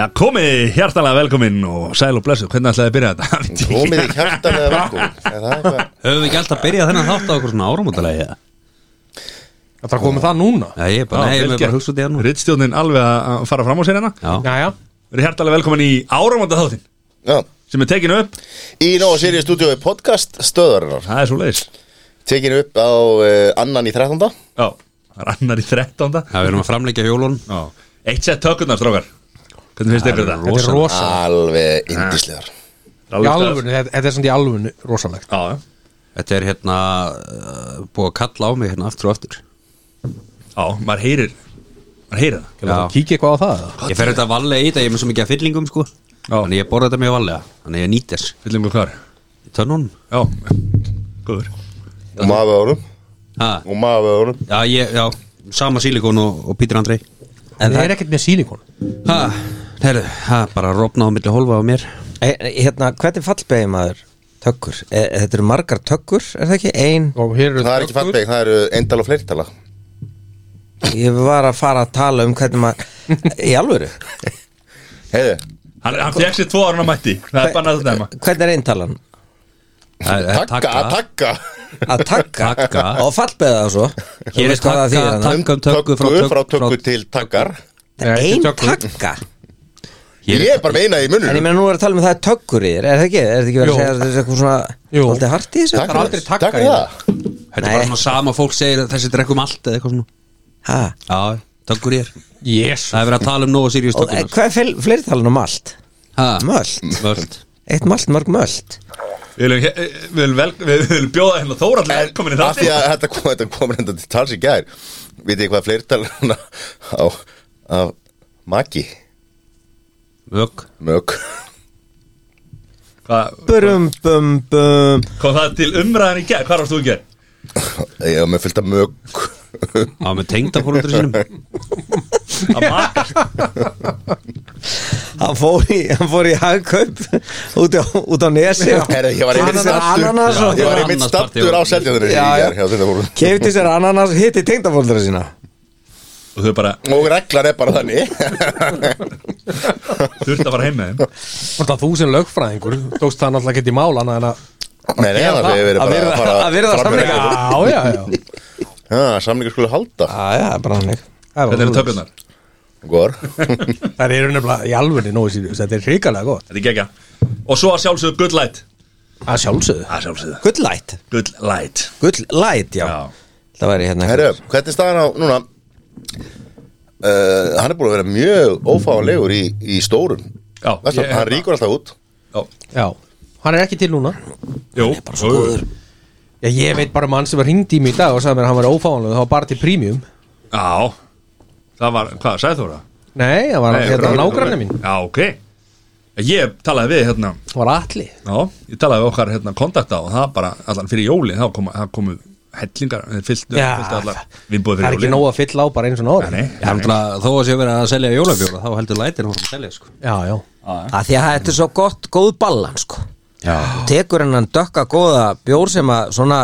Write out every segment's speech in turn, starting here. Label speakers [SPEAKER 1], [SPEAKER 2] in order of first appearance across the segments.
[SPEAKER 1] Já, komið hjartalega velkominn og sæl og blessuð, hvernig ætlaði að byrja þetta? Veit ég
[SPEAKER 2] Komið í kjartan eða velkomin Er það eitthvað?
[SPEAKER 3] Höfum við ekki alltaf byrjað þennan þátt á okkur svona árumótalega
[SPEAKER 4] Það er komið það núna
[SPEAKER 3] Já, ég er bara, nei,
[SPEAKER 1] ekki.
[SPEAKER 3] ég er bara að hugsa út í hann
[SPEAKER 1] Ritstjórnin alveg að fara fram á sér hérna
[SPEAKER 3] Já,
[SPEAKER 4] Jæja,
[SPEAKER 1] Við erum hjartalega velkomin í áramönda þáttin
[SPEAKER 2] Já
[SPEAKER 1] sem er tekinu upp,
[SPEAKER 2] Í Nóa Sirius stúdíói podcast stöðarinnar
[SPEAKER 1] það er svo leiðis
[SPEAKER 2] Tekin upp á uh, annan í 13.
[SPEAKER 1] Já, það er annar í 13.
[SPEAKER 3] Já, við erum að framleika hjólun
[SPEAKER 1] Já, eitt sett tökurnar, strókar Hvernig finnst ykkur þetta?
[SPEAKER 4] þetta er rosa
[SPEAKER 2] Alveg indislegar
[SPEAKER 4] Í
[SPEAKER 1] Alveg stöð.
[SPEAKER 4] alvöru, þetta þetta er samt í alvöru rosalegt
[SPEAKER 1] Já, já,
[SPEAKER 3] Þetta er hérna uh, búið að kalla á mig hérna aftur og aftur
[SPEAKER 1] já, maður heyrir maður heyrir það
[SPEAKER 3] Já.
[SPEAKER 4] Kíkja eitthvað á það eða?
[SPEAKER 3] Ég fer þetta valega í þetta, ég er með svo mikið að fyllingum sko Þannig ég borða þetta mjög valega Þannig ég nýt þess
[SPEAKER 1] Fyllum við hvar?
[SPEAKER 3] Í Tönnunum
[SPEAKER 1] Já, góður
[SPEAKER 2] Og maður við orðum
[SPEAKER 3] Ha,
[SPEAKER 2] Og maður við orðum
[SPEAKER 3] Já, ég, já, sama sílikon og, og Pítur Andrei
[SPEAKER 4] En það er ekkert með sílikon
[SPEAKER 3] Ha, herru, ha, bara rofna á milli holfa á mér
[SPEAKER 5] E, hérna, hvernig fallbegi maður tökkur? E, þetta eru margar tökkur, er það ekki? Ein,
[SPEAKER 4] Og hér eru
[SPEAKER 2] Það er ekki
[SPEAKER 4] tökur.
[SPEAKER 2] fallbeg, það eru eindal og fleirtala
[SPEAKER 5] ég var að fara að tala um hvernig maður Í alvöru?
[SPEAKER 2] Heiði
[SPEAKER 1] Hann, hann fekk sér tvo árna mætti, það er bannað að dæma
[SPEAKER 5] Hvernig er eintalan?
[SPEAKER 3] Eh,
[SPEAKER 2] Takka, takka
[SPEAKER 5] Að takka
[SPEAKER 3] Taka.
[SPEAKER 5] og fallbega það svo Þú
[SPEAKER 3] Hér er
[SPEAKER 5] veist hvað það
[SPEAKER 3] takka,
[SPEAKER 5] þýðir, hana?
[SPEAKER 3] takka um tökku frá
[SPEAKER 2] Tökku,
[SPEAKER 3] tök-
[SPEAKER 2] frá tökku
[SPEAKER 3] frá-
[SPEAKER 2] til takkar
[SPEAKER 4] Nei, þetta er
[SPEAKER 5] Ein
[SPEAKER 4] tökur.
[SPEAKER 5] takka?
[SPEAKER 3] Hér
[SPEAKER 2] Ég er bara meina í
[SPEAKER 5] En ég
[SPEAKER 2] munum
[SPEAKER 5] meina nú er að tala um að það er tökkur í þér, er það ekki? Er þetta ekki verið
[SPEAKER 4] Jú.
[SPEAKER 5] að segja að þetta er eitthvað svona
[SPEAKER 4] Jú.
[SPEAKER 5] Haldið hart í þessu?
[SPEAKER 2] Takk
[SPEAKER 4] er
[SPEAKER 2] fyrir
[SPEAKER 4] aldrei
[SPEAKER 2] það.
[SPEAKER 4] takka
[SPEAKER 2] Takk
[SPEAKER 4] í
[SPEAKER 2] fyrir það
[SPEAKER 3] Þetta er bara svona sama fólk segir að þessi drekkum allt eða eitthvað svona
[SPEAKER 5] Ha?
[SPEAKER 3] Já, tökur ég er
[SPEAKER 4] Yes
[SPEAKER 3] Það er verið að tala um nógu Sirius
[SPEAKER 5] Og, e,
[SPEAKER 3] tökunar
[SPEAKER 5] hvað er fel- fleirtalan um allt?
[SPEAKER 3] Ha,
[SPEAKER 5] Möld?
[SPEAKER 3] mörd
[SPEAKER 5] Eitt malt, mörg möld?
[SPEAKER 1] Við viljum, he- við viljum, vel, við viljum bjóða hérna Þóra allir velkomin í
[SPEAKER 2] Af því
[SPEAKER 1] þáttin
[SPEAKER 2] að þetta kom, þetta kom reynda til tals í gær Vitið þið hvað fleirtala á, á Maki
[SPEAKER 3] Mög
[SPEAKER 2] Mög
[SPEAKER 1] Hvað,
[SPEAKER 5] Brum, bum, bum
[SPEAKER 1] kom það til umræðan í gerð, hvað varst þú í gerð?
[SPEAKER 2] Ég var með fylgta mög
[SPEAKER 3] Já, með tengdafólundur sínum
[SPEAKER 1] Að makast
[SPEAKER 5] hann fór í, hann fór í hagkaup út á, út á nesi og
[SPEAKER 2] Herra, ég var einmitt
[SPEAKER 5] Ananas-
[SPEAKER 2] stattur
[SPEAKER 5] ananas og-
[SPEAKER 2] Ég var einmitt
[SPEAKER 3] Ananas partí
[SPEAKER 2] stattur á
[SPEAKER 3] og-
[SPEAKER 2] seldjöðunni
[SPEAKER 5] Já, já.
[SPEAKER 2] hjá þetta voru
[SPEAKER 5] kefti sér ananas hitti tengdafóldra sína
[SPEAKER 1] Og þau bara
[SPEAKER 2] Og reglan er bara þannig
[SPEAKER 1] þurft að fara heim með þeim
[SPEAKER 4] Og það þú sem lögfræðingur Tókst það náttúrulega ekki í mál annað en að
[SPEAKER 2] Nei, nei, það hefur verið
[SPEAKER 5] að
[SPEAKER 2] bara
[SPEAKER 5] virða-
[SPEAKER 2] fara
[SPEAKER 5] að virða
[SPEAKER 2] fram hjá
[SPEAKER 5] samninga.
[SPEAKER 2] reglum.
[SPEAKER 4] Já, já, já
[SPEAKER 2] Já, samningur skulle halda
[SPEAKER 5] ah, já, bara hann
[SPEAKER 1] Þetta eru tökurnar,
[SPEAKER 2] Gór
[SPEAKER 4] Það eru nefnilega í alvöru nógu síðu Þetta er hrikalega gott
[SPEAKER 1] þetta er gegja Og svo að sjálfsögðu good light
[SPEAKER 4] Að sjálfsögðu
[SPEAKER 1] Að sjálfsögðu
[SPEAKER 5] gullæt,
[SPEAKER 1] good light
[SPEAKER 5] gullæt, já.
[SPEAKER 1] Já.
[SPEAKER 5] það væri hérna
[SPEAKER 2] Herru, hvernig er staðan á núna uh, Hann er búin að vera mjög ófáanlegur í, í stórum
[SPEAKER 1] Já,
[SPEAKER 2] Vestan,
[SPEAKER 1] ég-
[SPEAKER 2] Hann ríkur alltaf út
[SPEAKER 1] Já,
[SPEAKER 4] Já, hann er ekki til núna
[SPEAKER 1] jú, jú, jú.
[SPEAKER 4] Já, ég veit bara um hann sem var hringd í mig í dag og sagði mér að hann var ófáanlega, það var bara til prímjum
[SPEAKER 1] Já, það var, hvað, sagði Þóra?
[SPEAKER 4] Nei, það var
[SPEAKER 1] Nei,
[SPEAKER 4] hérna
[SPEAKER 1] Þóra-
[SPEAKER 4] nágranni mín
[SPEAKER 1] Já, ok Ég talaði við hérna
[SPEAKER 4] Það var allir
[SPEAKER 1] Já, ég talaði við okkar hérna kontakta og það bara, allan fyrir jóli, þá komu, það komu hellingar, eh, fyllt,
[SPEAKER 4] Já,
[SPEAKER 1] fyllt allar viðbúið
[SPEAKER 4] Það er
[SPEAKER 1] fyrir
[SPEAKER 4] ekki
[SPEAKER 1] jóli
[SPEAKER 4] nóg að fylla á bara eins og náður
[SPEAKER 1] Nei,
[SPEAKER 3] Já, náttúrulega, þó að sé verið að selja jólabjóla þá heldur lætin hún að selja sko
[SPEAKER 4] Já, já
[SPEAKER 5] að því að þetta er svo gott, góð ballan sko.
[SPEAKER 3] Já.
[SPEAKER 5] tekur hennan dökka góða bjór sem að svona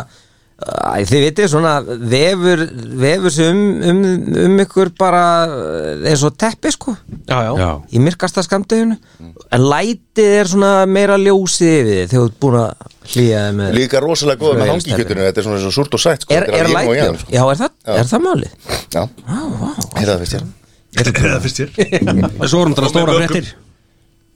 [SPEAKER 5] Æ, þið vitið svona vefur, vefur sem um, um, um ykkur bara eh, eins og teppi sko
[SPEAKER 4] Já, já,
[SPEAKER 3] Já.
[SPEAKER 5] í myrkasta skamdeginu en lætið er svona meira ljósið yfir þið þegar þú ert búin að hlýja þið með
[SPEAKER 2] Líka rosalega góð með
[SPEAKER 5] Svo er
[SPEAKER 2] hangikjötinu Þetta er svona svo súrt og sætt sko.
[SPEAKER 5] er,
[SPEAKER 2] Þetta
[SPEAKER 5] er
[SPEAKER 2] alveg yin og yang,
[SPEAKER 5] lætið,
[SPEAKER 2] sko.
[SPEAKER 5] já er það, er það málið
[SPEAKER 2] Já, Heyrðu það finnst ég
[SPEAKER 1] það fyrst ég
[SPEAKER 3] En svo erum þetta
[SPEAKER 1] Og
[SPEAKER 3] stóra
[SPEAKER 1] með mögum.
[SPEAKER 3] fréttir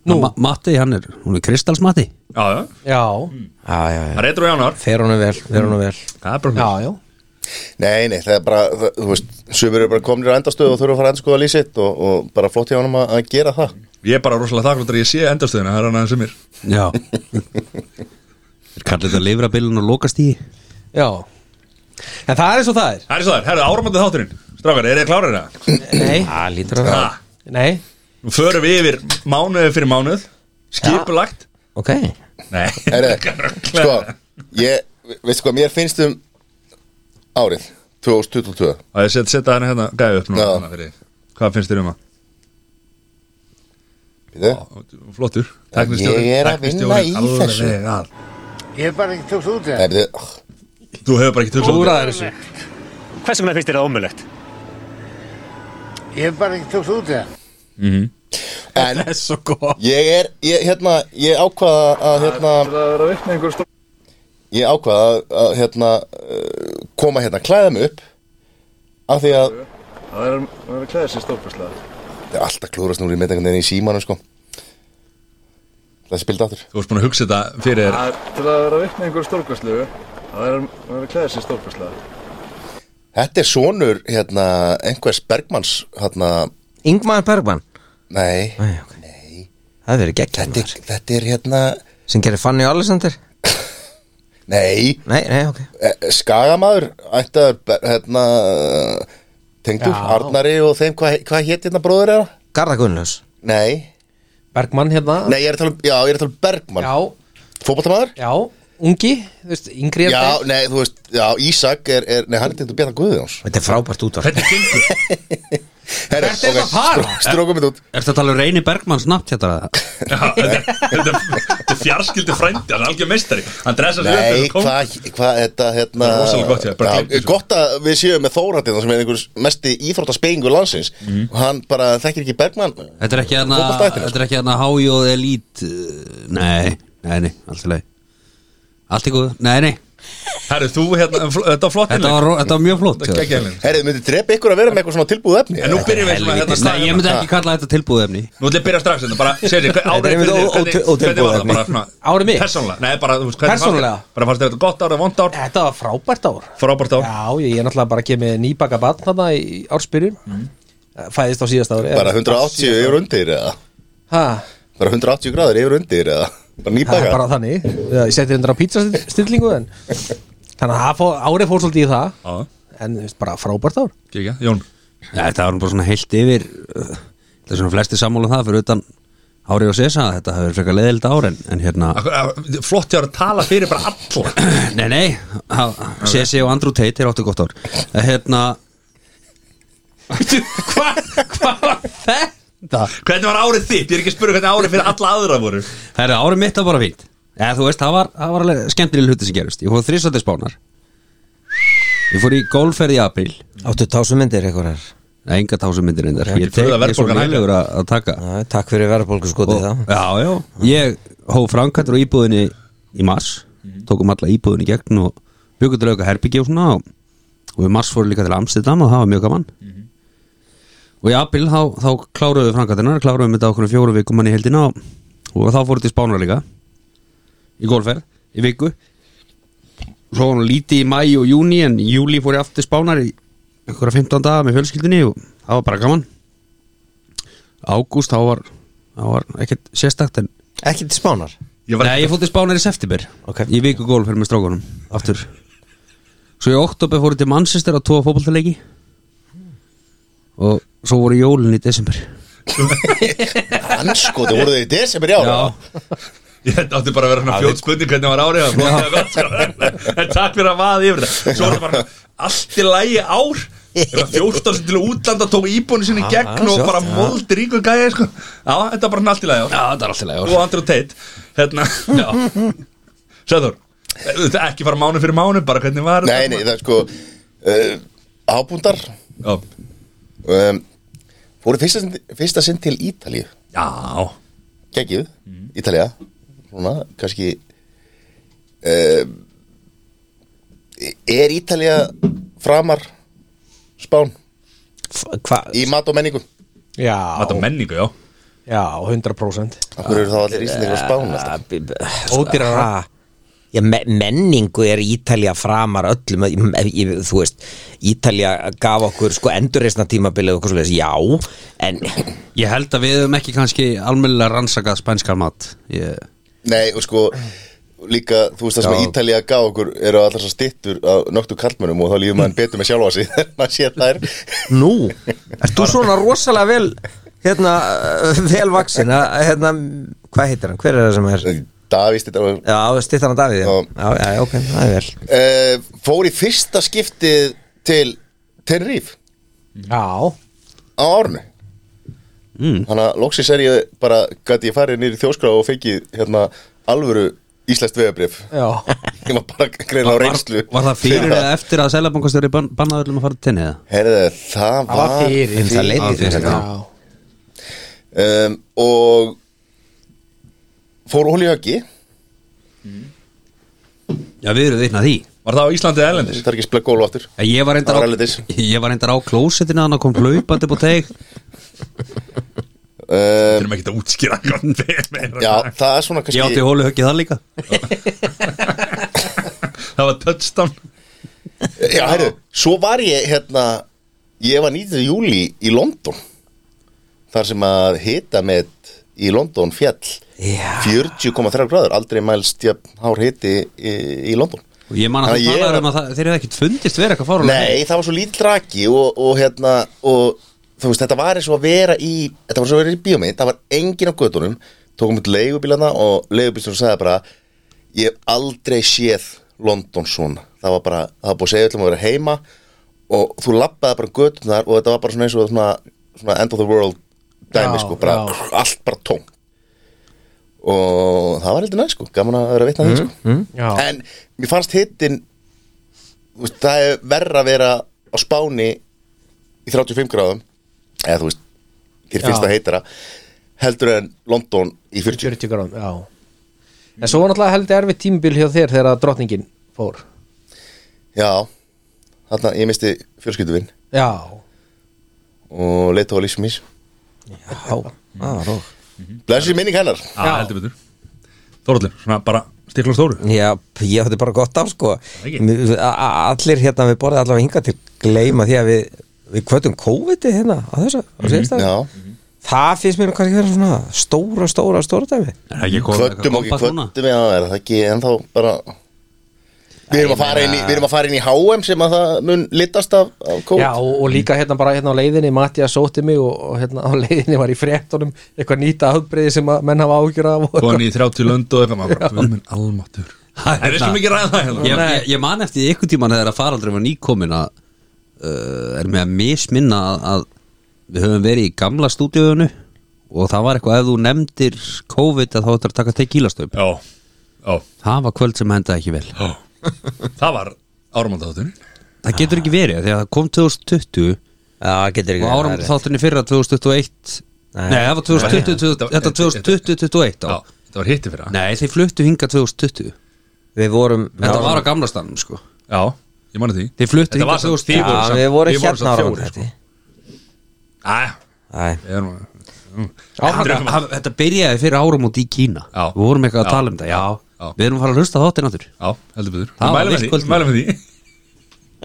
[SPEAKER 3] Nú, Ma Matti, hann er, hún er kristalsmatti
[SPEAKER 1] Já, já,
[SPEAKER 4] já,
[SPEAKER 5] já já já,
[SPEAKER 1] það reytur á januar
[SPEAKER 5] fer honum vel, fer honum vel
[SPEAKER 1] Það er bara
[SPEAKER 4] já,
[SPEAKER 1] mjög
[SPEAKER 4] já.
[SPEAKER 2] Nei, nei, það er bara, það, þú veist, sömur eru bara komnir á endastöðu og þurfa að fara að endskoða lýsitt og, og bara flott hjá honum að, að gera það
[SPEAKER 1] Ég er bara rosalega þakkláttur að ég sé endastöðina, það er hann aðeins sem mér
[SPEAKER 3] Já Þeir kallir þetta lifrabilun og lokast í
[SPEAKER 4] já En það er eins og það er
[SPEAKER 1] Það er svo það, herðu áramandi þátturinn, strákar, er þið klárir það?
[SPEAKER 4] Nei,
[SPEAKER 5] að Ah, lítur að
[SPEAKER 1] Ha,
[SPEAKER 5] það,
[SPEAKER 4] nei,
[SPEAKER 1] Nú förum við yfir mánuði fyrir mánuð, skipulagt
[SPEAKER 5] ok
[SPEAKER 1] Nei,
[SPEAKER 2] Herre, sko,
[SPEAKER 1] sko
[SPEAKER 2] ég, veistu hvað, mér finnst um árið, 2022
[SPEAKER 1] Það er set, setja hann hérna gæði upp nú
[SPEAKER 2] Já.
[SPEAKER 1] hana fyrir. Hvað finnst þér um það?
[SPEAKER 2] Býtu?
[SPEAKER 1] flottur
[SPEAKER 2] ég er að vinna í
[SPEAKER 1] alveg
[SPEAKER 2] þessu.
[SPEAKER 1] að.
[SPEAKER 6] Ég er bara ekki tókst út
[SPEAKER 2] Nei,
[SPEAKER 6] eða
[SPEAKER 2] býtu,
[SPEAKER 1] Þú hefur bara ekki tökst
[SPEAKER 4] Úr að þessu
[SPEAKER 7] Hvers vegna finnst þér það ómulegt?
[SPEAKER 6] Ég er bara ekki tókst út eða
[SPEAKER 2] en
[SPEAKER 4] Það er svo gott
[SPEAKER 2] Ég er, ég, hérna, ég ákvaða að, hérna Ég ákvaða að, að hérna, uh, koma hérna, klæða mig upp Af því að
[SPEAKER 8] Það er, það er að klæða sér stórfærslega.
[SPEAKER 2] Það er alltaf klúrast núri með einhvern veginn í símanum, sko Það spildi áttur
[SPEAKER 1] Þú varst búin að hugsa þetta fyrir þér
[SPEAKER 8] Það er til að vera vitni einhver stórfærslegu. Það er, það er að klæða sér stórfærslega.
[SPEAKER 2] Þetta er sonur, hérna, einhvers Bergmanns, hérna
[SPEAKER 5] Ingmar Bergman
[SPEAKER 2] Nei,
[SPEAKER 5] Æ, okay. Nei Það verið geggjum
[SPEAKER 2] þetta er, þetta er hérna
[SPEAKER 5] Sem gerir Fanny Alexander
[SPEAKER 2] Nei,
[SPEAKER 5] Nei, nei, ok
[SPEAKER 2] eh, skagamaður, ættaður, Ber- hérna Tengdur, Arnari og þeim, hvað hva hétt hérna bróður er það?
[SPEAKER 5] Garða Gunnlaus
[SPEAKER 2] Nei
[SPEAKER 4] Bergmann hérna
[SPEAKER 2] Nei, ég er að tala um, já, ég er að tala um Bergmann
[SPEAKER 4] Já,
[SPEAKER 2] Fótboltamaður?
[SPEAKER 4] já, ungi, þú veist, yngri en
[SPEAKER 2] Já,
[SPEAKER 4] þeir.
[SPEAKER 2] nei, þú veist, já, Ísak er, er nei, hann er tegnd að björna Guðjóns
[SPEAKER 5] Þetta er frábært útvarp
[SPEAKER 1] Hvernig gengur?
[SPEAKER 2] Herra,
[SPEAKER 4] Þetta er
[SPEAKER 2] ok,
[SPEAKER 4] að fara.
[SPEAKER 2] stró- Strókum þetta út
[SPEAKER 3] Ertu að tala um Reyni Bergmann snabbt hérna?
[SPEAKER 1] Já, þetta- Þetta þetta er fjarskildi frændi Hann er algjör meistari Hann dressa sig upp
[SPEAKER 2] Nei,
[SPEAKER 1] eins og kóng.
[SPEAKER 2] hvað, hvað, þetta, hérna
[SPEAKER 1] Það er rosalega gott, já, bara
[SPEAKER 2] já,
[SPEAKER 1] gleymdu þessu.
[SPEAKER 2] Gott að við séum með Þóratið sem er einhver mesti íþróttaspeyingur landsins
[SPEAKER 1] Mhm.
[SPEAKER 2] og hann bara þekkir ekki Bergmann
[SPEAKER 3] Þetta er ekki hérna
[SPEAKER 2] Fótboltaættir.
[SPEAKER 3] Þetta er ekki hérna hájóð elít eh, Nei, nei, nei, allt í leið Allt í góð, nei, nei
[SPEAKER 1] Herru, þú hérna, fl- þetta var flott
[SPEAKER 3] Þetta var, ro- þetta var mjög flott hjá þér.
[SPEAKER 1] geggjæðin
[SPEAKER 2] Herrið, myndi drepa ykkur að vera með eitthvað svona tilbúð efni
[SPEAKER 1] En nú byrjum við svona hérna
[SPEAKER 3] Helvítis, Nei,
[SPEAKER 1] strax
[SPEAKER 3] ég
[SPEAKER 1] hérna.
[SPEAKER 3] myndi ekki kalla þetta tilbúðefni
[SPEAKER 1] Nú ætlum ég að byrja strax hérna, bara segir þér,
[SPEAKER 5] Þetta er
[SPEAKER 1] árið
[SPEAKER 5] einmitt
[SPEAKER 1] fyrir þér,
[SPEAKER 5] ó- ó-
[SPEAKER 1] hvernig var það
[SPEAKER 5] ótilbúið
[SPEAKER 1] bara svona
[SPEAKER 4] Árið mitt?
[SPEAKER 1] Persónulega, nei, bara, þú veist, hvernig
[SPEAKER 4] Persónulega?
[SPEAKER 1] fannst þér Bara fannst þér þetta gott ár eða vond ár,
[SPEAKER 4] Þetta var frábært ár
[SPEAKER 1] frábært ár
[SPEAKER 4] Já, ég er náttúrulega bara að kemja nýbaka batn þarna í ársbyrjun
[SPEAKER 1] Mm.
[SPEAKER 4] Fæðist á síðasta ári
[SPEAKER 2] Bara 180 yfir undir eða
[SPEAKER 4] Ha,
[SPEAKER 2] Bara 180 gráður yfir undir eða Bara
[SPEAKER 4] það er
[SPEAKER 2] nýbaka
[SPEAKER 4] bara þannig Já, Ég seti hundra á pizzastillingu en Þannig að það fó- árið fór svolítið í það
[SPEAKER 1] Já,
[SPEAKER 4] En þú veist, bara frábært ár
[SPEAKER 1] kíkja, Jón
[SPEAKER 3] Nei, Þetta var nú bara svona heilt yfir uh, Það er svona flesti sammála um það fyrir utan Hári og Sesa, þetta hefur frekar leðild ár en, en hérna,
[SPEAKER 1] Akkur- að- Flott hjá að tala fyrir bara alla
[SPEAKER 3] nei nei há- Sesi og Andrew Tate er áttu gott ár Eh, Hérna,
[SPEAKER 4] Hvað hva var þetta?
[SPEAKER 1] Hvernig var árið þitt? Ég er ekki að spura hvernig árið fyrir alla aðra voru
[SPEAKER 3] það er árið mitt að bara fínt Eða þú veist, það var, það var alveg skemmtileg hluti sem gerist Ég fór þrísvætti spánar Ég fór í golfferð í april
[SPEAKER 5] Áttu tásumindir einhverjar
[SPEAKER 3] Nei, enga tásumyndir reyndar
[SPEAKER 5] Ok.
[SPEAKER 3] Ég
[SPEAKER 1] Fyrir að
[SPEAKER 3] tek ég er svo
[SPEAKER 1] verðbólgan hækki.
[SPEAKER 3] lélegur að, að taka
[SPEAKER 5] Já, Takk fyrir verðbólgu skotið
[SPEAKER 3] og,
[SPEAKER 5] þá
[SPEAKER 3] Já, já Ég hóf framkvæmdur á íbúðinni í mars Tókum alla íbúðinni í gegn og byggum til auka herbyggi og svona og, og í mars fóru líka til Amsterdam og það var mjög gaman Og í april þá, þá kláruðum við framkvæmdunar Kláruðum þetta okkur fjóru vikum mann í heldina og, og þá fóru til Spánar líka Í golferð, í viku Svo var nú lítið í mæ og júni En í júli fór ég aftur til Spánar í einhverja 15 daga með fjölskyldinni og það var bara gaman ágúst þá var, þá var ekkert sérstakt en
[SPEAKER 5] Ekki til spánar
[SPEAKER 1] Ég var
[SPEAKER 3] Nei, ég fór til Spánar í september
[SPEAKER 5] Ok.
[SPEAKER 3] Ég viku gólf fyrir með strákunum Aftur Svo í oktober fór ég til Manchester á tvo fótboltaleiki Og svo voru jólin í desember
[SPEAKER 2] Anskoti, voru sko, þau í desember í ára
[SPEAKER 1] Ég átti bara að vera svona fjótt spurning hvernig var árið það var flott hjá þér, sko. En takk fyrir að vaða yfir það Svo er það bara allt í lægi ár Ég var 14 sem til útlanda tók íbúinu sinni í gegn og bara mold ríku gæja sko. Já, þetta var bara svona allt í lægi ár
[SPEAKER 3] Já, það er alltaf leið
[SPEAKER 1] og Andrew Tate hérna, Sæður ekki fara mánu fyrir mánu, bara hvernig var
[SPEAKER 2] Nei, nei, það er sko uh, Hábúndar
[SPEAKER 1] já,
[SPEAKER 2] um, Fóru fyrsta, sinn- fyrsta sinn til Ítalíu
[SPEAKER 1] já,
[SPEAKER 2] geggjuð,
[SPEAKER 4] Mhm.
[SPEAKER 2] Ítalija svona, kannski uh, er Ítalija framar spán
[SPEAKER 4] Hvað?
[SPEAKER 2] í mat og menningu
[SPEAKER 1] þetta
[SPEAKER 4] Já,
[SPEAKER 1] menningu, já
[SPEAKER 4] já, 100%
[SPEAKER 2] okkur eru þá allir íslendingar á spán
[SPEAKER 5] Ah,
[SPEAKER 2] alltaf
[SPEAKER 4] Ódýrara.
[SPEAKER 5] Ódýrara sko, Já, me menningu er Ítalja framar öllum Ég- ég- Þú veist, Ítalja gaf okkur sko endurreisna tímabilið og okkur svoleiðis Já, en
[SPEAKER 3] Ég held að við höfum ekki kannski almennilega rannsakað spænskar mat ég,
[SPEAKER 2] nei og sko líka þú veist það sem
[SPEAKER 3] Já.
[SPEAKER 2] Ítalija gaf okkur eru allar svo stittur á nögtu kallmönnum og þá líður maður betur með sjálfa sig þegar maður sé þær
[SPEAKER 5] nú Ert þú svona rosalega vel hérna, uh, vel vaksin að, hérna, hvað heitir hann, hver er það sem er
[SPEAKER 2] Davís þetta var
[SPEAKER 5] Já, stýttan að Davíð já.
[SPEAKER 2] Já.
[SPEAKER 5] Já, já, já, ok, það er vel
[SPEAKER 2] uh, fór í fyrsta skiptið til Tenerife
[SPEAKER 4] Já,
[SPEAKER 2] á árnu
[SPEAKER 3] Mm.
[SPEAKER 2] Þannig að loksins er ég bara gæti ég farið niður í þjóskrá og fengið hérna alvöru íslenskt vegabrif
[SPEAKER 4] Já,
[SPEAKER 2] Ég var bara greina á reynslu
[SPEAKER 3] Var það fyrir eða eftir að selabankastjóri bannaði öllum að fara til tenni eða?
[SPEAKER 2] Herðu, það
[SPEAKER 4] það var fyrir
[SPEAKER 2] fyrir.
[SPEAKER 5] Það leiti
[SPEAKER 3] fyrir,
[SPEAKER 5] þetta
[SPEAKER 4] Já,
[SPEAKER 2] um, og fór olíuhöggi
[SPEAKER 3] Já, við erum veitna því
[SPEAKER 1] Var það á Íslandi eða
[SPEAKER 2] það
[SPEAKER 1] Erlendis?
[SPEAKER 2] er ekki að spila gólu aftur
[SPEAKER 3] Já, Ég var reyndar á,
[SPEAKER 2] Það var erlendis.
[SPEAKER 3] ég var reyndar á klósetina þannig að kom hlaupandi upp á teik
[SPEAKER 1] Þeir
[SPEAKER 2] um,
[SPEAKER 1] eru ekki að útskýra hvað meira.
[SPEAKER 2] já, það er svona
[SPEAKER 3] Ég átti
[SPEAKER 2] kannski
[SPEAKER 3] hólu höggið það líka
[SPEAKER 1] Það var touchdown
[SPEAKER 2] já, herðu, svo var ég hérna ég var 19. júli í London þar sem að hita með í London fjall
[SPEAKER 3] Ah.
[SPEAKER 5] Já.
[SPEAKER 2] 40,3 gráður, aldrei mælst jafn hár hiti í, í London
[SPEAKER 3] Og ég man að
[SPEAKER 2] Þannig
[SPEAKER 3] það
[SPEAKER 2] ég
[SPEAKER 3] talaður
[SPEAKER 2] var-
[SPEAKER 3] um að það, þeir eru ekkert fundist vera eitthvað fárulega
[SPEAKER 2] Nei, það var svo lítill raki og, og hérna og þú veist, þetta var eins og að vera í þetta var svo að vera í bíómynd, það var engin á göttunum tókum út leigubílana og leigubílstjóri sagði bara ég hef aldrei séð London svona það var bara, það var búið að segja öllum að vera heima og þú lappaði bara göttunar og þetta var bara svona eins og svona, svona end of the world dæmi
[SPEAKER 4] Já,
[SPEAKER 2] sko, bara,
[SPEAKER 4] já.
[SPEAKER 2] allt bara tóm og það var heldur næst sko, gaman að vera vitna að því sko
[SPEAKER 4] já.
[SPEAKER 2] en mér fannst hittin þú veist, það er verra að vera á Spáni í 35 gráðum eða þú veist, þér finnst
[SPEAKER 4] Já.
[SPEAKER 2] það heitara heldur en London í 40
[SPEAKER 4] 40 gráðum, já En svo var náttúrulega heldur erfið tímbil hjá þér þegar að drottningin fór
[SPEAKER 2] já, þarna ég misti fjölskylduvinn
[SPEAKER 4] Já,
[SPEAKER 2] og leitt á lífsum ís
[SPEAKER 5] Já,
[SPEAKER 2] blessið minning hennar
[SPEAKER 1] Já, heldur betur Þorallur, svona bara stikla stóru
[SPEAKER 5] Já, ég átti bara gott af sko
[SPEAKER 1] ekki.
[SPEAKER 5] Mér- a- a- Allir hérna við borðið allavega hinga til gleyma því að við, við kvötum COVID-i hérna á þessu, á síðasta
[SPEAKER 2] já,
[SPEAKER 5] Það finnst mér nú kannski vera svona stóra, stóra, stóra dæmi
[SPEAKER 3] Er ekki komið
[SPEAKER 2] kvöttum og ekki kvöttum já, er það ekki ennþá bara við erum að fara inn í, við erum að fara inn í HM sem að það mun litast af, af kóð
[SPEAKER 4] Já og, og líka hérna bara hérna á leiðinni Matti að sóti mig og, og hérna á leiðinni var í fréttunum eitthvað nýta afbreyði sem að menn hafa ágjur af og
[SPEAKER 1] Góðan í 30 lönd og eitthvað maður bara, Guð minn almáttur Það er ekki mikið ræða það
[SPEAKER 3] Ég,
[SPEAKER 1] hérna
[SPEAKER 3] ég, ég man eftir ykkur tíman þegar að faraldri var nýkomin að uh, er með að misminna að, að við höfum verið í gamla stúdíuðinu og það var eitthvað ef þú nefndir COVID að þá ættir að taka tequílastöp
[SPEAKER 1] Já, já,
[SPEAKER 3] það var kvöld sem hendaði ekki vel
[SPEAKER 1] já Það var áramaldátturinn
[SPEAKER 3] það getur ekki verið því að það kom 2020
[SPEAKER 5] Já, það getur ekki
[SPEAKER 3] og áram þáttunni fyrra 2021
[SPEAKER 5] Nei.
[SPEAKER 3] nei, það var 2020
[SPEAKER 1] Nei.
[SPEAKER 3] þetta 2020-21
[SPEAKER 1] Já, þetta var hitti fyrir það
[SPEAKER 3] nei, þeir fluttu hinga 2020
[SPEAKER 5] Við vorum
[SPEAKER 3] þetta var á gamla stannum sko
[SPEAKER 1] Já, ég mani því
[SPEAKER 3] Þeir fluttu
[SPEAKER 1] Þetta
[SPEAKER 3] hingað
[SPEAKER 1] var samt- þið voru
[SPEAKER 3] 2000.
[SPEAKER 5] Já,
[SPEAKER 1] samt-
[SPEAKER 5] við
[SPEAKER 1] þið
[SPEAKER 5] vorum
[SPEAKER 1] voru
[SPEAKER 5] hérna
[SPEAKER 1] samt
[SPEAKER 5] ára
[SPEAKER 1] fjórir, sko. Æ,
[SPEAKER 5] Æ,
[SPEAKER 1] ég er nú-
[SPEAKER 3] Þetta, hann- þetta byrjaði fyrir árum út í Kína
[SPEAKER 1] Já.
[SPEAKER 3] Við vorum eitthvað
[SPEAKER 1] Já.
[SPEAKER 3] að tala um þetta, já,
[SPEAKER 1] Já.
[SPEAKER 3] Við erum að fara að hlusta á þáttinn áttur
[SPEAKER 1] Já, heldur betur
[SPEAKER 3] Það var
[SPEAKER 1] Mælum við
[SPEAKER 3] virkt
[SPEAKER 1] því,
[SPEAKER 3] kvöld.
[SPEAKER 1] mælum við því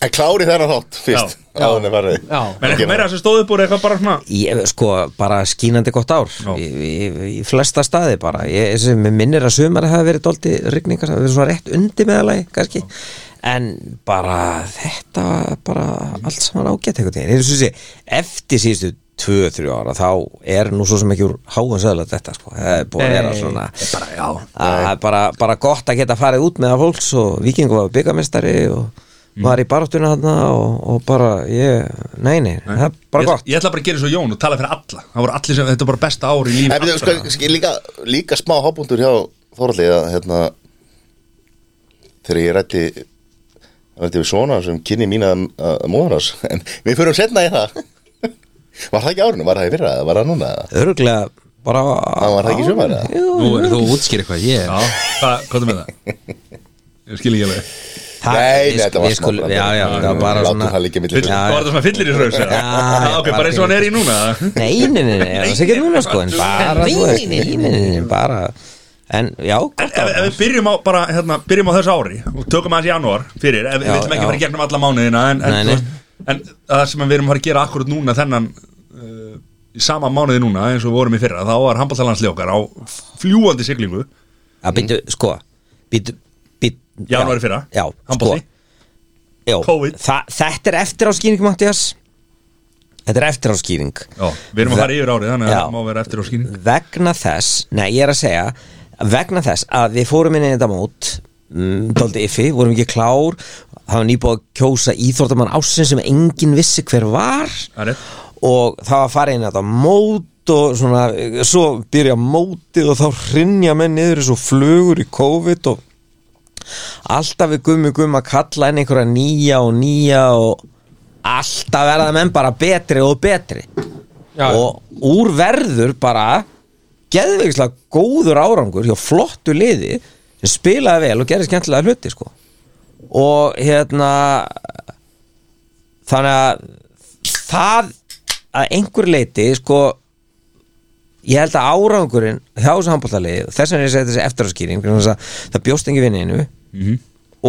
[SPEAKER 2] en klári þennan þátt fyrst
[SPEAKER 1] Já.
[SPEAKER 2] áður en farið.
[SPEAKER 4] Já.
[SPEAKER 1] Men eitthvað meira sem stóð upp úr eitthvað bara svona
[SPEAKER 5] ég, sko, bara skínandi gott ár
[SPEAKER 1] Já.
[SPEAKER 5] í, í, í flesta staði bara ég, sem mig minnir að sumar hafa verið dólti rigningar, það hafa verið svona rétt undi meðalagi kannski, en bara þetta var bara allt saman ágætt einhvern veginn, ég syns ég eftir síðustu 2-3 ára þá er nú svo sem ekki úr háum söðla þetta sko, það er búið að vera
[SPEAKER 4] Nei.
[SPEAKER 5] svona
[SPEAKER 1] Bara, já
[SPEAKER 5] það er bara, bara gott að geta farið út með að fólks og vikingu var byggamestari og
[SPEAKER 1] Mm.
[SPEAKER 5] var í baráttuna þarna og, og bara, ég, nei, nei, það er bara
[SPEAKER 1] ég,
[SPEAKER 5] gott
[SPEAKER 1] ég ætla bara að gera svo Jón og tala fyrir alla Það voru allir sem, þetta var bara besta ár í lífi
[SPEAKER 2] Nei, betur,
[SPEAKER 1] allra.
[SPEAKER 2] sko, sko, líka, líka smá hábúndur hjá Þoralli að hérna, þegar ég rætti rætti við svona sem kynni mín að, að móðan hans en við förum setna í það Var það ekki árinu? Var það í fyrra? eða Var það núna?
[SPEAKER 5] öruglega bara
[SPEAKER 2] Það var það ekki í sumar, eða?
[SPEAKER 5] Jú,
[SPEAKER 3] Nú er þú að útskýra eitthvað ég,
[SPEAKER 1] Já, hvað, hvað er með það? Ég skil ekki alveg
[SPEAKER 5] það-
[SPEAKER 2] Nei,
[SPEAKER 5] við
[SPEAKER 2] nei, þetta
[SPEAKER 5] skul-
[SPEAKER 2] var
[SPEAKER 5] við
[SPEAKER 2] smá
[SPEAKER 5] skul-
[SPEAKER 2] brandari.
[SPEAKER 5] já, já,
[SPEAKER 2] Já,
[SPEAKER 5] það var bara
[SPEAKER 2] látum
[SPEAKER 5] svona
[SPEAKER 2] það liggja milli
[SPEAKER 1] Vill-
[SPEAKER 2] fyrra.
[SPEAKER 5] Já,
[SPEAKER 1] Það var þetta svona fyllir í raus Já,
[SPEAKER 5] Já, já,
[SPEAKER 1] ok,
[SPEAKER 5] bara
[SPEAKER 1] bara eins og hann er í núna
[SPEAKER 5] nei, nei, nei, nei, það sé ekki núna sko en bara, þú veist, nei, nei, nei, nei, bara en, já,
[SPEAKER 1] En
[SPEAKER 5] gott
[SPEAKER 1] ef, ef
[SPEAKER 5] að
[SPEAKER 1] við byrjum á, bara, hérna, byrjum á þessu ári og tökum aðeins janúar fyrir ef við
[SPEAKER 5] Já,
[SPEAKER 1] viljum ekki
[SPEAKER 5] já.
[SPEAKER 1] fara í gegnum alla mánuðina en, en,
[SPEAKER 5] Nei,
[SPEAKER 1] þú
[SPEAKER 5] nei.
[SPEAKER 1] veist, en það sem við erum að fara að gera akkurat núna þennan uh, í sama mánuði núna eins og við vorum í fyrra þá var handbóltalansljókar á fljúandi siglingu
[SPEAKER 5] að býtu, sko býtu, býtu
[SPEAKER 1] janúari fyrra,
[SPEAKER 5] já, sko
[SPEAKER 1] handbólti
[SPEAKER 5] já,
[SPEAKER 1] COVID.
[SPEAKER 5] þa- þetta er eftir á skýring, Mattias þetta er eftir á skýring
[SPEAKER 1] Já, við erum að fara yfir árið þannig að
[SPEAKER 5] Já.
[SPEAKER 1] það má vera eftir á skýning
[SPEAKER 5] vegna þess, nei ég er að segja vegna þess að við fórum inn í þetta mót mm, daldi yffi, vorum ekki klár það var nýbúið að kjósa íþórtamann ásinn sem enginn vissi hver var
[SPEAKER 1] Það er rétt.
[SPEAKER 5] og það var farið inn að þetta mót og svona, eh, svo byrja mótið og þá hrinja menn niður eins og flugur í COVID og alltaf við gummi gummi að kalla inn einhverja nýja og nýja og alltaf verða menn bara betri og betri
[SPEAKER 4] Já.
[SPEAKER 5] og úr verður bara geðveikislega góður árangur hjá flottu liði sem spilaði vel og gerði skemmtilega hluti sko. og hérna þannig að það að einhver leiti sko ég held að árangurinn hjá þessu handbóltalegi þess vegna er ég að segja þessi eftiráskýring vegna þess að það bjóst engi vinni innu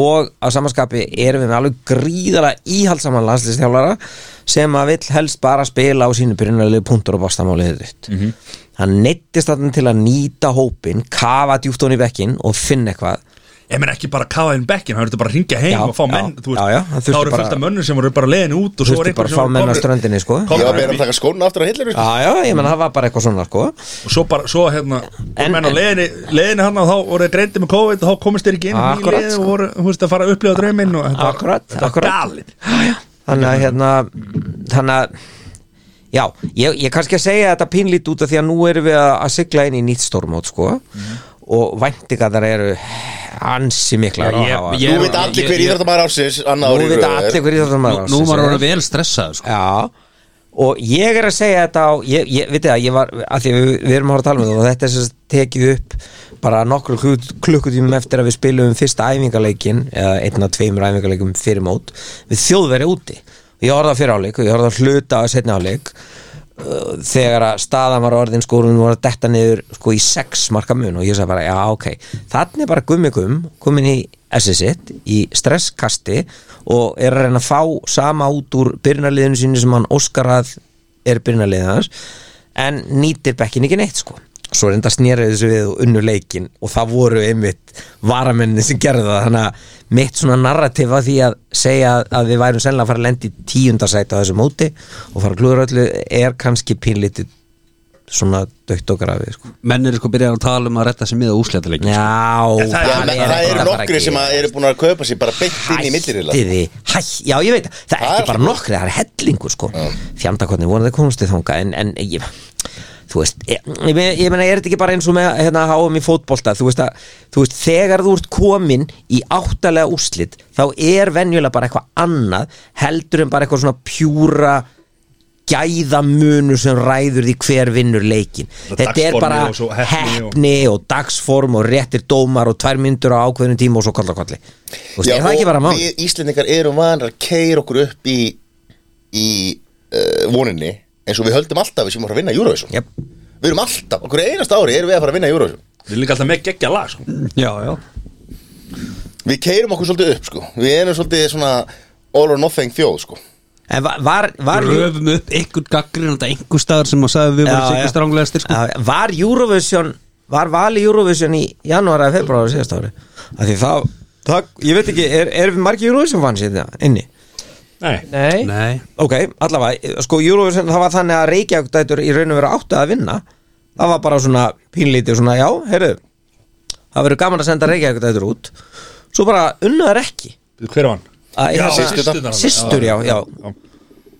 [SPEAKER 5] og á samanskapi erum við með alveg gríðala íhaldsaman landslistjálfara sem að vill helst bara spila á sínu byrjunarlegu punktur og bastamálið þitt mm -hmm. hann neittist þarna til að nýta hópin kafa djúpt hún í bekkin og finna eitthvað
[SPEAKER 1] Ég menn ekki bara kafa inn bekkin, hann verður bara að ringja heim
[SPEAKER 5] Já,
[SPEAKER 1] og fá
[SPEAKER 5] já.
[SPEAKER 1] menn, þú veist,
[SPEAKER 5] Já, já, hann
[SPEAKER 1] þá
[SPEAKER 5] þurfti
[SPEAKER 1] eru
[SPEAKER 5] bara-
[SPEAKER 1] fullt af mönnum sem eru bara leiðin út og svo er
[SPEAKER 5] þurfti bara
[SPEAKER 1] einhver
[SPEAKER 5] að
[SPEAKER 1] sem
[SPEAKER 5] fá menn á
[SPEAKER 1] komnir-
[SPEAKER 5] ströndinni sko
[SPEAKER 1] komnir
[SPEAKER 2] Ég var meira
[SPEAKER 1] upp
[SPEAKER 2] að taka skóna aftur á hillinu sko.
[SPEAKER 5] já, já, ég menn það var bara eitthvað svona sko
[SPEAKER 1] í- og svo bara, svo hérna,
[SPEAKER 5] En-
[SPEAKER 1] menn á
[SPEAKER 5] en-
[SPEAKER 1] leiðinni, leiðinni hann og þá voru þeir greindi með COVID og þá komist þeir ekki inn í
[SPEAKER 5] Akkurat,
[SPEAKER 1] leið
[SPEAKER 5] sko.
[SPEAKER 1] og voru, þú veist, að fara að upplifa drauminn og þetta var-
[SPEAKER 5] Akkurat,
[SPEAKER 1] þetta var
[SPEAKER 5] akkurat.
[SPEAKER 1] galið.
[SPEAKER 5] þannig að hérna þannig að já, ég, ég kannski að segja þetta pínlít út af því að nú erum við að, að sigla inn í nýtt stórmót sko og væntingarnar eru ansi miklar og hafa.
[SPEAKER 2] Nú veit allir hver íþjóttamæður ársins annað
[SPEAKER 5] nú
[SPEAKER 2] árið
[SPEAKER 5] veit allir hver íþjóttum
[SPEAKER 3] Nú, nú var hann vel stressað sko.
[SPEAKER 5] Já Og ég er að segja þetta á ég, ég, Vitið það, ég var, að því að við, við erum að horfa að tala um þetta og þetta er sem sagt tekið upp bara nokkur klukkutímum eftir að við spilum fyrsta æfingarleikin eða einn af tveimur æfingarleikum fyrir mót við þjóðveri úti og ég horfði að fyrir áleik og ég horfði að hluta að setna áleik þegar að staðan var orðin sko hún var að detta niður sko í sex marka mun og ég sagði bara já ok þannig bara gummi gum komin í SS1 í stresskasti og er að reyna að fá sama út úr byrnarliðinu sínu sem hann Óskar að er byrnarliðið hans en nýtir bekkin ekki neitt sko svo reynda snýraði þessu við og unnu leikin og það voru einmitt varamennin sem gerði það þannig að mitt svona narrativ að því að segja að- að við værum sennilega að fara að lendi tíundasæti á þessu móti og fara að klúður öllu er kannski pínlítið svona dögt og grafið sko.
[SPEAKER 3] Menn eru sko byrjað að tala um að retta sig miða úsléttaleikin sko.
[SPEAKER 5] Já,
[SPEAKER 1] það er-
[SPEAKER 2] Já, menn, það eru nokkri sem að eru búin að kaupa sér bara beint inn í millirila
[SPEAKER 5] Hætti því, hætti, já ég veit það, það
[SPEAKER 2] Það
[SPEAKER 5] er
[SPEAKER 2] er
[SPEAKER 5] ekki bara nokkri, það er hellingur sko Fjandakorni vonið að komast þið þanga en, en ég, þú veist, ég, ég, meina- ég meina er þetta ekki bara eins og með hérna háum í fótbolta þú veist, að, þú veist, þegar þú ert komin í áttalega úrslit þá er venjulega bara eitthvað annað heldur en bara eitthvað svona pjúra gæðamunu sem ræður því hver vinnur leikin þetta er
[SPEAKER 1] dagsformið
[SPEAKER 5] bara
[SPEAKER 1] og svo heppni og-
[SPEAKER 5] heppni og dagsform og réttir dómar og tvær myndur á ákveðnum tíma og svo kolla kolli Þú veist,
[SPEAKER 2] Já,
[SPEAKER 5] er það ekki bara
[SPEAKER 2] og
[SPEAKER 5] mál?
[SPEAKER 2] við Íslendingar erum vanar að keira okkur upp í í uh, voninni eins og við höldum alltaf við sem vorum að vinna Eurovision
[SPEAKER 5] Jep.
[SPEAKER 2] við erum alltaf, okkur einast ári erum við að fara að vinna Eurovision
[SPEAKER 1] Við erum líka alltaf með geggja lag, sko.
[SPEAKER 3] Já, já
[SPEAKER 2] við keirum okkur svolítið upp sko við erum svolítið svona all or nothing þjóð sko
[SPEAKER 5] En va- var, var, var,
[SPEAKER 3] Röfum upp einhvern gaggrinanda einhver staðar sem að sagði við
[SPEAKER 5] Já,
[SPEAKER 3] vorum
[SPEAKER 5] já.
[SPEAKER 3] sikkust ránglegastir sko.
[SPEAKER 5] var Eurovision var vali Eurovision í janúar eða februar síðast ári að því þá, það, ég veit ekki, er, er við margi Eurovision fans hérna inni?
[SPEAKER 1] Nei.
[SPEAKER 4] Nei,
[SPEAKER 3] Nei,
[SPEAKER 5] Ok, allavega, sko Eurovision það var þannig að Reykjavík dætur í raun og veru áttu að vinna það var bara svona pínlítið svona já, heyrðu það verður gaman að senda Reykjavík dætur út svo bara unnaður ekki
[SPEAKER 1] Hver var hann?
[SPEAKER 5] Að
[SPEAKER 1] Já,
[SPEAKER 5] hérna-
[SPEAKER 1] systurnar.
[SPEAKER 5] systur, já, já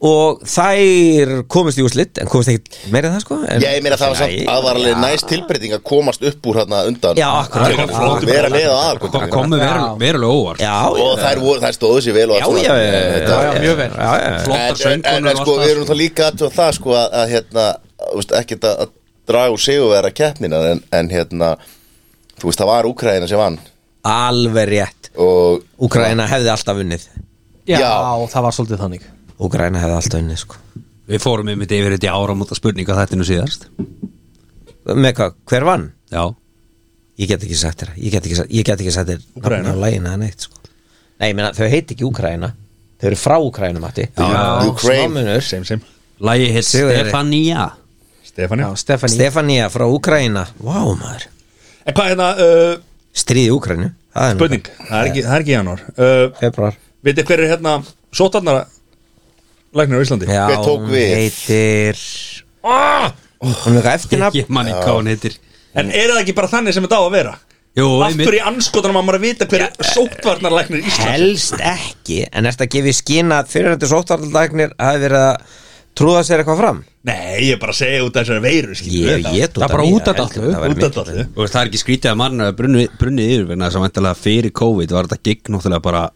[SPEAKER 5] og þær komist í úrslit en komist ekkit meira en það sko en,
[SPEAKER 2] ég meina það var samt
[SPEAKER 5] Nei,
[SPEAKER 2] aðvarlega næst tilbreyting að komast upp úr hérna undan
[SPEAKER 5] Já, akkurat.
[SPEAKER 2] Þeir voru vera með á
[SPEAKER 3] það
[SPEAKER 2] aðalgötunni.
[SPEAKER 3] komi verulega, verulega óvart
[SPEAKER 5] já,
[SPEAKER 2] og þær, voru, þær stóðu sér vel og
[SPEAKER 5] já,
[SPEAKER 2] allt svona.
[SPEAKER 5] já, já,
[SPEAKER 2] Þetta-
[SPEAKER 5] já, mjög vel já, já, já.
[SPEAKER 3] Flottar
[SPEAKER 2] en, en,
[SPEAKER 3] söngunar
[SPEAKER 2] en sko, við erum það líka aðtöð það sko að, að hérna, þú veist, ekkert að, að draga úr sigurvera keppnina en, en hérna, þú veist, það var Úkraina sem vann
[SPEAKER 5] alveg rétt
[SPEAKER 2] og
[SPEAKER 5] Úkraina hefði alltaf unnið
[SPEAKER 4] já,
[SPEAKER 2] Já.
[SPEAKER 4] það var svolítið þannig
[SPEAKER 5] Úkraina hefði alltaf unnið sko
[SPEAKER 3] Við fórum einmitt yfir þetta í áramóta spurninga þættinu síðast
[SPEAKER 5] með hvað, hver vann?
[SPEAKER 3] Já,
[SPEAKER 5] ég get ekki sagt þér ég get ekki, sagt- ég get ekki sagt þér
[SPEAKER 1] Úkraína.
[SPEAKER 5] nafnið á lægina eða neitt sko. nei, ég meina, þau heiti ekki Úkraina þau eru frá Úkraina, Matti
[SPEAKER 2] Ukraine.
[SPEAKER 5] Smámunur.
[SPEAKER 1] Same, same.
[SPEAKER 3] lægi hitt
[SPEAKER 5] Sigurður.
[SPEAKER 3] Stefania
[SPEAKER 1] Stefania.
[SPEAKER 4] Já, Stefani,
[SPEAKER 5] Stefania frá Úkraina vá maður,
[SPEAKER 1] En hvað hérna, uh,
[SPEAKER 5] stríði Úkrainu það er nú-
[SPEAKER 1] spurning, það er ekki, það er ekki í janúar. Uh,
[SPEAKER 5] februar
[SPEAKER 1] Vitið hver er hérna sótarnara læknir á Íslandi? Ah!
[SPEAKER 5] já,
[SPEAKER 2] Hver tók
[SPEAKER 5] hún
[SPEAKER 2] við?
[SPEAKER 5] heitir hún er eitthvað eftirnafn
[SPEAKER 3] Ég man ekki hvað hún heitir
[SPEAKER 1] En er það ekki bara þannig sem þetta á að vera?
[SPEAKER 3] Jú,
[SPEAKER 1] Af
[SPEAKER 3] einmitt.
[SPEAKER 1] hverju í anskotanum að maður að vita hver er sótvarnarlæknir Íslands?
[SPEAKER 5] helst ekki en eftir að gefi skina að fyrirhandi sóttvartaldagnir hafi verið að Trúða sér eitthvað fram?
[SPEAKER 1] Nei, ég er bara að segja út af þessari veiru skilur við
[SPEAKER 5] Ég,
[SPEAKER 1] þetta.
[SPEAKER 5] ég trúða
[SPEAKER 4] Það er bara
[SPEAKER 5] mér,
[SPEAKER 4] út af
[SPEAKER 5] ég
[SPEAKER 4] dallu.
[SPEAKER 5] held að það væri
[SPEAKER 1] Út af
[SPEAKER 5] miklu
[SPEAKER 1] dallu.
[SPEAKER 5] fleiri.
[SPEAKER 3] Og það er ekki skrítið að mann er brunnið brunni yfir vegna þess að vantala fyrir COVID var þetta gig náttúrulega bara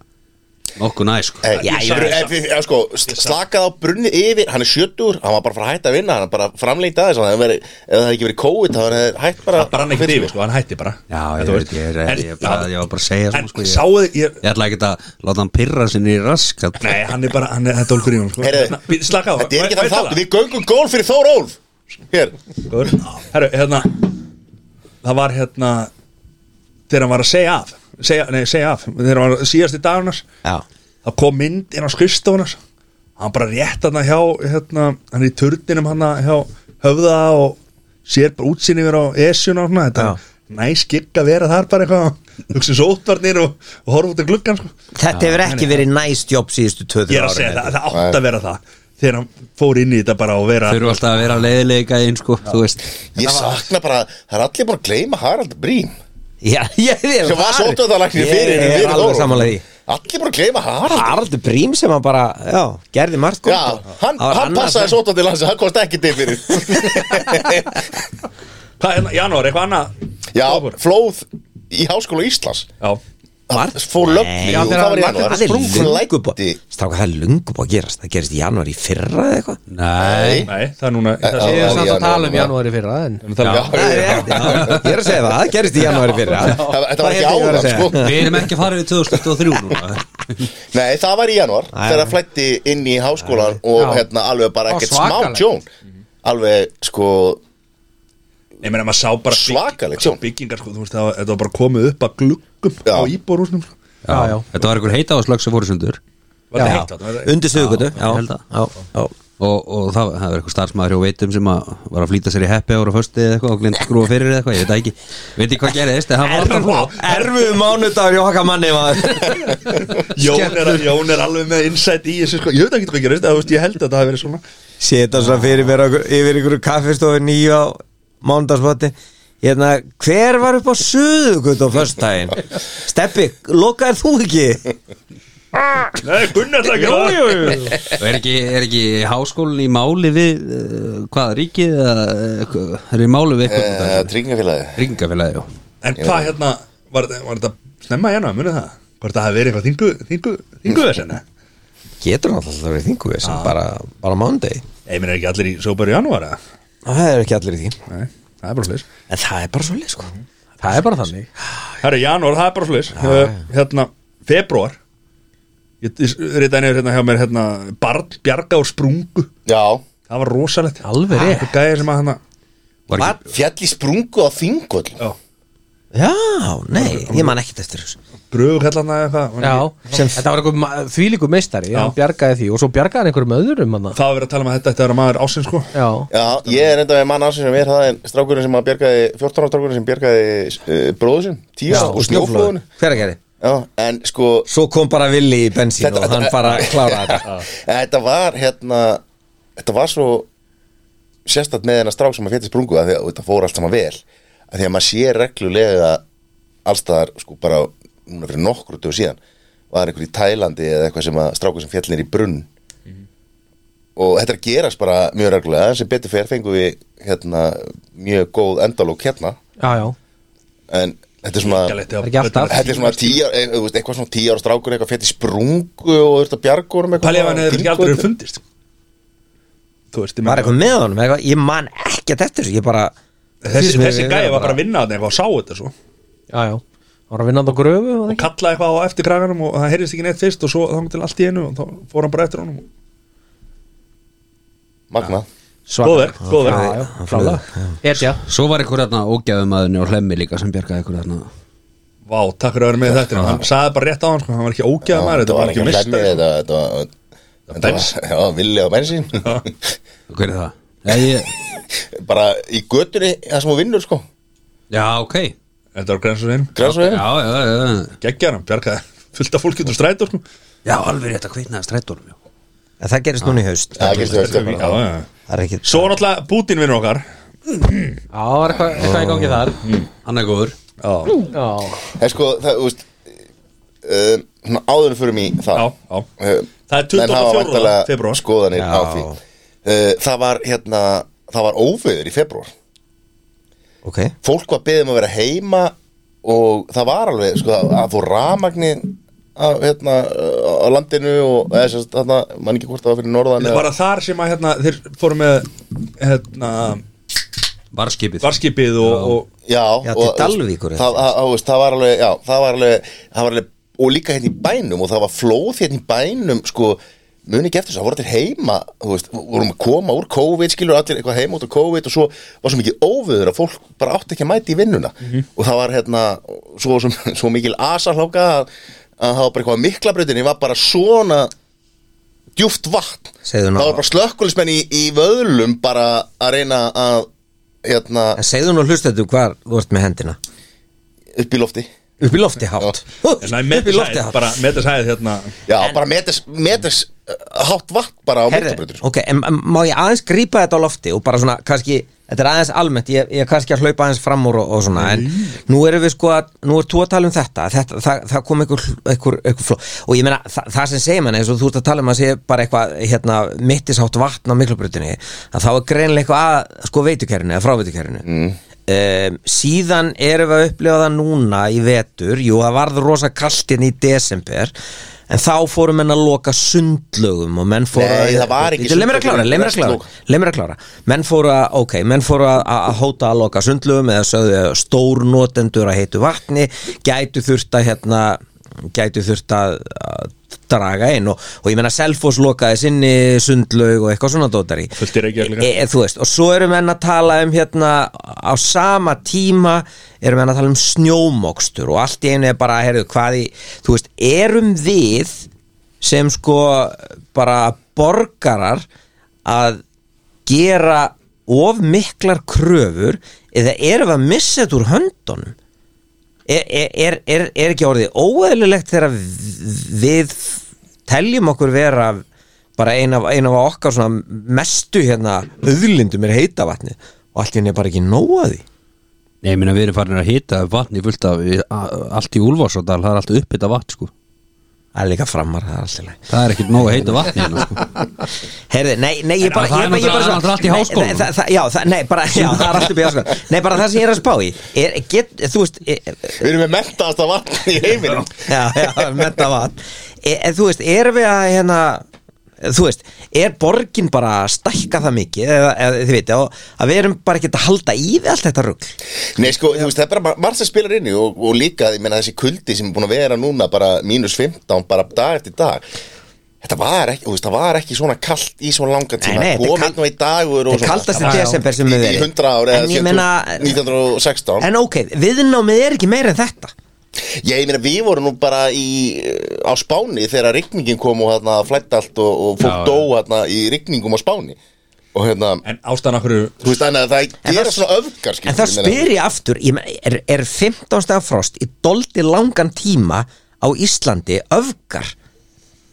[SPEAKER 3] nokkuð næ sko.
[SPEAKER 2] Hey,
[SPEAKER 1] Já,
[SPEAKER 2] ég
[SPEAKER 1] ég
[SPEAKER 2] sagði
[SPEAKER 1] sagði
[SPEAKER 2] ef, ef, ef, sko, sl- slakað á brunni yfir hann er sjötur, hann var bara að fara að hætta að vinna hann er bara framlengt aðeins hann hefði verið- ef það hefði ekki verið COVID þá hefði hann hætt bara
[SPEAKER 1] Það brann ekkert yfir, sko, hann hætti bara
[SPEAKER 3] Já, ég
[SPEAKER 1] Þetta
[SPEAKER 3] veit, ég er,
[SPEAKER 1] En-
[SPEAKER 3] ég, er bara, ég var bara að segja
[SPEAKER 1] En
[SPEAKER 3] svona, sko, ég,
[SPEAKER 1] sáuði, ég
[SPEAKER 3] ég ætla ekki að láta hann pirra sinni í raskat
[SPEAKER 1] Nei, hann er bara, hann er, þetta er Olgur Jón sko.
[SPEAKER 2] Heyrðu,
[SPEAKER 1] Hérna, bí- Slaka á
[SPEAKER 2] þetta er ekki
[SPEAKER 1] Má ég
[SPEAKER 2] þann þátt,
[SPEAKER 1] tala?
[SPEAKER 2] við göngum gól fyrir Þór Ólf hér,
[SPEAKER 1] Góður. Herru, hérna Það var hérna Þegar hann var að segja af segja, Nei, segja af, þegar hann var síðasti dagarnas
[SPEAKER 5] Já,
[SPEAKER 1] Það kom mynd inn á skrifstofunas Hann bara rétt hann hjá hérna, Hann er í turninum hann hjá höfða og sér bara útsinni verið á esjuna og svona Þetta
[SPEAKER 5] Já.
[SPEAKER 1] er næs gigg að vera þar bara eitthvað Hugsa sótvarnir og, og horfa út af gluggan sko.
[SPEAKER 5] þetta hefur ekki verið næst jobb síðustu
[SPEAKER 1] Ég
[SPEAKER 5] 2-3
[SPEAKER 1] er að segja
[SPEAKER 5] árin
[SPEAKER 1] það, það átt að vera það Þegar hann fór inn í þetta bara og vera
[SPEAKER 3] Þurfa alltaf að vera leiðilega einn sko, þú veist
[SPEAKER 2] ég sakna bara það er allir bara að gleyma Harald Brím
[SPEAKER 5] Já, ég er
[SPEAKER 2] sem var sótöðalæknir fyrir
[SPEAKER 5] Ég
[SPEAKER 2] fyrir
[SPEAKER 5] er alveg
[SPEAKER 2] Þór Ólf.
[SPEAKER 5] samanlega því
[SPEAKER 2] allir bara að gleyma Harald
[SPEAKER 5] Haraldur Brím sem hann bara, já, gerði margt gott
[SPEAKER 2] Já,
[SPEAKER 5] og-
[SPEAKER 2] hann,
[SPEAKER 5] Það var
[SPEAKER 2] hann
[SPEAKER 5] annað
[SPEAKER 2] passaði
[SPEAKER 5] sem-
[SPEAKER 2] sótandi landsi, hann komst ekki til fyrir
[SPEAKER 1] Hvað, hérna, janúar, eitthvað annað
[SPEAKER 2] Já,
[SPEAKER 1] Október.
[SPEAKER 2] flóð í Háskóla Íslands
[SPEAKER 1] Já,
[SPEAKER 2] Það fór lögni,
[SPEAKER 5] Nei,
[SPEAKER 2] jú, það var í januar
[SPEAKER 5] Það er lungu búið
[SPEAKER 2] Læddi.
[SPEAKER 5] Stráka, það er lungu búið að gerast Það gerist í januar í fyrra eða eitthvað
[SPEAKER 3] Nei,
[SPEAKER 1] nei, það er núna í þessu-
[SPEAKER 4] Ég
[SPEAKER 2] Já,
[SPEAKER 4] er samt
[SPEAKER 2] janúar,
[SPEAKER 4] að tala um
[SPEAKER 2] já.
[SPEAKER 4] janúari fyrra en
[SPEAKER 1] Við erum að tala um-
[SPEAKER 2] Já, já, já.
[SPEAKER 5] Ég er að segja það, það gerist í janúar í fyrra
[SPEAKER 2] Það- Þetta var ekki
[SPEAKER 5] held ég að
[SPEAKER 2] áðan,
[SPEAKER 5] segja.
[SPEAKER 2] sko
[SPEAKER 3] við erum ekki að fara við 2023 núna
[SPEAKER 2] Nei, það var í januar Þegar það flætti inn í háskólan Og
[SPEAKER 4] Já.
[SPEAKER 2] hérna alveg bara
[SPEAKER 4] Á,
[SPEAKER 2] ekkert smá
[SPEAKER 4] svakalegt.
[SPEAKER 2] tjón Alveg, sko
[SPEAKER 1] Ég meina, maður sá bara bygg-
[SPEAKER 2] Svakalegt tjón.
[SPEAKER 1] Byggingar, sko, þú veist, það var- þetta var bara komið upp að gluggum
[SPEAKER 2] Já.
[SPEAKER 1] á íbórúsnum sko.
[SPEAKER 3] Já, já. Þetta var einhver heita á slögg sem fóru sundur
[SPEAKER 1] Var þetta heitt þarna? Var þetta-
[SPEAKER 5] Undir sögutu
[SPEAKER 3] Já, ég held að.
[SPEAKER 5] já
[SPEAKER 3] og, og það, það var eitthvað starfsmæður hjá veitum sem að var að flýta sér í heppi ára fösti eða eitthvað og glind skrúa fyrir eða eitthvað, ég veit það ekki veit ekki hvað gerðist, en hann var sko. alltaf flóð
[SPEAKER 5] Erfu mánudagur Jóhaka manni maður
[SPEAKER 1] Jón er, Jón er alveg með insight í þessu sko. Ég veit ekki hvað gerist, það, þú veist, ég held að það hafi verið svona
[SPEAKER 5] Seta svona fyrir mér á- yfir ykkur kaffistofu nýju á mánudagsbóti Hérna, hver var upp á sögutu á föstudaginn? Steppi, lokaðir þú ekki?
[SPEAKER 1] Nei, Gunnar það ekki það.
[SPEAKER 3] og er ekki, er ekki háskólin í máli við uh, hvað, ríkið eða uh, er í máli við
[SPEAKER 2] eh,
[SPEAKER 3] eitthvað
[SPEAKER 2] Tryggingafélagi
[SPEAKER 3] ringafélagi, já
[SPEAKER 1] En hvað hérna, var, þetta- var þetta snemma hérna, munið það? Hvort það hafi verið eitthvað þingu, þingu, þingu þess hérna?
[SPEAKER 5] Getur hann alltaf verið þingu þessan, bara, bara mánudagi
[SPEAKER 1] Ég meina ekki allir í sópar í janúar, eða?
[SPEAKER 5] Það er ekki allir í því
[SPEAKER 1] Nei, það er bara fleis
[SPEAKER 5] En það er bara svolítið sko
[SPEAKER 4] það er bara þannig
[SPEAKER 1] Herra, janúar, það er bara slis Hérna, februar Ég reyta nefnir hérna hjá mér hérna, Barn, bjarga úr sprungu
[SPEAKER 2] Já,
[SPEAKER 1] Það var rosalegt
[SPEAKER 4] Alveg rétt.
[SPEAKER 1] Það gæði sem að hérna, hana
[SPEAKER 3] var ekki,
[SPEAKER 2] fjall í sprungu á þingull
[SPEAKER 5] Já, nei, ég man ekkert eftir þessu
[SPEAKER 1] Bröðu kallana eða eitthvað
[SPEAKER 4] Já,
[SPEAKER 1] var ekki-
[SPEAKER 4] þetta var einhver þvílíku meistari
[SPEAKER 1] Já.
[SPEAKER 4] hann bjargaði því og svo bjargaði hann einhverjum öðrum hann
[SPEAKER 1] Það var verið að tala um að þetta Þetta er að maður ásinn sko
[SPEAKER 4] Já,
[SPEAKER 2] Já, ég er enda með mann ásins sem er það en strákurinn sem að bjargaði, 14 ára strákurinn sem bjargaði uh, bróður sinn, 10 ára og snjóflóðinu
[SPEAKER 5] Hver að gera?
[SPEAKER 2] Já, en sko
[SPEAKER 5] Svo kom bara Willi í bensín
[SPEAKER 2] Þetta-
[SPEAKER 5] og hann bara kláraði þetta
[SPEAKER 2] En þetta var hérna þetta var svo sérstætt með hennar strák sem að fjöti sprungu að því að þetta fór allt saman vel að því að maður sé reglulega allstaðar sko bara núna fyrir nokkru dög síðan var einhver í Tælandi eða eitthvað sem að stráku sem fjallin er í brunn og þetta er að gerast bara mjög reglulega en sem betur fer fengum við hérna mjög góð endalók hérna
[SPEAKER 4] já, já
[SPEAKER 2] en þetta er svona
[SPEAKER 1] Það
[SPEAKER 4] er ekki alltaf.
[SPEAKER 2] Þetta er svona tíjar, eitthvað svona tíjar strákur eitthvað fett í sprungu og þurft að bjargórum
[SPEAKER 1] Palli ef hann hefði ekki aldrei fundist Þú veist, ég
[SPEAKER 5] Var
[SPEAKER 1] meina-
[SPEAKER 5] eitthvað með honum, eitthvað, ég man ekkert eftir þessu Ég bara
[SPEAKER 1] þessi, þessi
[SPEAKER 5] Ég
[SPEAKER 1] gæði var bara að vinna þarna eitthvað og sá þetta svo
[SPEAKER 4] Já, já, hann var að vinna hann á gröfu var það
[SPEAKER 1] og
[SPEAKER 4] ekki?
[SPEAKER 1] kallaði eitthvað á eftir kraganum og það heyrðist ekki neitt fyrst og svo þangum til allt í einu og þá fór hann bara eftir honum
[SPEAKER 2] Magna
[SPEAKER 1] Góður, góður
[SPEAKER 4] Já, já, klála Etja,
[SPEAKER 3] svo var einhver þarna ógæðum aðunni og hlemmi líka sem bjargaði einhver þarna
[SPEAKER 1] Vá, takk fyrir að vera með þetta Hann sagði bara rétt á hann, sko, hann var ekki ógæða maður
[SPEAKER 2] Þetta var ekki
[SPEAKER 1] mistari, sko.
[SPEAKER 2] lemmi Þetta þetta var Þetta var, já, villi á bensín
[SPEAKER 3] hver er það? Já, ég,
[SPEAKER 2] Bara í götunni, það sem hún vinnur sko
[SPEAKER 3] já ok já,
[SPEAKER 1] Þetta var grænsurinn
[SPEAKER 2] Grænsveginn
[SPEAKER 3] já, já, já.
[SPEAKER 1] geggjar hann, bjargaði fullt af fólki út úr strætó sko.
[SPEAKER 3] já alveg rétt að kveitnaði strætólum já.
[SPEAKER 5] En það gerist núna í haust
[SPEAKER 2] Það gerstu veist
[SPEAKER 1] já, já, já.
[SPEAKER 5] Það er ekkert
[SPEAKER 1] Svo náttúrulega Putin vinnur okkar
[SPEAKER 4] já, það var eitthvað eitthvað í gangi þar
[SPEAKER 3] Mm. hann er góður
[SPEAKER 1] Já,
[SPEAKER 4] Já,
[SPEAKER 2] En sko, það, þú veist eh, Svona áður en förum í
[SPEAKER 1] já,
[SPEAKER 2] það
[SPEAKER 1] já
[SPEAKER 2] eh,
[SPEAKER 1] Það er
[SPEAKER 2] menn hafa
[SPEAKER 1] 24.
[SPEAKER 2] væntanlega
[SPEAKER 1] febrúar
[SPEAKER 2] skoðanir á því uh, það var hérna það var óveður í februar
[SPEAKER 5] ok,
[SPEAKER 2] fólk var beðið um að vera heima og það var alveg sko, að- að þú ramagni á, hérna, á landinu og eða, sérst, þarna, mann ekki hvort það var fyrir norðan
[SPEAKER 1] Var það þar sem að hérna, þeir fóru með hérna,
[SPEAKER 3] Varskipið
[SPEAKER 1] varskipið og, og
[SPEAKER 2] já,
[SPEAKER 5] Já,
[SPEAKER 2] og-
[SPEAKER 5] til Dalvíkur,
[SPEAKER 2] það, það, það, veist, það var alveg, já, það var alveg, það var alveg og líka hérna í bænum og það var flóð hérna í bænum sko, muni ekki eftir þess að voru til heima þú veist, vorum að koma úr COVID skilur allir eitthvað heima út á COVID og svo var svo mikið óviður að fólk bara átti ekki að mæti í vinnuna og það var hérna svo, svo, svo mikil asahláka að, að það var bara eitthvað miklabröðinni var bara svona djúft vatn
[SPEAKER 5] Segðu nú-
[SPEAKER 2] það var bara slökkulismenn í, í vöðlum bara að reyna að hérna,
[SPEAKER 5] en segðu nú hlustendur hvar þú ert með hendina
[SPEAKER 2] upp í lofti
[SPEAKER 5] upp í lofti hátt Hú,
[SPEAKER 1] Nei,
[SPEAKER 5] upp í lofti
[SPEAKER 1] metisæð,
[SPEAKER 5] hátt
[SPEAKER 1] bara metisæð hérna
[SPEAKER 2] Já, bara metis, metis uh, hátt vatn bara á sko.
[SPEAKER 5] Herri,
[SPEAKER 2] mótabröður
[SPEAKER 5] ok, en en má ég aðeins grípa þetta á lofti og bara svona, kannski, þetta er aðeins almennt ég, ég er kannski að hlaupa aðeins fram úr og, og svona en nú erum við sko að, nú er þú að tala um þetta, þetta það, það kom einhver, einhver, einhver fló, og ég meina, það, það sem segir mann eins og þú ert að tala um að segja bara eitthvað hérna, mittisátt vatn á miklubröðinni að þá er greinlega eitthvað að sko veitukerinu eða fráveitukerinu mm. síðan erum við að upplifa það núna í vetur, jú það varð rosa kaltin í desember en þá fórum menn að loka sundlögum og menn fóru
[SPEAKER 2] Nei,
[SPEAKER 5] að-
[SPEAKER 2] það var ekki
[SPEAKER 5] Bíddu, leið mér að
[SPEAKER 2] sundlaug,
[SPEAKER 5] klára, leið mér að
[SPEAKER 2] restlok.
[SPEAKER 5] klára leið mér að klára menn fóru að, ok, menn fóru að, að að hóta að loka sundlögum eða sögðu að stór notendur að heitu vatni gætu þurft að hérna gætu þurft að, að draga inn og, og ég menna Selfoss lokaði sinni sundlaug og eitthvað svona dótari
[SPEAKER 1] Fullt í Reykjavík líka.
[SPEAKER 5] e, þú veist, og svo eru menn að tala um hérna á sama tíma eru menn að tala um snjómokstur og allt í einu er bara, heyrðu, hvað í þú veist, erum við sem sko bara borgarar að gera of miklar kröfur eða erum við að missa þetta úr höndunum er, er, er, er ekki orðið óeðlilegt þegar vi- við teljum okkur vera bara ein af, ein af okkar svona mestu hérna auðlindum er heita vatni og allt hérna er bara ekki nóg að því
[SPEAKER 3] Nei, ég meina við erum farin að hita vatni fullt af í- a- Allt í Úlfarsadal, það er allt uppbytta vatn sko
[SPEAKER 5] það er líka framar, það er alltaf leið
[SPEAKER 3] Það er ekkert nóg að heita vatni hérna, sko.
[SPEAKER 5] Herði, nei, nei, ég
[SPEAKER 3] En
[SPEAKER 5] bara
[SPEAKER 3] það
[SPEAKER 5] ég
[SPEAKER 3] er
[SPEAKER 5] bara- ég
[SPEAKER 3] náttúrulega-
[SPEAKER 5] bara-
[SPEAKER 3] það er náttúrulega allt í
[SPEAKER 5] Nei,
[SPEAKER 3] háskólanum.
[SPEAKER 5] nei, það- það- Já, það- nei, bara, já, það er allt upp í háskólanum Nei, bara það sem ég er að spá í er, get, Þú veist, e- er,
[SPEAKER 2] Við erum með mentaðast að vatn í heiminum
[SPEAKER 5] já, já, metta vatn e, e, þú veist, erum við að hérna e, þú veist, er borgin bara að stækka það mikið eða, eða þið veit, að við erum bara ekki að halda í við allt þetta rugl
[SPEAKER 2] Nei, sko, þú veist, það er bara mar- margt sem spilar inn í og, og líka, ég meina, þessi kuldi sem er búin að vera núna bara mínus 15, bara dag eftir dag Þetta var ekki, þú veist, það var ekki svona kalt í svona langa tíma
[SPEAKER 5] Nei, nei, þetta er
[SPEAKER 2] Komið
[SPEAKER 5] kalt-
[SPEAKER 2] nú í dagur og
[SPEAKER 5] þetta er kaldasti
[SPEAKER 2] Já, já.
[SPEAKER 5] desember sem við
[SPEAKER 2] Í
[SPEAKER 5] erum
[SPEAKER 2] 100 ára
[SPEAKER 5] En ég meina-
[SPEAKER 2] 1916
[SPEAKER 5] en ok, viðnámið er ekki meira en þetta
[SPEAKER 2] Já, ég meina, við vorum nú bara í, á Spáni þegar rigningin kom og hérna flætt allt og, og fólk
[SPEAKER 3] Já,
[SPEAKER 2] dó hérna í rigningum á Spáni og hérna,
[SPEAKER 1] En ástæðan af hverju
[SPEAKER 2] þú veist, þannig að það
[SPEAKER 5] það-
[SPEAKER 2] gera svona öfgar, skilur
[SPEAKER 5] en það
[SPEAKER 2] við, ég meina.
[SPEAKER 5] spyr ég aftur ég meina, er, er 15 stað frost í doldi langan tíma á Íslandi öfgar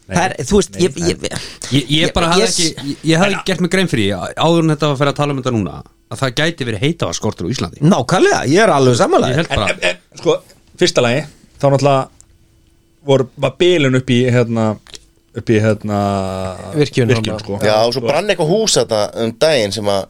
[SPEAKER 5] það er, þú veist, ég, ég,
[SPEAKER 3] Ég, ég bara hafði
[SPEAKER 5] ég-
[SPEAKER 3] ekki Ég, ég hafði gert mig grein fyrir því, áður en þetta var að fara að tala um þetta núna að það gæti verið heita á Íslandi
[SPEAKER 5] nákvæmlega, ég er alveg
[SPEAKER 3] Ég
[SPEAKER 5] samanlega
[SPEAKER 3] held bara
[SPEAKER 1] en, en, en, sko, fyrsta lagi þá náttúrulega voru, var bilun upp í hérna upp í hérna
[SPEAKER 4] Virkjun,
[SPEAKER 1] virkjun
[SPEAKER 4] hann
[SPEAKER 1] sko.
[SPEAKER 2] Já, og svo brann eitthvað hús þetta um daginn sem að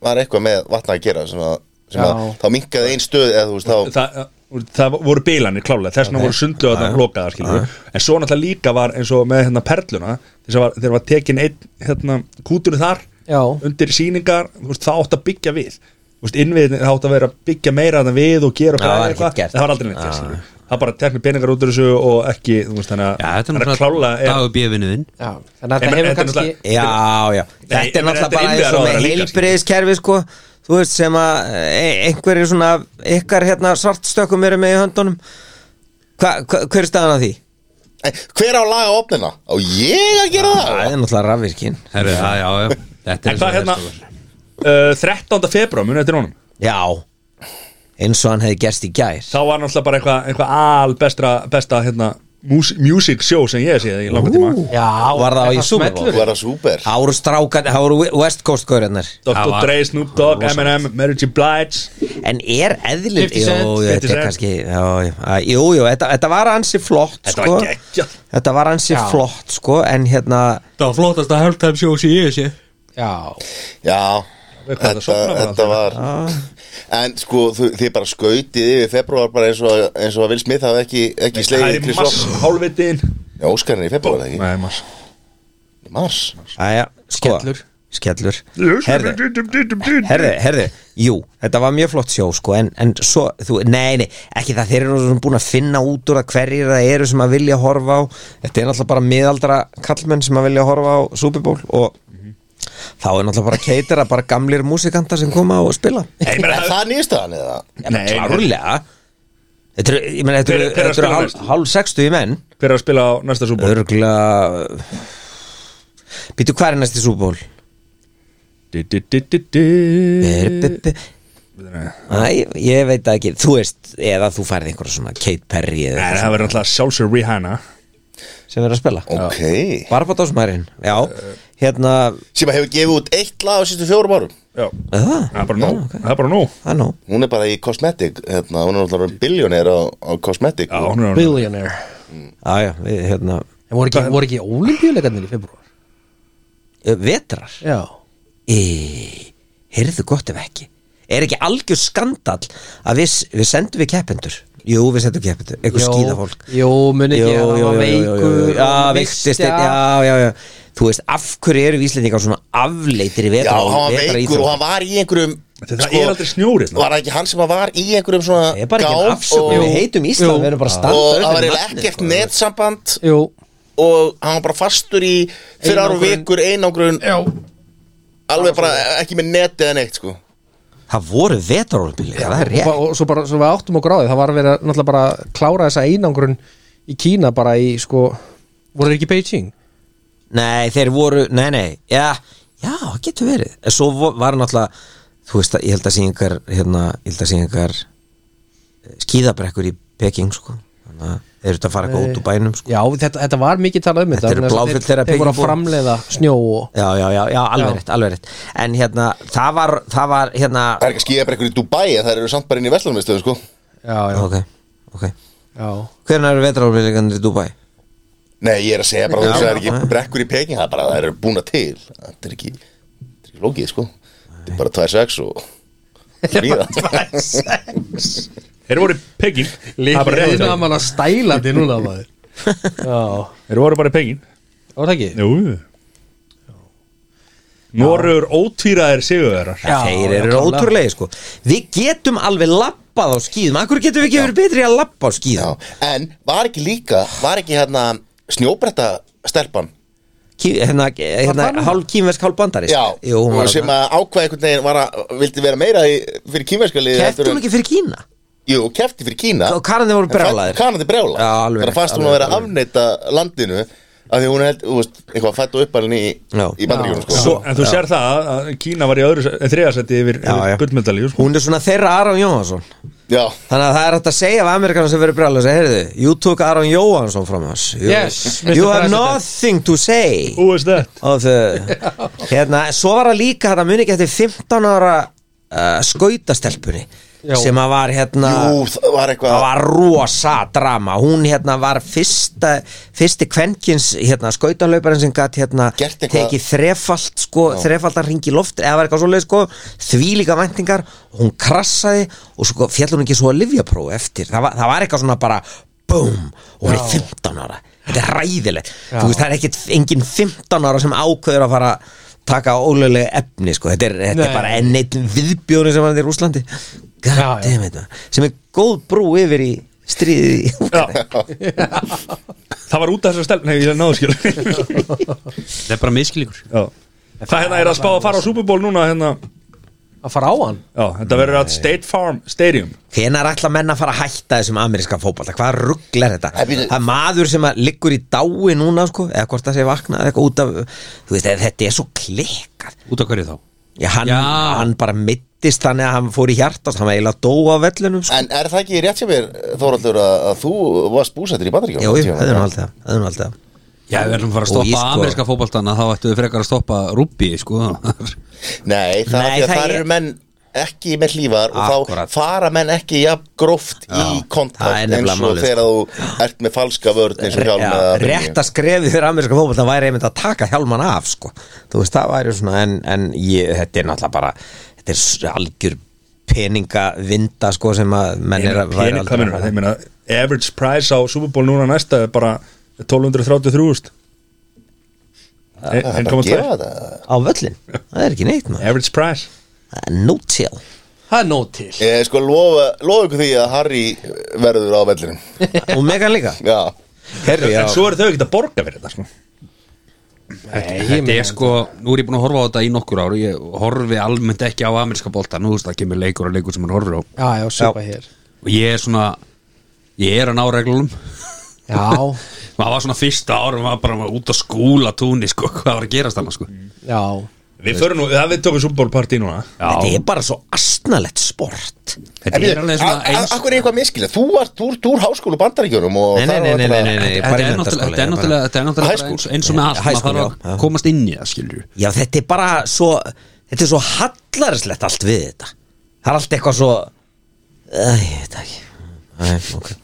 [SPEAKER 2] var eitthvað með vatna að gera sem að, sem að
[SPEAKER 4] Já.
[SPEAKER 2] þá minkaði ein stöð eða þú veist, þá
[SPEAKER 1] það, það voru bilanir klálega þess vegna voru sundlu að það lokaða skilur en svo náttúrulega líka var eins og með hérna perluna þess að var, þegar var tekin einn hérna kútur þar
[SPEAKER 4] Já.
[SPEAKER 1] undir sýningar þú veist, það átt að byggja við Þú veist, innviðin, það átt að vera að byggja meira en við og gera og
[SPEAKER 5] Já, það var
[SPEAKER 1] græða
[SPEAKER 5] ekkert
[SPEAKER 1] eitthvað,
[SPEAKER 5] gert.
[SPEAKER 1] en það var aldrei neitt gert, skilurðu. það bara teknir peningar út úr þessu og ekki þú veist, þannig að
[SPEAKER 3] Já, þetta er
[SPEAKER 1] þannig að
[SPEAKER 3] náttúrulega
[SPEAKER 1] er-
[SPEAKER 3] dagur bjöfinuðinn
[SPEAKER 4] Já, þannig að
[SPEAKER 1] Nei,
[SPEAKER 4] þetta
[SPEAKER 1] menn, þetta
[SPEAKER 4] hefur
[SPEAKER 1] er
[SPEAKER 4] kannski
[SPEAKER 1] náttúrulega-
[SPEAKER 5] Já, já, þetta er
[SPEAKER 1] en þetta er
[SPEAKER 5] náttúrulega bara eins og
[SPEAKER 1] innviðaráðherra
[SPEAKER 5] með
[SPEAKER 1] líka,
[SPEAKER 5] heilbriðiskerfi sko, þú veist sem að e, einhverjir svona, ykkar hérna svartstökkum eru með í höndunum hva, hva, hver er staðan að því?
[SPEAKER 2] Ei, Hver á að laga opnina? Á ég að gera
[SPEAKER 5] Það
[SPEAKER 2] það?
[SPEAKER 5] er náttúrulega rafvirkin
[SPEAKER 3] Herri, já, já, já
[SPEAKER 1] En
[SPEAKER 3] Þetta er sko.
[SPEAKER 1] hvað hérna uh, 13. februar, munið eftir honum
[SPEAKER 5] Já, eins og hann hefði gerst í gær
[SPEAKER 1] Þá var náttúrulega bara eitthvað eitthva albestra besta hérna, mús- music show sem ég séð í langa tíma
[SPEAKER 4] Já,
[SPEAKER 5] Var það á í Super Bowl?
[SPEAKER 2] Þú er það súper
[SPEAKER 5] Það voru strákan, það voru West Coast kaurinnar
[SPEAKER 3] Það
[SPEAKER 1] Dr.
[SPEAKER 3] var-
[SPEAKER 1] Dre, Snoop Dogg, Eminem, Mary J. Blige
[SPEAKER 5] En er eðlum
[SPEAKER 4] 50 cent,
[SPEAKER 5] Jú,
[SPEAKER 1] 50
[SPEAKER 5] þetta er
[SPEAKER 1] cent.
[SPEAKER 5] kannski Jú, jú, að- jú, jú þetta, þetta var ansi flott
[SPEAKER 1] Þetta
[SPEAKER 5] sko.
[SPEAKER 1] var geggjað.
[SPEAKER 5] Þetta var ansi
[SPEAKER 4] Já.
[SPEAKER 5] flott sko, En hérna
[SPEAKER 3] Það var flottast að halftime sjó sem ég sé
[SPEAKER 4] Já,
[SPEAKER 2] Já,
[SPEAKER 4] Við hvað það
[SPEAKER 2] þetta,
[SPEAKER 4] sofnar bara
[SPEAKER 2] þetta var En sko, þú- þið bara skautið yfir februar bara eins og, eins og að Will Smith hafði ekki, ekki
[SPEAKER 1] Það
[SPEAKER 2] slegið
[SPEAKER 1] er í
[SPEAKER 2] Chris
[SPEAKER 1] mars,
[SPEAKER 2] Rock
[SPEAKER 1] hálfvitiðin
[SPEAKER 2] Já, Óskar er í februar, ekki?
[SPEAKER 1] Nei, mars
[SPEAKER 2] Í mars
[SPEAKER 5] Æja, skellur sko, Skellur Herðu, herðu, herðu Jú, þetta var mjög flott sjó sko En, en svo, þú, nei, nei Ekki það, þeir eru nú svona búin að finna út úr að hverjir það eru sem að vilja horfa á Þetta er náttúrulega bara miðaldra kallmenn sem að vilja horfa á Super Bowl Og þá er náttúrulega bara keitara Bara gamlir músikantar sem koma og spila
[SPEAKER 1] Nei, ég meina,
[SPEAKER 2] Er það nýðstöðan eða?
[SPEAKER 1] Nei, nei.
[SPEAKER 5] klárlega Þetta eru, ég meina, þetta
[SPEAKER 1] Hver-
[SPEAKER 5] eru-
[SPEAKER 1] hver er að
[SPEAKER 5] þetta eru
[SPEAKER 1] spila
[SPEAKER 5] hálf,
[SPEAKER 1] næst?
[SPEAKER 5] hálf 60 menn
[SPEAKER 1] Hver er að spila á næsta súból?
[SPEAKER 5] Örgla Býtu, hvað er næsti Super Bowl? Byrbibi
[SPEAKER 2] Mm.
[SPEAKER 5] Æ, ég veit það ekki, þú veist eða þú færði einhverja svona Kate Perry eða
[SPEAKER 1] Nei,
[SPEAKER 5] eitthvað
[SPEAKER 1] það verður alltaf sjálfsögur Rihanna
[SPEAKER 5] svona sem er að spila
[SPEAKER 2] Ok Eh.
[SPEAKER 5] Barbadósmærin, já hérna,
[SPEAKER 2] Sem að hefur gefið út eitt lag á sístu fjórum árum
[SPEAKER 1] Já,
[SPEAKER 5] það,
[SPEAKER 1] það er bara nóg Það er bara nóg
[SPEAKER 5] það er nóg
[SPEAKER 2] Hún er bara í Cosmetic, hérna, hún er náttúrulega biljónir á, á Cosmetic
[SPEAKER 1] Já, hún er hún
[SPEAKER 4] billionaire
[SPEAKER 5] Já, já, við, hérna,
[SPEAKER 4] En voru ekki, voru ekki ólimpíuleikarnir í februar?
[SPEAKER 5] ö, vetrar
[SPEAKER 4] Já
[SPEAKER 5] Í, heyrðu gott ef ekki Er ekki algjör skandall að við, við sendum við keppendur Jú, við sendum keppendur, eitthvað skýðafólk
[SPEAKER 4] Jú, muni ekki, hann var veikur
[SPEAKER 5] Já,
[SPEAKER 4] og
[SPEAKER 5] veiktist
[SPEAKER 4] missti
[SPEAKER 5] einn,
[SPEAKER 4] af-
[SPEAKER 5] já, já, já Þú veist, af hverju eru Íslendingar svona afleitir í
[SPEAKER 2] Já,
[SPEAKER 5] vetra
[SPEAKER 2] hann var veikur og hann var í einhverjum sko,
[SPEAKER 1] Það er aldrei snjórið
[SPEAKER 2] Var það ekki hann sem að var í einhverjum svona
[SPEAKER 5] Ég sko. er bara ekki
[SPEAKER 2] gám
[SPEAKER 5] en afsökun,
[SPEAKER 2] og,
[SPEAKER 5] við heitum Ísland,
[SPEAKER 4] Jú.
[SPEAKER 5] við erum bara að standa
[SPEAKER 2] og
[SPEAKER 5] undir
[SPEAKER 2] það var eiginlega
[SPEAKER 5] nafni,
[SPEAKER 2] ekkert
[SPEAKER 5] sko.
[SPEAKER 2] netsamband
[SPEAKER 4] Jú,
[SPEAKER 2] og hann var bara fastur í fyrir ára
[SPEAKER 4] Einangrun.
[SPEAKER 2] vikur einangrun Já. alveg bara ekki með net eða neitt sko
[SPEAKER 5] Það voru vetrarólumbíleika, það er
[SPEAKER 4] og, bara-
[SPEAKER 5] rétt
[SPEAKER 4] og svo bara, svo við áttum okkur á því Það var að vera, náttúrulega bara að klára þessa einangrun í Kína bara í, sko Voru þeir ekki í Beijing?
[SPEAKER 5] Nei, þeir voru, nei, nei Já, já, getur verið En Svo vo- var náttúrulega, þú veist að ég held að sé einhver, hérna, ég held að sé einhver eh, skíðabrekkur í Peking, sko Þannig að þeir eru þetta að fara eitthvað út úr bænum, sko
[SPEAKER 4] Já, þetta, þetta var mikið talað um
[SPEAKER 5] Þetta
[SPEAKER 4] þetta
[SPEAKER 5] eru
[SPEAKER 4] vegna þess að
[SPEAKER 5] bláfjöll
[SPEAKER 4] þeir-
[SPEAKER 5] þeirra
[SPEAKER 4] Þeir voru að
[SPEAKER 5] Peking-búa.
[SPEAKER 4] framleiða snjó og
[SPEAKER 5] Já, já, já, já, alveg
[SPEAKER 4] Já.
[SPEAKER 5] rétt, alveg rétt En hérna, það var, það var, hérna
[SPEAKER 2] það er ekki að skýja bara einhverjum í Dubai en það eru samt bara inn í Vestlunarmiðstöðu sko
[SPEAKER 4] Já, já,
[SPEAKER 5] Ok, ok
[SPEAKER 4] já
[SPEAKER 5] Hvernig eru vetrarólumbíleikanir í Dubai?
[SPEAKER 2] nei ég er að segja bara
[SPEAKER 5] Já.
[SPEAKER 2] þú veist það er ekki brekkur í Peking það er bara það eru búna til það er ekki, það er ekki lógið sko það er bara 2-6 og líða
[SPEAKER 1] Þeir voru í Peking Það er bara
[SPEAKER 4] Líkið
[SPEAKER 1] rétt.
[SPEAKER 4] einu að manna stælandi núna maður Já,
[SPEAKER 1] Þeir voru bara í Peking
[SPEAKER 4] var það ekki?
[SPEAKER 1] Jú Norur ótvíraðir sigurverðar
[SPEAKER 4] Já,
[SPEAKER 5] Þeir
[SPEAKER 4] já,
[SPEAKER 5] eru
[SPEAKER 4] klárlega.
[SPEAKER 5] ótrúlega, sko Við getum alveg labbað á skíðum Akkur getum við ekki verið betri í að labba á skíðum
[SPEAKER 2] Já. en var ekki líka var ekki hérna snjóbretta stelpan
[SPEAKER 5] Kí, hérna, hérna,
[SPEAKER 4] það nú?
[SPEAKER 5] hálf kýmversk, hálf bandarist
[SPEAKER 2] já
[SPEAKER 5] Jú, hún var hérna.
[SPEAKER 2] sem
[SPEAKER 5] þarna.
[SPEAKER 2] að ákvað einhvern veginn var að vildi vera meira í, fyrir kýmverskali
[SPEAKER 5] Kefti hún um ekki fyrir Kína?
[SPEAKER 2] Jú, kefti fyrir Kína
[SPEAKER 5] Og Kanadi voru brjálaðir.
[SPEAKER 2] Kanandi brjálaðir
[SPEAKER 5] Já, alveg
[SPEAKER 2] Þannig
[SPEAKER 5] rétt,
[SPEAKER 2] fannst hún
[SPEAKER 5] alveg
[SPEAKER 2] að vera
[SPEAKER 5] rétt,
[SPEAKER 2] að afneita landinu Af því hún er, held, þú veist, eitthvað fætt og uppalinn í,
[SPEAKER 5] Já.
[SPEAKER 2] í bandaríkjónum sko.
[SPEAKER 1] Svo, en þú sér það að Kína var í öðru þriðasætti yfir,
[SPEAKER 5] Já, já.
[SPEAKER 1] yfir gullmedalíu sko.
[SPEAKER 5] Hún er svona þeirra Aron Jóhansson
[SPEAKER 2] Já,
[SPEAKER 5] Þannig að það er hægt að segja af Amerikanar sem verið brjálæðis Heyrðu, you took Aron Jóhansson from us you,
[SPEAKER 4] Yes, Mr.
[SPEAKER 5] You have
[SPEAKER 4] President.
[SPEAKER 5] nothing to say
[SPEAKER 1] Who is that?
[SPEAKER 5] of the, hérna, Svo var það líka þetta muni ekki eftir 15 ára uh, skautastelpunni
[SPEAKER 4] Já.
[SPEAKER 5] sem að var hérna
[SPEAKER 2] jú, það var eitthvað
[SPEAKER 5] það var rosa drama hún hérna var fyrsta fyrsti kvenkins hérna skautanlauparinn sem gætt hérna
[SPEAKER 2] Gert eitthvað-
[SPEAKER 5] tekið þrefalt sko þrefaldan ring í loft eða var eitthvað svoleið sko þvílíka væntingar hún krassaði og svo fjall hún ekki svo að livjapróf eftir það var, það var eitthvað svona bara BOOM og hún er 15 ára þetta er ræðilegt þú veist það er ekkit engin 15 ára sem ákveður að fara að taka ólega efni sko þetta er, þetta er
[SPEAKER 4] Nei.
[SPEAKER 5] bara enn eitt viðbjóðin sem var þetta í Rúslandi God
[SPEAKER 4] Já, já.
[SPEAKER 5] damn it, maður. sem er góð brú yfir í stríðið í Úkraínu.
[SPEAKER 1] Það var út af þessar stelp Nei, ég náðu skil Já.
[SPEAKER 3] Það er bara miskilíkur
[SPEAKER 1] Hvað hérna er að spá að fara á Super Bowl núna hérna?
[SPEAKER 4] Að fara á hann?
[SPEAKER 1] Já, þetta verður að State Farm Stadium
[SPEAKER 5] hvenær ætla menn að fara að hætta þessum ameríska fótballta, hvað ruggl er þetta
[SPEAKER 2] Nei, býtu.
[SPEAKER 5] það er maður sem að liggur í dái núna sko, eða hvort það sé vakna eða eitthvað út af, þú veist, eða þetta er svo klikkað
[SPEAKER 3] Út af hverju þá?
[SPEAKER 5] Já, hann,
[SPEAKER 3] Já.
[SPEAKER 5] hann bara mittist þannig að hann fór í hjartast, hann var eiginlega dó á vellunum sko.
[SPEAKER 2] En er það ekki rétt sem er, Þóraldur, að, að þú varst búsættur í bandaríkjónum?
[SPEAKER 5] Jú, jú, höfðum aldrei það höfðum aldrei það
[SPEAKER 3] Já, við erum að fara að
[SPEAKER 5] Og
[SPEAKER 3] stoppa
[SPEAKER 5] ég sko-
[SPEAKER 3] ameríska fótboltana þá ættum við frekar að stoppa rúbbi, sko
[SPEAKER 2] Nei, það,
[SPEAKER 5] Nei,
[SPEAKER 2] Nei, það,
[SPEAKER 5] það
[SPEAKER 2] það
[SPEAKER 5] er-
[SPEAKER 2] eru menn ekki með hlífar og
[SPEAKER 5] Akkurat.
[SPEAKER 2] þá fara menn ekki jafn gróft í
[SPEAKER 5] Já, það er
[SPEAKER 2] kontakt
[SPEAKER 5] nefnilega
[SPEAKER 2] eins og
[SPEAKER 5] málið, sko.
[SPEAKER 2] þegar þú ert með falska vörð eins og hjálm
[SPEAKER 5] Já,
[SPEAKER 2] eða bringju.
[SPEAKER 5] rétta skrefið fyrir ameríska fótbolta væri einmitt að taka hjálman af sko. þú veist, það væri svona en, en ég, þetta er náttúrulega bara þetta er s- algjör peningavinda sko, sem að menn er að væri
[SPEAKER 1] Pening, hvað minnur, ég meina average price á Super Bowl núna næsta er bara 1233.000
[SPEAKER 2] Það er bara að
[SPEAKER 1] 1,2
[SPEAKER 2] gefa þetta
[SPEAKER 5] á völlin, það er ekki neitt maður
[SPEAKER 1] average price
[SPEAKER 5] Það er no till
[SPEAKER 4] Það er nóg til
[SPEAKER 2] Ég sko lofa, lofa ykkur því að Harry verður á vellinu
[SPEAKER 5] og megan líka
[SPEAKER 2] Já,
[SPEAKER 5] Herri, já,
[SPEAKER 1] en svo eru þau ekkert að borga fyrir þetta sko.
[SPEAKER 3] Þetta er sko, nú er ég búin að horfa á þetta í nokkur ár og ég horfi almennt ekki á ameríska bolta nú þú veist það kemur leikur og leikur sem hann horfir á
[SPEAKER 4] Já, já, svipa hér
[SPEAKER 3] og ég er svona ég er að ná reglunum
[SPEAKER 4] Já,
[SPEAKER 3] maður var svona fyrsta árum maður bara maður út að skúla túnni sko, hvað var að gerast þannig sko
[SPEAKER 4] já
[SPEAKER 1] við förum nú, það við tókum Super Bowl partí núna
[SPEAKER 5] þetta er bara svo astnalett sport
[SPEAKER 3] þetta er alveg svona eins
[SPEAKER 2] Akkur er eitthvað miskilið Þú ert úr, úr háskólu bandaríkjörum og
[SPEAKER 5] Nei, nei,
[SPEAKER 2] þar á
[SPEAKER 5] nei, nei,
[SPEAKER 2] þetta-
[SPEAKER 5] nei, nei, nei
[SPEAKER 3] Þetta
[SPEAKER 5] bara í
[SPEAKER 3] er náttúrulega,
[SPEAKER 5] menntaskóla,
[SPEAKER 3] þetta er
[SPEAKER 5] ég bara-
[SPEAKER 3] náttúrulega, þetta er náttúrulega
[SPEAKER 2] High
[SPEAKER 3] bara
[SPEAKER 2] school.
[SPEAKER 3] eins, eins og með allt,
[SPEAKER 5] High
[SPEAKER 3] maður
[SPEAKER 5] school,
[SPEAKER 3] þarf
[SPEAKER 5] já, já.
[SPEAKER 3] að komast inn í það skilur
[SPEAKER 5] Já, þetta er bara svo Þetta er svo hallarslegt allt við þetta Það er allt eitthvað svo Æ, ég veit það ekki Æ, okay.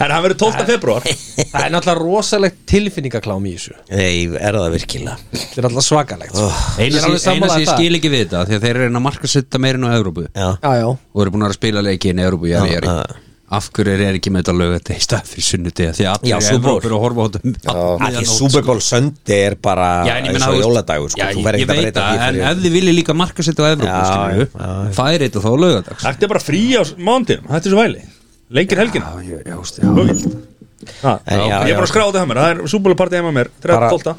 [SPEAKER 1] Herra, hann verður 12. februar
[SPEAKER 4] Það er náttúrulega rosalegt tilfinningaklám í þessu
[SPEAKER 5] Nei, er það virkilega
[SPEAKER 4] Þetta er náttúrulega svakalegt sko.
[SPEAKER 3] Eina
[SPEAKER 4] Ég
[SPEAKER 3] sem
[SPEAKER 4] er alveg
[SPEAKER 3] eina
[SPEAKER 4] sammála
[SPEAKER 3] sem ég
[SPEAKER 4] það.
[SPEAKER 3] skil ekki við þetta því að þeir eru að reyna að markasetta meirinn á Evrópu
[SPEAKER 5] Já,
[SPEAKER 4] Já, já,
[SPEAKER 3] og eru búin að vera að spila leiki inn í Evrópu jari,
[SPEAKER 5] Já,
[SPEAKER 3] jari.
[SPEAKER 5] já.
[SPEAKER 3] af hverju er ekki með þetta lög þetta í stað fyrir sunnudega því að allir
[SPEAKER 5] Já,
[SPEAKER 3] í
[SPEAKER 5] Super Bowl.
[SPEAKER 3] Evrópu eru að horfa á þetta
[SPEAKER 5] Af því Super Bowl söndi er bara
[SPEAKER 3] sko. Já, en ég meina
[SPEAKER 5] Svo
[SPEAKER 3] þú veist-
[SPEAKER 5] jóladagur sko.
[SPEAKER 3] Já,
[SPEAKER 5] Þú
[SPEAKER 3] ég,
[SPEAKER 5] verður
[SPEAKER 3] ég
[SPEAKER 5] ekkert
[SPEAKER 3] veit
[SPEAKER 5] að breyta
[SPEAKER 3] það, en
[SPEAKER 5] því
[SPEAKER 3] ef þið viljið líka markasetta á Evrópu
[SPEAKER 5] Já,
[SPEAKER 3] skilur
[SPEAKER 5] já,
[SPEAKER 3] færi þetta þá lögadags
[SPEAKER 1] Þetta er bara frí á mándinum, þetta er svo væli Lengir helgina
[SPEAKER 3] Já, ég- já, veist, já.
[SPEAKER 1] Hugmynd. Ha,
[SPEAKER 5] En já,
[SPEAKER 1] Ég er bara
[SPEAKER 5] já.
[SPEAKER 1] að skráða það mér, það er Super Bowl partí heima mér 13.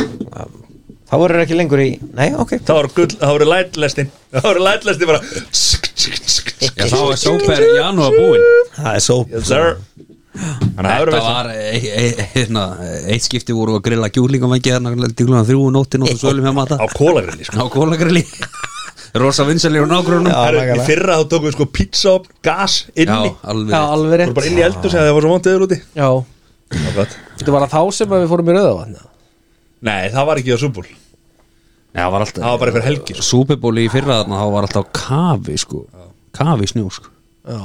[SPEAKER 5] Það voru ekki lengur í Nei, ok
[SPEAKER 1] Það voru gull, það voru lætlestin Það voru lætlestin bara
[SPEAKER 3] Já, þá er Super Janúar búinn
[SPEAKER 5] Það er svo
[SPEAKER 1] Yes sir Þannig að það
[SPEAKER 3] Þetta
[SPEAKER 1] verður veist
[SPEAKER 3] var e- e- hérna, eitt skipti voru að grilla kjúlingavækki hérna til klúna þrjú og nóttin og svo sölum hjá mata
[SPEAKER 1] Á sko. kólarilli
[SPEAKER 3] á kólagrilli rosa vinsalegur nágrunum
[SPEAKER 5] Já,
[SPEAKER 1] Herru, í
[SPEAKER 5] nákvæmlega.
[SPEAKER 1] fyrra þá tókum við sko pizza og gas
[SPEAKER 3] já,
[SPEAKER 1] inni
[SPEAKER 4] já,
[SPEAKER 3] alveg
[SPEAKER 4] alveg
[SPEAKER 1] Þú voru bara
[SPEAKER 4] rétt
[SPEAKER 1] inn í eldur sem það var svo vantið öður úti
[SPEAKER 4] Já, þetta var að þá sem að við fórum í rauðavatna
[SPEAKER 1] Nei, það var ekki á súbúl Það
[SPEAKER 3] já, var alltaf
[SPEAKER 1] var bara fyrir helgi sko.
[SPEAKER 3] súpebóli í fyrra þarna þá var alltaf kafi sko kafi í snjó sko
[SPEAKER 4] Já,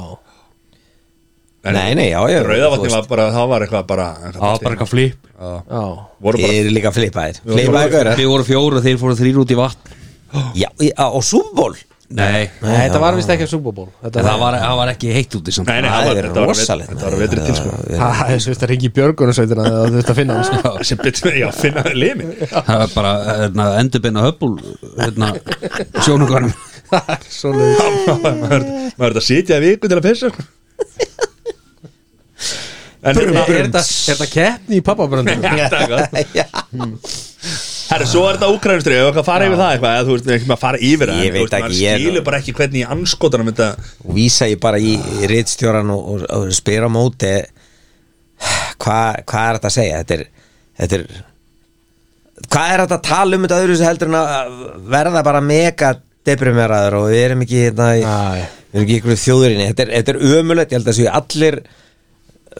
[SPEAKER 5] Nei, nei, já, já
[SPEAKER 1] Rauðavatni var bara, það var eitthvað bara
[SPEAKER 3] það var bara eitthvað flip
[SPEAKER 4] já
[SPEAKER 1] Voru
[SPEAKER 5] Ég
[SPEAKER 1] bara
[SPEAKER 5] er líka flipaðir
[SPEAKER 1] voru-
[SPEAKER 5] Flipaðir gaurar
[SPEAKER 3] við voru fjóru þeir fóru þrýr út í vatn
[SPEAKER 5] Já, í- á á Super Bowl
[SPEAKER 3] nei
[SPEAKER 4] Nei, þetta var vist ekki að súbúból
[SPEAKER 3] en það var, það var ekki heitt úti samt
[SPEAKER 1] Nei, nei,
[SPEAKER 5] Það
[SPEAKER 1] það var,
[SPEAKER 5] er
[SPEAKER 1] þetta var,
[SPEAKER 5] rosalegt,
[SPEAKER 1] þetta var
[SPEAKER 5] maður.
[SPEAKER 1] vetri til sko
[SPEAKER 4] Það er svo veist að ringi björgunarsveitina þegar þú veist að finna sko. hans
[SPEAKER 1] Já, sem betur með, já, finna limi
[SPEAKER 3] það var bara hérna, endurbinna höppul hérna, sjónungarnum
[SPEAKER 4] Það er svo leið
[SPEAKER 1] Maður maður er þetta að sitja í viku til að pissa sko. En
[SPEAKER 4] Er
[SPEAKER 1] hérna
[SPEAKER 4] þetta- er þetta keppni í pappabröndum?
[SPEAKER 1] Þetta er gott.
[SPEAKER 5] Já.
[SPEAKER 1] Herra, svo er þetta úkrænustri Ef eitthvað fara yfir það eitthvað eða Þú veist, ekki maður að fara yfir það
[SPEAKER 5] Ég
[SPEAKER 1] en þú
[SPEAKER 5] veit
[SPEAKER 1] veist, maður
[SPEAKER 5] ekki, ég er-
[SPEAKER 1] skilur bara ekki hvernig í anskotanum þetta
[SPEAKER 5] og vísa ég bara í rittstjóran og, og, og spyr á móti hvað hva er þetta að segja þetta er, þetta er hvað er þetta að tala um þetta öðru sem heldur en að verða bara mega deprimeraður og við erum ekki hérna, í-
[SPEAKER 4] Æ.
[SPEAKER 5] við erum ekki ykkur þjóðurinni þetta er, þetta er ömulegt, ég held að séu allir eh,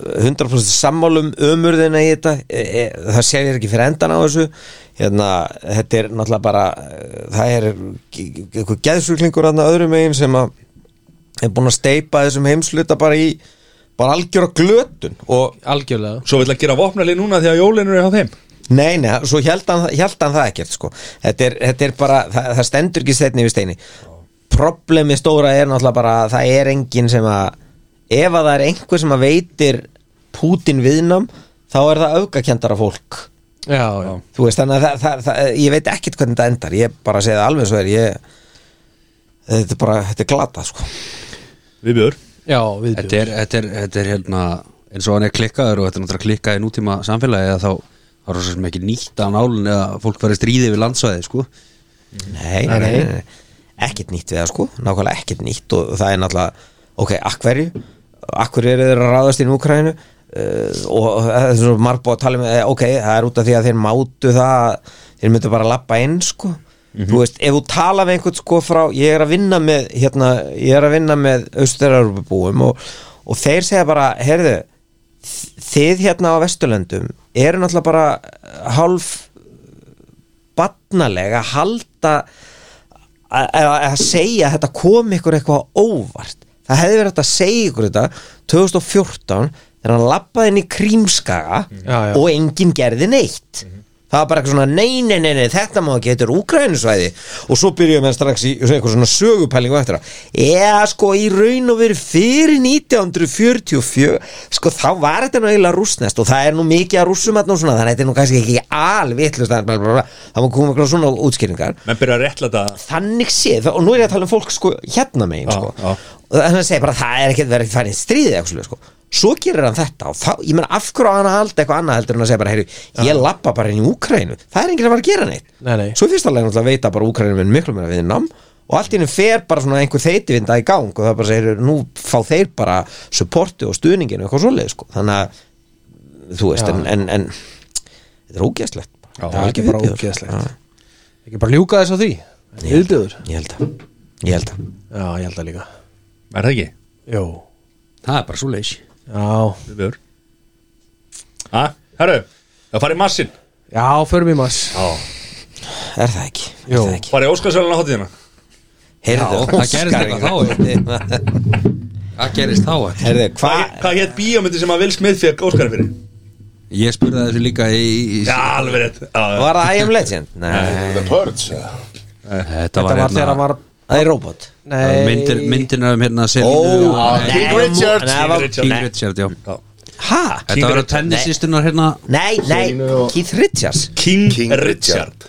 [SPEAKER 5] 100% sammálum ömurðina í þetta e, e, það sé ég ekki fyrir endan á þessu hérna, þetta er náttúrulega bara eh, það er eitthvað geðsuglingur þarna öðrum megin sem að er búin að steipa þessum heimsluta bara í bara algjöra glötun og
[SPEAKER 4] Algjörlega
[SPEAKER 1] Svo vill að gera vopnali núna því að jólinu er á þeim
[SPEAKER 5] Nei, nei, svo held hann, held hann það ekkert sko. þetta, er, þetta er bara, það, það stendur ekki steinni við steini Problemi stóra er náttúrulega bara að það er engin sem að ef að það er einhver sem að veitir Pútin viðnám þá er það öfgakendara fólk
[SPEAKER 4] Já, já
[SPEAKER 5] Þú veist, þannig að það, það, það, ég veit ekkert hvernig þetta endar ég bara segi það alveg svo er ég þetta er bara, þetta er glata sko.
[SPEAKER 1] Við björ
[SPEAKER 4] Já, við
[SPEAKER 3] þetta er, þetta er, þetta er hérna eins og hann er klikkaður og þetta er náttúrulega klikkað í nútíma samfélagi að þá þá er svo sem ekki nýtt af nálun eða fólk verið stríði við landsvæði sko
[SPEAKER 5] Nei, nei, nei, nei. ekkert nýtt við það sko nákvæmlega ekkert nýtt og það er náttúrulega ok, akkverju, akkverju eru þeir að ráðast inn í Úkrænu uh, og eh, það er svo marg búið að tala um eh, ok, það er út af því að þeir mátu það að þeir myndu bara að lappa inn sko þú veist, ef þú tala við einhvern sko frá ég er að vinna með, hérna ég er að vinna með austur-Európa-búum og, og þeir segja bara, heyrðu þ- þið hérna á Vesturlöndum eru náttúrulega bara hálf barnalega að halda að- að að segja að þetta kom ykkur eitthvað á óvart það hefði verið hægt að segja ykkur þetta 2014 þegar hann lappaði inn í Krímskaga
[SPEAKER 4] Mhm. Já, Mhm. já.
[SPEAKER 5] og enginn gerði neitt það var bara eitthvað svona nei, nei, nei, nei þetta má ekki, þetta er úkrænusvæði og svo byrjuðum við strax í eitthvað svona sögupælingu eftir að eða sko í raun og veru fyrir 1944 sko þá var þetta nú eiginlega rústnest og það er nú mikið að rússum þarna og svona þannig að þetta er nú kannski ekki alvitlust það má koma eitthvað svona útskýringar
[SPEAKER 1] menn byrja að rétla þetta
[SPEAKER 5] þannig séð og nú er ég að tala um fólk sko hérna megin
[SPEAKER 1] Já,
[SPEAKER 5] sko.
[SPEAKER 1] já.
[SPEAKER 5] og þannig að segja bara það er ekki verið að fara í stríði eitthvað svoleiðis, sko. svo gerir hann þetta og þá, ég meina af hverju á hann að halda eitthvað annað heldur en að segja bara heyru, ég lappa bara inn í Úkraínu það er enginn að fara að gera neitt
[SPEAKER 4] Nei, nei.
[SPEAKER 5] svo í fyrsta alveg náttúrulega veita bara Úkraínu minn miklu meira við nám og allt í henni fer bara svona einhver þeytivinda í gang og það bara segir, nú fá þeir bara supporti og stuðninginu eitthvað svoleið sko. þannig að, þú veist, en, en, en þetta er sko. ógæslegt
[SPEAKER 4] það er ekki bara ógeðslegt ekki bara ljúka þess að því viðbjöður
[SPEAKER 5] ég held að, ég held að
[SPEAKER 4] já, ég held að líka
[SPEAKER 1] er það ekki?
[SPEAKER 4] Jó.
[SPEAKER 3] Það er bara svo leys
[SPEAKER 4] já,
[SPEAKER 1] Við björ ha, herru, það farið massin
[SPEAKER 4] já, förum í mass
[SPEAKER 5] Er það ekki? Er
[SPEAKER 4] Jú.
[SPEAKER 5] það ekki?
[SPEAKER 1] farið óskarsvælun á hátíðina
[SPEAKER 5] Heyrðu,
[SPEAKER 3] Já, það gerist eitthvað
[SPEAKER 5] þá
[SPEAKER 3] Það gerist þá að
[SPEAKER 5] Heyrðu,
[SPEAKER 1] hvað
[SPEAKER 5] hvað
[SPEAKER 1] hva hétt bíómyndi sem að Will Smith fekk óskari fyrir?
[SPEAKER 3] Ég spurði þessu líka í, í
[SPEAKER 1] já, alveg rétt já,
[SPEAKER 5] Var það I Am Legend? Nei,
[SPEAKER 2] The Purge eða?
[SPEAKER 3] Þetta
[SPEAKER 4] þetta
[SPEAKER 3] var
[SPEAKER 4] var þegar hann
[SPEAKER 3] hérna
[SPEAKER 4] var
[SPEAKER 5] það er robot
[SPEAKER 4] nei,
[SPEAKER 3] myndir, Myndina um hérna Ó,
[SPEAKER 5] nei,
[SPEAKER 2] King
[SPEAKER 5] mú-
[SPEAKER 2] Richard.
[SPEAKER 5] nei, það var-
[SPEAKER 1] King
[SPEAKER 3] King Richard, já
[SPEAKER 5] Ha?
[SPEAKER 3] Þetta var
[SPEAKER 1] Richard.
[SPEAKER 3] tennisistunar hérna
[SPEAKER 5] Nei, nei, Keith Richards
[SPEAKER 1] King,
[SPEAKER 2] King
[SPEAKER 1] Richard,
[SPEAKER 2] Richard.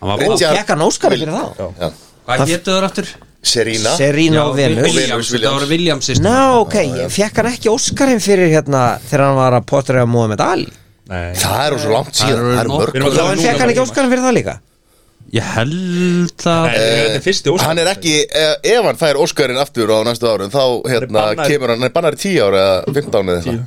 [SPEAKER 3] hann var-
[SPEAKER 2] Richard.
[SPEAKER 5] Gekk hann Óskari fyrir þá?
[SPEAKER 2] Já.
[SPEAKER 3] Hvað getur þar aftur?
[SPEAKER 2] Serena
[SPEAKER 5] Serena og Venus
[SPEAKER 3] Williams, þetta var Williams systur
[SPEAKER 5] Ná, ok, fekk hann ekki Óskarin fyrir hérna þegar hann var að potraða Mohamed Ali
[SPEAKER 1] Nei.
[SPEAKER 2] Það er svo langt síðan,
[SPEAKER 3] eru
[SPEAKER 2] það eru
[SPEAKER 3] nokkur-
[SPEAKER 2] mörg
[SPEAKER 1] Við erum að
[SPEAKER 5] Já,
[SPEAKER 1] tala um
[SPEAKER 5] en
[SPEAKER 1] núna
[SPEAKER 5] fekk hann ekki
[SPEAKER 1] bara.
[SPEAKER 5] Óskarin fyrir það líka?
[SPEAKER 3] Ég held að
[SPEAKER 1] Nei, þetta er fyrsti óskar
[SPEAKER 2] Hann er ekki, eh, ef hann fær Óskarinn aftur á næstu árum þá hérna,
[SPEAKER 1] Hann er bannaður-
[SPEAKER 2] kemur hann, hann er bannar í 10 ára eða 15 eða eitthvað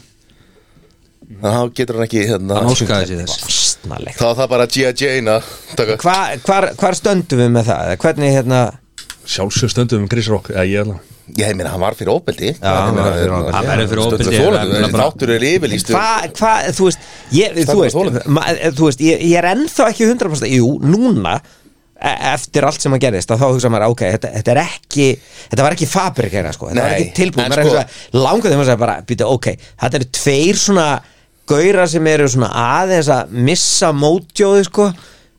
[SPEAKER 2] Þannig að þá getur hann ekki hérna,
[SPEAKER 3] hann óskaði sér þess
[SPEAKER 5] Vastnalegt
[SPEAKER 2] Þá er það bara G.I. Jane að taka
[SPEAKER 5] Hvar, hvar, hvar stöndum við með það? Eða Hvernig hérna
[SPEAKER 1] sjálfsög stöndum um Chris Rock eða ég alveg
[SPEAKER 2] Ég meina, hann var fyrir óbeldi Já,
[SPEAKER 5] hann var fyrir
[SPEAKER 3] ofbeldi. Hann verður fyrir ofbeldi,
[SPEAKER 2] Þólendur,
[SPEAKER 3] það er
[SPEAKER 2] þessi
[SPEAKER 3] bara-
[SPEAKER 2] þáttur er yfirlýstur
[SPEAKER 5] Hvað, hvað, þú veist ég, þú
[SPEAKER 2] Stefán
[SPEAKER 5] veist,
[SPEAKER 2] Þórðarson.
[SPEAKER 5] ma, eh, þú veist ég, ég er ennþá ekki 100% jú, núna e- eftir allt sem að gerist að þá hugsa maður, ok, þetta, þetta er ekki þetta var ekki fabrikera, sko, þetta var
[SPEAKER 2] Nei,
[SPEAKER 5] ekki tilbúið
[SPEAKER 2] en
[SPEAKER 5] maður
[SPEAKER 2] sko-
[SPEAKER 5] sko, langar þeim að segja bara, býta, ok þetta eru tveir svona gauðra sem eru svona aðeins að missa mótjóði, sko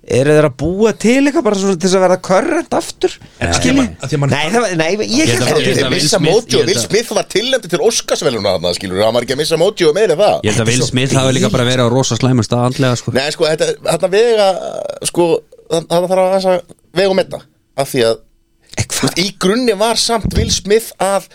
[SPEAKER 5] eru þeir að búa til eitthvað bara svona til þess að verða körrent aftur
[SPEAKER 1] En að því að
[SPEAKER 5] skilji?
[SPEAKER 1] mann- að því að mann-
[SPEAKER 5] Nei, það var, nei, ég
[SPEAKER 3] Ég held
[SPEAKER 5] held
[SPEAKER 2] Þeir
[SPEAKER 3] að- Ég held að
[SPEAKER 2] missa
[SPEAKER 3] Will Smith-
[SPEAKER 2] mótjó,
[SPEAKER 3] ég held
[SPEAKER 2] Will
[SPEAKER 3] að-
[SPEAKER 2] Smith var tilnæmdi til Óskarsveluna hann, skilur Hann var ekki að missa mótjó meira en það
[SPEAKER 3] Ég held að Will Smith hafi líka bara verið á rosa slæmum stað andlega sko
[SPEAKER 2] Nei, sko, þetta, þarna vega sko, þarna þarf að aðeins að vega og metta af því að þú veist, í grunni var samt Will Smith að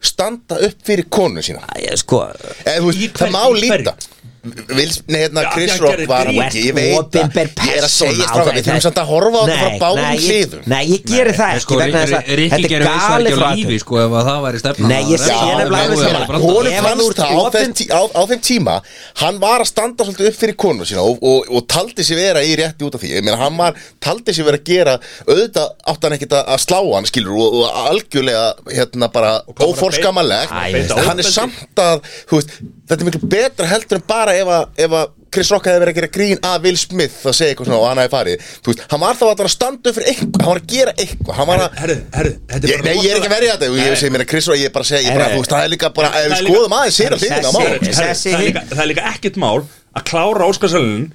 [SPEAKER 2] standa upp fyrir konu sína
[SPEAKER 5] að sko
[SPEAKER 2] Eða, þú veist,
[SPEAKER 1] Í
[SPEAKER 2] það
[SPEAKER 1] hverju-
[SPEAKER 2] má
[SPEAKER 1] í hverju?
[SPEAKER 2] líta Vils, nei, hérna,
[SPEAKER 1] Já,
[SPEAKER 2] Chris
[SPEAKER 1] hann
[SPEAKER 2] Rock
[SPEAKER 1] gerði
[SPEAKER 2] var
[SPEAKER 1] grín.
[SPEAKER 2] hann ekki, ég veit að
[SPEAKER 5] Opinber
[SPEAKER 2] ég er að segja
[SPEAKER 5] persóna á
[SPEAKER 2] stráka, við
[SPEAKER 5] þetta.
[SPEAKER 2] þurfum samt að horfa á þetta
[SPEAKER 5] Nei,
[SPEAKER 2] frá báðum
[SPEAKER 5] nei, ég-
[SPEAKER 2] hliðum
[SPEAKER 5] Nei, ég geri það
[SPEAKER 3] Sko,
[SPEAKER 5] ekki vegna þess að
[SPEAKER 3] Rikki
[SPEAKER 5] þetta er
[SPEAKER 3] gerði veist það
[SPEAKER 5] galið
[SPEAKER 3] ekki
[SPEAKER 5] frá
[SPEAKER 3] á lífi sko ef að það væri stefna
[SPEAKER 5] Nei, ég segi, ég er nefnilega alveg sammála.
[SPEAKER 3] Hún
[SPEAKER 2] Honum
[SPEAKER 5] Ef hann
[SPEAKER 2] fannst það
[SPEAKER 5] þú
[SPEAKER 2] á,
[SPEAKER 5] ert
[SPEAKER 2] þeim
[SPEAKER 5] opin-
[SPEAKER 2] tí- á, á þeim tíma Hann var að standa svolítið upp fyrir konu sína Og, og, og taldi sér vera í rétti út af því Ég meina, hann var, taldi sér vera að gera Auðvitað átti hann ekkit að, að slá hann skilur Og, og algjörlega, hérna bara
[SPEAKER 1] bara
[SPEAKER 2] Óforskamalegt
[SPEAKER 1] Æ, ég veist það.
[SPEAKER 2] Hann er samt að, þú veist Þetta er miklu betra heldur en bara ef að, ef að Chris Rock hefði verið að gera grín að Will Smith Það segja eitthvað svona og hann hefði farið Þú veist, hann var þá að standa upp fyrir eitthvað Hann var að gera eitthvað Hann var að
[SPEAKER 1] herru, herru, þetta
[SPEAKER 2] Ég, nei, ég er ekki að verja þetta, ég segi mér að Chris og ég er bara að segja, ég bara,
[SPEAKER 5] Nei, nei.
[SPEAKER 2] þú veist, það er líka bara, ef
[SPEAKER 1] Það
[SPEAKER 2] við
[SPEAKER 1] er líka-
[SPEAKER 2] skoðum aðeins sér að
[SPEAKER 5] það er
[SPEAKER 2] hliðina á
[SPEAKER 5] sexy.
[SPEAKER 2] málum.
[SPEAKER 1] Herru,
[SPEAKER 5] Þessi-
[SPEAKER 1] það, er líka, það er líka ekkert mál að klára Óskarsvælun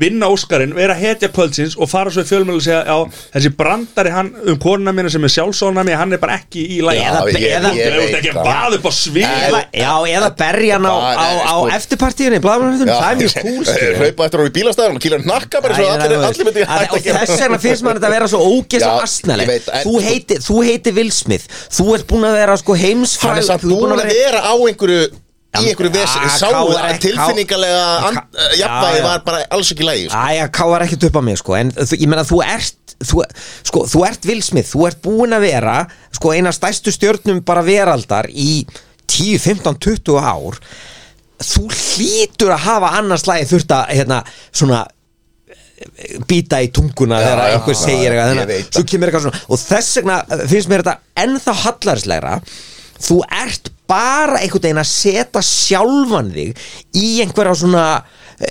[SPEAKER 1] vinna Óskarinn, vera hetja kvöldsins og fara svo í fjölmjölu og segja já, þessi brandari hann um konuna mína sem er sjálfsónami hann er bara ekki í lægi
[SPEAKER 5] Eða-
[SPEAKER 1] Þú
[SPEAKER 2] Já, ég-
[SPEAKER 5] eða-
[SPEAKER 2] ég
[SPEAKER 1] ert
[SPEAKER 2] veit
[SPEAKER 1] ekki að
[SPEAKER 2] það.
[SPEAKER 1] vaða upp á svið
[SPEAKER 5] Eða, já, eða berja hann á,
[SPEAKER 2] Bara,
[SPEAKER 5] á, á
[SPEAKER 2] sko.
[SPEAKER 5] eftirpartíðinni, blaðmannarhundum,
[SPEAKER 2] Já,
[SPEAKER 5] það er mjög kúl skilur.
[SPEAKER 2] Hlaupa eftir hún í bílastæðan og kýla hann nakka bara
[SPEAKER 5] Æ,
[SPEAKER 2] svo
[SPEAKER 5] ég
[SPEAKER 2] allir,
[SPEAKER 5] meina,
[SPEAKER 2] allir myndi
[SPEAKER 5] að-
[SPEAKER 2] hægt
[SPEAKER 5] og
[SPEAKER 2] að gera
[SPEAKER 5] Þess vegna finnst maður þetta að vera svo ógeð
[SPEAKER 2] Já,
[SPEAKER 5] og
[SPEAKER 2] ég
[SPEAKER 5] astnaleg
[SPEAKER 2] veit, en-
[SPEAKER 5] Þú heiti, þú heiti Will Smith Þú ert búin að vera sko heimsfræl
[SPEAKER 2] Hann er samt
[SPEAKER 5] þú ert
[SPEAKER 2] búin að vera á einhverju, í einhverju
[SPEAKER 5] Já,
[SPEAKER 2] vesi,
[SPEAKER 5] K-
[SPEAKER 2] sáu að
[SPEAKER 5] K-
[SPEAKER 2] tilfinningalega
[SPEAKER 5] K-
[SPEAKER 2] and-
[SPEAKER 5] K-
[SPEAKER 2] eh,
[SPEAKER 5] Já,
[SPEAKER 2] jafnvægi
[SPEAKER 5] já.
[SPEAKER 2] var bara alls ekki lægi.
[SPEAKER 5] Æja, káar ekkert upp á mig sko En þú- ég meina þú ert þú, sko, þú ert Will Smith, þú ert búin að vera sko eina stærstu stjörnum bara veraldar í 10, 15, 20 ár Þú hlýtur að hafa annars lagi þurft að hérna svona býta í tunguna
[SPEAKER 2] Já,
[SPEAKER 5] þegar
[SPEAKER 2] já, já,
[SPEAKER 5] einhver
[SPEAKER 2] ég
[SPEAKER 5] segir eitthvað þannig
[SPEAKER 2] veit
[SPEAKER 5] að svo kemur eitthvað svona og þess vegna uh, finnst mér þetta ennþá hallarslegra þú ert bara einhvern veginn að setja sjálfan þig í einhverja svona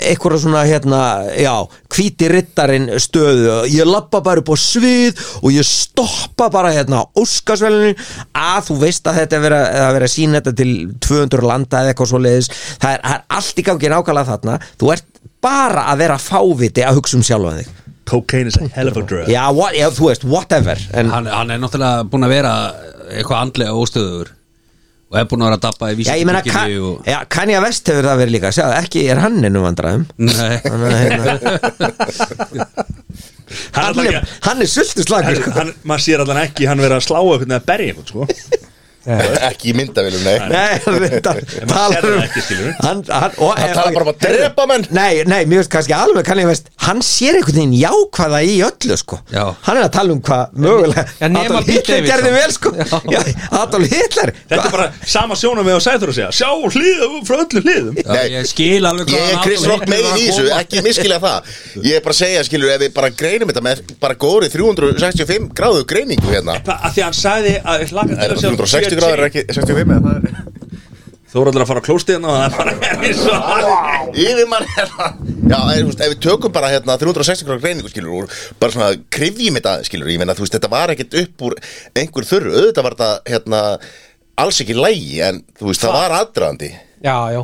[SPEAKER 5] einhverja svona hérna, já, hvíti rittarinn stöðu, ég lappa bara upp á svið og ég stoppa bara hérna á óskarsvelinu að þú veist að þetta er verið að, að, vera að sína þetta til 200 landa eða eitthvað svoleiðis það er, það er allt í gangi nákvæmlega þarna þú ert bara að vera fáviti að hugsa um sjálfan þig
[SPEAKER 1] Cocaine is a hell of a drug
[SPEAKER 5] já, what, já þú veist, whatever en,
[SPEAKER 3] hann, hann er náttúrulega búin að vera eitthvað andlega óstöður og er búin að vera að dabba í
[SPEAKER 5] Já, ég meina, kan,
[SPEAKER 3] vísindabylgjunni og...
[SPEAKER 5] já, Kanye West hefur það verið líka Sjáðu, ekki er hann ennum vandræðum
[SPEAKER 3] Nei,
[SPEAKER 5] Þannig að, hérna,
[SPEAKER 1] Hann
[SPEAKER 5] hann,
[SPEAKER 1] er
[SPEAKER 5] er,
[SPEAKER 1] alltaf
[SPEAKER 5] hann er sultuslagur
[SPEAKER 1] ekki
[SPEAKER 5] sko.
[SPEAKER 1] hann- Maður sér allan ekki hann vera að slá eitthvað eða berja eitthvað sko
[SPEAKER 2] Ekki í myndavilum, nei
[SPEAKER 5] Nei, hann reyndar talar
[SPEAKER 1] sérðu
[SPEAKER 5] um-
[SPEAKER 1] ekki, skilurðu.
[SPEAKER 5] Hann hann- og-
[SPEAKER 2] Hann talar bara um að drepa menn.
[SPEAKER 5] Nei, nei, mér veist kannski alveg Kanye West Hann sér einhvern veginn jákvæða í öllu sko.
[SPEAKER 3] Já.
[SPEAKER 5] Hann er að tala um hvað mögulega
[SPEAKER 4] Já, nema
[SPEAKER 5] Adolf
[SPEAKER 4] Pete
[SPEAKER 5] Hitler
[SPEAKER 4] Davidson.
[SPEAKER 5] gerði vel sko. Já, Adolf Hitler
[SPEAKER 1] Þetta er bara sama sjónum með og sæður að segja Sjá hlýðum frá öllum hlýðum
[SPEAKER 3] já,
[SPEAKER 2] Nei.
[SPEAKER 3] ég skil alveg
[SPEAKER 2] Ég er Chris Rock megin í þessu, ekki miskilja það Ég er bara að segja, skilur, ef við bara greinum þetta með bara góri 365 gráðu greiningu hérna
[SPEAKER 1] Af því að hann sagði að ég hlakka til að sjá
[SPEAKER 2] 360 gráður er ekki 65 eða það er
[SPEAKER 1] Þóraldur að fara á klóstiðan og það er bara eins og hann
[SPEAKER 2] Yfirmann hérna Já, en, þú veist, ef við tökum bara hérna 360 gráður greiningu, skilur, úr bara svona krifjum þetta, skilur, ég meina, þú veist, þetta var ekkert upp úr einhver þurru, auðvitað var þetta hérna, alls ekki lægi en, þú veist, það var aðdraðandi
[SPEAKER 4] já, já,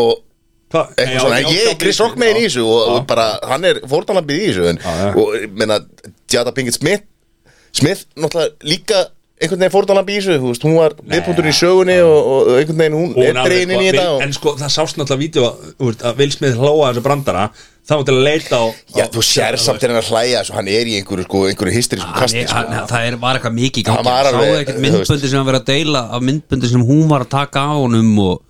[SPEAKER 2] og
[SPEAKER 1] Hvað-
[SPEAKER 2] eitthvað
[SPEAKER 1] Já,
[SPEAKER 2] svona,
[SPEAKER 1] já,
[SPEAKER 2] ég
[SPEAKER 1] já,
[SPEAKER 2] er Chris Rock megin í þessu og, og bara, hann er fórtalambið í þessu en,
[SPEAKER 1] Já, já.
[SPEAKER 2] og ég meina, Jada Pinkett Smith Smith, náttúrulega líka einhvern veginn fórtalambið í þessu, þú veist, hún var miðpuntur í sögunni og, og einhvern veginn hún
[SPEAKER 1] Hún
[SPEAKER 2] er
[SPEAKER 1] alveg,
[SPEAKER 2] dregin
[SPEAKER 1] sko,
[SPEAKER 2] inn í
[SPEAKER 1] Will-
[SPEAKER 2] þetta og,
[SPEAKER 1] En sko það sást náttúrulega vídeo að- þú veist, að Will Smith hlóa þessu brandara Það var til að leita á
[SPEAKER 2] já,
[SPEAKER 1] á-
[SPEAKER 2] þú sér samt til hann að hlæja þessu, hann er í einhverju, sko, einhverju hysterísku
[SPEAKER 3] Hann,
[SPEAKER 2] kasti,
[SPEAKER 3] er-
[SPEAKER 2] sko
[SPEAKER 3] hann, það er, var eitthvað mikið í gangi
[SPEAKER 2] Hann var alveg,
[SPEAKER 3] Hann sáði ekkert
[SPEAKER 2] þú
[SPEAKER 3] myndböndi sem hann verið að deila af myndböndi sem hún var að taka á honum og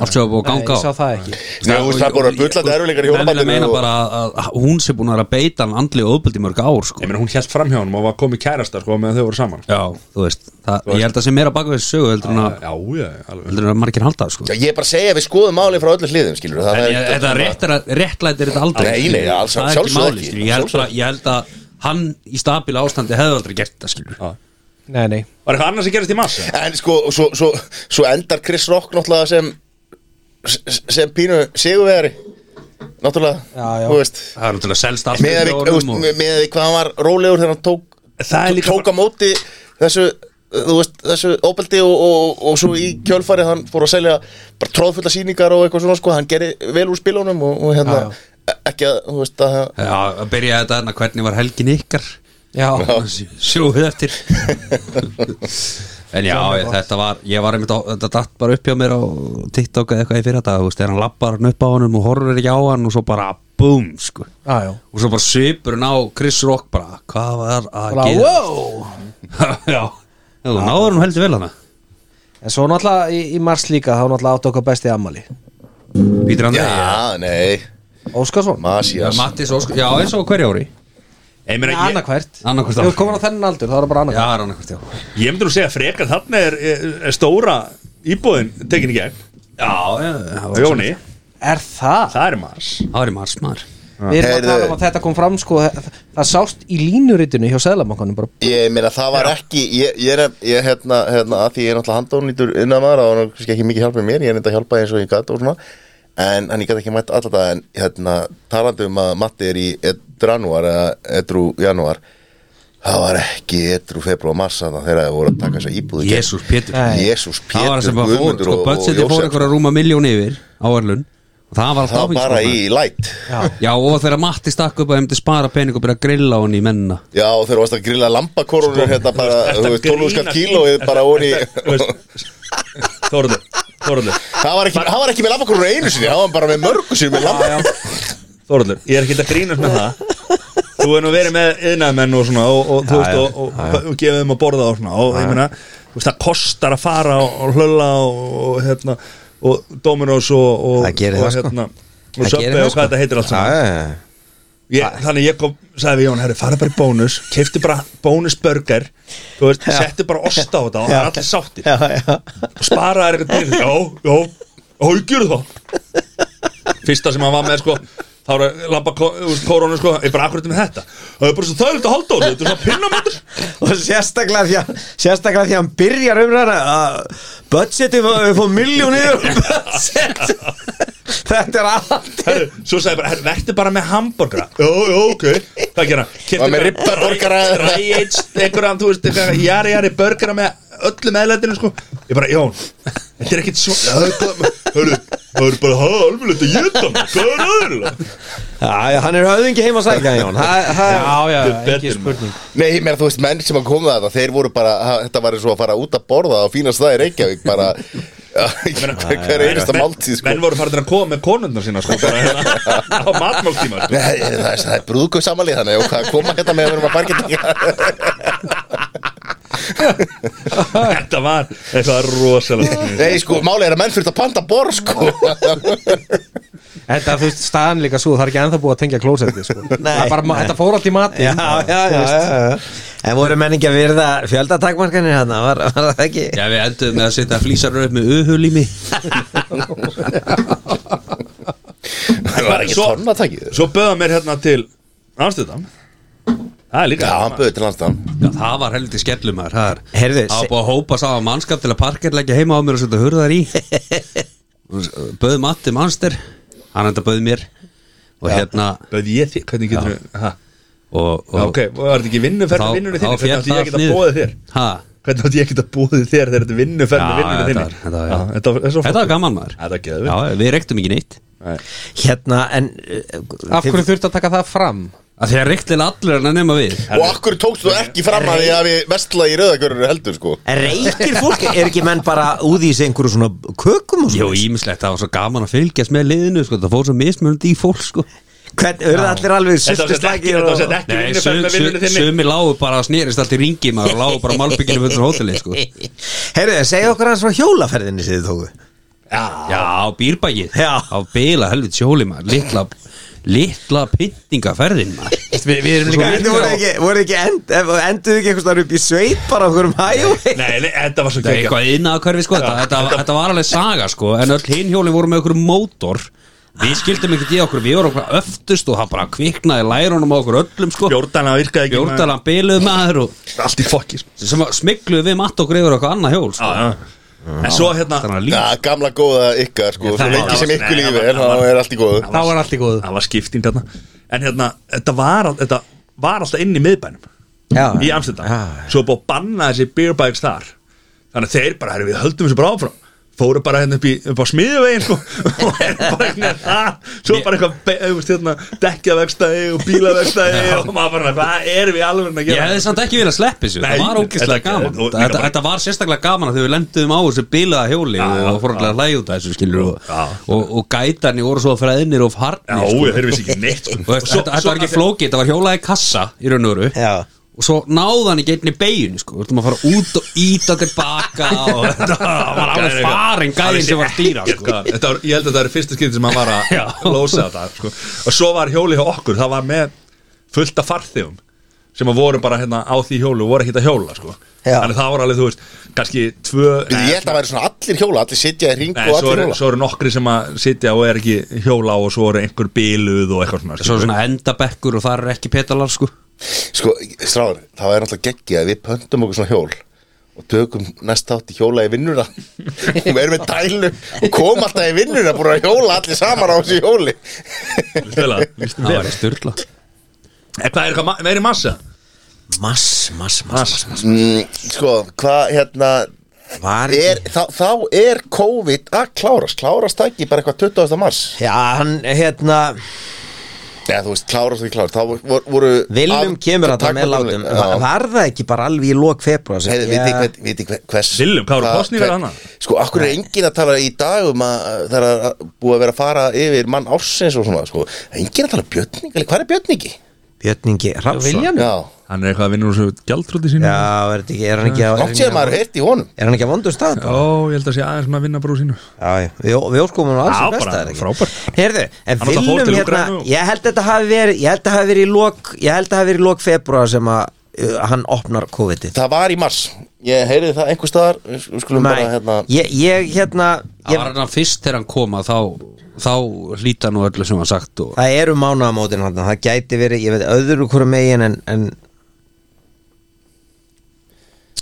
[SPEAKER 3] allt sem var búið að
[SPEAKER 4] nei,
[SPEAKER 3] ganga
[SPEAKER 4] ég
[SPEAKER 3] á
[SPEAKER 4] sá það ekki
[SPEAKER 2] Nei, þú veist, það er bara bullandi erfileikar í hjónabandinu
[SPEAKER 3] Menn meina
[SPEAKER 2] og-
[SPEAKER 3] bara að, að hún sé búin að vera að beita hann andli og í mörg ár
[SPEAKER 1] Ég
[SPEAKER 3] sko.
[SPEAKER 1] meina hún held framhjá hann og var komið kærasta sko meðan þau voru saman
[SPEAKER 3] Já, þú veist, það, ég held að sé meira baka við þessu sögu heldur en að,
[SPEAKER 1] Já, já, alveg
[SPEAKER 3] heldur en að margir halda sko.
[SPEAKER 2] Já, ég er bara að segja, við skoðum málið frá öllu hliðum, skilur
[SPEAKER 3] En ég- þetta rétt er að- réttlætir þetta aldrei
[SPEAKER 2] Nei, nei,
[SPEAKER 3] skilur.
[SPEAKER 2] alls-
[SPEAKER 3] Það er ekki
[SPEAKER 2] sjálfsögðu
[SPEAKER 3] máli,
[SPEAKER 2] ekki.
[SPEAKER 3] skilur. Ég held að- Ég held að hann í stabíla ástandi hefði aldrei gert þetta skilur
[SPEAKER 4] nei, nei,
[SPEAKER 1] Var eitthvað annars sem gerist í massa?
[SPEAKER 2] En sko, svo, svo, svo endar Chris Rock náttúrulega sem sem pínu sigurvegari náttúrulega,
[SPEAKER 4] Já, já.
[SPEAKER 2] þú veist
[SPEAKER 3] Það er náttúrulega selst allt
[SPEAKER 2] með
[SPEAKER 3] með honum og-
[SPEAKER 2] því hvað hann var rólegur þegar hann tók,
[SPEAKER 1] Það er líka
[SPEAKER 2] tók á móti þessu, þú veist, þessu óbeldi og, og, og svo í kjölfari hann fór að selja bara tróðfulla sýningar og eitthvað svona sko, hann gerði vel úr spilunum og, og hérna, ekki að, þú veist að
[SPEAKER 3] Já, að byrja þetta hérna, hvernig var helgin ykkar
[SPEAKER 4] já,
[SPEAKER 3] Sjóðu eftir En já, ég, þetta var Ég var einmitt á, þetta datt bara upp hjá mér á TikTok eða eitthvað í fyrir þetta, þú veist, þegar hann lappar hann upp á honum og horfir ekki á hann og svo bara búm, sko,
[SPEAKER 4] já, já
[SPEAKER 3] og svo bara svipurinn á Chris Rock bara, hvað var að
[SPEAKER 4] Bara,
[SPEAKER 3] gera
[SPEAKER 4] wow!
[SPEAKER 3] Já, Já, þú náður hann heldur vel hana
[SPEAKER 4] En svo náttúrulega í, í mars líka þá náttúrulega átt okkar besti ammali
[SPEAKER 3] Pítur Andrei
[SPEAKER 2] já, nei,
[SPEAKER 4] Óskarsson
[SPEAKER 2] Masías
[SPEAKER 3] Mattis Óskar, já, eins og hverja ári
[SPEAKER 1] Ég meina, ég-
[SPEAKER 4] Annarkvært
[SPEAKER 3] Annaðhvert
[SPEAKER 4] Þú
[SPEAKER 3] ár.
[SPEAKER 4] ert komin á þennan aldur, þá er það bara
[SPEAKER 3] Já,
[SPEAKER 4] annarkvært
[SPEAKER 3] hann ekkert, já
[SPEAKER 1] Ég myndi nú segja frekar þarna er, er, er stóra íbúðin tekin í gegn
[SPEAKER 3] Já, já, það var-
[SPEAKER 1] Jóni,
[SPEAKER 4] Er það?
[SPEAKER 1] það er maður
[SPEAKER 3] það var í mars maður
[SPEAKER 4] Við erum að
[SPEAKER 2] Heyrðu.
[SPEAKER 4] tala um að þetta kom fram sko Það, það sást í línuritinu hjá Sæðlamankanum bara
[SPEAKER 2] Ég meina það var ekki Ég, ég er ég, hérna, hérna að því ég er náttúrulega handónýtur innan maður og hann kannski ekki mikið hjálpað mér, ég er enda að hjálpa eins og ég gat og svona en hann ég gat ekki mætt alltaf en hérna talandi um að Matti er í edranúar eða edru janúar það var ekki edru februar mars þarna þegar það voru að taka þess að íbúðu
[SPEAKER 3] Jésús Pétur
[SPEAKER 4] Nei.
[SPEAKER 2] Jésús
[SPEAKER 3] það var það
[SPEAKER 2] Pétur
[SPEAKER 3] sem bara fór,
[SPEAKER 2] Guðmundur
[SPEAKER 3] sko,
[SPEAKER 2] og-
[SPEAKER 3] budgeti
[SPEAKER 2] og
[SPEAKER 3] fór
[SPEAKER 2] Jósef.
[SPEAKER 3] einhverja rúma miljón yfir á Erlun og það var
[SPEAKER 2] það
[SPEAKER 3] alltaf
[SPEAKER 2] var bara í
[SPEAKER 3] sko,
[SPEAKER 2] light
[SPEAKER 4] Já,
[SPEAKER 3] já og þegar Matti stakk upp að hefndi spara pening og byrja að grilla hann í menna
[SPEAKER 2] Já og þegar þú varst að grilla
[SPEAKER 3] Sko,
[SPEAKER 2] lambakorunur hérna bara, þú veist, 12 skall kílóið bara ón í
[SPEAKER 1] Þorður, Þorður
[SPEAKER 2] það var ekki, hann var ekki með lambakorunur einu sinni, það var bara með mörgu sinni með lambakorunur
[SPEAKER 1] Þorður, ég er ekki að grínast með það Þú er nú verið með yðnaðmenn og svona og, og þú veist og, og, og, og gefið þeim að borða og svona og ég meina, þú veist það kostar að fara og, og hlölla og, og hérna og Dominos og, og,
[SPEAKER 5] Það gerir
[SPEAKER 1] og,
[SPEAKER 5] það, sko.
[SPEAKER 1] hérna, og
[SPEAKER 5] Það gerir
[SPEAKER 1] Söpbi
[SPEAKER 5] það,
[SPEAKER 1] og
[SPEAKER 5] sko.
[SPEAKER 1] hvað þetta heitir allt saman
[SPEAKER 5] Já,
[SPEAKER 1] ég, þannig ég kom, sagði við Jón, herri, fara bara í bónus keifti bara bónusburger þú veist, settu bara osta á þetta og það er allir sáttir
[SPEAKER 5] já, já, já.
[SPEAKER 1] og sparaði eitthvað til já, já, haugjur það fyrsta sem hann var með sko þá var að labba ko- þú veist, koronu sko ég bara akkurat með þetta það er bara svo þægilegt að halda á þessu, þetta er svona pinnamöndur
[SPEAKER 5] og sérstaklega því að sérstaklega því að hann byrjar umræðan að budgeti fór miljón yfir og budget Þetta er allt
[SPEAKER 1] Herru, svo sagði ég bara, herru, verður bara með hamburgera Jó, jó, ok Það gera
[SPEAKER 2] Og með ribbarborgara.
[SPEAKER 1] Ræits, einhverjum, þú veist, eitthvað Jari, jari, burgera með öllum meðlætinu, sko Ég bara, Jón, þetta er ekkit svo Það er bara, herru, það er bara Halvulegt að geta mig, hvað er aðeins
[SPEAKER 5] Já, já, hann er höfðingi heima að sækja Jón Það- það-
[SPEAKER 4] Já, já,
[SPEAKER 1] Þetta er
[SPEAKER 4] ekki
[SPEAKER 1] betur,
[SPEAKER 4] spurning
[SPEAKER 2] Nei, mér þú veist, menn sem að koma það Þeir voru bara, ha, þetta var eins og að fara út að borða á fína staði Reykjavík bara Hver einasta máltíð sko.
[SPEAKER 1] Menn voru farin að koma með konundar sína, sko bara, hérna, Á matmáltíma, sko.
[SPEAKER 2] Nei, það er, það er brúðkau samanlið þannig og hvað koma hérna með að vera maður bargett
[SPEAKER 1] sko Þetta var eitthvað rosalega
[SPEAKER 2] Nei, sko, málið er að menn fyrir að panta borð sko
[SPEAKER 4] Þetta, þú veist, staðan líka svo, það er ekki ennþá búið að tengja klósetti sko.
[SPEAKER 5] Nei.
[SPEAKER 4] Það er bara, Þetta fór allt í mati
[SPEAKER 5] Já, já, já, já, já. En voru menn ekki að virða fjöldatakmarkanir hann var, var það ekki
[SPEAKER 3] Já, við enduðum með að setja flýsarur upp með öhulími
[SPEAKER 2] Það var ekki
[SPEAKER 1] Svo-
[SPEAKER 2] tonn að takið
[SPEAKER 1] Svo böða mér hérna til Amsterdam Það er líka
[SPEAKER 2] Já, hann bauði til landstæðan
[SPEAKER 3] Já, það var heldur skellumar Það er-
[SPEAKER 5] Heyrðu,
[SPEAKER 3] það
[SPEAKER 5] se-
[SPEAKER 3] var búið að hópa sá að mannskap til að parkerleggja heima á mér og setja hurðar í Böðu Matti Manster Hann enda böðu mér Og hérna
[SPEAKER 1] Böði ég þig, hvernig getur við
[SPEAKER 3] og, og,
[SPEAKER 1] Já, ok, og var þetta ekki vinnuferð með vinnunni þinni, hvernig átti ég ekki að bóða þér
[SPEAKER 3] Ha,
[SPEAKER 1] hvernig átti ég ekki að bóða þér þegar þetta er vinnuferð með
[SPEAKER 3] Já,
[SPEAKER 1] vinnunni
[SPEAKER 3] þetta
[SPEAKER 1] þinni
[SPEAKER 3] var- þetta var-
[SPEAKER 1] Já, þetta var- er svo
[SPEAKER 3] Þetta var gaman maður
[SPEAKER 1] Þetta er geðveikt.
[SPEAKER 3] Já, við reyktum ekki neitt
[SPEAKER 5] Hérna, en uh,
[SPEAKER 4] Af hverju þurfti að taka það fram?
[SPEAKER 3] að Því að reyktilega allir en að nema við
[SPEAKER 2] Og akkur tókst þú ekki fram að því að við vestlaði í rauðakörur heldur sko
[SPEAKER 5] En reykir fólk, er ekki menn bara úði í sig einhverju svona kökum og
[SPEAKER 3] Jó,
[SPEAKER 5] svona
[SPEAKER 3] ímislegt, það var svo gaman að fylgjast með liðinu sko, Það fór svo mismunandi í fólk sko.
[SPEAKER 5] Hvern, eru allir alveg
[SPEAKER 1] Þetta var sett ekki,
[SPEAKER 5] sultuslakir
[SPEAKER 1] þetta var
[SPEAKER 5] og...
[SPEAKER 1] sett ekki
[SPEAKER 3] Nei,
[SPEAKER 1] vinnuferð með vinnunni þinni
[SPEAKER 3] sumi lágu bara að snerist allt í ringi maður og lágu bara malbygginu fyrir hóteli sko.
[SPEAKER 5] Heyrðu, segja okkur hans frá hjólaferðinni sem þið tóku
[SPEAKER 3] Já, á býrbækið
[SPEAKER 5] Já.
[SPEAKER 3] Á bila helvit sjóli maður Litla, litla pyntingaferðin maður
[SPEAKER 4] Vi, við erum líka
[SPEAKER 5] Þetta voru ekki, voru ekki end, eh, enduðu ekki einhvers þar upp í sveit bara okkur um hægjum
[SPEAKER 1] Nei, nei, þetta var svo
[SPEAKER 3] Það er
[SPEAKER 1] kekja
[SPEAKER 3] eitthvað innað hverfi sko þetta, þetta, þetta var alveg saga sko En öll hinn hjóli voru með okkur mótor Við skildum ekki því okkur Við vorum okkur öftust og það bara kviknaði lærunum á okkur öllum sko
[SPEAKER 1] Bjórdana virkaði ekki maður.
[SPEAKER 3] Bjórdalan biluð maður og
[SPEAKER 1] Allt í fokki sko.
[SPEAKER 3] sem að smikluðu við matt okkur yfir okkur annað hjól
[SPEAKER 1] Já,
[SPEAKER 3] sko.
[SPEAKER 1] já. En svo hérna
[SPEAKER 3] Þannig
[SPEAKER 2] Já,
[SPEAKER 3] að líf
[SPEAKER 2] gamla góða ykkar sko Svo
[SPEAKER 3] það
[SPEAKER 2] lengi
[SPEAKER 1] var-
[SPEAKER 2] sem ykkur
[SPEAKER 1] nei,
[SPEAKER 2] lífi
[SPEAKER 1] það
[SPEAKER 2] en
[SPEAKER 1] var-
[SPEAKER 2] þá er allt í góðu
[SPEAKER 4] Þá var allt í góðu
[SPEAKER 1] Það var skipting þarna En hérna, þetta var, al- þetta var alltaf inn í miðbænum
[SPEAKER 5] Já,
[SPEAKER 1] Í Amsterdam Svo búið að banna þessi beer bikes þar Þannig að þeir bara, herri, við höldum þessu bara áfram Fóru bara hérna upp, í, upp á smiðuvegin sko, og er bara einhvern veginn að svo bara eitthvað, be- þú veist, hérna, dekkjavegstæði og bílavegstæði og maður bara, hvað erum við alveg að
[SPEAKER 3] Ég
[SPEAKER 1] gera?
[SPEAKER 3] hefði samt ekki viljað sleppa þessu
[SPEAKER 1] Nei,
[SPEAKER 3] Það var ógeðslega
[SPEAKER 1] þetta-
[SPEAKER 3] gaman
[SPEAKER 1] og-
[SPEAKER 3] þetta, þetta var sérstaklega gaman að þegar við lendum á þessu bilaða hjóli
[SPEAKER 1] Já, já,
[SPEAKER 3] og fór allir að hlæja út af þessu skilur og,
[SPEAKER 1] Já.
[SPEAKER 3] og, og gætarni voru svo fræðinir og
[SPEAKER 1] Já,
[SPEAKER 3] farnir
[SPEAKER 1] sko. þeir vissi ekki neitt sko.
[SPEAKER 3] Og veist,
[SPEAKER 1] Svo-
[SPEAKER 3] þetta, þetta
[SPEAKER 1] svo-
[SPEAKER 3] var ekki flókið, þetta var hjólaði kassa í raun og veru
[SPEAKER 5] Já.
[SPEAKER 3] og svo náðan ekki einni beigin sko, við ætlum að fara út og íta tilbaka og þetta það var alveg
[SPEAKER 1] Gæðin eitthvað.
[SPEAKER 3] farin gæðin sem var að stýra
[SPEAKER 1] Ég-
[SPEAKER 3] sko.
[SPEAKER 1] sko, þetta var, ég held að það er fyrsta skipti sem hann var
[SPEAKER 3] Já.
[SPEAKER 1] að lósa þetta sko. og svo var hjóli hjá okkur, það var með fullt af farþegum sem að voru bara hérna á því hjólu og voru ekki að hjóla sko.
[SPEAKER 5] Já.
[SPEAKER 1] þannig að það var alveg, þú veist, kannski tvö,
[SPEAKER 2] Ég held að það væri svona allir hjóla, allir sitja í ring
[SPEAKER 1] nei,
[SPEAKER 2] og
[SPEAKER 1] svo,
[SPEAKER 2] allir
[SPEAKER 1] eru,
[SPEAKER 2] hjóla
[SPEAKER 1] svo eru nokkri sem að sitja og er ekki hjóla og svo eru einhver biluð og eitthvað svona, sko.
[SPEAKER 3] svo er svona endabekkur og það er ekki petalar sko.
[SPEAKER 2] Sko, stráður, það er náttúrulega geggið að við pöntum okkur svona hjól og tökum næst átt í hjóla í vinnuna og við erum með dælu og kom alltaf í vinnuna búin að hjóla allir saman á þessu hjóli
[SPEAKER 1] Stela, lístum
[SPEAKER 3] það
[SPEAKER 1] þér
[SPEAKER 3] var í styrla
[SPEAKER 1] En hvað er eitthvað ma- meiri massa?
[SPEAKER 5] mass, mass, mass, mass
[SPEAKER 2] mm, Sko, hvað hérna
[SPEAKER 5] Var ekki
[SPEAKER 2] er, þá, þá er COVID að klárast klárast það ekki bara eitthvað 20. mars
[SPEAKER 5] Já, hann, hérna,
[SPEAKER 2] eða þú veist, klárast ekki klárast þá voru, voru
[SPEAKER 5] Viljum
[SPEAKER 2] af-
[SPEAKER 5] kemur að það með
[SPEAKER 2] takmörkunum-
[SPEAKER 5] látum
[SPEAKER 2] Já.
[SPEAKER 5] Var það ekki bara alveg í lok februar
[SPEAKER 2] Heiði, viti hvern, viti hvern, hvers
[SPEAKER 1] Willum, hvað voru
[SPEAKER 2] hva-
[SPEAKER 1] kosningar
[SPEAKER 2] hver-
[SPEAKER 1] annað?
[SPEAKER 2] Sko, akkur er enginn að tala í dag um að að það er að- búið að vera að fara yfir mann ársins og svona, sko Það er Enginn að tala um björningi, hvað er björningi?
[SPEAKER 5] Björningi Rafsson
[SPEAKER 4] Viljan?
[SPEAKER 2] Já,
[SPEAKER 1] Hann er eitthvað að vinna úr svo gjaldrúti sínu
[SPEAKER 5] Já, er, þetta ekki, er hann ekki á- er
[SPEAKER 2] langt séð
[SPEAKER 5] hann
[SPEAKER 2] maður
[SPEAKER 5] ekki á-
[SPEAKER 2] heirt í honum
[SPEAKER 5] Er hann ekki á vondum stað?
[SPEAKER 1] Ó, ég held að sé aðeins með að vinna brú sínu
[SPEAKER 5] Já, já, við, við óskum hún alls
[SPEAKER 1] Já,
[SPEAKER 5] sem besta
[SPEAKER 1] bara
[SPEAKER 5] er ekki?
[SPEAKER 1] frábært.
[SPEAKER 5] Heyrðu, en
[SPEAKER 1] Hann náttúrulega fór
[SPEAKER 5] viljum
[SPEAKER 1] til
[SPEAKER 5] hérna
[SPEAKER 1] Úkraínu og-
[SPEAKER 5] Ég held að þetta hafi verið Ég held að hafi verið í lok Ég held að hafi verið í lok februar sem að uh, hann opnar COVID-ið
[SPEAKER 2] Það var í mars, ég heyrði það einhver staðar Við við skulum bara, hérna
[SPEAKER 5] ég, ég hérna
[SPEAKER 3] það
[SPEAKER 5] ég,
[SPEAKER 3] var hann fyrst þegar hann kom að þá, þá hlýta nú öllu sem hann sagt og
[SPEAKER 5] Það eru mánaðamótin hann Það gæti verið, ég veit öðru hverju megin en, en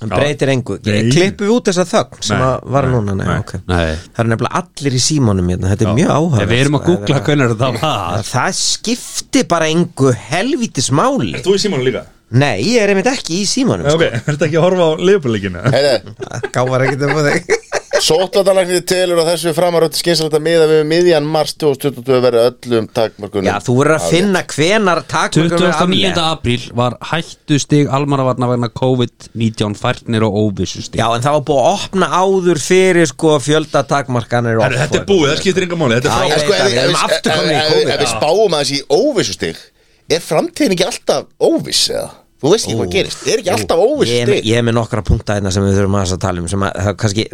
[SPEAKER 5] Hann
[SPEAKER 1] Já.
[SPEAKER 5] breytir engu
[SPEAKER 1] Nei.
[SPEAKER 5] Klippum við út þessa þögn sem
[SPEAKER 1] Nei.
[SPEAKER 5] að var
[SPEAKER 1] Nei.
[SPEAKER 5] núna Nei,
[SPEAKER 1] Nei.
[SPEAKER 5] ok.
[SPEAKER 3] Nei.
[SPEAKER 5] Það eru nefnilega allir í símanum hérna Þetta er sko,
[SPEAKER 1] Já.
[SPEAKER 5] mjög áhuga
[SPEAKER 3] Við erum að googla hvernig það var
[SPEAKER 5] Það skipti bara engu helvítis máli
[SPEAKER 1] Ert þú í símanum líka?
[SPEAKER 5] Nei, ég er einmitt ekki í símanum
[SPEAKER 1] Ok, ertu ekki að horfa á leifbúrleikinu?
[SPEAKER 2] Heiði,
[SPEAKER 5] sko. Gávar ekkert um þig
[SPEAKER 2] sótlatanaknir telur að þessu framaröldi skynsalegt að miða við miðjan mars 2022 verið öllum takmörkunum
[SPEAKER 5] Já, þú verður að finna hvenar takmörkunum eru
[SPEAKER 3] 29.
[SPEAKER 5] aflétt.
[SPEAKER 3] apríl var hættustig almaravarna vegna COVID-19 færnir og óvissustig
[SPEAKER 5] Já, en það var búið að opna áður fyrir sko fjöldatakmarkanir
[SPEAKER 1] Herru, þetta er búið, það skiptir enga máli Þetta
[SPEAKER 5] Já,
[SPEAKER 1] er
[SPEAKER 5] ég
[SPEAKER 1] frá
[SPEAKER 5] veit.
[SPEAKER 2] sko, ef, við-
[SPEAKER 5] það, við
[SPEAKER 2] ef,
[SPEAKER 5] erum
[SPEAKER 2] við-
[SPEAKER 5] aftur
[SPEAKER 2] ef,
[SPEAKER 5] komin í
[SPEAKER 2] ef,
[SPEAKER 5] COVID,
[SPEAKER 2] ef, ef við spáum aðeins í óvissustig er framtíðin ekki alltaf óviss eða? Þú veist ekki hvað gerist, er ekki alltaf
[SPEAKER 5] ég, er með-
[SPEAKER 2] óvissustig
[SPEAKER 5] ég er með nokkra punkta hérna sem við þurfum aðeins að tala um sem að, það, kannski,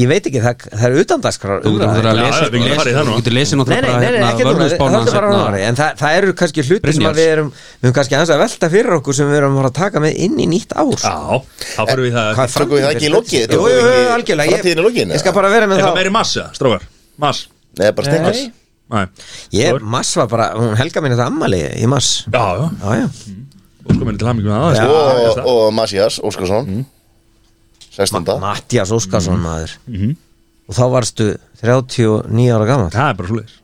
[SPEAKER 5] ég veit ekki, það, það er utandaskrar
[SPEAKER 3] Þú getur náttúrulega
[SPEAKER 1] Já,
[SPEAKER 3] að
[SPEAKER 1] já, við getum
[SPEAKER 3] lesa-
[SPEAKER 1] farið í það
[SPEAKER 3] þú
[SPEAKER 1] nú.
[SPEAKER 3] getur lesið
[SPEAKER 5] Nei, nei,
[SPEAKER 3] náttúrulega bara hérna
[SPEAKER 5] nei, nei, ekki núna,
[SPEAKER 3] vörðurspána
[SPEAKER 5] þetta er bara núna En það, það eru kannski hluti sem að
[SPEAKER 3] Brynjars.
[SPEAKER 5] við erum Við erum kannski aðeins að velta fyrir okkur sem við erum að fara að taka með inn í nýtt ár
[SPEAKER 1] Já, þá fyrir við í það
[SPEAKER 5] Hvað
[SPEAKER 2] Tökum við það ekki í lokið?
[SPEAKER 5] Jú, jú, jú, algjörlega Ég-
[SPEAKER 2] Framtíðin í lokin,
[SPEAKER 5] Ég skal
[SPEAKER 2] eða?
[SPEAKER 5] bara vera með
[SPEAKER 1] Eitthvað
[SPEAKER 5] það
[SPEAKER 1] meiri massa, strókar Mass
[SPEAKER 2] Nei, bara stengars
[SPEAKER 5] Nei.
[SPEAKER 1] Nei.
[SPEAKER 5] Ég, mass var bara, hún helga minni þetta ammali í mass
[SPEAKER 1] Já, já,
[SPEAKER 5] Já, já
[SPEAKER 1] óskum minni til hamingum með það
[SPEAKER 2] og,
[SPEAKER 1] sko.
[SPEAKER 2] og Masías Óskarsson
[SPEAKER 5] Mm.
[SPEAKER 2] 16.
[SPEAKER 5] Mattias
[SPEAKER 2] Mhm.
[SPEAKER 5] Óskarsson maður Og þá varstu 39 ára gammal
[SPEAKER 1] Það er bara svoleiðis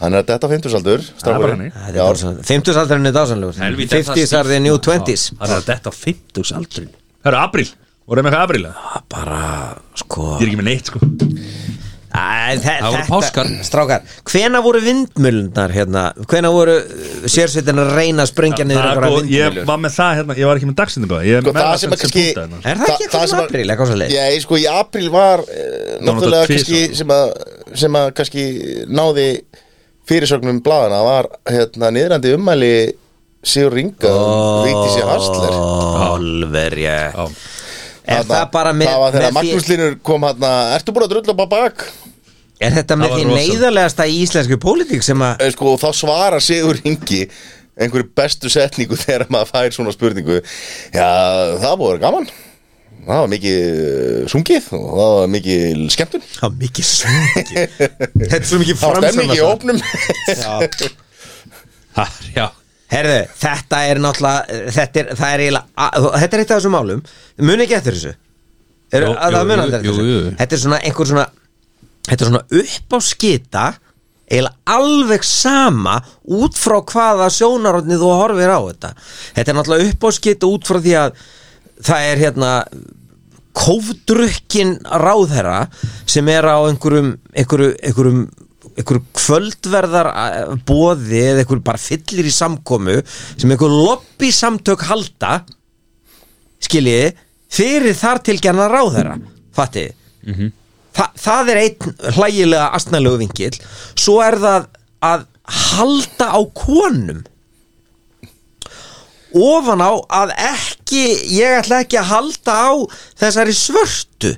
[SPEAKER 2] hann er að detta á 50 saldur
[SPEAKER 1] Það er bara hannig
[SPEAKER 2] Já. sko,
[SPEAKER 5] 50-saldurinn er dásanlegur 50s are the new 20s
[SPEAKER 3] Það er þetta 50s aldrin
[SPEAKER 1] Það eru apríl, voruð með eitthvað apríl eða?
[SPEAKER 5] Það Bara, sko
[SPEAKER 1] Ég er ekki með neitt sko
[SPEAKER 5] Æ, þe-
[SPEAKER 3] Það voru
[SPEAKER 5] þetta-
[SPEAKER 3] páskar.
[SPEAKER 5] Strákar, hvena voru vindmjölunar hérna? Hvena voru uh, sérsveitin að reyna að springja niður
[SPEAKER 1] Það er
[SPEAKER 5] einhverja
[SPEAKER 1] góð- Ég
[SPEAKER 5] vindmjölur?
[SPEAKER 1] var með það hérna, ég var ekki með dagsindum Ég er
[SPEAKER 2] Sko,
[SPEAKER 1] með
[SPEAKER 2] það
[SPEAKER 1] það
[SPEAKER 2] sem er
[SPEAKER 1] sem
[SPEAKER 2] kannski-
[SPEAKER 1] punkta hérna.
[SPEAKER 5] Er
[SPEAKER 2] Þa- það
[SPEAKER 5] það ekki eitthvað
[SPEAKER 2] sem
[SPEAKER 5] sem
[SPEAKER 2] að-
[SPEAKER 5] apríl, eitthvað svo leið?
[SPEAKER 2] Já, ég, sko, í apríl var uh, náttúrulega
[SPEAKER 1] tvisvar.
[SPEAKER 2] kannski sem að, sem að kannski náði fyrirsögnum bladana var hérna niðrandi ummæli Sigur Ringa oh, Vigdísi Harsler
[SPEAKER 5] Alverja
[SPEAKER 1] Já.
[SPEAKER 5] Er það
[SPEAKER 2] Þarna-
[SPEAKER 5] bara með,
[SPEAKER 2] það var þegar
[SPEAKER 5] með því,
[SPEAKER 2] Magnús Línur kom hérna Ertu búin að drulla upp á bak?
[SPEAKER 5] Er þetta
[SPEAKER 1] Það
[SPEAKER 5] með
[SPEAKER 1] var
[SPEAKER 5] því
[SPEAKER 1] rosa.
[SPEAKER 5] neyðarlegasta í íslensku pólitík sem að
[SPEAKER 2] Eh, Sko, og þá svarar Sigur Ringi einhverju bestu setningu þegar maður fær svona spurningu Já, það búið að vera gaman Það var mikið eh, sungið og það var mikið skemmtun
[SPEAKER 5] Já, mikið slengi Þetta er svo mikið
[SPEAKER 2] Það var
[SPEAKER 5] framsögn
[SPEAKER 2] stemning í ópnum
[SPEAKER 3] Já
[SPEAKER 5] Herðu, þetta er náttúrulega eh, þetta er, það er eiginlega að- þetta er eitt af þessum málum muni ekki eftir þessu er,
[SPEAKER 3] Jú,
[SPEAKER 5] að,
[SPEAKER 3] jú,
[SPEAKER 5] það muni
[SPEAKER 3] jú,
[SPEAKER 5] allir eftir
[SPEAKER 3] jú,
[SPEAKER 5] þessu
[SPEAKER 3] jú.
[SPEAKER 5] þetta er svona einhver svona þetta er svona upp á skita eiginlega alveg sama út frá hvaða sjónarotni þú horfir á þetta þetta er náttúrulega upp á skita út frá því að það er hérna kófdrukkin ráðherra sem er á einhverjum einhverju, einhverjum einhverju kvöldverðar bóði eða einhverju bara fyllir í samkomu sem einhverju lobby samtök halda skiljiði fyrir þar til gerna ráðherra fattiði Þa, það er einn hlægilega astnalegu vingill svo er það að halda á konum ofan á að ekki ég ætla ekki að halda á þessari svörtu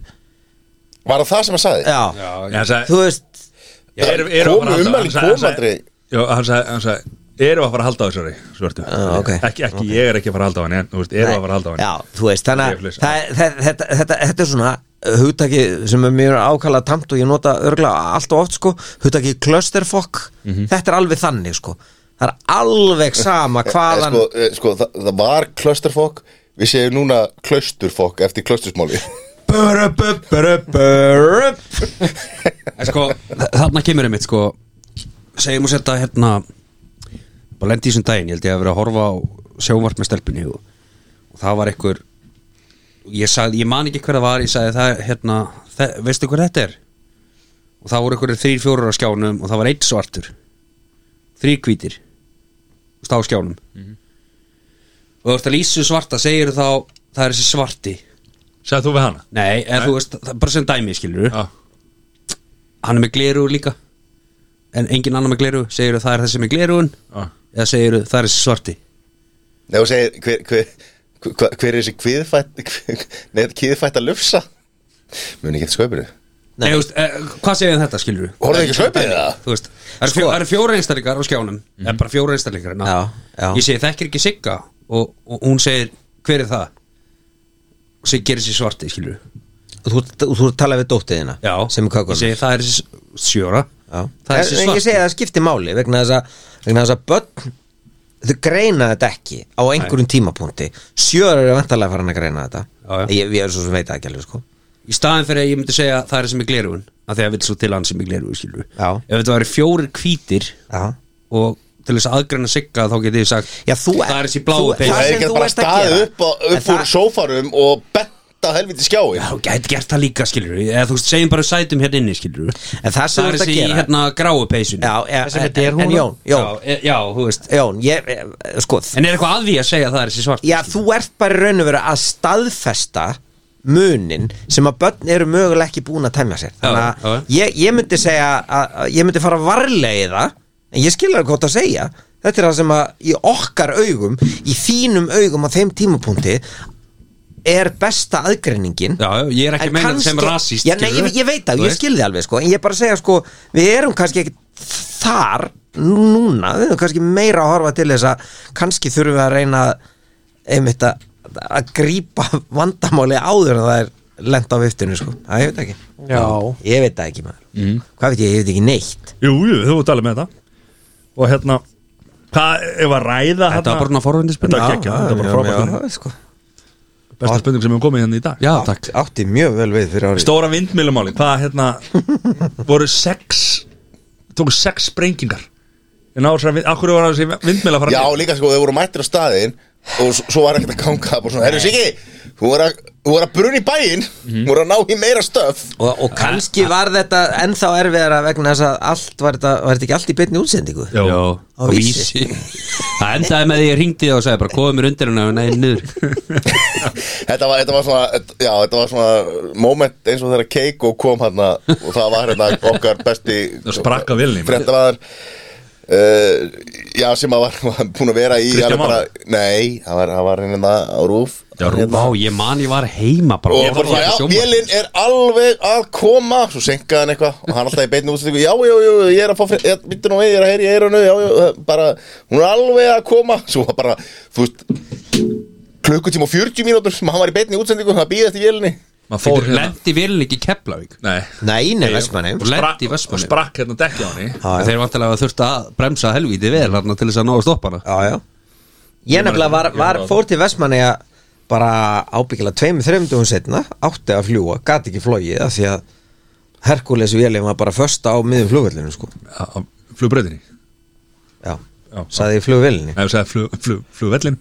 [SPEAKER 2] Var það það sem að sagði?
[SPEAKER 5] já,
[SPEAKER 1] Ég, hann sagði-
[SPEAKER 5] þú veist
[SPEAKER 1] Ég er- erum við að fara
[SPEAKER 2] komu
[SPEAKER 1] að halda-
[SPEAKER 2] ummæli
[SPEAKER 1] hann sagði-
[SPEAKER 2] komu
[SPEAKER 1] hann sagði-
[SPEAKER 2] aldrei
[SPEAKER 1] Já, hann sagði, hann sagði Erum við að fara að halda á þessari svörtu
[SPEAKER 5] Já, Ah, ok.
[SPEAKER 1] Ekki, ekki, ég er ekki að fara að halda á henni en, Þú veist, erum við að fara að halda á henni
[SPEAKER 5] já, þú veist, þannig
[SPEAKER 1] Ég er
[SPEAKER 5] að
[SPEAKER 1] flaus.
[SPEAKER 5] það- það- þetta, þetta, þetta er svona hugtaki sem er mjög ákallað tamt og ég nota örgulega allt og oft sko hugtaki clusterfuck,
[SPEAKER 3] Mhm.
[SPEAKER 5] þetta er alveg þannig sko, það er alveg sama hvaðan,
[SPEAKER 2] sko, eh, sko það, það var klösterfokk Við segjum núna klösturfokk eftir klöstursmáli
[SPEAKER 3] En sko, þarna kemur einmitt sko Segjum við þetta hérna Bara lendi í þessum daginn, ég held ég að vera að horfa á sjónvart með stelpunni og, og það var einhver ég, sagði, ég man ekki hver það var, ég sagði það hérna, það, veistu hver þetta er? Og það voru einhverjir þrír fjórar á skjánum og það var einn svartur Þrír hvítir Þú veist, á skjánum Og þú ert að lýsu svarta, segir þá það er þessi svarti
[SPEAKER 1] Sagði þú við hana
[SPEAKER 3] Nei, eða þú veist, það er bara sem dæmi skilur
[SPEAKER 1] Já.
[SPEAKER 3] hann er með gleru líka en engin annar með gleru segir það er þessi með gleruun
[SPEAKER 1] Já.
[SPEAKER 3] eða segir það er þessi svarti
[SPEAKER 2] Nei, þú segir hver, hver, hver, hver er þessi kviðfætt Nei, þetta kviðfætt að lufsa Muni ekki eftir skaupinu
[SPEAKER 3] Nei. Nei, þú veist, e, hvað segir þetta skilur
[SPEAKER 2] Horfðu ekki á skaupinu það?
[SPEAKER 3] þú veist, það
[SPEAKER 1] Sko-
[SPEAKER 3] eru fjó, það eru fjóra einstaklingar á skjánum
[SPEAKER 1] Mhm.
[SPEAKER 3] eða bara fjóra einstaklingar ná.
[SPEAKER 5] Já, já.
[SPEAKER 3] ég segi þekkir ekki Sigga og, og hún segir hver er það og segir gerir þessi svarti skilur
[SPEAKER 5] þú, þú, þú talaði við dóttiðina
[SPEAKER 3] já,
[SPEAKER 5] sem er kakon
[SPEAKER 3] ég segi það er þessi sjóra
[SPEAKER 5] Já.
[SPEAKER 3] það er
[SPEAKER 5] en
[SPEAKER 3] þessi
[SPEAKER 5] en ég
[SPEAKER 3] svarti
[SPEAKER 5] segi að það skiptir máli vegna þess að, vegna þess að börn þau greina þetta ekki á einhverjum tímapunkti sjöður eru vantarlega farin að greina þetta
[SPEAKER 3] Já, já.
[SPEAKER 5] Ég, ég er svo sem veit það ekki alveg sko
[SPEAKER 3] Í staðin fyrir að ég myndi segja það er sem er glerugun að því að við svo til hann sem er glerugun skilur
[SPEAKER 5] Já.
[SPEAKER 3] Ef þetta væri fjórir hvítir
[SPEAKER 5] Já,
[SPEAKER 3] og til þess aðgreina sigga þá geti ég sagt
[SPEAKER 5] já þú
[SPEAKER 3] Það er þessi bláu
[SPEAKER 5] þú-
[SPEAKER 3] peysa.
[SPEAKER 5] það
[SPEAKER 2] Það er
[SPEAKER 5] sem
[SPEAKER 2] ekki
[SPEAKER 5] þú
[SPEAKER 2] bara
[SPEAKER 5] ert að
[SPEAKER 2] staðið
[SPEAKER 5] gera.
[SPEAKER 2] upp, á,
[SPEAKER 5] En
[SPEAKER 2] upp úr
[SPEAKER 5] það-
[SPEAKER 2] sófarum og bent á helviti skjáin
[SPEAKER 3] Já, þú gæti gert það líka skilur eða þú veist, segjum bara sætum hérna inni skilur
[SPEAKER 5] En það
[SPEAKER 3] Það
[SPEAKER 5] sem þú
[SPEAKER 3] er
[SPEAKER 5] ert að
[SPEAKER 3] þessi í
[SPEAKER 5] gera
[SPEAKER 3] hérna gráu peysunni
[SPEAKER 5] Já, ja,
[SPEAKER 4] Þessi með
[SPEAKER 5] en- en, en
[SPEAKER 4] derhúfuna?
[SPEAKER 5] Jón, Jón,
[SPEAKER 3] Já, e- já, þú veist
[SPEAKER 5] Jón ég, eh, sko,
[SPEAKER 3] En er eitthvað að því að segja að það er þessi svart
[SPEAKER 5] Já, þú ert bara í raun og veru að staðfesta munin sem að börn eru mögulega ekki búin að tæmja sér þannig
[SPEAKER 3] Já, já.
[SPEAKER 5] að ég, ég myndi segja að, að ég myndi fara varlega í það en ég skilur hvað það að segja þetta er það sem að í okkar augum í þínum augum á þeim tímapunkti er besta aðgreiningin
[SPEAKER 3] Já, já, ég er ekki að
[SPEAKER 5] En
[SPEAKER 3] meina þetta sem rasist
[SPEAKER 5] já, nei, ég, ég veit það,
[SPEAKER 3] Þú
[SPEAKER 5] ég
[SPEAKER 3] veist.
[SPEAKER 5] skil þið alveg sko, en ég er bara að segja sko, við erum kannski ekki þar núna, við erum kannski meira að horfa til þess að kannski þurfum við að reyna að- einmitt að, að grípa vandamáli áður en það er lent á viftinu sko, það ég veit það ekki
[SPEAKER 4] Já.
[SPEAKER 5] ég veit það ekki maður, hvað veit ég, ég veit ekki neitt
[SPEAKER 9] Jú, jú, þú ert alveg með þetta Og hérna Hvað, ef að ræða
[SPEAKER 3] Þetta var bara svona
[SPEAKER 9] Þetta
[SPEAKER 3] forvendispinna
[SPEAKER 9] var gekkja, þetta var bara frábært
[SPEAKER 5] já, sko.
[SPEAKER 9] Besta spurning sem hefur komið hérna í dag
[SPEAKER 3] Já, takk
[SPEAKER 5] átti mjög vel við fyrir árið
[SPEAKER 9] Stóra vindmjölumáli, hvað hérna Voru sex Tóku sex sprengingar En á þessari, akkur var þessi vindmjöla að fara
[SPEAKER 2] Já,
[SPEAKER 9] niður?
[SPEAKER 2] líka sko, þau voru mættir á staðin og s- svo var ekkert að ganga bara svona, herru Siggi, þú voru að, þú voru að brunni í bæinn,
[SPEAKER 5] Mhm.
[SPEAKER 2] þú voru að ná í meira stöf
[SPEAKER 5] og, og kannski var þetta ennþá erfiðara vegna þess að allt var þetta, var þetta ekki allt í beinni útsendingu
[SPEAKER 3] Jó,
[SPEAKER 5] Á
[SPEAKER 3] á
[SPEAKER 5] Vísi.
[SPEAKER 3] vísi Það endaði með því að ég ringdi og sagði bara komið mér undir hennar og neðin niður
[SPEAKER 2] Þetta var, þetta var svona, þetta- já, þetta var svona moment eins og þegar Keiko kom hann og það var hérna okkar besti
[SPEAKER 9] Það sprakk af vélni.
[SPEAKER 2] Fréttamaður uh, Já, sem að var, var búin að vera í
[SPEAKER 9] Kristján
[SPEAKER 2] alveg
[SPEAKER 9] Már?
[SPEAKER 2] Nei, það var, það var hérna á rúf
[SPEAKER 9] Já, RÚV.
[SPEAKER 2] hérna,
[SPEAKER 3] Vá, ég man ég hérna var heima bara
[SPEAKER 2] Og bara svona, já, vélinn er alveg að koma Svo senkaði hann eitthvað Og hann alltaf í beinni útsendingu Já, já, já, ég er að fá frétt Býttu nú við, ég er að heyra í eirunu Já, já, eh, bara Hún er alveg að koma Svo var bara, þú veist Klukkutíma og 40 mínútur Sem hann var í beinni útsendingu Það býðast í vélinni
[SPEAKER 9] Maður fór hérna
[SPEAKER 3] Lendi vélinn ekki í Keflavík
[SPEAKER 9] Nei
[SPEAKER 5] nei, nei, vestmanni
[SPEAKER 3] Og
[SPEAKER 9] Sprakk-
[SPEAKER 3] lendi í
[SPEAKER 9] og
[SPEAKER 3] Vestmanni
[SPEAKER 9] Sprakk hérna dekki á henni
[SPEAKER 5] já.
[SPEAKER 3] Þeir vantilega að þurfti að bremsa helvítið vel hérna til þess að ná að stoppa hana
[SPEAKER 5] já, já. ég nefnilega var, var, fór til Vestmanneja bara ábyggilega tveimur, þreimur dugum setna átti að fljúa, gati ekki flogið af því að Herkules vélum var bara först á miðum flugvöllinu sko
[SPEAKER 9] Á- á Flugbrautinni
[SPEAKER 5] já,
[SPEAKER 9] Já.
[SPEAKER 5] saði í flugvélinni
[SPEAKER 9] Ef ég sagði flug, flug, flugvellin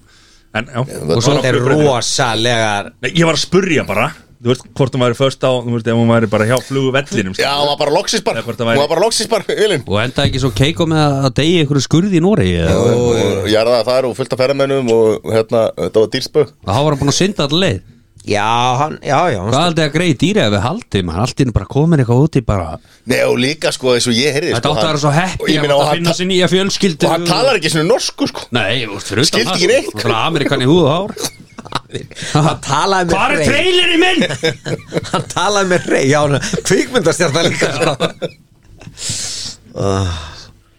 [SPEAKER 9] En já
[SPEAKER 5] og svo
[SPEAKER 9] Var á
[SPEAKER 5] er
[SPEAKER 9] flugbrautinni.
[SPEAKER 5] rosalega
[SPEAKER 9] Nei, ég var að spurja bara Þú veist, hvort hún væri först á Þú veist, ef hún væri bara hjá flugvellinum
[SPEAKER 2] Já, hún var bara loksins bara
[SPEAKER 9] Eða hvort það
[SPEAKER 2] Hún
[SPEAKER 9] væri-
[SPEAKER 2] var bara loksins bara, Vilin
[SPEAKER 3] Og endaði ekki svo keiko með að að deyja einhverju skurði í Nóri og
[SPEAKER 2] Jarða þar og fullt af ferramennum Og hérna, þetta var dýrspöð
[SPEAKER 3] þá var hann búin að synda allir leið
[SPEAKER 5] já, hann, já, já, hann
[SPEAKER 3] Hvað aldrei að greið dýra ef við haldið mann Allt inn bara komin eitthvað úti bara
[SPEAKER 2] Nei, og líka sko, eins og ég heyrði
[SPEAKER 3] Þetta
[SPEAKER 2] sko, hann-
[SPEAKER 3] átti að vera svo
[SPEAKER 2] og
[SPEAKER 3] heppi
[SPEAKER 2] ég
[SPEAKER 3] að
[SPEAKER 2] meina, og
[SPEAKER 3] að
[SPEAKER 2] hann
[SPEAKER 3] finna
[SPEAKER 2] ta-
[SPEAKER 3] sér nýja fjölskyldu
[SPEAKER 2] Og hann talar ekki svona norsku sko
[SPEAKER 3] Nei, þú veist, fyrir utan
[SPEAKER 2] Skildi
[SPEAKER 3] það,
[SPEAKER 2] ekki
[SPEAKER 3] sko.
[SPEAKER 2] neitt.
[SPEAKER 3] Þú veist, Amerikan í húð og hár
[SPEAKER 5] hann talaði
[SPEAKER 3] Hvar
[SPEAKER 5] með
[SPEAKER 3] er
[SPEAKER 5] rey
[SPEAKER 3] trailerinn minn?
[SPEAKER 5] hann talaði með rey, já, hann kvikmyndastjarta líka sko Ah,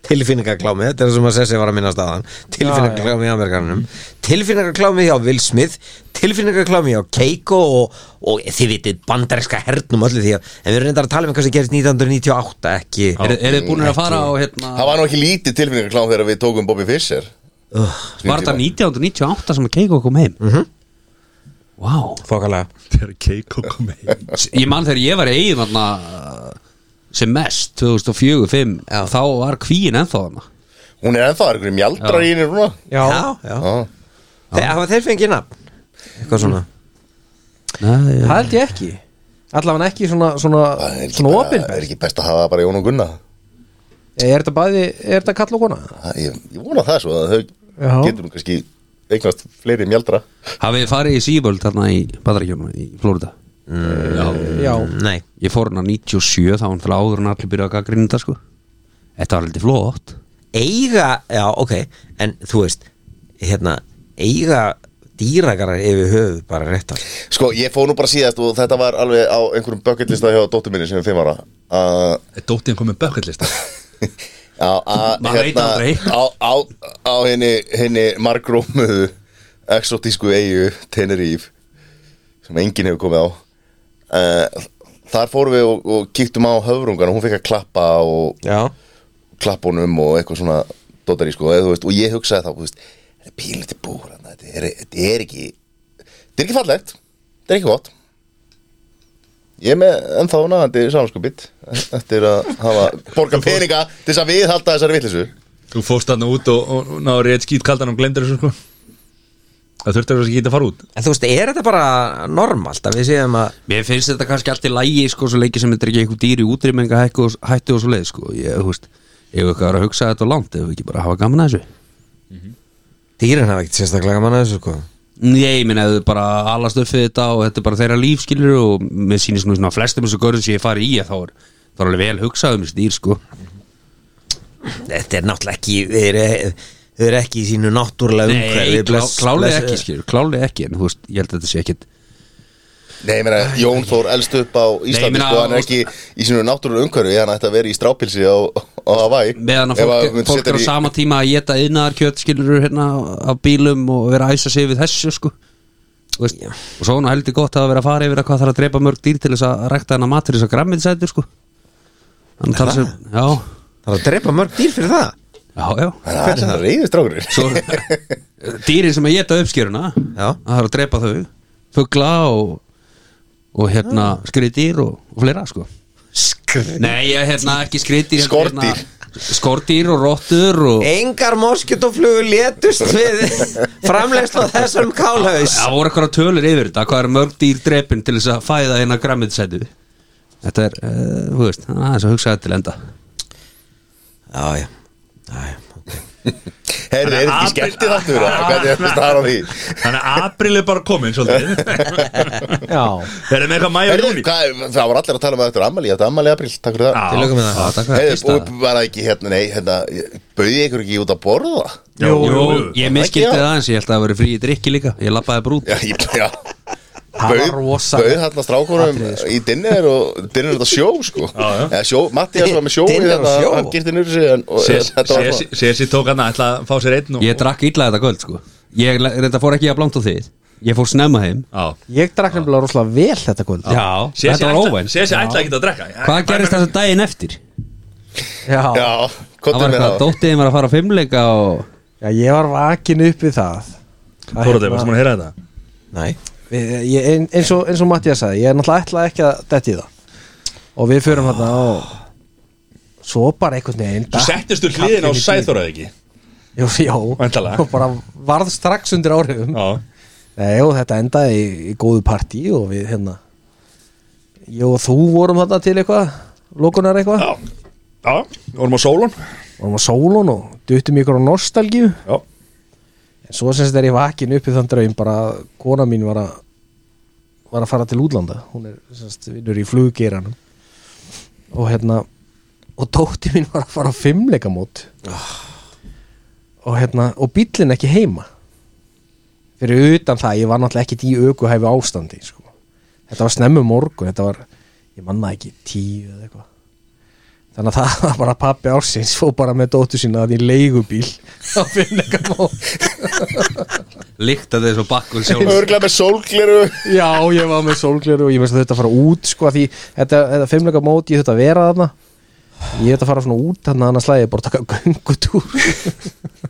[SPEAKER 5] tilfinningaklámi þetta er það sem að Sessi var að minnast aðan tilfinningaklámi í Amerikanum tilfinningaklámi hjá Will Smith tilfinningaklámi hjá Keiko og, og þið vitið bandarinska hernum öllu því að en við erum reyndar að tala um hvað sem gerist 1998 ekki
[SPEAKER 3] Er þið búin að fara á hérna
[SPEAKER 2] Það var nú ekki lítið tilfinningaklám þegar við tókum Bobby Fischer
[SPEAKER 3] Var þetta 1998 sem að Keiko kom heim? Mhm Vá
[SPEAKER 5] fókalega
[SPEAKER 9] Þegar Keiko kom heim
[SPEAKER 3] Ég man þegar ég var í eigin þarna uh, sem mest 2004-05
[SPEAKER 5] Já.
[SPEAKER 3] þá var kvíin ennþá þarna
[SPEAKER 2] Hún er ennþá einhverjum mjaldrar í henni núna
[SPEAKER 4] Já,
[SPEAKER 5] já, já.
[SPEAKER 2] Já.
[SPEAKER 5] Þeir, hafa þeir fengið nafn eitthvað svona
[SPEAKER 3] Nei,
[SPEAKER 4] það held ég ekki Allavega ekki svona, svona,
[SPEAKER 2] Það er ekki
[SPEAKER 4] svona
[SPEAKER 2] bara-
[SPEAKER 4] opinber
[SPEAKER 2] Er
[SPEAKER 4] er,
[SPEAKER 2] ekki best að hafa bara Jón og Gunna
[SPEAKER 4] þetta bæði, er þetta kall og kona?
[SPEAKER 2] Það- Ég, ég vona það svo að þau
[SPEAKER 4] Já.
[SPEAKER 2] getur nú kannski eignast fleiri mjaldra
[SPEAKER 3] hafið þið farið í Seaworld þarna í Badaríkjónu í Florida mm.
[SPEAKER 4] Já,
[SPEAKER 5] nei,
[SPEAKER 3] ég fór hann á 97 þá hann fyrir áður en allir byrjaði að gaggrinda sko þetta var lítið flott
[SPEAKER 5] eiga já, ok, en þú veist hérna, eiga dýragarar yfir höfuð bara rétt að
[SPEAKER 2] Sko, ég fóð nú bara síðast og þetta var alveg á einhverjum bucketlista hjá dóttur minni sem er fimm ára að
[SPEAKER 9] Er Dóttiðan kom með bucketlista
[SPEAKER 2] á- á- hérna,
[SPEAKER 3] Maður veit aldrei.
[SPEAKER 2] á, á, á henni, henni margrómuðu exotísku eigu Tenerife sem enginn hefur komið á uh, þar fórum við og, og kíktum á höfrungan og hún fikk að klappa og
[SPEAKER 5] já
[SPEAKER 2] klappunum og eitthvað svona dótari sko, eða, þú veist, og ég hugsaði þá þú veist, þetta er pílítið búr þarna, þetta er, þetta er ekki þetta er ekki fallegt, þetta er ekki gott ég er með ennþá náðandi samanskupið eftir að hafa borga peninga til þess að viðhalda þessari vittlisu
[SPEAKER 1] Þú fórst þarna út og, og, og náður eitt skýt kaldan og glemdur þessu sko Það þurfti að þessu ekki að fara út
[SPEAKER 5] En þú veist, er þetta bara normalt að við séum að
[SPEAKER 3] Mér finnst þetta kannski allt í lægi sko, svo leiki sem þetta er ekki eitthvað dýri útrýmenga hættu og, hættu og svo leið sko. ég, þú veist, ég hef eitthvað að hugsa þetta langt ef við ekki bara hafa gaman að þessu
[SPEAKER 5] dýrin hafa ekkert sérstaklega gaman að þessu sko
[SPEAKER 3] Nei, ég minna, ef þau bara allast upp fyrir þetta og þetta er bara þeirra líf skilur og mér sýnist nú svona flestum þessu görðum sem ég fari í að þá er, þá er alveg vel hugsað um þessu dýr sko.
[SPEAKER 5] Þetta er náttúrulega ekki Þau eru, þau eru ekki í sínu náttúrulega umhverfi
[SPEAKER 3] Nei, klá, klálega ekki skilur, klálega ekki en þú veist, ég held að þetta sé ekkit
[SPEAKER 2] Nei, ég meina, Jón Þór elst upp á Íslandi,
[SPEAKER 3] Nei, ég meina,
[SPEAKER 2] sko, hann er
[SPEAKER 3] ást-
[SPEAKER 2] ekki í sínu náttúrulega umhverfi, hann ætti að vera í strápilsi á, á Hawaii
[SPEAKER 3] meðan að
[SPEAKER 2] Ef
[SPEAKER 3] fólk,
[SPEAKER 2] myndi
[SPEAKER 3] fólk
[SPEAKER 2] setja
[SPEAKER 3] er á
[SPEAKER 2] hann í-
[SPEAKER 3] sama tíma að geta yðnaðar kjött skilur hérna á bílum og vera að æsa sig við þessu sko Þú veist, og svo hún heldur gott að vera að fara yfir að hvað þarf að drepa mörg dýr til þess að rækta hana matur þess að græmmiðsætur sko hann tala sem, já,
[SPEAKER 5] Það er að drepa mörg dýr fyrir það
[SPEAKER 3] já, já
[SPEAKER 2] Hann er svona reyðist strákurinn
[SPEAKER 3] svo dýrin sem að geta uppskjöruna
[SPEAKER 5] Já.
[SPEAKER 3] það þarf að drepa þau fugla og, og hérna
[SPEAKER 5] Ah.
[SPEAKER 3] skriðdýr og, og fleira sko
[SPEAKER 5] Skr-
[SPEAKER 3] nei, ég, hérna ekki skriðdýr hérna,
[SPEAKER 2] Skordýr.
[SPEAKER 3] hérna, skordýr og rottur og
[SPEAKER 5] Engar moskitoflugur létust við framlegslu á þessum kálhaus
[SPEAKER 3] það voru eitthvað tölur yfir þetta hvað er mörg dýr drepin til þess að fæða hérna græmiðsætu þetta er, eh, þú veist, aðeins að hugsa þetta til enda
[SPEAKER 5] Já, já, já, já. ok.
[SPEAKER 2] Herri, er þetta ekki skemmti þáttur? eða? Hvernig er þetta á því?
[SPEAKER 1] Þannig að april er bara komin svolítið
[SPEAKER 4] já,
[SPEAKER 1] Verðum með eitthvað mæja og
[SPEAKER 2] Herri,
[SPEAKER 1] júni
[SPEAKER 2] hvað, það var allir að tala um að þetta er ammali, þetta er ammali april, takk fyrir það
[SPEAKER 5] Til aukum með
[SPEAKER 3] Já,
[SPEAKER 5] það
[SPEAKER 3] takk fyrir
[SPEAKER 2] Herri,
[SPEAKER 3] fyrsta.
[SPEAKER 2] og bara ekki, hérna, nei, hérna, bauði ykkur ekki út að borða?
[SPEAKER 1] Jú,
[SPEAKER 3] Jú,
[SPEAKER 1] jú.
[SPEAKER 3] ég miskilti
[SPEAKER 2] Ekki, já.
[SPEAKER 3] það aðeins, ég held að það veri frí í drikki líka Ég labbaði brút
[SPEAKER 2] Já, ég, já
[SPEAKER 4] Það var rosalegt.
[SPEAKER 2] Bauð hérna strákunum í dinner og dinner þetta sjó, sko Eða sjó, Mattias var með sjó í
[SPEAKER 5] Dinner og
[SPEAKER 2] þetta,
[SPEAKER 5] sjó.
[SPEAKER 2] hann girti nýr sig en, og,
[SPEAKER 1] Sér-
[SPEAKER 2] þetta var
[SPEAKER 1] sér-
[SPEAKER 2] svona-
[SPEAKER 1] Sér sér tók hann að ætla að fá sér einn og
[SPEAKER 3] Ég drakk illa þetta kvöld sko Ég le- reyndar fór ekki að blánt á þið Ég fór snemma heim
[SPEAKER 1] Já.
[SPEAKER 4] ég drakk nefnilega rosalega vel þetta kvöld
[SPEAKER 3] Já,
[SPEAKER 1] Sér sér
[SPEAKER 3] þetta var
[SPEAKER 1] ætla
[SPEAKER 3] óvænt
[SPEAKER 1] sér sér ætla ekki að drekka
[SPEAKER 3] Hvað gerist þessu daginn eftir?
[SPEAKER 4] já. Já.
[SPEAKER 2] Já,
[SPEAKER 3] Það
[SPEAKER 2] kottum
[SPEAKER 3] var
[SPEAKER 2] með
[SPEAKER 3] eitthvað,
[SPEAKER 2] það
[SPEAKER 3] dóttiðin var að fara á fimmleika og
[SPEAKER 4] ég var vakin upp við það Að
[SPEAKER 1] Þóraði,
[SPEAKER 4] hérna-
[SPEAKER 1] varstu maður að heyra þetta?
[SPEAKER 5] Nei,
[SPEAKER 4] Við, ég, ein, eins og, eins og Mattias sagði, ég er náttúrulega ætla ekki að detti það og við förum hérna og svo bara einhvern veginn
[SPEAKER 1] Þú settist úr hliðin á Sæþóraði ekki
[SPEAKER 4] Jú, já,
[SPEAKER 1] Væntanlega.
[SPEAKER 4] og bara varð strax undir áhrifum
[SPEAKER 1] Já
[SPEAKER 4] Nei, og Eh, þetta endaði í, í góðu partí og við hérna ég og þú vorum þarna til eitthvað lokunar eitthvað,
[SPEAKER 1] Já, já, vorum á sólun
[SPEAKER 4] vorum á sólun og duttum ykkur á nostalgíu
[SPEAKER 1] Já,
[SPEAKER 4] en svo semst er ég vakin upp í þann draum bara að kona mín var að var að fara til útlanda hún er semst vinnur í fluggeranum og hérna og dótti mín var að fara á fimmleikamót og hérna og bíllinn ekki heima fyrir utan það ég var náttúrulega ekkit í aukuhæfi ástandi sko. þetta var snemmu morgun þetta var, ég manna ekki, tíu eða eitthvað þannig að það var bara pappi ársins fór bara með dóttu sína að í leigubíl á fimmleikamót
[SPEAKER 3] líktaði þessu bakkul sjálf
[SPEAKER 2] Örglega með sólgleru
[SPEAKER 4] Já, ég var með sólgleru og ég veist að þetta fara út sko að því þetta, þetta fimmleika mót ég þetta að vera þarna ég þetta að fara svona út þannig annars slæði ég bara að taka göngutúr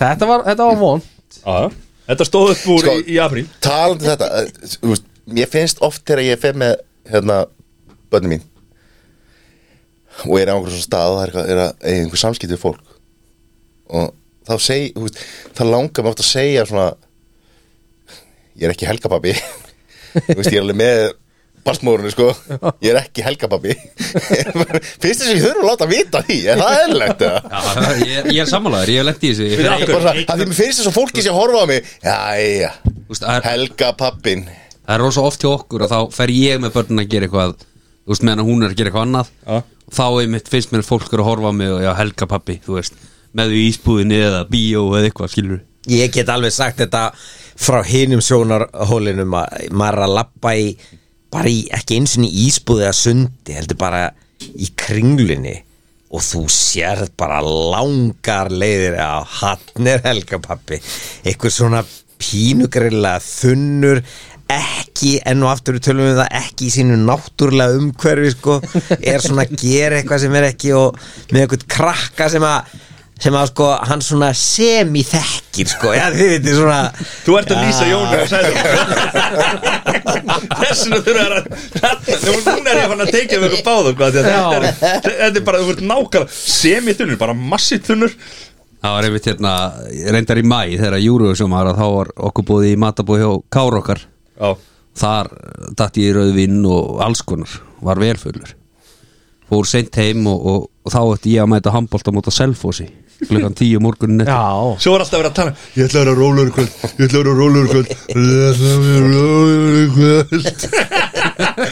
[SPEAKER 4] Þetta var, þetta var von
[SPEAKER 1] já Þetta stóð upp úr
[SPEAKER 2] Sko-
[SPEAKER 1] í, í apríl
[SPEAKER 2] talandi um þetta eh, þú veist, mér finnst oft þegar ég fer með hérna, bönni mín og er á einhverjum svona stað og það er, eitthvað- er að eiga einhver samskipti við fólk og þá segi þú veist, það langar mér oft að segja svona ég er ekki helgapabbi þú veist, ég er alveg með barstmórunni sko, ég er ekki helgapabbi finnst þess að ég þurfa að láta vita því, er það eðlilegt eða?
[SPEAKER 3] Já, ég, ég er sammálaður, ég hef lett í þessu Ég-
[SPEAKER 2] Bara svona, að því mér finnst þess að fólki sé að horfa á mig jæja,
[SPEAKER 3] Þú veist, það er-
[SPEAKER 2] helga pappin
[SPEAKER 3] Það er rosa oft hjá okkur og þá fer ég með börnin að gera eitthvað Þú veist, meðan hún er að gera eitthvað annað
[SPEAKER 1] Já.
[SPEAKER 3] Þá einmitt finnst mér að fólk er að horfa á mig og já, helga pappi, þú veist Með því ísbúðinni eða bíó eða eitthvað, skilur
[SPEAKER 5] ég get alveg sagt þetta frá hinum sjónarhólinum að maður er að lappa í bara í, ekki eins og í ísbúði að sundi heldur bara í kringlinni og þú sérð bara langar leiðir á hann er helgapappi eitthvað svona pínugreila þunnur ekki, enn og aftur við tölum við það ekki í sínu náttúrulega umhverfi sko, er svona að gera eitthvað sem er ekki og með eitthvað krakka sem að sem að sko hann svona semi-þekkir sko, já þið veitir svona
[SPEAKER 1] Þú ert að lýsa Jónu og sæðu Þessuna þurfa að Nú núna er ég fann að teikja við ykkur báðum hvað, því að þetta, er, þetta er bara, þú ert nákvæmlega Semi-þunur, bara massið-þunur
[SPEAKER 3] Það var einmitt hérna, reyndar í mæ þegar Júruvísum var að þá var okkur búið í matabúið hjá Kár okkar
[SPEAKER 1] Já,
[SPEAKER 3] þar eh, datt ég í rauðvinn og alls konar, var velfullur fór seint heim og, og, og þá ætti ég að mæta handbólta móta selfósi klukkan tíu morgunin eftir
[SPEAKER 4] Já,
[SPEAKER 1] svo er alltaf verið að tala um- Ég ætla að vera rólur í kvöld, ég ætla að vera rólur í kvöld Ég ætla að vera rólur í kvöld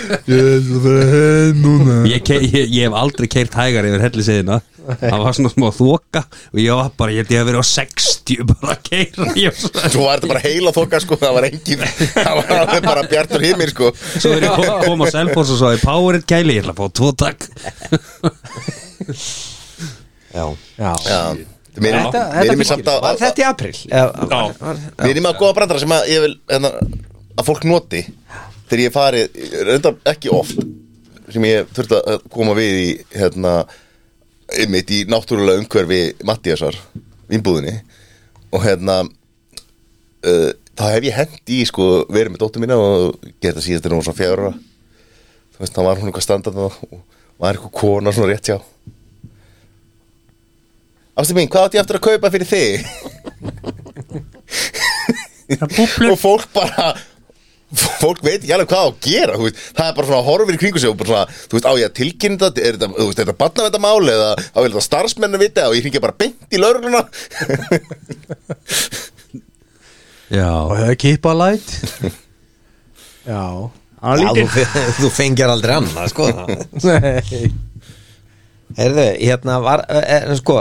[SPEAKER 1] Ég ætla að vera heim núna
[SPEAKER 3] ég, ke- ég, ég hef aldrei keirt hægar yfir helliseðina það var svona smá þoka og ég var bara, ég held ég að vera á 60 bara að keira ég var svona-
[SPEAKER 2] Svo var þetta bara heila þokka sko Það var engin Það var alveg bara bjartur himmir sko
[SPEAKER 3] svo er ég kom, kom á selfós og svo ég powerit kæli, ég ætla að fá tvo takk
[SPEAKER 4] já,
[SPEAKER 2] Já Við erum,
[SPEAKER 4] Þetta-
[SPEAKER 2] við erum
[SPEAKER 4] þetta
[SPEAKER 2] í samt að
[SPEAKER 5] Var þetta í april? Já,
[SPEAKER 2] Við erum að góða brandara sem að ég vil hérna, Að fólk noti Þegar ég fari Röndar ekki oft Sem ég þurfti að koma við í Hérna Einmitt í náttúrulega umhverfi Mattiasar Vínbúðinni Og hérna uh, Þá hef ég hent í sko Verið með dóttur mína og gerði það síðast þegar hún var svona fjara Þú veist, þá var hún eitthvað standað og var eitthvað kona svona rétt hjá Ástu mín, hvað átti ég aftur að kaupa fyrir þig? og fólk bara fólk veit ekki alveg hvað á að gera þú veist, það er bara svona horfir í kringu sig og bara svona, þú veist, á ég að tilkynna þetta er þetta, þú veist, er þetta barnavendamáli eða á ég að þetta starfsmennu vita og ég hringja bara beint í laurugluna
[SPEAKER 4] og
[SPEAKER 3] já,
[SPEAKER 4] hefur kipa light Já
[SPEAKER 5] þú, fe- þú fengjar aldrei annað sko
[SPEAKER 4] Nei,
[SPEAKER 5] Herðu, hérna var er, sko,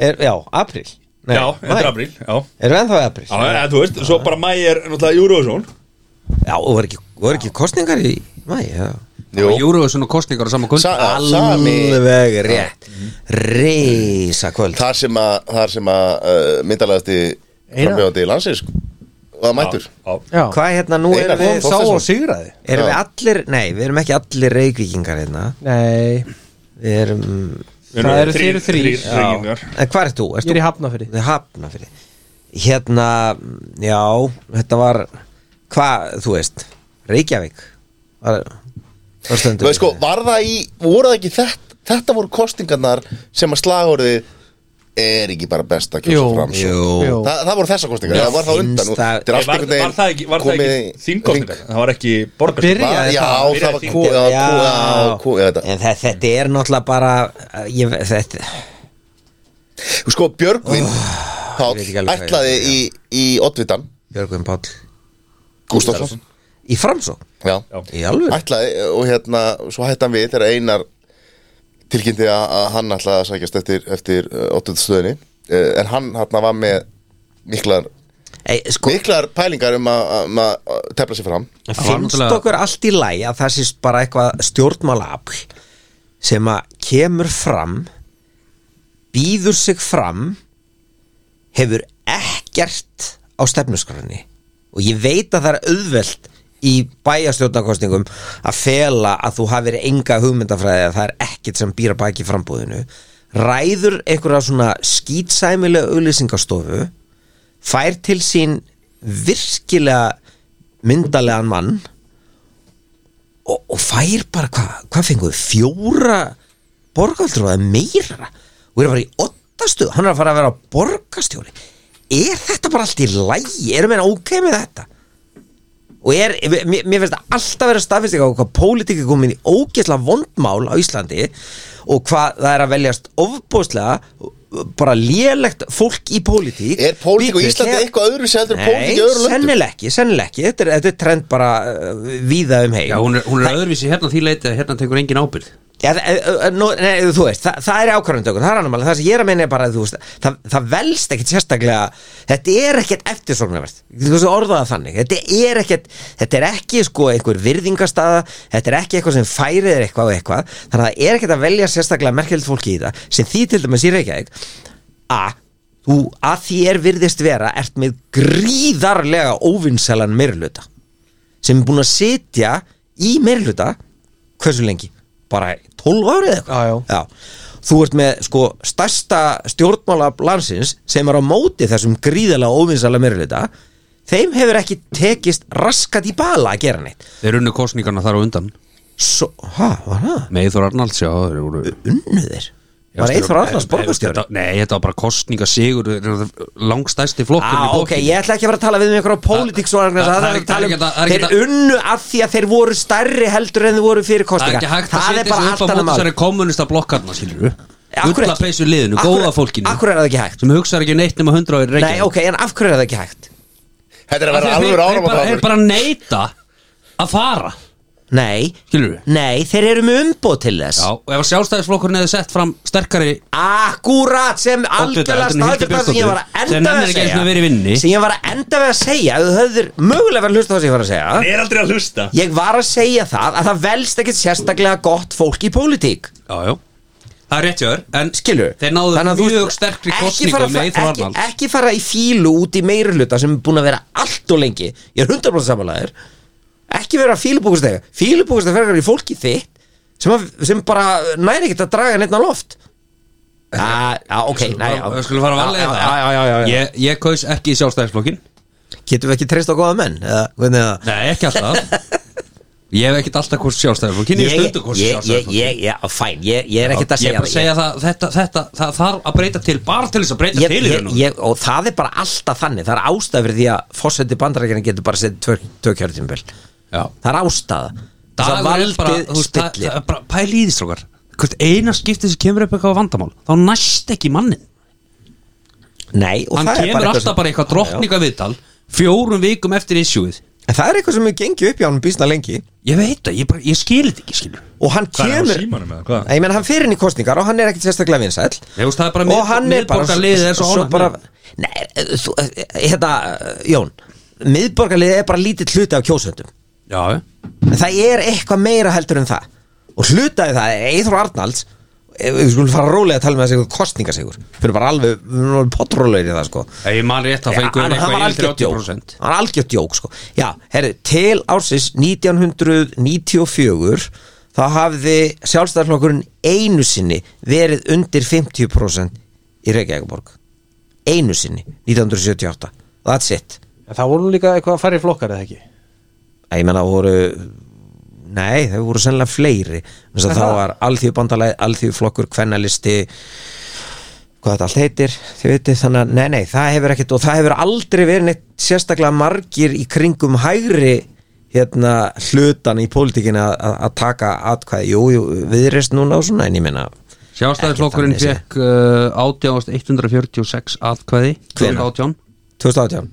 [SPEAKER 5] er, já, april Nei,
[SPEAKER 1] Já, þetta er
[SPEAKER 5] maí.
[SPEAKER 1] apríl, já
[SPEAKER 5] Erum við ennþá í april?
[SPEAKER 1] Já, en þú veist, svo bara mæ er náttúrulega Eurovision
[SPEAKER 5] Já, og voru ekki, voru ekki kostningar í mæ, já
[SPEAKER 3] Júruvísum og kostningar á sama kvöld
[SPEAKER 2] Sa- Já, sami.
[SPEAKER 5] Alveg rétt Reisa kvöld
[SPEAKER 2] þar sem að, þar sem að uh, myndalegasti
[SPEAKER 4] Einar.
[SPEAKER 2] framhjóðandi í landsins sko, var mættur
[SPEAKER 1] Já,
[SPEAKER 4] já
[SPEAKER 5] Hvað hérna, nú
[SPEAKER 2] Einar
[SPEAKER 5] erum við
[SPEAKER 2] Þór
[SPEAKER 4] Sá og
[SPEAKER 2] Þorsteinsson.
[SPEAKER 4] sigraði
[SPEAKER 5] Erum við
[SPEAKER 2] Já.
[SPEAKER 5] allir, nei, við erum ekki allir reykvíkingar hérna
[SPEAKER 4] Nei,
[SPEAKER 5] Við erum,
[SPEAKER 1] Við erum
[SPEAKER 4] Það eru
[SPEAKER 1] þrír-
[SPEAKER 4] þrír- þrír.
[SPEAKER 1] þrír
[SPEAKER 5] já
[SPEAKER 1] Reykvíkingar.
[SPEAKER 5] En hvað ert þú? Erst
[SPEAKER 4] ég er í hafnafyrir
[SPEAKER 5] Við hafna fyrir Hérna, já, þetta var Hvað, þú veist Reykjavík var, var
[SPEAKER 2] Þú
[SPEAKER 5] stendur
[SPEAKER 2] veist sko, var það í, voru það ekki þetta, þetta voru kostingarnar sem að slagorðið er ekki bara best að kjósa
[SPEAKER 4] Jú.
[SPEAKER 2] fram sko?
[SPEAKER 5] Jú.
[SPEAKER 2] Þa, það voru þessa kostingar,
[SPEAKER 5] Já,
[SPEAKER 2] það var það undan og
[SPEAKER 5] finnst það-
[SPEAKER 2] þetta er
[SPEAKER 1] Nei,
[SPEAKER 2] allt
[SPEAKER 1] Var
[SPEAKER 2] einhvern
[SPEAKER 1] var
[SPEAKER 2] veginn
[SPEAKER 1] það ekki, var það
[SPEAKER 2] komið í
[SPEAKER 1] ekki þingkostningar?
[SPEAKER 2] hring.
[SPEAKER 1] Það var ekki borgarstjórn
[SPEAKER 2] Va-
[SPEAKER 5] Byrjaði
[SPEAKER 2] Já,
[SPEAKER 5] það?
[SPEAKER 2] það var
[SPEAKER 1] Byrjaði
[SPEAKER 2] kú, já, kú, já, kú, já, þetta.
[SPEAKER 5] en það, þetta er náttúrulega bara ég, þetta,
[SPEAKER 2] Sko, Björgvin
[SPEAKER 5] ég veit
[SPEAKER 2] Páll
[SPEAKER 5] ekki alveg hvað
[SPEAKER 2] ætlaði
[SPEAKER 5] ég-
[SPEAKER 2] í, í Oddvitan
[SPEAKER 5] Björgvin Páll
[SPEAKER 2] Gustafsson
[SPEAKER 5] Í framsókn,
[SPEAKER 2] Já,
[SPEAKER 5] í alveg
[SPEAKER 2] ætlaði og hérna, svo hætti hann við þegar Einar tilkynnti að, að hann ætlaði að sækjast eftir, eftir uh, Oddvitastöðinni en hann hérna var með miklar,
[SPEAKER 5] Ei, sko,
[SPEAKER 2] miklar pælingar um að- um að að tefla sér fram
[SPEAKER 3] Það var
[SPEAKER 5] finnst
[SPEAKER 3] náttúrulega-
[SPEAKER 5] okkur allt í læg að það sést bara eitthvað stjórnmálaafl sem að kemur fram býður sig fram hefur ekkert á stefnuskrarni og ég veit að það er auðvelt í bæjastjórnarkostningum að fela að þú hafir enga hugmyndafræði að það er ekkert sem býra baki frambúðinu ræður einhverja svona skýtsæmilega auglýsingastofu fær til sín virkilega myndalegan mann og, og fær bara hvað hva fenguðu, fjóra borgaldur og það meira og er bara í ottastu, hann er að fara að vera borgastjóri er þetta bara allt í lægi, erum við ok með þetta og er, mér, mér finnst það alltaf vera staðfisting á hvað pólitík er komin í ógeðsla vondmál á Íslandi og hvað það er að veljast ofbóðslega bara lélegt fólk í pólitík
[SPEAKER 2] Er pólitík á
[SPEAKER 5] Bíddu,
[SPEAKER 2] Íslandi
[SPEAKER 5] þegar-
[SPEAKER 2] eitthvað öðru sem heldur en
[SPEAKER 5] Nei,
[SPEAKER 2] pólitík í öðru löndum?
[SPEAKER 5] sennilega ekki, sennilega ekki Þetta er, þetta er trend bara uh, víða um heim
[SPEAKER 3] já, hún er, hún er öðruvísi hérna því leiti að hérna tekur engin ábyrð
[SPEAKER 5] Já, þa- eh, eh, nú, nei, þú veist, það, það er ákvarðandökun það er annar mál, það sem ég er að meina er bara þú veist, það, það velst ekkit sérstaklega þetta er ekkit eftirsóknarvert orðaða þannig, þetta er ekkit þetta er ekki sko einhver virðingastaða þetta er ekki eitthvað sem færið er eitthvað og eitthvað þannig að það er ekkit að velja sérstaklega merkjöld fólki í það, sem því til dæmis í Reykjavík að þú að því er virðist vera ert með gríðarlega óvinnselan meirluta sem er búin að sitja í meirluta hversu lengi? bara 12 árið
[SPEAKER 4] Já, já.
[SPEAKER 5] eitthvað já. þú ert með sko stærsta stjórnmála landsins sem er á móti þessum gríðalega óvinnsala meirulita þeim hefur ekki tekist raskat í bala að gera neitt
[SPEAKER 3] Þeir unnu kosningarna þar á undan
[SPEAKER 5] Svo, hæ, var það?
[SPEAKER 3] Meithor Arnalds, já, þeir voru
[SPEAKER 5] Unnuðir? Var Eithor Arnars borgarstjóri?
[SPEAKER 3] Þetta- Nei, þetta var bara kosningasigur þeir eru Langstæsti flokkur
[SPEAKER 5] Ah, ok, ég ætla ekki að fara að tala við um einhverja pólitíks og annars
[SPEAKER 3] Það-
[SPEAKER 5] það
[SPEAKER 3] það
[SPEAKER 5] er
[SPEAKER 3] er
[SPEAKER 5] að tala
[SPEAKER 3] ekki-
[SPEAKER 5] um,
[SPEAKER 3] það er ekki-
[SPEAKER 5] þeir unnu af því að þeir voru stærri heldur en þeir voru
[SPEAKER 3] Það
[SPEAKER 5] fyrir
[SPEAKER 3] er
[SPEAKER 5] kostinga
[SPEAKER 3] ekki hægt að setja sig upp
[SPEAKER 5] bara
[SPEAKER 3] á
[SPEAKER 5] allt annað
[SPEAKER 3] móti
[SPEAKER 5] mál.
[SPEAKER 3] þessari kommunista blokkarna, skilur
[SPEAKER 5] Af hverju
[SPEAKER 3] Ulla
[SPEAKER 5] ekki?
[SPEAKER 3] peysu liðinu,
[SPEAKER 5] Af hverju-
[SPEAKER 3] góða fólkinu
[SPEAKER 5] af hverju er það ekki hægt?
[SPEAKER 3] Sem hugsar ekki neitt nema 100 ári
[SPEAKER 5] Nei, ok, en af hverju er það ekki hægt?
[SPEAKER 2] Þetta er að vera alveg áram að
[SPEAKER 3] Þeir bara neita að fara,
[SPEAKER 5] Nei,
[SPEAKER 3] skilur
[SPEAKER 5] nei, þeir eru með umboð til þess
[SPEAKER 3] Já, og ef að sjálfstæðisflokkurinn hefði sett fram sterkari
[SPEAKER 5] Akkurat sem
[SPEAKER 3] heldur
[SPEAKER 5] algjörlega
[SPEAKER 3] en Hildur
[SPEAKER 5] staðfyrst sem ég var
[SPEAKER 3] Björnsdóttir,
[SPEAKER 5] að
[SPEAKER 3] sem
[SPEAKER 5] enda
[SPEAKER 3] nennir
[SPEAKER 5] við að
[SPEAKER 3] ekki einu
[SPEAKER 5] segja
[SPEAKER 3] sinni að vera í vinni.
[SPEAKER 5] sem ég var að enda við að segja ef þú höfður mögulega verið að hlusta á það sem ég var að segja
[SPEAKER 9] er aldrei að hlusta
[SPEAKER 5] ég var að segja það að það velst ekkit sérstaklega gott fólk í pólitík
[SPEAKER 3] Já, já Það er rétt hjá þér, en
[SPEAKER 5] skilur
[SPEAKER 3] Þeir náðu
[SPEAKER 5] Þannig að þú-
[SPEAKER 3] mjög sterkri
[SPEAKER 5] ekki
[SPEAKER 3] kosningu
[SPEAKER 5] fara að
[SPEAKER 3] með
[SPEAKER 5] fa-
[SPEAKER 3] Eyþór
[SPEAKER 5] ekki,
[SPEAKER 3] um Arnalds.
[SPEAKER 5] ekki fara í fílu út í meiri hluta sem er búin að vera allt og lengi ég er 100% samanlæðir ekki vera fílubúkustega fílubúkustega fergar í fólki þitt sem, að, sem bara næri ekkert að draga neitt á loft Já, já, ok, nei já.
[SPEAKER 3] Við skulum fara að valega
[SPEAKER 5] Já,
[SPEAKER 3] það
[SPEAKER 5] já, já, já, já.
[SPEAKER 3] Ég, ég kaus ekki í sjálfstæðisflokkin
[SPEAKER 5] Getum við ekki treyst á góða menn? Eða, hvernig það?
[SPEAKER 3] Nei, ekki alltaf Ég hef ekkert alltaf hvort sjálfstæðisflokkin Ég hef stundu hvort
[SPEAKER 5] ég, ég,
[SPEAKER 3] sjálfstæðisflokkin
[SPEAKER 5] ég, já, fæn, ég, ég er ekkert að
[SPEAKER 3] Ég er
[SPEAKER 5] segja
[SPEAKER 3] bara að segja það, þetta, þetta, það þarf að breyta til bara til þess að breyta
[SPEAKER 5] Ég,
[SPEAKER 3] til í
[SPEAKER 5] ég,
[SPEAKER 3] raun og veru.
[SPEAKER 5] ég, og það er bara alltaf þannig það er ástæð fyrir því að fórseti bandarækjarni getur bara setið tvö, tvö kjörtímabil
[SPEAKER 3] Já.
[SPEAKER 5] það er ástæða það
[SPEAKER 3] Dagur er bara, þú
[SPEAKER 5] valdið
[SPEAKER 3] veist, það-
[SPEAKER 5] spillir
[SPEAKER 3] það er bara pæli í því strókar Hvert eina skipti sem kemur upp eitthvað vandamál Þá næst ekki mannin
[SPEAKER 5] nei, og
[SPEAKER 3] Hann
[SPEAKER 5] það er
[SPEAKER 3] kemur
[SPEAKER 5] bara
[SPEAKER 3] alltaf bara eitthvað drottninga viðtal Fjórum vikum eftir issueð
[SPEAKER 5] en það er eitthvað sem er gengið upp hjá hann býsna lengi
[SPEAKER 3] Ég veit það, ég, bara- ég skil þetta ekki skilur
[SPEAKER 5] og hann
[SPEAKER 9] Hvað er á
[SPEAKER 5] kemur
[SPEAKER 9] símanum eða hvað?
[SPEAKER 5] Nei, menn, hann fyrir inn í kostingar og hann er ekkert sérstaklega vinsæll
[SPEAKER 3] Nei, þú veist, það er bara
[SPEAKER 5] og
[SPEAKER 3] mið-
[SPEAKER 5] hann er bara
[SPEAKER 3] miðborgarliðið er svo ánægt
[SPEAKER 5] bara,
[SPEAKER 3] með
[SPEAKER 5] Nei, eh, þú, hérna, Jón miðborgarliðið er bara lítill hluti af kjósöndum
[SPEAKER 3] Já,
[SPEAKER 5] en það er eitthvað meira heldur en það og hlutaði það, Eithor Arnalds ef við skulum fara rólega að tala með þessi eitthvað kostningasegur fyrir bara alveg, við erum alveg potrólegir í það sko
[SPEAKER 3] ef ég man rétt þá
[SPEAKER 5] Já,
[SPEAKER 3] fengur
[SPEAKER 5] hann- hann var
[SPEAKER 3] eitthvað
[SPEAKER 5] algjört
[SPEAKER 3] í
[SPEAKER 5] djók
[SPEAKER 3] 30%
[SPEAKER 5] hann var algjört djók sko já, herri, til ársins 1994 þá hafði sjálfstæðarflokkurinn einu sinni verið undir 50% í Reykjavíkborg einu sinni, 1978 that's it,
[SPEAKER 4] En það voru nú líka eitthvað að fara í flokkar eða ekki
[SPEAKER 5] Æ, ég menna voru nei, þau voru sennilega fleiri þess að
[SPEAKER 4] Er
[SPEAKER 5] það
[SPEAKER 4] það?
[SPEAKER 5] var alþjóðbandalæð, alþjóðflokkur kvennalisti hvað þetta allt heitir, þið veitir þannig að nei, nei, það hefur ekkert og það hefur aldrei verið neitt sérstaklega margir í kringum hægri hérna hlutan í pólitíkinu að- að að taka atkvæði, jú, jú, viðreist núna og svona, en ég minna
[SPEAKER 3] Sjástæðisflokkurinn
[SPEAKER 5] Ekki þannig
[SPEAKER 3] fekk uh, 18.146 atkvæði
[SPEAKER 5] Hvenær?
[SPEAKER 3] 2018
[SPEAKER 5] 2018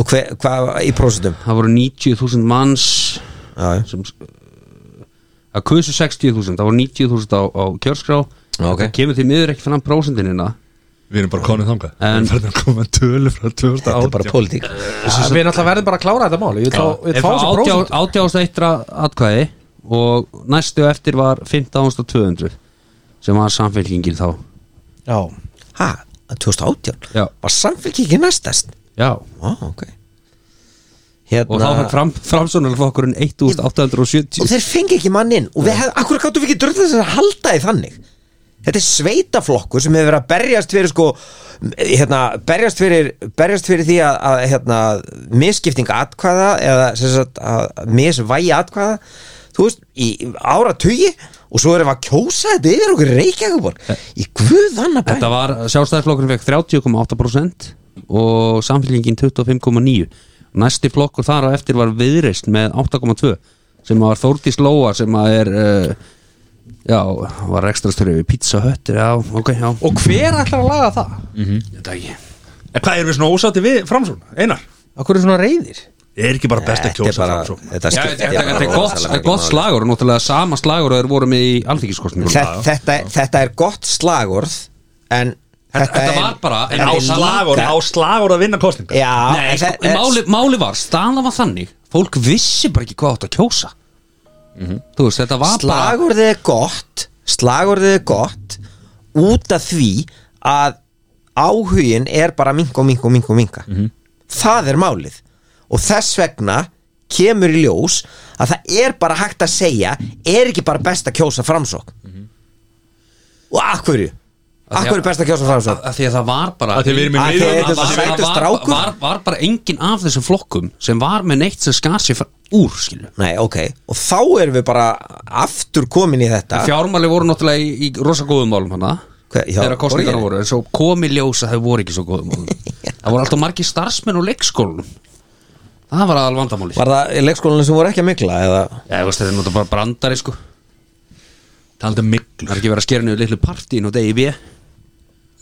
[SPEAKER 5] og hve- hvað í prósentum
[SPEAKER 3] Það voru 90.000 manns
[SPEAKER 5] já, já.
[SPEAKER 3] sem uh, að kusu 60.000 það voru 90.000 á, á kjörskrá
[SPEAKER 5] Ok.
[SPEAKER 3] það kemur því miður ekki fram prósentinina
[SPEAKER 9] Við erum bara konið þangað Við
[SPEAKER 3] En-
[SPEAKER 9] erum farin að koma tölu frá
[SPEAKER 5] þetta er bara
[SPEAKER 9] 2018
[SPEAKER 5] pólitík
[SPEAKER 4] Við erum alltaf verðum bara að klára þetta mál Ég vil fá- ég vil
[SPEAKER 3] Ef
[SPEAKER 4] fá þessu
[SPEAKER 3] átjá-
[SPEAKER 4] prósent
[SPEAKER 3] 18.1 atkvæði og næstu eftir var 15.200 sem var samfélkingin þá
[SPEAKER 4] Já,
[SPEAKER 5] ha, 2018
[SPEAKER 3] Já.
[SPEAKER 5] var samfélkingin næstast
[SPEAKER 3] Já
[SPEAKER 5] Ó, ok Hérna,
[SPEAKER 3] og þá fekk fram, framsónarflokkurinn 1870
[SPEAKER 5] og þeir fengi ekki mann inn og við hefði, akkur gáttum við ekki dröðlega þess að halda því þannig þetta er sveitaflokkur sem hefur verið að berjast fyrir sko hérna, berjast fyrir, berjast fyrir því að, að hérna, misskipting atkvæða eða sem sagt, að misvægi atkvæða þú veist, í ára tugi og svo erum við að kjósa þetta yfir okkur reykjaguborg í guðanna bæn
[SPEAKER 3] Þetta var, sjálfstæðisflokkurinn fekk 30,8% og samfélgingin 25,9 Næsti flokkur þar á eftir var viðreist með 8,2 sem var Þórdís Lóa sem að er uh, já, var ekstraströfi pizza höttir, já, ok, já
[SPEAKER 4] og hver ætlar að laga það?
[SPEAKER 3] Þetta ekki
[SPEAKER 9] En hvað erum við svona ósátti við framsón? Einar
[SPEAKER 4] Akkur er svona reyðir?
[SPEAKER 9] Er ekki bara best að
[SPEAKER 5] þetta er
[SPEAKER 9] kjósa
[SPEAKER 5] bara
[SPEAKER 9] framsón?
[SPEAKER 5] þetta
[SPEAKER 3] Já,
[SPEAKER 5] skiptir
[SPEAKER 3] þetta þetta- þetta
[SPEAKER 5] bara
[SPEAKER 3] er gott,
[SPEAKER 5] rosalega
[SPEAKER 3] gott
[SPEAKER 5] máli.
[SPEAKER 3] slagur og náttúrulega sama slagur og þeir voru með í alþingiskostningum
[SPEAKER 5] þetta, þetta, þetta er gott slagorð en þetta,
[SPEAKER 3] þetta
[SPEAKER 5] er,
[SPEAKER 3] var bara- en
[SPEAKER 9] Á
[SPEAKER 5] þetta er
[SPEAKER 9] slagur,
[SPEAKER 5] langa-
[SPEAKER 9] á slagur að vinna kostninga
[SPEAKER 5] já,
[SPEAKER 3] Nei,
[SPEAKER 5] en
[SPEAKER 3] sko,
[SPEAKER 5] þetta-
[SPEAKER 3] máli, máli var, staðan var þannig fólk vissi bara ekki hvað átt að kjósa
[SPEAKER 5] Mhm.
[SPEAKER 3] Þú veist, þetta var bara
[SPEAKER 5] slagorðið er gott slagorðið er gott út af því að áhugin er bara minka og minka og minka og minka
[SPEAKER 3] Mhm.
[SPEAKER 5] það er málið og þess vegna kemur í ljós
[SPEAKER 3] Mhm.
[SPEAKER 5] að það er bara hægt að segja er ekki bara best að kjósa framsókn og akkurju akkurju best að kjósa framsókn
[SPEAKER 3] Af því að það var bara
[SPEAKER 1] Af því að við erum í
[SPEAKER 3] Af því
[SPEAKER 1] miðjum-
[SPEAKER 3] að
[SPEAKER 1] af því
[SPEAKER 3] það
[SPEAKER 1] að við
[SPEAKER 3] var-
[SPEAKER 1] erum
[SPEAKER 5] sætur
[SPEAKER 3] var,
[SPEAKER 5] strákur.
[SPEAKER 3] var, var bara engin af þessum flokkum sem var með neitt sem skar sér fra- úr skilu
[SPEAKER 5] nei ok, og þá erum við bara aftur komin í þetta
[SPEAKER 3] Fjármáli voru náttúrulega í, í rosa góðum málum hana
[SPEAKER 5] Hve- já,
[SPEAKER 3] þegar kostningar
[SPEAKER 5] borginni.
[SPEAKER 3] voru en svo komi ljós að þau voru ekki svo góðum málum það voru alltaf margir starfsmenn og leikskólum það var aðal vandamáli
[SPEAKER 5] var það í leikskólanum sem voru ekki að mikla eða
[SPEAKER 3] Já, þú veist, þetta er náttúrulega bara brandari sko
[SPEAKER 1] Talandi um miklu
[SPEAKER 3] Það er ekki verið að skera niður litlu partíin og degi í bíð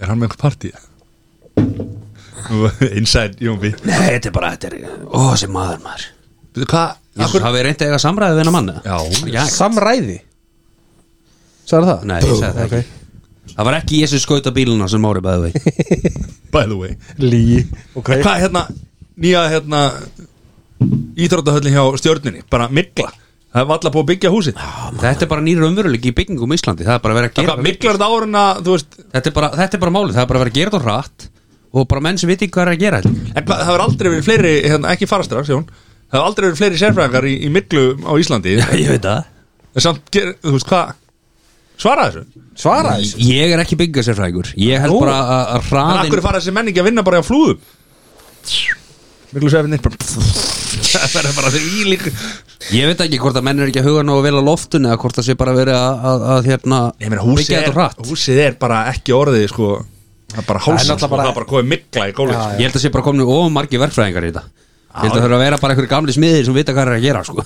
[SPEAKER 1] Er hann með einhver partí? Nú, Inside Jónbi
[SPEAKER 3] Nei, þetta er bara, þetta er, ó, þessi maður maður
[SPEAKER 1] Býtu hvað?
[SPEAKER 3] Ég
[SPEAKER 1] Akkur...
[SPEAKER 3] hafi reyndið að eiga samræðið við hennar manna
[SPEAKER 1] Já.
[SPEAKER 3] Já,
[SPEAKER 4] Samræði Sæður það?
[SPEAKER 3] Nei, ég sagði það ekki Það var ekki ég sem skauta bíluna sem Mári bæði vei
[SPEAKER 1] By the way
[SPEAKER 4] Lí Ok
[SPEAKER 1] En Hvað hérna Nýja hérna Íþróttahöllin hjá stjörninni Bara mikla Það er valla búið að byggja húsið
[SPEAKER 3] Þetta er bara nýri umveruleik í byggingum í Íslandi Það er bara verið að
[SPEAKER 1] Ah, Það
[SPEAKER 3] gera
[SPEAKER 1] hvað miklar þetta árun að Þú veist
[SPEAKER 3] þetta er, bara, þetta er bara málið, það er bara verið að gera þetta hratt Og bara menn sem viti hvað er að gera þetta
[SPEAKER 1] En hvað, það hefur aldrei verið fleiri hérna, Ekki fara strax Jón Það hefur aldrei verið fleiri sérfræðingar í, í miklu á Íslandi
[SPEAKER 3] Ég veit það
[SPEAKER 1] En samt ger, Þú veist hvað Svara þessu
[SPEAKER 4] Svara þessu
[SPEAKER 3] Ég er ekki byggasérfræðingur Ég held
[SPEAKER 1] Nú.
[SPEAKER 3] bara að- að
[SPEAKER 1] En af hverju
[SPEAKER 3] hraðin
[SPEAKER 1] fara þessi menningi að vinna bara á flúðum Miklu svefinni Það verður bara því ílík
[SPEAKER 3] Ég veit ekki hvort að menn er ekki að huga nógu vel á loftun Eða hvort það sé bara verið að, að, að hérna
[SPEAKER 1] Ég meina húsið
[SPEAKER 3] Byggja
[SPEAKER 1] er,
[SPEAKER 3] þetta hratt
[SPEAKER 1] húsið er bara ekki orðið sko Það er bara hálsins og
[SPEAKER 4] náttúrulega bara-
[SPEAKER 1] það er bara komið mikla í gólfið sko.
[SPEAKER 3] Ég held að sé bara komnu ofan margi verkfræðingar í þetta Ég held að það þurfa að vera bara einhverju gamli smiðir sem vita hvað er að gera sko.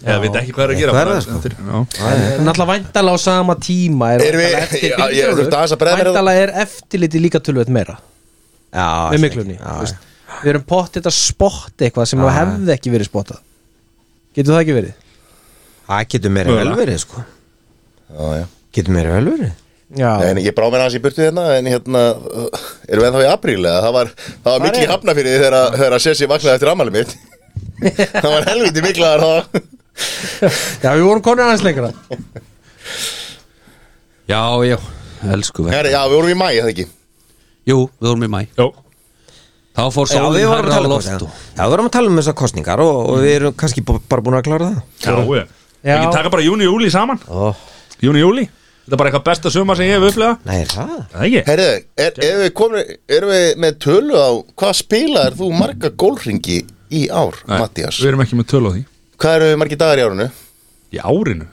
[SPEAKER 1] Eða veit ekki hvað er að gera
[SPEAKER 5] Eitthvað er
[SPEAKER 1] bara-
[SPEAKER 5] það, sko.
[SPEAKER 1] þetta er- já.
[SPEAKER 4] En alltaf væntalega á sama tíma er
[SPEAKER 2] Erum við-
[SPEAKER 4] væntanlega eftir-
[SPEAKER 2] Já, ég-
[SPEAKER 4] Fyrirgefðu,
[SPEAKER 2] þurfti aðeins að bregða mér að-
[SPEAKER 4] Væntanlega er eftirliti líka tölvöld meira
[SPEAKER 5] já,
[SPEAKER 4] Með miklunni
[SPEAKER 5] já,
[SPEAKER 4] þú veist. Við erum pottið að spotta eitthvað sem hefði ekki verið spottað Getur það ekki verið?
[SPEAKER 5] það getur meira
[SPEAKER 1] Mögulega.
[SPEAKER 5] velverið sko
[SPEAKER 2] Já, já
[SPEAKER 5] getur meira velverið
[SPEAKER 4] Já
[SPEAKER 2] En ég brá mér aðeins í burtu hérna En hérna, uh, erum við ennþá í apríl eða? Það var, það var mikil í hafna fyrir því þegar, að- þegar að Sessi vaknaði eftir ammæli mitt Það var helviti miklaðar þá
[SPEAKER 4] Já, við vorum konir aðeins lengra
[SPEAKER 3] Já, já, elsku verk
[SPEAKER 2] Herri, Já, við vorum í mæ, það ekki
[SPEAKER 3] Jú, við vorum í mæ
[SPEAKER 1] Jó.
[SPEAKER 3] Þá fór
[SPEAKER 5] já,
[SPEAKER 3] sólinn
[SPEAKER 5] við vorum að
[SPEAKER 3] hærra á
[SPEAKER 5] tala um
[SPEAKER 3] loft
[SPEAKER 5] kosningar. já, við vorum að tala um þessar kostningar og, og við erum kannski bú- bara búin að klára það
[SPEAKER 1] Já, já.
[SPEAKER 4] Já.
[SPEAKER 1] Ekki taka bara júni og júli saman Júni og júli Þetta er bara eitthvað besta sumar sem ég hef upplegað
[SPEAKER 5] nei, er það
[SPEAKER 1] Það er ekki
[SPEAKER 2] Herri, er, erum, við komin, erum við með tölu á Hvað spilaðir þú marga gólringi í ár, Mattias?
[SPEAKER 1] Við erum ekki með tölu á því
[SPEAKER 2] Hvað eru við margi dagar í árunu?
[SPEAKER 1] Í árinu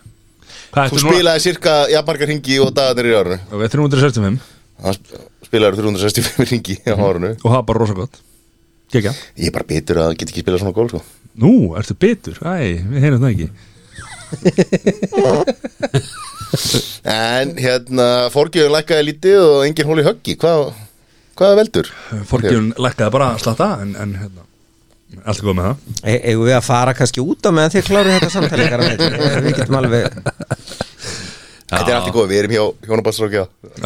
[SPEAKER 1] Hvað
[SPEAKER 2] Þú
[SPEAKER 1] ertu núna?
[SPEAKER 2] spilaði cirka, já, marga ringi og dagarnir í árunu
[SPEAKER 1] Við erum 365
[SPEAKER 2] Það spilaði 365 ringi á árunu
[SPEAKER 1] og það er bara rosa gott Gekja
[SPEAKER 2] Ég er bara bitur að geta ekki spilað svona gól, sko
[SPEAKER 1] Nú, ertu bitur? Æ, við heyrum það ekki
[SPEAKER 2] En hérna, forgjöðu lækkaði lítið og engin hóli höggi, hvað, hvað veldur?
[SPEAKER 1] Forgjörn lækkaði bara að slatta en, en hérna, allt er góð með það
[SPEAKER 5] E- eigum við að fara kannski út á meðan þið kláru þetta samtali ykkar á milli? við getum alveg
[SPEAKER 2] Hérna, Þetta er allt í góð, við erum hjá hjónabandstrákja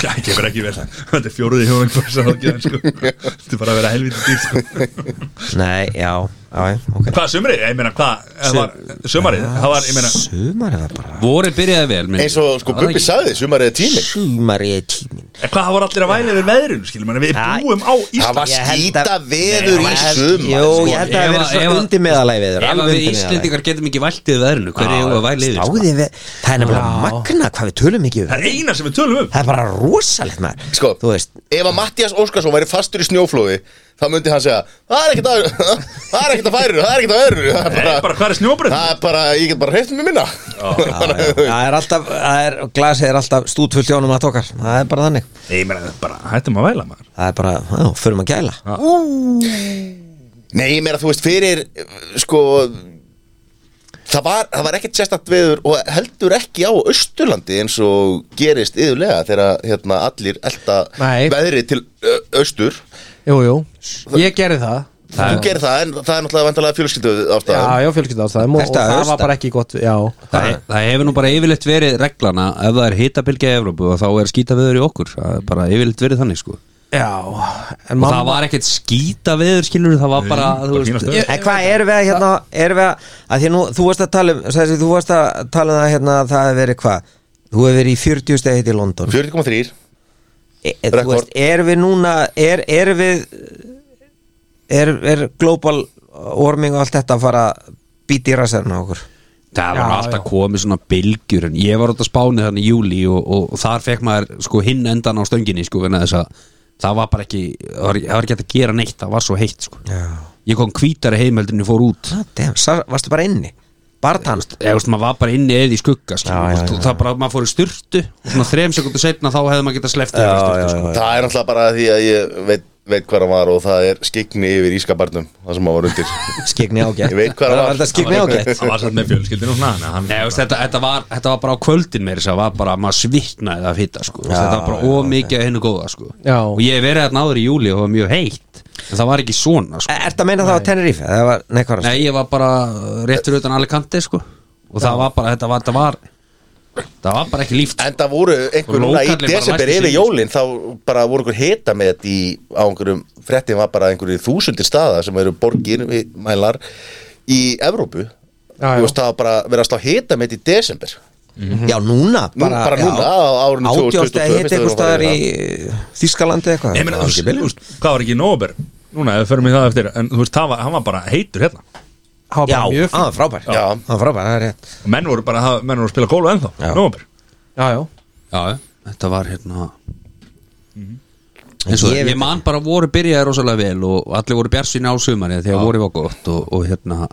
[SPEAKER 1] Já, ekki verið ekki vel Þetta er fjóruði hjóðan forgjörn sko. Þetta er bara að vera helviti dýr sko.
[SPEAKER 5] nei, já, já, já, ok
[SPEAKER 1] Hvað sumrið? Ég meina, hvað? það var- Sumarið? Það var, ég meina
[SPEAKER 5] sumar er það bara
[SPEAKER 3] Vorið byrjaði vel minn.
[SPEAKER 2] Eins og sko
[SPEAKER 3] Það var
[SPEAKER 2] Bubbi
[SPEAKER 3] ekki-
[SPEAKER 2] sagði, sumar eða tími
[SPEAKER 5] sumar er tímin
[SPEAKER 1] en Hvað var allir að væla við veðrun, skilum Við
[SPEAKER 5] Já.
[SPEAKER 1] búum á
[SPEAKER 2] Það
[SPEAKER 1] Ísland
[SPEAKER 2] var
[SPEAKER 5] Ég held
[SPEAKER 2] skýta
[SPEAKER 5] að-
[SPEAKER 2] veður í sumar
[SPEAKER 5] jú,
[SPEAKER 2] sko.
[SPEAKER 5] ég held að það
[SPEAKER 3] Ef að-
[SPEAKER 5] vera
[SPEAKER 3] ef
[SPEAKER 5] svona
[SPEAKER 3] að-
[SPEAKER 5] undir meðalagi veður
[SPEAKER 3] Ef að
[SPEAKER 5] alveg
[SPEAKER 3] við
[SPEAKER 5] undir meðalagi.
[SPEAKER 3] Íslendingar getum ekki væltið veðrinu Hver er að væli yfir? sko?
[SPEAKER 5] Sláði við- það er nefnilega magna hvað við tölum ekki um
[SPEAKER 1] Það er eina sem við tölum um
[SPEAKER 5] það er bara rosalegt maður
[SPEAKER 2] Sko.
[SPEAKER 5] þú veist
[SPEAKER 2] Ef að Mattias Óskarsson væri fastur í snjóflóði þá myndi hann segja Það er ekkert að, það er ekkert að færu, það er ekkert að öðru Það
[SPEAKER 1] Nei,
[SPEAKER 2] er
[SPEAKER 1] bara
[SPEAKER 2] bara,
[SPEAKER 1] hvað er snjóbrið?
[SPEAKER 2] það er bara, ég get bara hreift mér minna
[SPEAKER 5] já, já. það er alltaf það er, glasið er alltaf stútfullt hjónum að tókar það er bara þannig
[SPEAKER 1] Nei, ég meina, bara hættum að væla maður
[SPEAKER 5] það er bara já, förum að gæla
[SPEAKER 2] Nei, ég meira, þú veist, fyrir, sko Það var, það var ekkert sérstakt veður og heldur ekki á Östurlandi eins og gerist yðurlega þegar hérna, allir elda
[SPEAKER 4] Nei.
[SPEAKER 2] veðri til ö, Östur
[SPEAKER 4] Jú, jú, ég gerði það
[SPEAKER 2] Þú gerir það en það er náttúrulega vandalega fjölskyldu
[SPEAKER 4] Já,
[SPEAKER 2] ástæðan
[SPEAKER 4] já, fjölskylda ástæðum og,
[SPEAKER 5] Hvert
[SPEAKER 4] og
[SPEAKER 5] að
[SPEAKER 4] það
[SPEAKER 5] hausta?
[SPEAKER 4] var bara ekki gott Já,
[SPEAKER 3] Það, það hefur nú bara yfirleitt verið reglana ef það er hitabilgja í Evrópu og þá er skítaveður í okkur það er bara yfirleitt verið þannig sko og
[SPEAKER 4] já En
[SPEAKER 3] það var ekkert skítaveður skilur það var bara, þú
[SPEAKER 1] fína
[SPEAKER 3] veist
[SPEAKER 1] stöð.
[SPEAKER 5] En hvað erum við að hérna erum við að, að því að nú, þú varst að tala um sagði, þú varst að tala um það hérna að það hefur verið hvað þú hefur verið í 40 stegi hitt í London
[SPEAKER 2] 40,3
[SPEAKER 5] e, e, þú
[SPEAKER 2] rekord.
[SPEAKER 5] veist, erum við núna er, erum við er, er global warming og allt þetta að fara að býti í rassan á okkur
[SPEAKER 3] Það var
[SPEAKER 4] Já,
[SPEAKER 3] alltaf
[SPEAKER 4] já.
[SPEAKER 3] komið svona bylgjur en ég var átt að spáni þannig í júli og, og, og þar fekk maður sko hinn endan á stönginni sko vegna þess að það var bara ekki það var, það var ekki hægt að gera neitt, það var svo heitt sko
[SPEAKER 5] Já.
[SPEAKER 3] Ég kom hvítari heimeldinu fór út
[SPEAKER 5] Ah, damn, sar, varstu bara inni Bartan
[SPEAKER 3] eða veist, maður var bara inni eða í skugga skilur,
[SPEAKER 5] Já, já,
[SPEAKER 3] veist, og
[SPEAKER 5] já,
[SPEAKER 3] það bara, maður fór í styrtu og svona þrem sekundu setna þá hefði maður getað sleft já, styrtu, já, sko.
[SPEAKER 2] Það er náttúrulega bara því að ég veit, veit hvað hann var og það er skikni yfir ískabarnum það sem hann var undir
[SPEAKER 5] Skikni ágætt
[SPEAKER 2] Ég veit hvað það
[SPEAKER 5] Var
[SPEAKER 2] var.
[SPEAKER 5] þetta skikni ágætt
[SPEAKER 1] Hann var satt með fjölskyldinu og svona þannig að hann-
[SPEAKER 3] Nei, veist, þetta, þetta, var, þetta var bara á kvöldin meiri það var bara að maður svitnaði að hitta sko. já, þetta var bara ómikið að hennu góða sko.
[SPEAKER 4] Já.
[SPEAKER 3] og ég hef verið þarna áður í júli og það var mjög heitt en það var ekki svona sko.
[SPEAKER 5] E, Ertu að meina það á Tenerife? eða var- Nei, hvað var það?
[SPEAKER 3] Nei, ég var bara réttur utan Alicante sko. og það var bara, þetta var, þetta var það var bara ekki líft
[SPEAKER 2] En það voru einhver núna í
[SPEAKER 3] Lókarnir bara
[SPEAKER 2] desember
[SPEAKER 3] læstu
[SPEAKER 2] yfir
[SPEAKER 3] sig.
[SPEAKER 2] jólin þá bara voru einhver hita með þetta í á einhverjum fréttin var bara einhverju þúsundir staða sem eru borgir við mælar í Evrópu
[SPEAKER 4] Já,
[SPEAKER 2] Þú
[SPEAKER 4] já.
[SPEAKER 2] veist það var bara verið að slá hita með þetta í desember
[SPEAKER 5] Já, núna
[SPEAKER 2] Nú, bara núna, á árinu 2022,
[SPEAKER 5] Átjósta
[SPEAKER 2] fyrst
[SPEAKER 5] heiti
[SPEAKER 2] að
[SPEAKER 5] eitthvað
[SPEAKER 2] það var
[SPEAKER 5] staðar í Þískalandi eitthvað
[SPEAKER 1] Nei, menn,
[SPEAKER 5] Það var ekki
[SPEAKER 1] þú
[SPEAKER 5] bilið.
[SPEAKER 1] veist, hvað var ekki í nóber Núna, ef við förum í það eftir En þú veist, það var, hann var bara heitur hérna
[SPEAKER 4] Hann var
[SPEAKER 5] Já, ah,
[SPEAKER 4] bara mjög
[SPEAKER 5] það var frábær
[SPEAKER 2] Já.
[SPEAKER 5] Það var frábær, það er rétt
[SPEAKER 1] Og menn voru bara, menn voru að spila kólu ennþá
[SPEAKER 5] Já.
[SPEAKER 1] Nóber
[SPEAKER 4] Já, já
[SPEAKER 3] Já, þetta var hérna eins og
[SPEAKER 5] Ég
[SPEAKER 3] ég,
[SPEAKER 5] veit
[SPEAKER 3] ég man bara voru byrjaði rosalega vel og allir voru bjarsinni á sumarið þegar voru var gott og, og hérna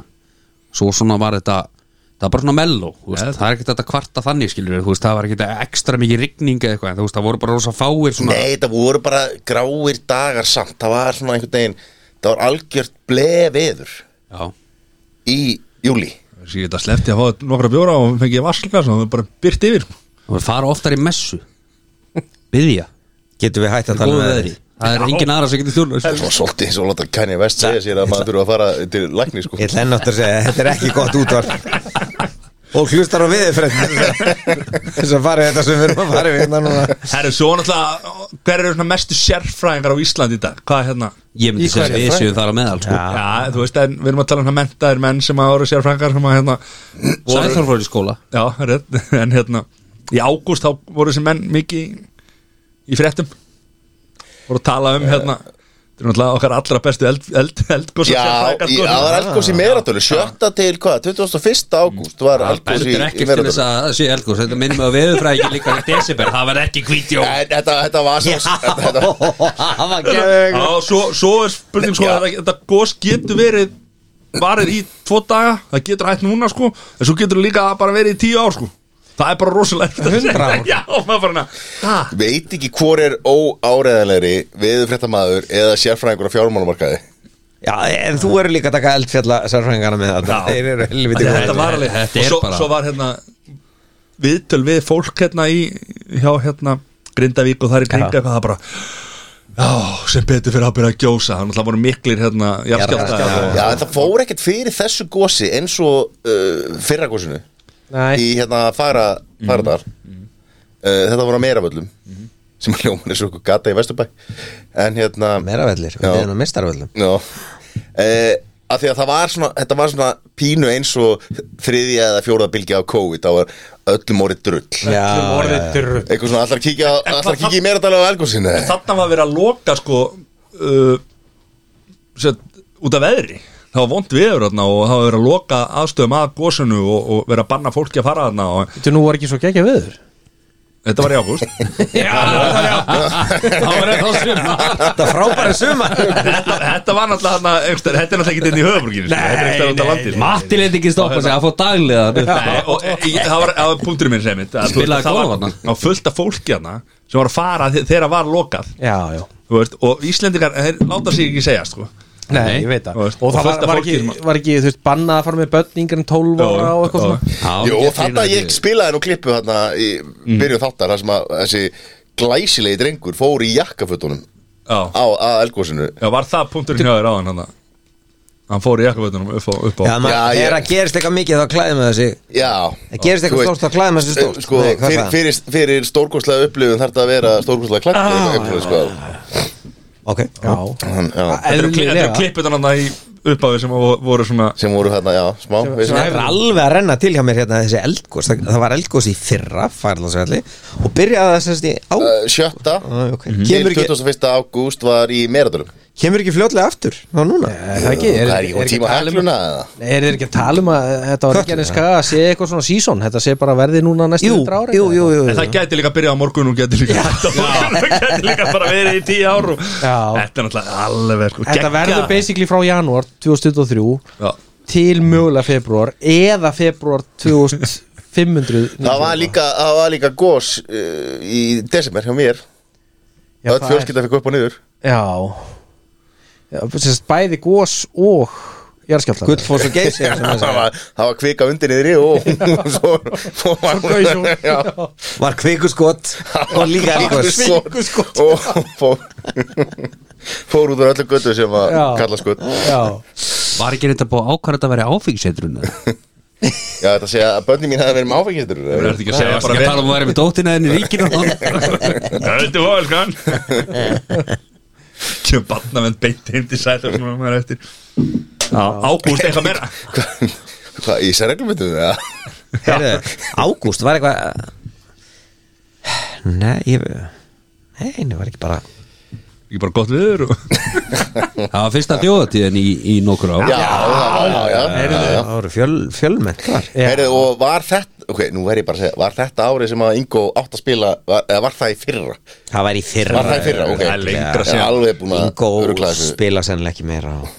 [SPEAKER 3] svo svona var þetta það var bara svona mello, þú veist, það er ekkert þetta kvarta þannig skilur, þú veist, það var ekkert ekstra mikið rigning eða eitthvað, en þú veist, það voru bara rosa fáir svona,
[SPEAKER 2] Nei, það voru bara gráir dagar samt það var svona einhvern veginn það var algjört blefiður
[SPEAKER 3] já,
[SPEAKER 2] í júli
[SPEAKER 1] Þessi ég þetta sleppti að fá nokkra bjóra og fengi ég vasslgas og það bara byrt yfir sko.
[SPEAKER 3] það voru fara oftar í messu byðja,
[SPEAKER 5] Getum við hægt að tala
[SPEAKER 3] góðu
[SPEAKER 5] um
[SPEAKER 3] veðri það er engin aðra sem getur sko. stjórnast
[SPEAKER 2] Það var svolítið eins og láta Kanye West segja sér að maður þurfa að fara til lækni sko
[SPEAKER 5] Ég ætla enn átt að segja, þetta er ekki gott útvarp Og hlustar á viðið Þess að fara í þetta sem við erum að fara við hérna núna
[SPEAKER 1] Herru, svo náttúrulega, hver eru svona mestu sérfræðingar á Íslandi í dag? Hvað er hérna?
[SPEAKER 3] ég myndi segja að við séum þar að meðal sko.
[SPEAKER 1] Já, þú veist, en við erum að tala um það mentaðir menn sem að ára sérfræðingar sem að hérna
[SPEAKER 3] Sæþór fór í skóla
[SPEAKER 1] Já, rétt, en hérna Í ágúst þá voru þessi menn mikið í- í fréttum voru að tala
[SPEAKER 2] Eh.
[SPEAKER 1] um hérna Þetta er náttúrulega okkar allra bestu eld, eld, eldgósa
[SPEAKER 2] Já, í- það var eldgósi í meðratölu Sjötta til hvað, 21. ágúst var
[SPEAKER 3] Það
[SPEAKER 2] eldgósi
[SPEAKER 3] er
[SPEAKER 2] í
[SPEAKER 3] ekkert til þess
[SPEAKER 2] meðratölu
[SPEAKER 3] að það sé eldgóðs Þetta minnum að veðurfræði líka í desember Það var ekki hvítjó
[SPEAKER 2] Þetta, þetta var svo þetta, þetta,
[SPEAKER 5] Það var geðveik
[SPEAKER 1] Já, svo, svo er spurning sko
[SPEAKER 2] Já.
[SPEAKER 1] að þetta gos getur verið varið í tvo daga, það getur hægt núna sko en svo getur líka bara verið í tíu ár sko það er bara rosalega erfitt að segja.
[SPEAKER 5] 100 ár.
[SPEAKER 1] Já, maður bara hana ha,
[SPEAKER 2] Veit ekki hvor er óáreðanlegri Veðurfréttamaður eða sérfræðingur á fjármálumarkaði
[SPEAKER 5] Já, en þú eru líka að taka eldfjalla sérfræðingana með þetta
[SPEAKER 1] Já.
[SPEAKER 5] Þeir eru helviti
[SPEAKER 1] Þetta
[SPEAKER 5] góðir.
[SPEAKER 1] var alveg
[SPEAKER 3] Þetta er
[SPEAKER 1] Og svo,
[SPEAKER 3] bara-
[SPEAKER 1] svo var hérna viðtöl við fólk hérna í hjá hérna Grindavík og það er kringa eitthvað það bara Já, sem betur fyrir að byrja að gjósa þannig að það voru miklir hérna jarðskjálftar
[SPEAKER 5] jarðskjálftar.
[SPEAKER 1] og-
[SPEAKER 2] Já, en það fór ekkert fyrir þessu gósi eins og uh, fyrra gósinu
[SPEAKER 4] Nei,
[SPEAKER 2] í hérna fara,
[SPEAKER 3] Mhm.
[SPEAKER 2] faradar uh, Þetta voru að meðravöllum sem hljóman er svo gata í Vesturbæ En hérna
[SPEAKER 5] Meravellir,
[SPEAKER 2] Já.
[SPEAKER 5] við erum mistarvellum
[SPEAKER 2] Já uh, að því að það var svona, þetta var svona pínu eins og þriðja eða fjóraða bylgja á COVID, þá var öllum orðið drull
[SPEAKER 5] Já, já, já.
[SPEAKER 4] orðið
[SPEAKER 2] eitthvað svona, allar kíkja, á- ætlar að kíkja í meira á elgósinu
[SPEAKER 1] þarna var verið að loka sko uh, set, út af veðri það var vond viður þarna og það var verið að loka aðstöðum að gósinu og, og verið að banna fólki að fara þarna og
[SPEAKER 4] Þetta nú var ekki svo gekkja viður
[SPEAKER 1] þetta var í ágúst
[SPEAKER 3] Já, það var ekki á sumar
[SPEAKER 5] Þetta frábæri sumar
[SPEAKER 1] þetta, þetta var náttúrulega þarna einhverstað, þetta er náttúrulega ekki inn í höfuborginu þetta er einhverstað út af landinu
[SPEAKER 3] Matti leti ekki stoppa sig, hann fór daglega
[SPEAKER 1] Nei, og e, e, það var, það var punkturinn minn sem mitt að þú
[SPEAKER 3] Spilaði
[SPEAKER 1] veist, það
[SPEAKER 3] golf
[SPEAKER 1] var-
[SPEAKER 3] þarna.
[SPEAKER 1] það var fullt af fólki hana sem var að fara þe- þegar það var lokað
[SPEAKER 4] Já, já
[SPEAKER 1] þú veist, og Íslendingar, þeir láta sig ekki segja sko.
[SPEAKER 4] Nei, ég veit það
[SPEAKER 1] Og
[SPEAKER 4] Og,
[SPEAKER 1] veist, og
[SPEAKER 4] það var,
[SPEAKER 1] fullt af
[SPEAKER 4] var,
[SPEAKER 1] fólki sem
[SPEAKER 4] ekki,
[SPEAKER 1] að-
[SPEAKER 4] var ekki, þú veist, bannað að fara með börn yngri en 12 ára og eitthvað svona
[SPEAKER 2] Jú, og þarna ég spilaði nú klippu þarna í byrju þáttar, þar sem að þessi glæsilegi drengur fór í jakkafötunum
[SPEAKER 1] já,
[SPEAKER 2] á að elgósinu
[SPEAKER 1] já, var það punkturinn hjá þér áðan hann hann fór í jakkafötunum upp á, upp á
[SPEAKER 5] Já, maður,
[SPEAKER 2] Já, ég-
[SPEAKER 5] þegar það gerist eitthvað mikið þá klæðum við þessi
[SPEAKER 2] Já
[SPEAKER 5] Það gerist
[SPEAKER 2] Þú
[SPEAKER 5] eitthvað
[SPEAKER 2] veist,
[SPEAKER 5] stórt, þá klæðir maður sig stórt.
[SPEAKER 2] Sko,
[SPEAKER 5] Nei, hvað
[SPEAKER 2] fyrir,
[SPEAKER 5] það?
[SPEAKER 2] fyrir, fyrir stórkostlega upplifun þarf það að vera stórkostlega klætt ah, eitthvað, sko.
[SPEAKER 5] Ok,
[SPEAKER 4] Já,
[SPEAKER 2] Hann, já,
[SPEAKER 1] Þetta eru kli- þetta eru
[SPEAKER 4] eðlilega
[SPEAKER 1] klippið hann í upphafi sem vo- voru svona
[SPEAKER 2] sem voru hérna, já, smá veist
[SPEAKER 5] Það er alveg að renna til hjá mér hérna þessi eldgós Það, það var eldgós í fyrra, færlandsvelli Og byrjaði það sérst í á
[SPEAKER 2] Uh, sjötta
[SPEAKER 5] Æ, ok.
[SPEAKER 2] til
[SPEAKER 5] Kemur ekki-
[SPEAKER 2] 21. ágúst var í Meradölum
[SPEAKER 5] Kemur ekki fljótlega aftur Ná núna
[SPEAKER 4] Er það ekki?
[SPEAKER 2] Það er ekki komið tíma að
[SPEAKER 4] tala um-
[SPEAKER 2] hægluna eða?
[SPEAKER 4] Nei, er ekki að tala um að þetta var ekki að neska að sé eitthvað svona sísón Þetta sé bara verði núna næstu
[SPEAKER 5] Jú,
[SPEAKER 4] hundra ára
[SPEAKER 5] jú, jú, jú,
[SPEAKER 1] En það
[SPEAKER 5] jú.
[SPEAKER 1] gæti líka að byrja á morgun og gæti líka hætt á morgun og gæti líka bara verið í tíu ár og
[SPEAKER 4] Já.
[SPEAKER 1] Þetta er náttúrulega alveg sko
[SPEAKER 4] Þetta verður
[SPEAKER 1] geggjað.
[SPEAKER 4] basically frá janúar 2023
[SPEAKER 1] Já.
[SPEAKER 4] til mögulega februar eða februar 2500
[SPEAKER 2] Það var líka, það var líka gos uh, í desember hjá mér
[SPEAKER 4] Já,
[SPEAKER 2] Öll
[SPEAKER 4] það
[SPEAKER 2] fjölskylda fikk upp og niður
[SPEAKER 4] er- Já, já sérst, Bæði gós og jarðskjálftar
[SPEAKER 5] Gullfoss og geysir sem það
[SPEAKER 2] Það
[SPEAKER 5] sagði.
[SPEAKER 2] var, það var kvika undir niðri og og svo, svo var
[SPEAKER 4] Svo gaus hún.
[SPEAKER 2] Já.
[SPEAKER 5] Var kvikuskot Og líka elgos
[SPEAKER 2] Svo- og fór, fór út úr öllu götu sem að
[SPEAKER 4] Já.
[SPEAKER 2] kalla skutt
[SPEAKER 4] Já,
[SPEAKER 3] Var ekki reynda búið ákvarð að þetta veri áfengisetrun
[SPEAKER 2] Já, þetta segja að bönni mín hafi verið með áfengistur
[SPEAKER 1] Það verður ekki að segja
[SPEAKER 3] Ég
[SPEAKER 1] bara
[SPEAKER 3] tala um að vera með dóttina þenni ríkinu
[SPEAKER 1] Þetta var elskan Kjöfum barnavend beint heim til sæta sem maður er eftir Ágúst eitthvað meira
[SPEAKER 2] Hvað, í sérreglumyndu það?
[SPEAKER 5] Ágúst var eitthvað Nei, ég Nei, það var ekki bara
[SPEAKER 1] Ekki bara gott viður og
[SPEAKER 3] Það var fyrsta þjóðatíðin í, í nokkur á
[SPEAKER 2] Já, já, já, já, já, já.
[SPEAKER 5] Það voru fjöl, fjölmenn þar
[SPEAKER 2] Heyrðu, og var þetta, ok, nú verð ég bara að segja, var þetta árið sem að Ingo átt að spila, var, eða var það í fyrra?
[SPEAKER 5] Það var í fyrra
[SPEAKER 2] Var það í fyrra, ok.
[SPEAKER 1] Það er lengra
[SPEAKER 2] Ég er
[SPEAKER 1] síðan.
[SPEAKER 2] alveg búin að
[SPEAKER 5] Ingo
[SPEAKER 2] örugglega þessu.
[SPEAKER 5] spila sennilega ekki meira á-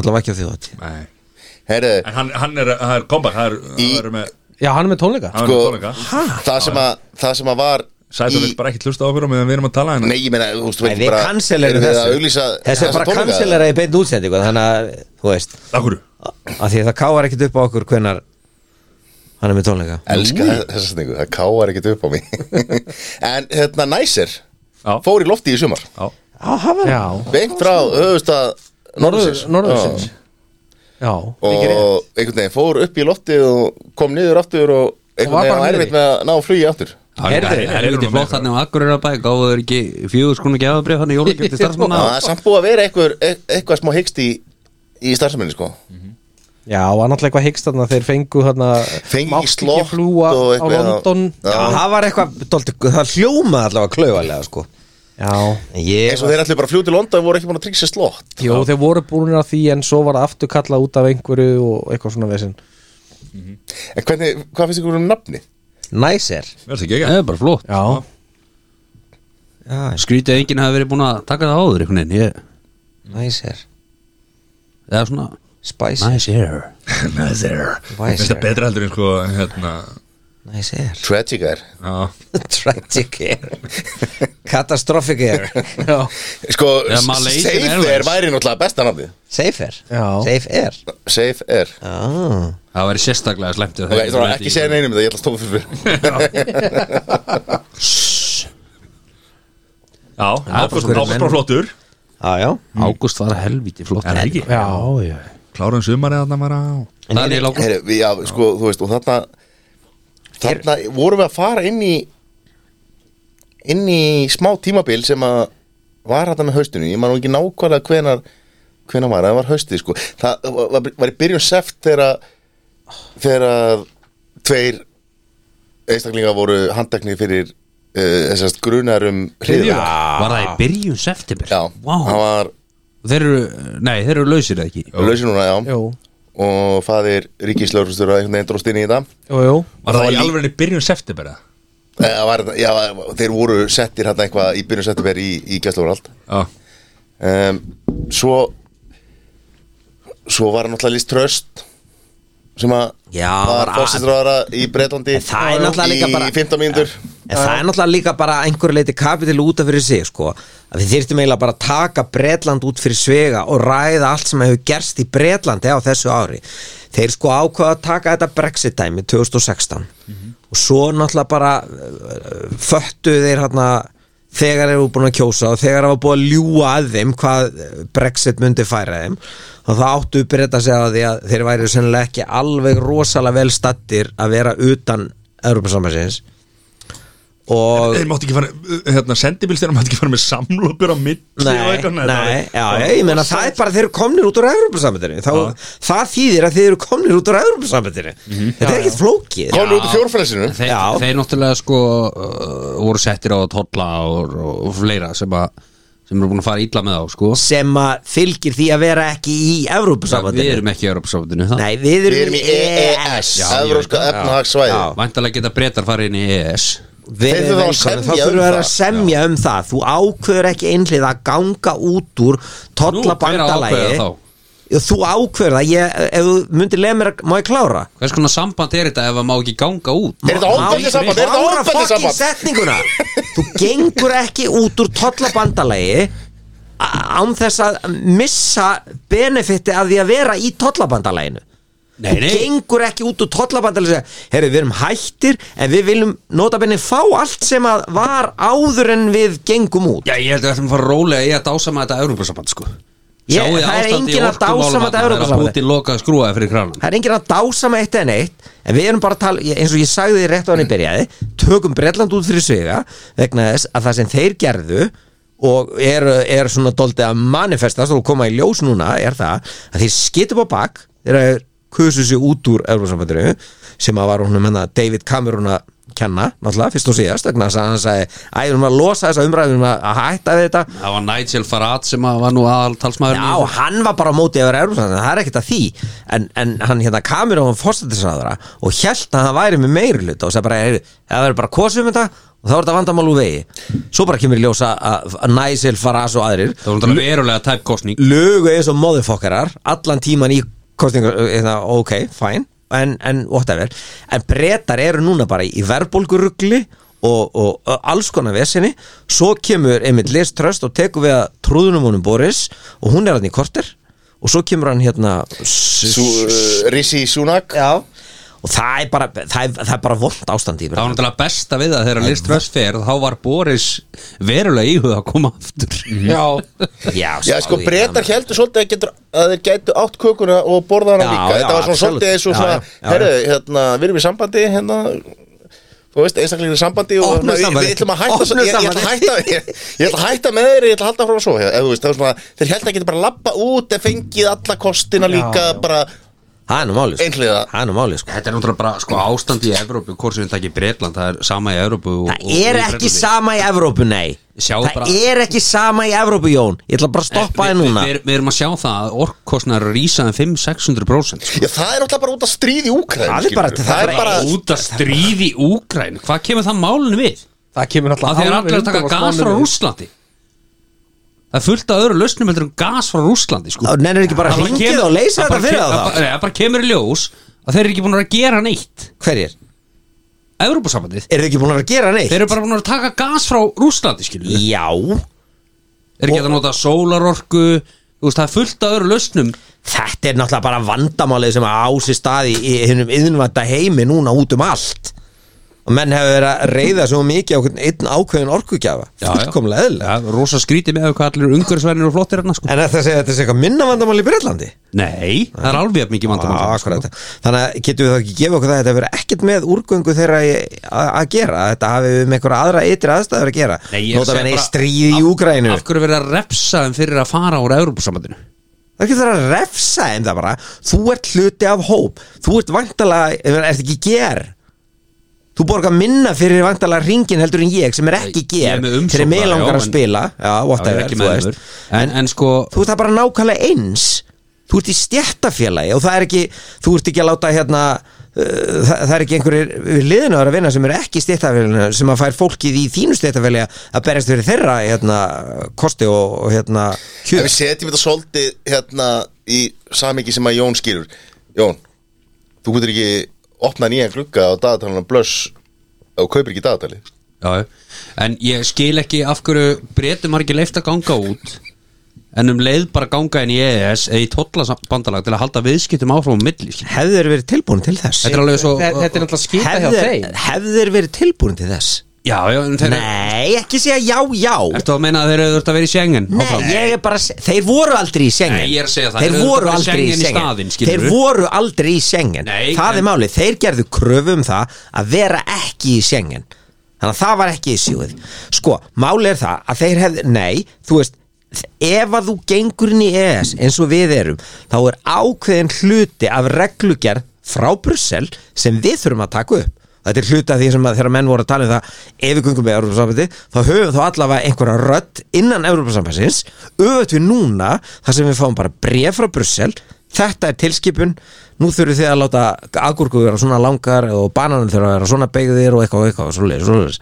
[SPEAKER 5] Allavega ekki á þjóðatíð
[SPEAKER 1] Nei.
[SPEAKER 2] Heyrðu,
[SPEAKER 1] En hann, hann er, það er comeback Það er,
[SPEAKER 2] Í-
[SPEAKER 1] það er með,
[SPEAKER 4] já hann er með tónleika
[SPEAKER 1] hann er með tónleika
[SPEAKER 2] sko, það sem að, það sem að var
[SPEAKER 1] Sæta vill bara ekki hlusta á okkur og meðan við erum að tala hennar
[SPEAKER 2] Nei, ég meina, þú veist,
[SPEAKER 5] Nei, við kanselerum
[SPEAKER 2] erum við að
[SPEAKER 5] þessu
[SPEAKER 2] auglýsa
[SPEAKER 5] Þessu er
[SPEAKER 2] þessa
[SPEAKER 5] bara
[SPEAKER 2] tónleika?
[SPEAKER 5] kanselera í beint útsendingu Þannig að, þú veist
[SPEAKER 1] Akkur,
[SPEAKER 5] að Því að það káar ekkit upp á okkur hvenar Hann er með tónleika
[SPEAKER 2] Elska þe- þessa sningu, það káar ekkert upp á mig En hérna, Næsir
[SPEAKER 1] Já.
[SPEAKER 2] Fór í lofti í sumar
[SPEAKER 5] Á, hann var
[SPEAKER 4] Já,
[SPEAKER 2] Beint frá höfustad
[SPEAKER 4] norður, norðursins Já,
[SPEAKER 2] Og einhvern veginn fór upp í lofti og kom niður aftur og
[SPEAKER 4] Og var
[SPEAKER 2] einhvern veginn
[SPEAKER 4] bara
[SPEAKER 2] var
[SPEAKER 4] niðri.
[SPEAKER 2] erfitt með að ná flugi aftur
[SPEAKER 3] Herðu,
[SPEAKER 1] Heyrðu,
[SPEAKER 3] helviti
[SPEAKER 1] heyrðu,
[SPEAKER 3] flott þannig á Akureyra gáðu þau ekki fjögur skonu gefabrið þannig jólagjöfni
[SPEAKER 2] Já,
[SPEAKER 3] starfsmanna
[SPEAKER 2] það er samt búið að vera eitthvað, eitthvað smá hyggst í, í starfseminni sko
[SPEAKER 4] já og annarlega eitthvað hyggst þarna þeir fengu þarna
[SPEAKER 2] Fengi
[SPEAKER 4] mátti ekki
[SPEAKER 2] slott
[SPEAKER 4] fljúga
[SPEAKER 2] og
[SPEAKER 4] á
[SPEAKER 2] eitthvað, já.
[SPEAKER 4] London
[SPEAKER 5] Já, það var eitthvað, dólti, það hljómaði allavega klauvalega sko
[SPEAKER 4] Já,
[SPEAKER 5] En Ég,
[SPEAKER 2] Eins og þeir ætlu bara að fljóta í London voru ekki búin að tryggja sér slott
[SPEAKER 4] Jó, þeir voru búinir að því en svo var það aftur kallað út af einhverju og eitthvað svona vesinn
[SPEAKER 2] En hvernig, hvað finnst ykkur um nafni?
[SPEAKER 5] næsir
[SPEAKER 1] verður ekki ekki
[SPEAKER 3] Það er bara flott
[SPEAKER 4] Já,
[SPEAKER 5] Já,
[SPEAKER 3] Skrítið að enginn hafi verið búin að taka það áður einhvern veginn Ég-
[SPEAKER 5] næsir,
[SPEAKER 3] Það er svona
[SPEAKER 5] spæsir,
[SPEAKER 3] Nice hair
[SPEAKER 1] Næsir
[SPEAKER 5] Why is
[SPEAKER 1] Þetta
[SPEAKER 5] there?
[SPEAKER 1] betra heldur en sko hérna
[SPEAKER 5] næsir
[SPEAKER 2] Tragic er
[SPEAKER 1] Já,
[SPEAKER 5] Tragic air Catastrophic air
[SPEAKER 4] já,
[SPEAKER 2] Sko,
[SPEAKER 3] Eða Malaysian
[SPEAKER 2] safe
[SPEAKER 3] Airlines.
[SPEAKER 2] er væri náttúrulega besta nafni
[SPEAKER 5] Safe air
[SPEAKER 4] Já.
[SPEAKER 5] Safe air
[SPEAKER 2] Safe er
[SPEAKER 5] ah.
[SPEAKER 3] Það væri sérstaklega slemmt
[SPEAKER 2] Ok, ég þarf ekki að segja neinum þetta, ég ætla að stóða fyrir fyrir
[SPEAKER 1] já Ágúst
[SPEAKER 5] bara-
[SPEAKER 1] Ágúst bara flottur
[SPEAKER 5] Já, Ah, já
[SPEAKER 3] Ágúst var helviti flott
[SPEAKER 1] Er það ekki?
[SPEAKER 4] já, já.
[SPEAKER 1] Klárum sumarið þarna bara á
[SPEAKER 3] Daniel Ágúst
[SPEAKER 2] Heyri, við, já, sko, þú veist, og þarna Þarna vorum við að fara inn í Inn í smá tímabil sem að Var þetta með haustinu, ég man nú ekki nákvæmlega hvenar Hvenar var, það var haustið sko Það var, var í byrjun seft þegar að- Þegar að Tveir einstaklingar voru handteknir fyrir uh, Þessast grunar um hriðverk.
[SPEAKER 3] Var það í byrjun september?
[SPEAKER 2] Já,
[SPEAKER 3] Vá.
[SPEAKER 2] hann var
[SPEAKER 3] Þeir eru, nei, þeir eru lausir eða ekki
[SPEAKER 2] lausin núna, já
[SPEAKER 4] Jú,
[SPEAKER 2] og faðir Ríkislaurustur að einhvern veginn dróst inn í þetta
[SPEAKER 4] jú, jú
[SPEAKER 1] Var það í
[SPEAKER 2] Það var lí-
[SPEAKER 1] alveg byrjun september eða?
[SPEAKER 2] Eða var, þetta- já, þeir voru settir hérna eitthvað í byrjun september í, í gæstlóðurald
[SPEAKER 1] Já
[SPEAKER 2] um, svo svo var náttúrulega list tröst sem að
[SPEAKER 5] Já,
[SPEAKER 2] var
[SPEAKER 5] var að-
[SPEAKER 2] fórsistráðara í Breitlandi
[SPEAKER 5] En það er náttúrulega líka bara-
[SPEAKER 2] í 15 mínútur
[SPEAKER 5] En það er náttúrulega líka bara að einhverju leiti kapitil út af fyrir sig sko að við þyrftum eiginlega bara að taka Bretland út fyrir svega og ræða allt sem hefur gerst í Bretlandi á þessu ári þeir sko ákvaða að taka þetta Brexit-dæmi 2016 og svo náttúrulega bara uh, föttu þeir hérna þegar eru búin að kjósa og þegar hafa búin að ljúga að þeim hvað Brexit myndi færa þeim og það áttu breyta sig að því að þeir væri sennilega ekki alveg rosalega vel stattir að vera utan Europasambansins og
[SPEAKER 1] Þeir máttu ekki fara, uh, hérna, sendibílstjara máttu ekki fara með samlokur á milli og
[SPEAKER 5] Nei,
[SPEAKER 1] eitthvað,
[SPEAKER 5] nei, já,
[SPEAKER 1] það var-
[SPEAKER 5] ég meina það er bara þeir eru komnir út úr Evropasambandinu Þá, það þýðir að þeir eru komnir út úr Evropasambandinu
[SPEAKER 3] Mhm,
[SPEAKER 5] þetta er ekkert flókið
[SPEAKER 2] komið út í fjórfræsinu
[SPEAKER 3] Þeir,
[SPEAKER 5] Já.
[SPEAKER 3] þeir náttúrulega sko uh, voru settir á að tolla og, og fleira sem að sem eru búin að fara illa með þá sko
[SPEAKER 5] sem að fylgir því að vera ekki í Evrópusambandinu
[SPEAKER 3] Við erum ekki í Europasambandinu það
[SPEAKER 5] Nei, við erum,
[SPEAKER 2] Við erum í E EES,
[SPEAKER 5] E Já, ég veit
[SPEAKER 2] Evróska
[SPEAKER 5] það.
[SPEAKER 2] efnahagssvæði
[SPEAKER 5] Já.
[SPEAKER 3] Væntalega geta breytar farið inn í E EES
[SPEAKER 5] Við
[SPEAKER 2] Þeir
[SPEAKER 5] erum
[SPEAKER 2] þurfa að semja
[SPEAKER 5] velkomin. Þá
[SPEAKER 2] um
[SPEAKER 5] þurfum við að
[SPEAKER 2] það.
[SPEAKER 5] semja um það Þú ákveður ekki einhlið að ganga út úr
[SPEAKER 3] Nú, hver
[SPEAKER 5] Tolla
[SPEAKER 3] á ákveða þá?
[SPEAKER 5] Þú ákveður það ég, Ef þú myndir leið mér, að- má ég klára?
[SPEAKER 3] Hvers konar samband er þetta ef það má ekki ganga út?
[SPEAKER 2] Er þetta
[SPEAKER 5] Má-
[SPEAKER 2] ofbeldissamband?
[SPEAKER 5] má-
[SPEAKER 2] Er þetta
[SPEAKER 5] klára
[SPEAKER 2] ofbeldissamband?
[SPEAKER 5] fucking setninguna Þú gengur ekki út úr tollabandalagi án þess að missa benefiti af því að vera í tollabandalaginu
[SPEAKER 3] Nei,
[SPEAKER 5] Þú
[SPEAKER 3] nei.
[SPEAKER 5] gengur ekki út úr tollabandalagi Herri, við erum hættir en við viljum nota benni fá allt sem að var áður en við gengum út
[SPEAKER 3] Já, ég held að við ætlum að fara rólega í að dásama þetta Europasamband sko
[SPEAKER 5] Ég-
[SPEAKER 3] Sjáið
[SPEAKER 5] það er
[SPEAKER 3] ástandið í
[SPEAKER 5] enginn að
[SPEAKER 3] orkumálum
[SPEAKER 5] dásama
[SPEAKER 3] þarna,
[SPEAKER 5] þetta
[SPEAKER 3] Það er að
[SPEAKER 5] Evrópusambandið.
[SPEAKER 3] Putin lokaði skrúaði fyrir kranan
[SPEAKER 5] Það er enginn að dása með eitt en eitt En við erum bara að tala, ég- eins og ég sagði því rétt á hann í byrjaði Tökum Bretland út fyrir sviga Vegna þess að það sem þeir gerðu Og er, er svona doldið að manifestast Og koma í ljós núna er það Að þeir skittum á bak Þeir kusu sér út úr Eurósambandinu Sem að var honum hennar David Cameron að kenna Náttúrulega fyrst og síðast Vegna þess að hann sagði Æ, við erum að losa þessa umræðum að hætta við þetta
[SPEAKER 3] Það var Nigel Farage sem að var nú aðaltalsmaður
[SPEAKER 5] Já, hann var bara á móti að vera Evrópsambandinu, það er ekkert að því en, en hann hérna kamur á hann fórstættisraðara og hjælt að hann væri með meiri hluta og sagði bara, "Heyrðu, það verður bara kosum þetta og þá er þetta vandamál úr vegi svo bara kemur í ljósa að að Nigel Farage og aðrir
[SPEAKER 3] Það var náttúrulega verulega tæpkostning
[SPEAKER 5] lögu eins og móðufokkarar allan tíman í kostingar eða, ok, fine, en, en whatever en brettar eru núna bara í verðbólkurugli og, og, og alls konar vesinni, svo kemur einmitt Liz Tröst og tekur við að trúðunum honum Boris og hún er hann í korter og svo kemur hann hérna
[SPEAKER 2] Sú, uh, Rishi Sunak
[SPEAKER 5] já og það er bara, það er, það er bara vond ástand
[SPEAKER 3] Það
[SPEAKER 5] í
[SPEAKER 3] var
[SPEAKER 5] Bretlandi.
[SPEAKER 3] náttúrulega besta við það þegar Liz Truss fer þá var Boris verulega íhuga að koma aftur
[SPEAKER 5] Mhm. já,
[SPEAKER 2] Já, sko,
[SPEAKER 5] spáðu í
[SPEAKER 2] breytar
[SPEAKER 5] það.
[SPEAKER 2] heldur svolítið að, getur, að þeir gætu átt kökuna og borða hana
[SPEAKER 5] Já,
[SPEAKER 2] líka
[SPEAKER 5] já,
[SPEAKER 2] Þetta var svona
[SPEAKER 5] absolutt.
[SPEAKER 2] svolítið eins og
[SPEAKER 5] Já,
[SPEAKER 2] svona
[SPEAKER 5] já, já,
[SPEAKER 2] Herru, hérna, við erum í sambandi hérna Þú veist, einstaklega í sambandi og
[SPEAKER 5] Opnu
[SPEAKER 2] hérna, við-
[SPEAKER 5] sambandi.
[SPEAKER 2] Við ætlum að hætta, ég,
[SPEAKER 5] Opnu
[SPEAKER 2] ég, ætla að hætta ég, ég ætla að hætta með þeir, ég ætla að halda frá að sofa Ef þú veist, það var svona, þeir heldur að geta bara lappa út Ef fengið alla kostina líka bara
[SPEAKER 5] það er nú málið sko.
[SPEAKER 2] Einhliða.
[SPEAKER 5] það er nú málið sko.
[SPEAKER 3] Þetta er náttúrulega bara sko ástand í Evrópu hvort sem við takk í Breitland, það er sama í Evrópu og,
[SPEAKER 5] Það
[SPEAKER 3] og
[SPEAKER 5] er
[SPEAKER 3] í
[SPEAKER 5] ekki
[SPEAKER 3] Bretlandi.
[SPEAKER 5] sama í Evrópu, nei
[SPEAKER 3] Sjáðu
[SPEAKER 5] Það
[SPEAKER 3] bara-
[SPEAKER 5] er ekki sama í Evrópu, Jón Ég ætla bara að stoppa
[SPEAKER 3] Eh,
[SPEAKER 5] þið
[SPEAKER 3] við-
[SPEAKER 5] núna
[SPEAKER 3] við, við, við erum að sjá það að um orkkostnar rísaðan 5-600% sko.
[SPEAKER 2] Já, það er náttúrulega bara út að stríði úkræðin
[SPEAKER 5] Það er bara-
[SPEAKER 2] það er bara
[SPEAKER 3] Út að stríði Úgræn Hvað kemur það málinu við?
[SPEAKER 4] það kemur
[SPEAKER 3] Það
[SPEAKER 4] alltaf
[SPEAKER 3] þegar allir að taka gas frá Rúslandi Það er fullt af öðru lausnum heldur um gas frá Rúslandi sko.
[SPEAKER 5] Þá nennir ekki bara
[SPEAKER 3] Það
[SPEAKER 5] að
[SPEAKER 3] bara
[SPEAKER 5] hringið
[SPEAKER 3] kemur-
[SPEAKER 5] og leysa
[SPEAKER 3] það
[SPEAKER 5] þetta
[SPEAKER 3] bara
[SPEAKER 5] fyrir
[SPEAKER 3] kem-
[SPEAKER 5] þá
[SPEAKER 3] það bara- Nei, það bara kemur í ljós að þeir eru ekki búin að gera neitt
[SPEAKER 5] Hverjir?
[SPEAKER 3] Evrópusambandið
[SPEAKER 5] Eru þið ekki búin að vera að gera neitt?
[SPEAKER 3] Þeir eru bara búin að taka gas frá Rúslandi skilur við
[SPEAKER 5] Já,
[SPEAKER 3] Þeir geta nota sólarorku Þú veist, það er fullt af öðru lausnum
[SPEAKER 5] þetta er náttúrulega bara vandamálið sem að ási staði í hinnum yðnvænta heimi núna út um allt og menn hefur verið að reyða svo mikið á hvern einn ákveðin orkugjafa fullkomlega eðlilega
[SPEAKER 3] ja, Rosa skríti með hvað allir umhverfisverðin og flottir hérna sko
[SPEAKER 5] En að það segja að þetta sé eitthvað minna vandamáli í Breitlandi
[SPEAKER 3] Nei, það er alveg jafn mikið vandamál sko.
[SPEAKER 5] Já, Ah, akkurat. Þannig að getum við þá ekki gefið okkur það að þetta verið ekkert með úrgöngu þeirra í- að að gera að þetta hafi við með einhverja aðra ytri aðstæður að gera
[SPEAKER 3] Nei, ég er að
[SPEAKER 5] nota
[SPEAKER 3] segja
[SPEAKER 5] menni í
[SPEAKER 3] bara-
[SPEAKER 5] stríði í
[SPEAKER 3] af-
[SPEAKER 5] Úgrænu
[SPEAKER 3] Af hverju verið að refsa þeim fyrir að fara úr Evrópusambandinu
[SPEAKER 5] það er ekki það að refsa þeim það bara þú ert hluti af hóp þú ert vantalega, ert ekki ger þú borgar minna fyrir vantalega ringin heldur en ég sem er ekki
[SPEAKER 3] Ég er
[SPEAKER 5] ger
[SPEAKER 3] með umsókn
[SPEAKER 5] fyrir mig
[SPEAKER 3] bara,
[SPEAKER 5] langar
[SPEAKER 3] já,
[SPEAKER 5] að
[SPEAKER 3] en-
[SPEAKER 5] spila já,
[SPEAKER 3] Já, ég er
[SPEAKER 5] whatever,
[SPEAKER 3] ekki
[SPEAKER 5] þú
[SPEAKER 3] með
[SPEAKER 5] veist
[SPEAKER 3] þeim. en, en sko
[SPEAKER 5] þú ert það bara nákvæmlega eins þú ert í stjættafélagi og það er ekki þú ert ekki að láta hérna uh, það, það er ekki einhverjir við liðinu að vera að vinna sem eru ekki í stjættafélaginu sem að fær fólkið í þínu stjættafélagi að berjast fyrir þeirra hérna, kosti og, og hérna
[SPEAKER 2] Ef
[SPEAKER 5] kjör
[SPEAKER 2] við setjum þetta svolítið hérna í samingi sem að Jón skilur Jón, þú getur ekki opnað nýjan glugga á dagatalina blöss og kaupir ekki dagatali
[SPEAKER 3] já, En ég skil ekki af hverju breytum margir leift að ganga út En um leið bara ganga inn í EES eða í tollabandalag til að halda viðskiptum áfram á milli skilur.
[SPEAKER 5] hefðu þeir verið tilbúin til þess
[SPEAKER 3] Þetta er alveg svo
[SPEAKER 4] þetta þetta er náttúrulega skýta hjá
[SPEAKER 5] hefðu
[SPEAKER 4] þeim
[SPEAKER 5] þeir- hefðu þeir verið tilbúin til þess
[SPEAKER 3] Já, já, en þeir
[SPEAKER 5] nei, ekki segja já, já
[SPEAKER 3] Ertu að meina að þeir eru þurft að vera í Schengen
[SPEAKER 5] Nei,
[SPEAKER 3] áfram?
[SPEAKER 5] ég er bara, að seg- þeir voru aldrei í Schengen
[SPEAKER 3] Nei, ég er að segja það.
[SPEAKER 5] Þeir
[SPEAKER 3] Þeir eru
[SPEAKER 5] voru
[SPEAKER 3] bara í
[SPEAKER 5] aldrei
[SPEAKER 3] Schengen
[SPEAKER 5] í
[SPEAKER 3] í
[SPEAKER 5] Schengen
[SPEAKER 3] staðinn,
[SPEAKER 5] Þeir
[SPEAKER 3] skilurðu.
[SPEAKER 5] voru aldrei í Schengen
[SPEAKER 3] Nei,
[SPEAKER 5] Það er
[SPEAKER 3] en-
[SPEAKER 5] málið, þeir gerðu kröfu um það að vera ekki í Schengen Þannig að það var ekki í sjúið Sko, málið er það að þeir hefðu, nei, þú veist Ef að þú gengur inn í ES eins og við erum Þá er ákveðin hluti af reglugerð frá Brussel sem við þurfum að taka upp þetta er hluta af því sem að þegar menn voru að tala um það ef við gungum með Európa-sambandi þá höfum þá allavega einhverja rödd innan Európa-sambandsins auðvitað við núna þar sem við fáum bara bref frá Brussel þetta er tilskipun nú þurfum þið að láta agurku vera svona langar og bananum þurfa að vera svona beigðir og eitthvað og eitthvað og svoleiðis, svoleiðis.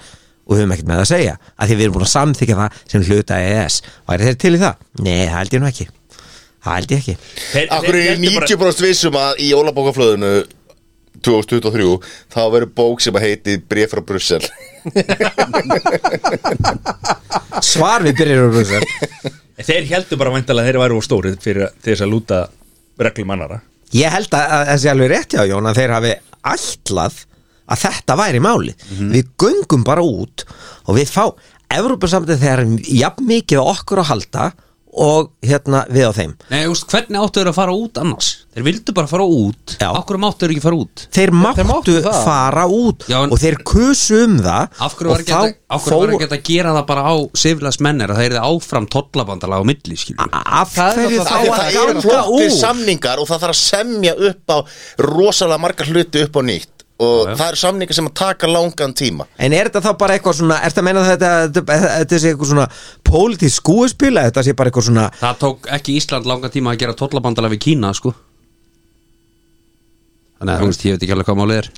[SPEAKER 5] og við höfum ekkert með það að segja að því við erum búin að samþykja það sem hluta E EES væri þeir til í það? Nei, það held ég nú ekki það held ég ekki
[SPEAKER 1] Þeir-
[SPEAKER 2] Akkur
[SPEAKER 1] þeir- þeir-
[SPEAKER 2] er
[SPEAKER 1] þeir-
[SPEAKER 2] 90 bróst vissum um að í jólabókaflöðinu 2023 þá verður bók sem að heiti Bréf frá Brussel
[SPEAKER 5] svar við byrjum á Brussel
[SPEAKER 1] Þeir heldur bara væntalega að þeir væru á stóri fyrir til þess að lúta reglum annara
[SPEAKER 5] Ég held að, að þessi alveg rétt hjá Jón að þeir hafi ætlað að þetta væri máli
[SPEAKER 4] Mhm.
[SPEAKER 5] Við göngum bara út og við fá Evrópusamtið þegar jafn mikið á okkur að halda og hérna við á þeim
[SPEAKER 3] Nei, þú veist, hvernig áttu þeir að fara út annars? Þeir vildu bara fara út
[SPEAKER 5] Já.
[SPEAKER 3] Af hverju máttu þeir ekki fara út?
[SPEAKER 5] Þeir máttu,
[SPEAKER 4] máttu það.
[SPEAKER 5] fara út
[SPEAKER 3] Já, en-
[SPEAKER 5] og þeir kusu um það
[SPEAKER 3] Af hverju var
[SPEAKER 5] og
[SPEAKER 3] ekki hægt að- af hverju var
[SPEAKER 5] fór-
[SPEAKER 3] ekki hægt að gera það bara á siflaðs mennir að þeir eru áfram tollabandala á milli, skilur
[SPEAKER 5] Af
[SPEAKER 4] Það er
[SPEAKER 5] hverju
[SPEAKER 4] náttúrulega-
[SPEAKER 5] þá
[SPEAKER 2] Af því að
[SPEAKER 5] að
[SPEAKER 2] það eru
[SPEAKER 5] ganga
[SPEAKER 2] flottir
[SPEAKER 5] út
[SPEAKER 2] samningar og það þarf að semja upp á rosalega margar hluti upp á nýtt og það eru samningar sem að taka langan tíma
[SPEAKER 5] En er þetta þá bara eitthvað svona, er þetta að meina þetta, þetta, þetta sé eitthvað svona pólitísk skúespila, þetta sé bara eitthvað svona
[SPEAKER 3] Það tók ekki Ísland langa tíma að gera tollabandala við Kína, sko Þannig að þú veist, ég veit ekki alveg hvað málið er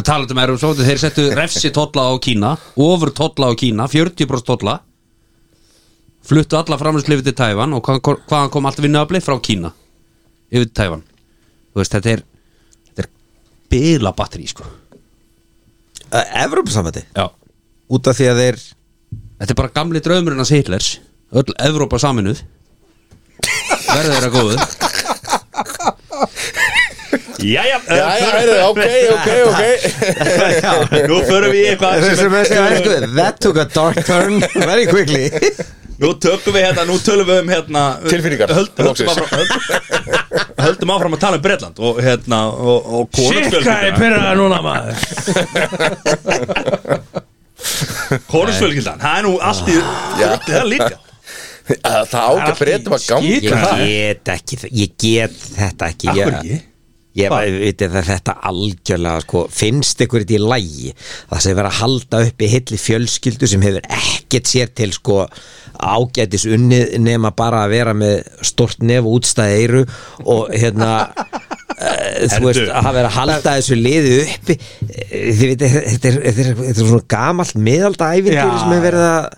[SPEAKER 3] Það talaðu um erum svo þeir settu refsi tolla á Kína ofur tolla á Kína, 40% tolla fluttu alla framlýslifi til Tæfan og hvaðan kom- hvaðan kom allt vinnuafli frá Kína yfir til Tæfan Þú veist, þetta er, þetta er bila batteri, sko
[SPEAKER 5] uh, Evrópusamvæti,
[SPEAKER 3] Já
[SPEAKER 5] út af því að þeir
[SPEAKER 3] Þetta er bara gamli draumurinn hans Hitlers Öll Evrópa saminuð Verður þeirra góðu
[SPEAKER 1] Jæja, eh,
[SPEAKER 2] Já, já, heyrðu, ok, ok, ok
[SPEAKER 1] nú förum við í eitthvað
[SPEAKER 5] Þeir sem
[SPEAKER 1] sem
[SPEAKER 5] er að segja,
[SPEAKER 1] er-
[SPEAKER 5] sko, That took a dark turn very quickly
[SPEAKER 1] Nú tökum við hérna, nú tölum við um hérna
[SPEAKER 2] Tilfinningar,
[SPEAKER 1] höld, höldum,
[SPEAKER 2] loksins.
[SPEAKER 1] áfram, höld, höldum áfram að tala um Bretland og hérna og, og konungsfjölskyldan
[SPEAKER 9] pyrraða núna maður
[SPEAKER 1] Konungsfjölskyldan, það er nú allt í Það er líka
[SPEAKER 2] Að Það ákveð breytum að ganga
[SPEAKER 5] Ég get ekki, þa- ég get þetta ekki
[SPEAKER 1] Akkur ekki
[SPEAKER 5] Ég veit að þetta algjörlega sko, finnst ykkur þetta í lægi það sem vera að halda upp í hilli fjölskyldu sem hefur ekkert sér til sko, ágætis unnið nema bara að vera með stort nef og útstæði eiru og hérna eh, þú veist að hafa verið að halda þessu liði uppi Eh, þið veit þetta er, þetta er, þetta er svona gamalt miðaldæfindur
[SPEAKER 4] Já,
[SPEAKER 5] sem hefur verið að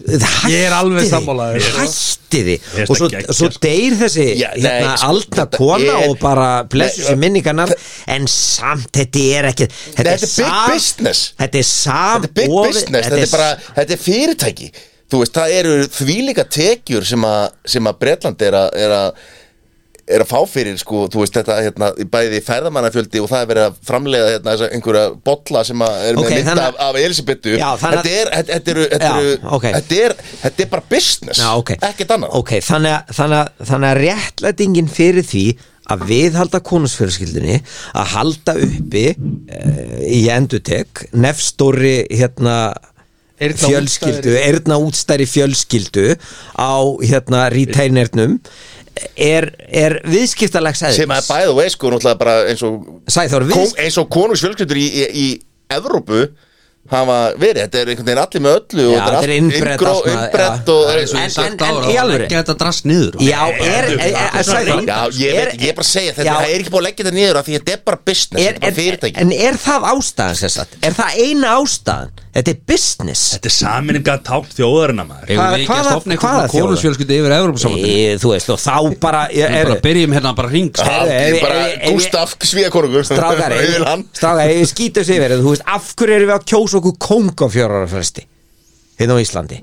[SPEAKER 4] Ég er alveg
[SPEAKER 5] Hætti
[SPEAKER 4] sammála
[SPEAKER 5] því,
[SPEAKER 4] þér.
[SPEAKER 5] hætti því
[SPEAKER 1] Mér finnst
[SPEAKER 5] og svo,
[SPEAKER 1] það geggjað,
[SPEAKER 5] svo
[SPEAKER 1] sko.
[SPEAKER 5] deyr þessi
[SPEAKER 2] Já,
[SPEAKER 5] hérna,
[SPEAKER 2] nei, sko,
[SPEAKER 5] alda
[SPEAKER 2] þetta
[SPEAKER 5] kona
[SPEAKER 2] er-
[SPEAKER 5] og bara blessu
[SPEAKER 2] Nei,
[SPEAKER 5] sér minningarnar en samt þetta er ekki þetta,
[SPEAKER 2] Nei, þetta er big
[SPEAKER 5] sam-
[SPEAKER 2] business.
[SPEAKER 5] þetta er sam
[SPEAKER 2] Þetta er big
[SPEAKER 5] ofið-
[SPEAKER 2] business, þetta er bara, þetta er fyrirtæki Þú veist, það eru þvílíka tekjur sem að, sem að Bretland er að, er að er að fá fyrir sko, þú veist þetta hérna, bæði ferðamannafjöldi og það er verið að framleiða hérna, þessa einhverja bolla sem að er með
[SPEAKER 5] Ok,
[SPEAKER 2] mynd
[SPEAKER 5] þannig-
[SPEAKER 2] af, af Elisabetu
[SPEAKER 5] Já, þannig að-
[SPEAKER 2] þetta er, þetta, þetta, eru, þetta,
[SPEAKER 5] Já,
[SPEAKER 2] eru,
[SPEAKER 5] ok.
[SPEAKER 2] þetta, er, þetta er bara business
[SPEAKER 5] Já, ok.
[SPEAKER 2] ekkert annað
[SPEAKER 5] Ok, þannig að, þannig, að, þannig að réttlætingin fyrir því að viðhalda konusfjörskildinni að halda uppi uh, í endutek nefnstóri hérna
[SPEAKER 4] Eyrna
[SPEAKER 5] fjölskyldu,
[SPEAKER 4] útstæðri.
[SPEAKER 5] erna útstæri fjölskyldu á hérna retainernum er, er viðskiptalegs eðlis
[SPEAKER 2] sem að bæði og veið sko náttúrulega bara eins og
[SPEAKER 5] Sæþór, við-
[SPEAKER 2] Kóng- eins og konungsfjölskyldur í, í, í Evrópu hafa verið, þetta er einhvern veginn allir með öllu og
[SPEAKER 5] Já, þetta er innbrett
[SPEAKER 2] allt
[SPEAKER 5] allt maður,
[SPEAKER 2] innbrett
[SPEAKER 5] já.
[SPEAKER 2] og
[SPEAKER 3] Það er eins og
[SPEAKER 5] En-
[SPEAKER 3] ég sagt
[SPEAKER 5] en- en
[SPEAKER 3] ára
[SPEAKER 5] í
[SPEAKER 3] að
[SPEAKER 5] alvöru?
[SPEAKER 3] leggja þetta drast niður
[SPEAKER 5] Já, er, eh, er, er, er, Sæþór,
[SPEAKER 2] Já, ég veit ekki, ég er bara að segja þetta,
[SPEAKER 5] Já.
[SPEAKER 2] það er ekki búin að leggja þetta niður af því þetta er bara business,
[SPEAKER 5] er,
[SPEAKER 2] þetta er bara
[SPEAKER 5] er,
[SPEAKER 2] fyrirtæki
[SPEAKER 5] en er það ástæðan sem sagt? Er það eina ástæðan? Þetta er business
[SPEAKER 1] Þetta er saminninga tákn þjóðarinn maður
[SPEAKER 3] Eða
[SPEAKER 5] Hvað-
[SPEAKER 3] við ekki að
[SPEAKER 5] hvaða-
[SPEAKER 3] stopna
[SPEAKER 5] hvaða
[SPEAKER 3] eitthvað
[SPEAKER 5] þjóða?
[SPEAKER 3] konusfjölskyldi yfir Evrópsamöndin
[SPEAKER 5] e, Þú veist, og þá bara eh, er,
[SPEAKER 3] Bara
[SPEAKER 5] er,
[SPEAKER 3] byrjum hérna bara ring sko.
[SPEAKER 5] er-
[SPEAKER 2] Allir
[SPEAKER 5] er-
[SPEAKER 2] bara
[SPEAKER 5] er- er-
[SPEAKER 2] Gustaf Svíakonungur
[SPEAKER 5] Strákar, ef-
[SPEAKER 2] Auðvitað hann
[SPEAKER 5] strákar, ef við skýtum sig yfir þetta, Þú veist, af hverju erum við að kjósa okkur kóng á fjórara fyrsti? Hérna á Íslandi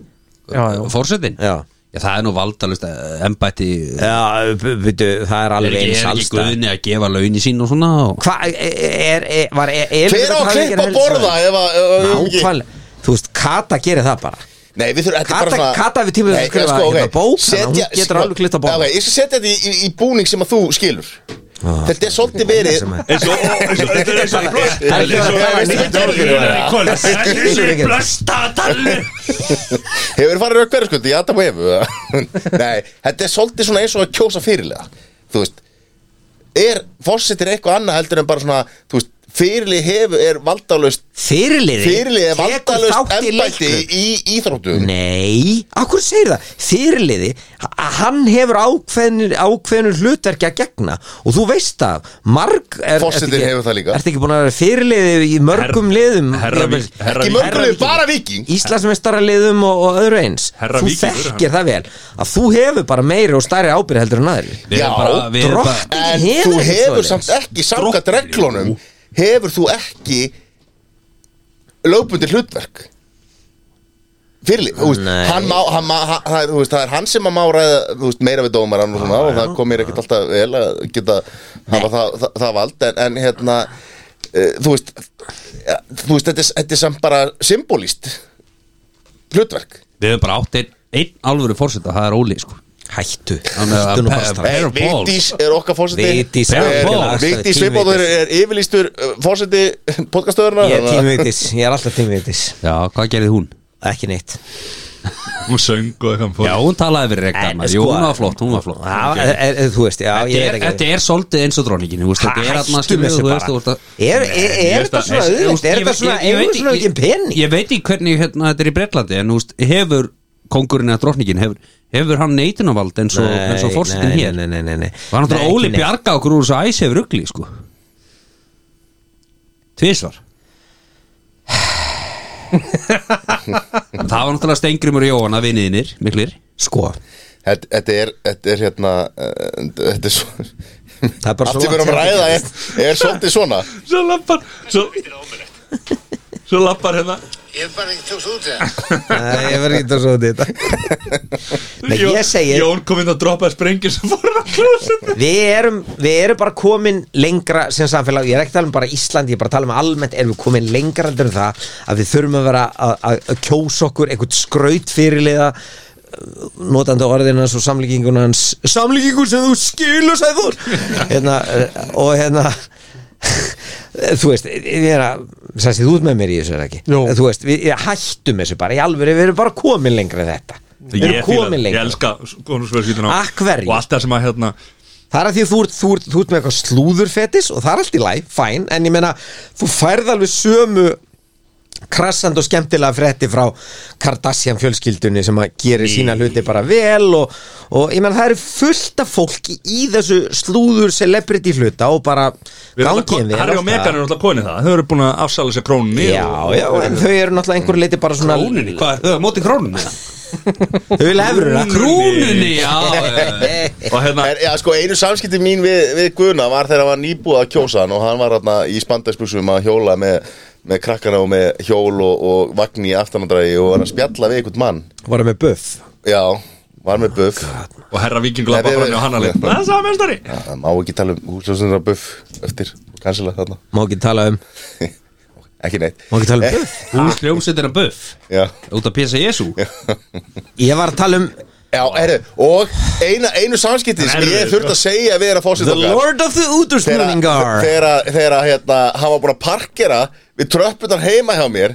[SPEAKER 4] Já, já.
[SPEAKER 3] Forsetin
[SPEAKER 5] Já.
[SPEAKER 3] Já, það er nú valdalust eh, embætti Er
[SPEAKER 5] Já, veitu, það er alveg
[SPEAKER 3] ekki,
[SPEAKER 5] eins
[SPEAKER 3] er ekki
[SPEAKER 5] allstað
[SPEAKER 3] guðni að gefa laun í sín og svona og...
[SPEAKER 5] Hvað, e, er, er, var e, er, er
[SPEAKER 2] Hver á að klippa að borða ef að ef að-
[SPEAKER 5] Nákvæmlega, þú veist, Kata gerir það bara
[SPEAKER 2] Nei, við þurfum, þetta
[SPEAKER 5] Kata-
[SPEAKER 2] er bara svona
[SPEAKER 5] Kata við tímum að
[SPEAKER 2] Nei,
[SPEAKER 5] skrifa
[SPEAKER 2] sko, ok.
[SPEAKER 5] hérna bók, þannig að hún
[SPEAKER 2] Setja-
[SPEAKER 5] getur
[SPEAKER 2] sko,
[SPEAKER 5] alveg klippt að borða.
[SPEAKER 2] ok, Ég skal setja þetta í, í, í búning sem að þú skilur Þetta er svolítið verið
[SPEAKER 5] sem Ah, er-
[SPEAKER 1] Eins og eins og- Þetta er eins og
[SPEAKER 5] Það er ekki að tala neitt
[SPEAKER 1] Þetta er
[SPEAKER 5] orð fyrir það.
[SPEAKER 1] eins og Blösta að tala
[SPEAKER 2] Hefur farið rauk verið skundi í Adam og Efu eða? Nei, þetta er svolítið svona eins og að kjósa fyrirlega Þú veist Er fórsetir eitthvað annað heldur en bara svona Þú veist, fyrirlið hefur, er valdálust
[SPEAKER 5] Fyrirliði
[SPEAKER 2] fyrirlið er
[SPEAKER 5] tekur
[SPEAKER 2] valdálust
[SPEAKER 5] þátt í
[SPEAKER 2] embætti
[SPEAKER 5] leiknum.
[SPEAKER 2] í íþróttum
[SPEAKER 5] Nei, akkur segir það Fyrirliði, h- hann hefur ákveðnir, ákveðnir hlutverki að gegna Og þú veist það Marg er,
[SPEAKER 2] Forsetinn
[SPEAKER 5] ertu ekki-
[SPEAKER 2] hefur það líka.
[SPEAKER 5] Ertu ekki búin að vera fyrirliði í mörgum liðum
[SPEAKER 1] herra
[SPEAKER 5] jafnvel-
[SPEAKER 1] Vík- herra
[SPEAKER 2] ekki mörgulegum, bara viking
[SPEAKER 5] Íslandsmeistaraliðum og, og öðru eins
[SPEAKER 1] Herra
[SPEAKER 5] Þú
[SPEAKER 1] Víkingur,
[SPEAKER 5] þekkir það vel Að þú hefur bara meiri og stærri ábyrð heldur en aðri
[SPEAKER 3] Við erum
[SPEAKER 2] Já,
[SPEAKER 3] bara- við erum bara-
[SPEAKER 5] Drottning
[SPEAKER 2] en
[SPEAKER 5] hefur
[SPEAKER 2] þú
[SPEAKER 5] ekkert
[SPEAKER 2] hefur
[SPEAKER 5] svoleiðis.
[SPEAKER 2] samt ekki samkvæmt reglunum hefur þú ekki lögbundið hlutverk fyrirlið, þú veist,
[SPEAKER 5] Nei.
[SPEAKER 2] hann má, hann má hann, það er- þú veist, það er hann sem að má ræða þú veist, meira við dómarann og svona og það kom mér ekkert alltaf vel að geta hafa það, það, það vald en, en hérna uh, þú veist, ja, þú veist þetta, er, þetta er samt bara symbolist hlutverk
[SPEAKER 3] Við hefum bara átt einn ein alvöru fórseta, það er Óli sko
[SPEAKER 5] Hættu
[SPEAKER 3] Þannig að
[SPEAKER 5] Hættu nú bara
[SPEAKER 3] Pe-
[SPEAKER 5] strax
[SPEAKER 3] Pe-
[SPEAKER 2] Nei,
[SPEAKER 3] Paul.
[SPEAKER 2] Vigdís er okkar fórseti
[SPEAKER 5] Vigdís er
[SPEAKER 2] er-
[SPEAKER 5] algjörlega
[SPEAKER 2] Vigdís
[SPEAKER 5] team
[SPEAKER 2] Svipóður
[SPEAKER 5] Vigdís.
[SPEAKER 2] er yfirlýstur uh, fórseti podcastöðurna
[SPEAKER 5] Ég er tímvitis, ég er alltaf tímvitis
[SPEAKER 3] Já, hvað gerði hún?
[SPEAKER 5] Ekki neitt
[SPEAKER 1] Hún söng og eitthvað
[SPEAKER 3] Já, hún talaði fyrir
[SPEAKER 5] En,
[SPEAKER 3] reglana
[SPEAKER 5] sko-
[SPEAKER 3] Jú, hún var flott, hún var flott
[SPEAKER 5] Já, er, er, er, Þú veist, já,
[SPEAKER 3] Þetta
[SPEAKER 5] ég
[SPEAKER 3] er,
[SPEAKER 5] veit
[SPEAKER 3] þetta
[SPEAKER 5] ekki
[SPEAKER 3] er svolítið eins og dronningin Þetta er að maður
[SPEAKER 5] Hættu með þessu bara Er, er, er þetta svona auðvitt? Er þetta svona, er þetta svona ekki pening?
[SPEAKER 3] Ég veit ekki hvernig hérna, þetta er í Breitlandi En þú veist, hefur kongurinn eða dronningin Hefur, hefur hann neitunavald eins og, eins og fórsetin
[SPEAKER 5] nei,
[SPEAKER 3] hér
[SPEAKER 5] nei, nei, nei, nei.
[SPEAKER 3] Var hann
[SPEAKER 5] Nei,
[SPEAKER 3] að Óli
[SPEAKER 5] ekki neitt.
[SPEAKER 3] bjarga okkur úr þessu æsi hefur ugli sko. Tvísvar Það var náttúrulega Steingrimur Jóhann að vinniðinir, miklir
[SPEAKER 5] Sko,
[SPEAKER 2] Þetta þetta er, þetta er hérna eh, Þetta er svo
[SPEAKER 5] það er bara
[SPEAKER 2] Allt sem við erum að ræða er, er svolítið svona
[SPEAKER 1] Svo lappar Svo, svo lappar hérna
[SPEAKER 6] Ég bara ekki tókst út eða.
[SPEAKER 5] Nei, ég verður ekki að svo um þetta Nei, ég segi
[SPEAKER 1] Jón kom inn að droppa sprengir sem fór að klósa
[SPEAKER 5] Við erum, við erum bara komin lengra sem samfélag, ég er ekki að tala um bara Ísland ég er bara að tala um almennt, erum við komin lengra heldur en það að við þurfum að vera að, að, að kjósa okkur einhvern skraut fyrirliða uh, notandi orðin hans og samlíkingun hans samlíkingu sem þú skilur sagði þú hérna, eh, og hérna þú veist, ég er að sætti þú út með mér í þessu er það ekki
[SPEAKER 4] Jó.
[SPEAKER 5] þú veist, við ég- hættum þessu bara í alvöru, við erum bara komin lengra en þetta við erum
[SPEAKER 1] Ég fíla-
[SPEAKER 5] komin
[SPEAKER 1] Ég
[SPEAKER 5] lengra
[SPEAKER 1] elska konusfjölskyldina
[SPEAKER 5] Að hverju?
[SPEAKER 1] Og allt það sem að hérna
[SPEAKER 5] Það er að því að þú ert, þú, ert, þú ert með eitthvað slúðurfetis og það er allt í læg, fæn, en ég meina þú færð alveg sömu krassand og skemmtilega frétti frá Kardashian fjölskyldunni sem að gerir sína hluti bara vel og, og ég meina það eru fullt af fólki í þessu slúður celebrity hluta og bara
[SPEAKER 1] við erum
[SPEAKER 5] gangið
[SPEAKER 1] alltaf-
[SPEAKER 5] við
[SPEAKER 1] Harry og Megan eru alltaf konið það Þau eru búin að afsala sér krónunni
[SPEAKER 5] Já,
[SPEAKER 1] og-
[SPEAKER 5] já, en þau eru náttúrulega einhverju leiti bara svona
[SPEAKER 3] Krónunni, hvað, þau, móti krónunni
[SPEAKER 5] Þau eru lefruna
[SPEAKER 3] Krúnunni, já
[SPEAKER 1] Og hérna
[SPEAKER 2] en, Já, sko, einu samskipti mín við, við Guðna var þegar hann var nýbúið að kjósa hann og hann var hérna í spandagsbuxum að hjóla með, með krakkana og með hjól og, og vagn í aftanandrægi og var að spjalla við einhvern mann
[SPEAKER 5] Varum við buff
[SPEAKER 2] Já, var með buff
[SPEAKER 5] Oh,
[SPEAKER 1] Og herra vikingur
[SPEAKER 2] Nei,
[SPEAKER 1] lappar
[SPEAKER 2] við-
[SPEAKER 1] fram hjá hann að leið
[SPEAKER 2] við-
[SPEAKER 1] Það er sá mestari
[SPEAKER 2] Það má ekki tala um húsljósunra buff eftir, kansila þarna
[SPEAKER 5] Má ekki tala um
[SPEAKER 2] Ekki neitt Eh,
[SPEAKER 5] Má ekki tala um buff
[SPEAKER 3] Hún sljómsettir að buff
[SPEAKER 2] Já
[SPEAKER 3] Út að pisa Jésu
[SPEAKER 5] Ég var að tala um
[SPEAKER 2] Já, herru, og eina, einu samskipti sem
[SPEAKER 1] Herru.
[SPEAKER 2] ég þurft að segja við er að fórseta
[SPEAKER 5] The Lord of the Útursnúningar
[SPEAKER 2] Þegar þegar að, hérna, hann var búin að parkera við tröppunar heima hjá mér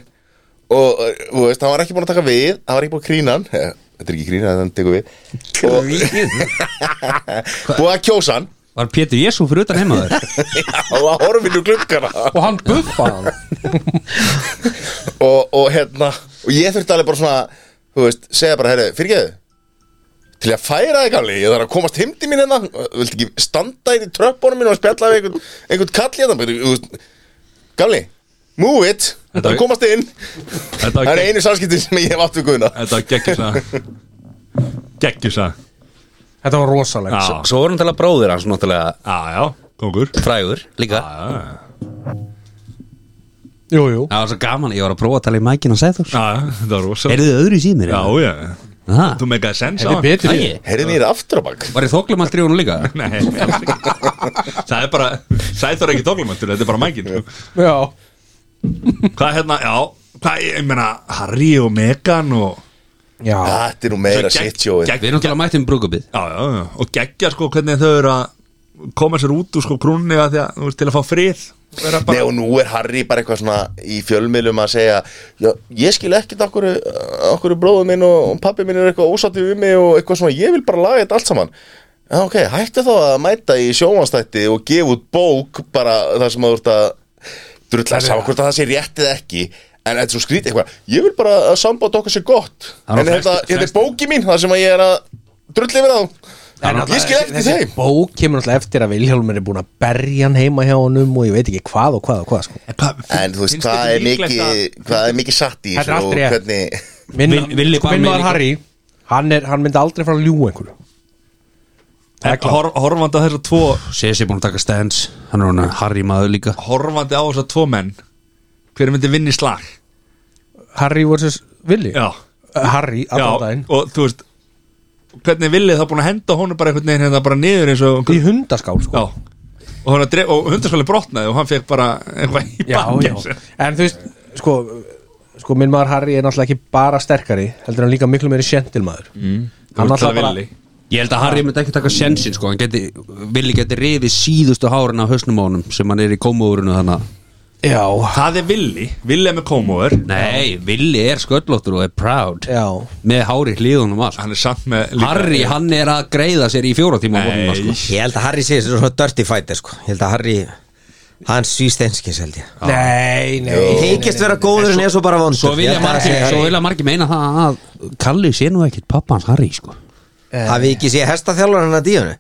[SPEAKER 2] og, uh, þú veist, hann var ekki búin að taka við hann var ekki búin að krína hann Eh, Þetta er ekki krína, þannig tekur við Búið að kjósa hann
[SPEAKER 3] Var Pétur Jésu fyrir utan heima þér
[SPEAKER 2] og var horfinn úr klukkana
[SPEAKER 4] og hann buffaði hann
[SPEAKER 2] og, og hérna og ég þurfti alveg bara svona þú veist, segja bara, herru, fyrirgeðu til að færa þig gamli, ég þarf að komast heimdi mín hérna, viltu ekki standa inn í tröppunum mín og spjalla við einhvern, einhvern kall hérna Bara, þú veist, gamli, move it
[SPEAKER 1] Þetta-
[SPEAKER 2] það komast inn,
[SPEAKER 1] Þetta
[SPEAKER 2] það
[SPEAKER 1] var
[SPEAKER 2] er
[SPEAKER 1] gegg-
[SPEAKER 2] einu samskipti sem ég hef átt við guðna
[SPEAKER 1] þetta var geggjusag Geggjusag
[SPEAKER 4] Þetta var rosalegt
[SPEAKER 1] Já,
[SPEAKER 3] Svo voru náttúrulega bróðir hans náttúrulega
[SPEAKER 1] já, já, kongur
[SPEAKER 3] frægur líka
[SPEAKER 1] Já, já,
[SPEAKER 4] Jú, jú
[SPEAKER 3] Það var svo gaman, ég var að prófa að tala í mækin og segja þú
[SPEAKER 1] já, þetta var rosa
[SPEAKER 3] Eru þið öðru í símir?
[SPEAKER 1] Já, já,
[SPEAKER 3] Aha.
[SPEAKER 1] þú meikaði sens
[SPEAKER 4] Þetta er betri
[SPEAKER 3] Æi,
[SPEAKER 2] heyrðu mér aftur á bak
[SPEAKER 3] Var ég þóklum allt í honum líka?
[SPEAKER 1] Nei, alls ekki. það er bara Sæþór er ekki tóklumöntur, þetta er bara mækin sko.
[SPEAKER 4] Já
[SPEAKER 1] Hvað hérna, já Hvað, ég meina, Harry og Megan og
[SPEAKER 4] Já
[SPEAKER 2] þetta er nú meira
[SPEAKER 1] Gegg-
[SPEAKER 2] sitt sjóið
[SPEAKER 1] gegg-
[SPEAKER 3] Við erum náttúrulega mættum brúkabið
[SPEAKER 1] Já, já, já, og geggja sko hvernig þau eru að koma sér út úr sko krúnni að því að, þú veist, til að fá frið Vera
[SPEAKER 2] Nei
[SPEAKER 1] bara,
[SPEAKER 2] og nú er Harry bara eitthvað svona í fjölmiðlum að segja já, ég skil ekkit okkur, okkur bróðu minn og, og pappi minn er eitthvað ósáttið við mig og eitthvað svona, ég vil bara laga þetta allt saman Já ok, hættu þá að mæta í sjómanstætti og gefa út bók bara þar sem að þú ert að drull að sama hvort að það sé rétt eða ekki en þetta er svo skrítið eitthvað ég vil bara að samband okkar sé gott
[SPEAKER 3] Það er
[SPEAKER 2] en
[SPEAKER 3] nú
[SPEAKER 2] þetta
[SPEAKER 3] flest-
[SPEAKER 2] þetta er bóki mín þar sem að ég er að drulli yfir þá ég skil eftir
[SPEAKER 4] Þessi
[SPEAKER 2] þeim
[SPEAKER 4] bók kemur náttúrulega eftir að Vilhjálmur er búin að berja hann heima hjá honum og ég veit ekki hvað og hvað og hvað sko.
[SPEAKER 2] en þú veist hvað er mikið hvað er mikið satt í
[SPEAKER 4] Þetta er
[SPEAKER 2] þessu
[SPEAKER 4] allt
[SPEAKER 2] og
[SPEAKER 4] rétt.
[SPEAKER 2] hvernig
[SPEAKER 4] Minn,
[SPEAKER 3] Vil- Villi
[SPEAKER 4] sko,
[SPEAKER 3] bara
[SPEAKER 4] minn
[SPEAKER 3] minn
[SPEAKER 4] var
[SPEAKER 3] líka.
[SPEAKER 4] Harry hann, er, hann myndi aldrei fara að ljú einhverju Það er
[SPEAKER 1] En
[SPEAKER 4] klárt.
[SPEAKER 1] hor- Horfandi á þessar tvo
[SPEAKER 3] Sesi búin að taka stens Hann er hann Harry maður líka
[SPEAKER 1] Horfandi á þessar tvo menn Hver myndi vinna í slag
[SPEAKER 4] Harry versus Villi
[SPEAKER 1] Já,
[SPEAKER 4] Uh, Harry,
[SPEAKER 1] já
[SPEAKER 4] allan daginn
[SPEAKER 1] Og þú veist Hvernig villið það búin að henda honum bara einhvern veginn hérna bara niður eins og
[SPEAKER 4] í hundaskál sko
[SPEAKER 1] Já Og, hann að dref- og hundarskóli brotnaði og hann fekk bara eitthvað í
[SPEAKER 4] já, já.
[SPEAKER 1] bakið
[SPEAKER 4] en þú veist sko, sko minn maður Harry er náttúrulega ekki bara sterkari heldur hann líka miklu meiri sjentilmaður mm.
[SPEAKER 1] Þú veist
[SPEAKER 4] hann
[SPEAKER 1] það
[SPEAKER 4] náttúrulega bara
[SPEAKER 1] villi
[SPEAKER 3] Ég held að Harry myndi ekki taka sensin sko Hann geti, villi geti rifið síðustu hárin af hausnum á honum sem hann er í komóurinu þannig að-
[SPEAKER 4] já,
[SPEAKER 1] Það er villi, villi er með komóður
[SPEAKER 3] Nei, villi er sköllóttur og er proud
[SPEAKER 4] já,
[SPEAKER 3] Með hári hlýðunum allt
[SPEAKER 1] Hann er samt með
[SPEAKER 3] Harry, hann er að greiða sér í fjóra tíma á morgunina,
[SPEAKER 1] Nei.
[SPEAKER 3] sko.
[SPEAKER 5] Ég held að Harry sé svo dirty fighter sko Ég held að Harry Hann svíst einskis held ég
[SPEAKER 4] nei, nei, nei, nei.
[SPEAKER 5] Heikist vera góður en ég er svo bara vondur
[SPEAKER 3] Svo vilja
[SPEAKER 5] Ég held að
[SPEAKER 3] margir,
[SPEAKER 5] sé-
[SPEAKER 3] svo vilja margir meina það að Kalli sé nú ekkit pappa hans Harry sko.
[SPEAKER 5] Hafi ekki hérna sé hestaþjálfur hann að díunu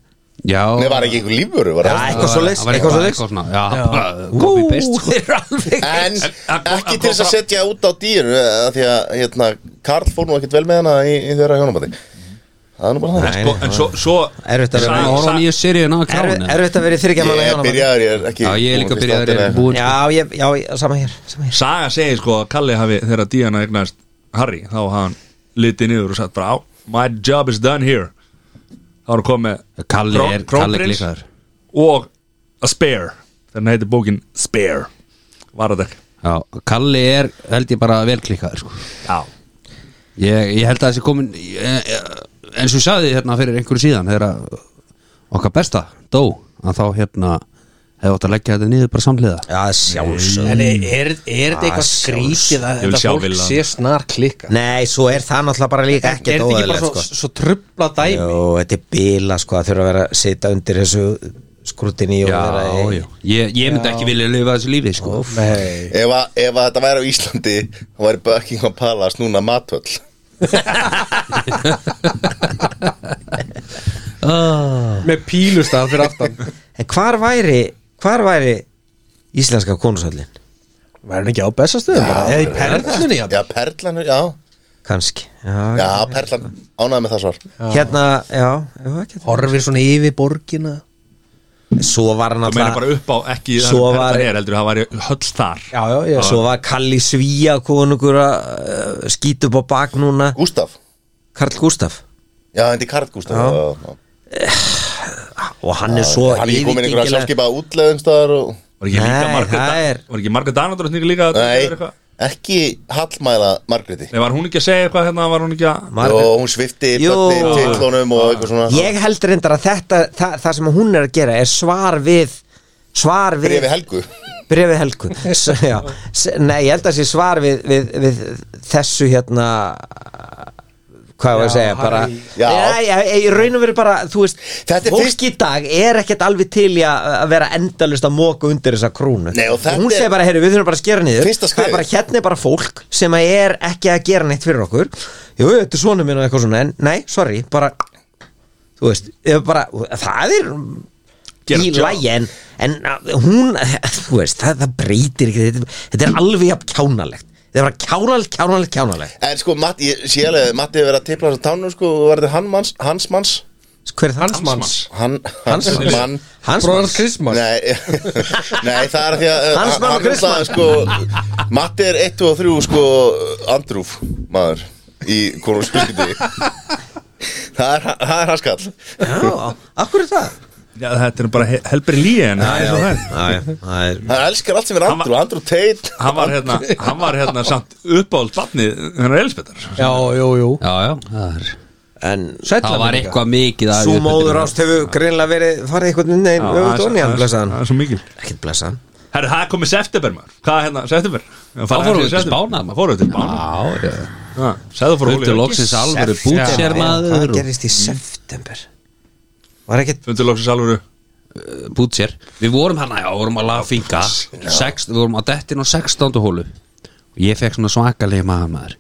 [SPEAKER 3] Já,
[SPEAKER 2] Nei, var ekki einhver lífur var
[SPEAKER 5] Já,
[SPEAKER 2] það?
[SPEAKER 5] eitthvað svo leys
[SPEAKER 3] það var
[SPEAKER 5] Eitthvað
[SPEAKER 3] eitthvað,
[SPEAKER 5] svo leys
[SPEAKER 3] eitthvað svona Já, bara copy paste sko.
[SPEAKER 5] Þeir eru alveg
[SPEAKER 2] en
[SPEAKER 1] en kom-
[SPEAKER 2] ekki
[SPEAKER 1] en
[SPEAKER 2] til
[SPEAKER 1] kom
[SPEAKER 2] þess að
[SPEAKER 1] fram-
[SPEAKER 2] setja út á dýru því að hérna Karl fór nú ekkert vel með hana í, í þeirra hjónabandi það er nú bara það
[SPEAKER 5] Nei.
[SPEAKER 1] sko, En svo, svo
[SPEAKER 5] Erfitt að vera-
[SPEAKER 3] Það var á nýju seríun að
[SPEAKER 5] Erfitt
[SPEAKER 3] klána
[SPEAKER 5] erfitt að vera í þyrkja manna
[SPEAKER 2] ég er
[SPEAKER 5] hjónabandi.
[SPEAKER 2] byrjaður ég er ekki
[SPEAKER 3] Já, ég er líka
[SPEAKER 2] búinn
[SPEAKER 3] byrjaður
[SPEAKER 2] fyrst
[SPEAKER 3] er
[SPEAKER 2] áttina.
[SPEAKER 3] búin sko.
[SPEAKER 5] Já, ég- já, ég- sama hér sama hér.
[SPEAKER 1] Saga segir sko að Kalli hafi þegar Díana eignast Harry þá hafa hann litið niður og sagt bara á My job is done here þá er hann komið
[SPEAKER 3] Kalli er, Kalli er líka þar
[SPEAKER 1] og a spare þannig heitir bókin Spare Varadek
[SPEAKER 3] Já, Kalli er, held ég bara vel klikkaður sko.
[SPEAKER 1] Já
[SPEAKER 3] ég, ég held að þessi komin ég- ég- eins og ég sagði hérna fyrir einhverju síðan þegar að okkar besta dó að þá hérna hefði átt að leggja þetta niður bara samhliða
[SPEAKER 5] Já, sjálfsög
[SPEAKER 4] En er, er, er þetta
[SPEAKER 5] Ah,
[SPEAKER 4] eitthvað
[SPEAKER 5] sjálfs-
[SPEAKER 4] skrítið að
[SPEAKER 1] Ég vil
[SPEAKER 4] þetta
[SPEAKER 1] sjá
[SPEAKER 4] fólk
[SPEAKER 1] villan.
[SPEAKER 4] sé snar klikka
[SPEAKER 5] Nei, svo er það náttúrulega bara
[SPEAKER 4] er
[SPEAKER 5] líka
[SPEAKER 4] þetta
[SPEAKER 5] ekkert
[SPEAKER 4] ekki bara
[SPEAKER 5] óðalegt
[SPEAKER 4] svo,
[SPEAKER 5] sko.
[SPEAKER 4] svo trubla dæmi
[SPEAKER 5] Jó, þetta er bila sko að þurfa að vera að sitja undir þessu skrutinni og vera í-
[SPEAKER 3] Ég, ég myndi ekki vilja lifa þessu lífi sko.
[SPEAKER 4] Nei.
[SPEAKER 2] ef að, ef að þetta væri á Íslandi þá væri Buckingham Palace núna matvöll
[SPEAKER 4] með pílustaf fyrir aftan
[SPEAKER 5] En hvar væri, hvar væri íslenska konusallin?
[SPEAKER 4] Var hann ekki á bestastöðum bara? Eða í perlunni já.
[SPEAKER 2] já, Perlan, já,
[SPEAKER 5] Kanski já,
[SPEAKER 2] já, Perlan ánægð með það svar
[SPEAKER 5] Hérna, já, já ekki
[SPEAKER 4] Horfir svona yfir borgina
[SPEAKER 5] Svo var
[SPEAKER 1] Þú
[SPEAKER 5] hann
[SPEAKER 1] meina bara
[SPEAKER 5] alltaf
[SPEAKER 1] upp á ekki það
[SPEAKER 5] Svo
[SPEAKER 1] sem
[SPEAKER 5] var-
[SPEAKER 1] Perlan er heldur það væri höll þar
[SPEAKER 4] Já, já, já
[SPEAKER 5] Svo var Kalli Svíja konungur að uh, skýta upp á bak núna
[SPEAKER 2] Gustaf,
[SPEAKER 5] Karl Gustaf
[SPEAKER 2] já, þetta er Karl Gustaf já. Já,
[SPEAKER 5] Og hann er svo
[SPEAKER 2] hann er ekki komin einhverja
[SPEAKER 5] yfirgengilega-
[SPEAKER 2] sjálfskeipa útleðumstæðar og
[SPEAKER 1] Var ekki líka
[SPEAKER 5] Nei,
[SPEAKER 1] marga
[SPEAKER 5] það er-
[SPEAKER 1] Var ekki marga danadróttningu líka að-
[SPEAKER 2] nei,
[SPEAKER 1] eitthvað?
[SPEAKER 2] ekki hallmæla Margréti
[SPEAKER 1] Nei, var hún ekki að segja eitthvað hérna var hún ekki að
[SPEAKER 2] og
[SPEAKER 5] Margrét-
[SPEAKER 2] hún svifti
[SPEAKER 5] Jú.
[SPEAKER 2] tillónum og eitthvað svona
[SPEAKER 5] Ég held reyndar að þetta það, það sem hún er að gera er svar við svar við
[SPEAKER 2] brefi Helgu
[SPEAKER 5] brefi Helgu S já, S Nei, ég held að sé svar við, við, við þessu hérna hvað var að
[SPEAKER 4] Já,
[SPEAKER 5] segja bara,
[SPEAKER 4] Harry.
[SPEAKER 2] Já.
[SPEAKER 5] Nei, ég, ég, ég raunum verið bara þú veist,
[SPEAKER 2] Þetta er
[SPEAKER 5] fólk
[SPEAKER 2] fyrst-
[SPEAKER 5] í dag er ekkert alveg til í að að vera endalust að móka undir þessa krúnu
[SPEAKER 2] Nei, og þetta
[SPEAKER 5] hún
[SPEAKER 2] er-
[SPEAKER 5] segir bara, heyrðu, við þurfum bara að skera niður
[SPEAKER 2] Fyrsta
[SPEAKER 5] það
[SPEAKER 2] skrefið.
[SPEAKER 5] er bara hérna er bara fólk sem að er ekki að gera neitt fyrir okkur jú, þetta er svona minn og eitthvað svona en nei, sorry, bara þú veist, ef bara, það er
[SPEAKER 1] Gera
[SPEAKER 5] í
[SPEAKER 1] job.
[SPEAKER 5] lagi en, en að hún, þú veist, það, það breytir ekki þetta, þetta er alveg jafn kjánalegt þetta er bara kjánalegt, kjánalegt, kjánalegt
[SPEAKER 2] En sko, Matti, ég sé alveg, Matti hefur verið að tipla þessu tánum, sko, og var þetta hann manns, hans manns,
[SPEAKER 5] hver er það?
[SPEAKER 4] Hansmanns
[SPEAKER 2] hann, hans,
[SPEAKER 5] Hans-
[SPEAKER 2] mann,
[SPEAKER 5] Hans
[SPEAKER 4] Bróðars
[SPEAKER 5] manns
[SPEAKER 4] Kristmann
[SPEAKER 2] nei, nei, það er því að, uh,
[SPEAKER 5] Hans
[SPEAKER 2] hann-
[SPEAKER 5] mann og
[SPEAKER 2] hann
[SPEAKER 5] Chris mann.
[SPEAKER 2] náttúrulega, sko, Matti er 1 og 3, sko, andrúf, maður, í konungsfjölskyldi, það er, það er hans kall,
[SPEAKER 5] Já, akkur er það?
[SPEAKER 1] Já, þetta er bara he helbri líi en það er svo það er.
[SPEAKER 5] Já, já, það er
[SPEAKER 2] hann elskar allt sem er andrú, andrú teit,
[SPEAKER 1] hann var hérna, hann var hérna samt uppáhald barnið hennar Elisbetar
[SPEAKER 4] Já, jú, jú
[SPEAKER 3] Já, já, það, er,
[SPEAKER 5] En
[SPEAKER 3] það
[SPEAKER 4] Sætla
[SPEAKER 3] var eitthvað mikið að-
[SPEAKER 5] svo móður ást hefur greinlega verið farið eitthvað neinn öfut onni hann blessaðan
[SPEAKER 1] er svo mikil
[SPEAKER 5] Ekkert blessaðan
[SPEAKER 1] Herri, það er komið september maður Hvað er hérna, september?
[SPEAKER 3] Þá fórum við til Spánar, maður.
[SPEAKER 1] Það fórum við til Spánar
[SPEAKER 3] Já, já
[SPEAKER 1] Sæðu fórum
[SPEAKER 3] Fundur loksins alvöru bútsérmaður
[SPEAKER 5] Hvað Mm.
[SPEAKER 3] og-
[SPEAKER 5] gerist í september? Var ekkert
[SPEAKER 1] Fundur loksins alvöru
[SPEAKER 3] uh, Butcher Við vorum hann, já, vorum að laga finga Sext, Við vorum að dettin á 16. hólu Og ég fekk svona svakalegi maður maður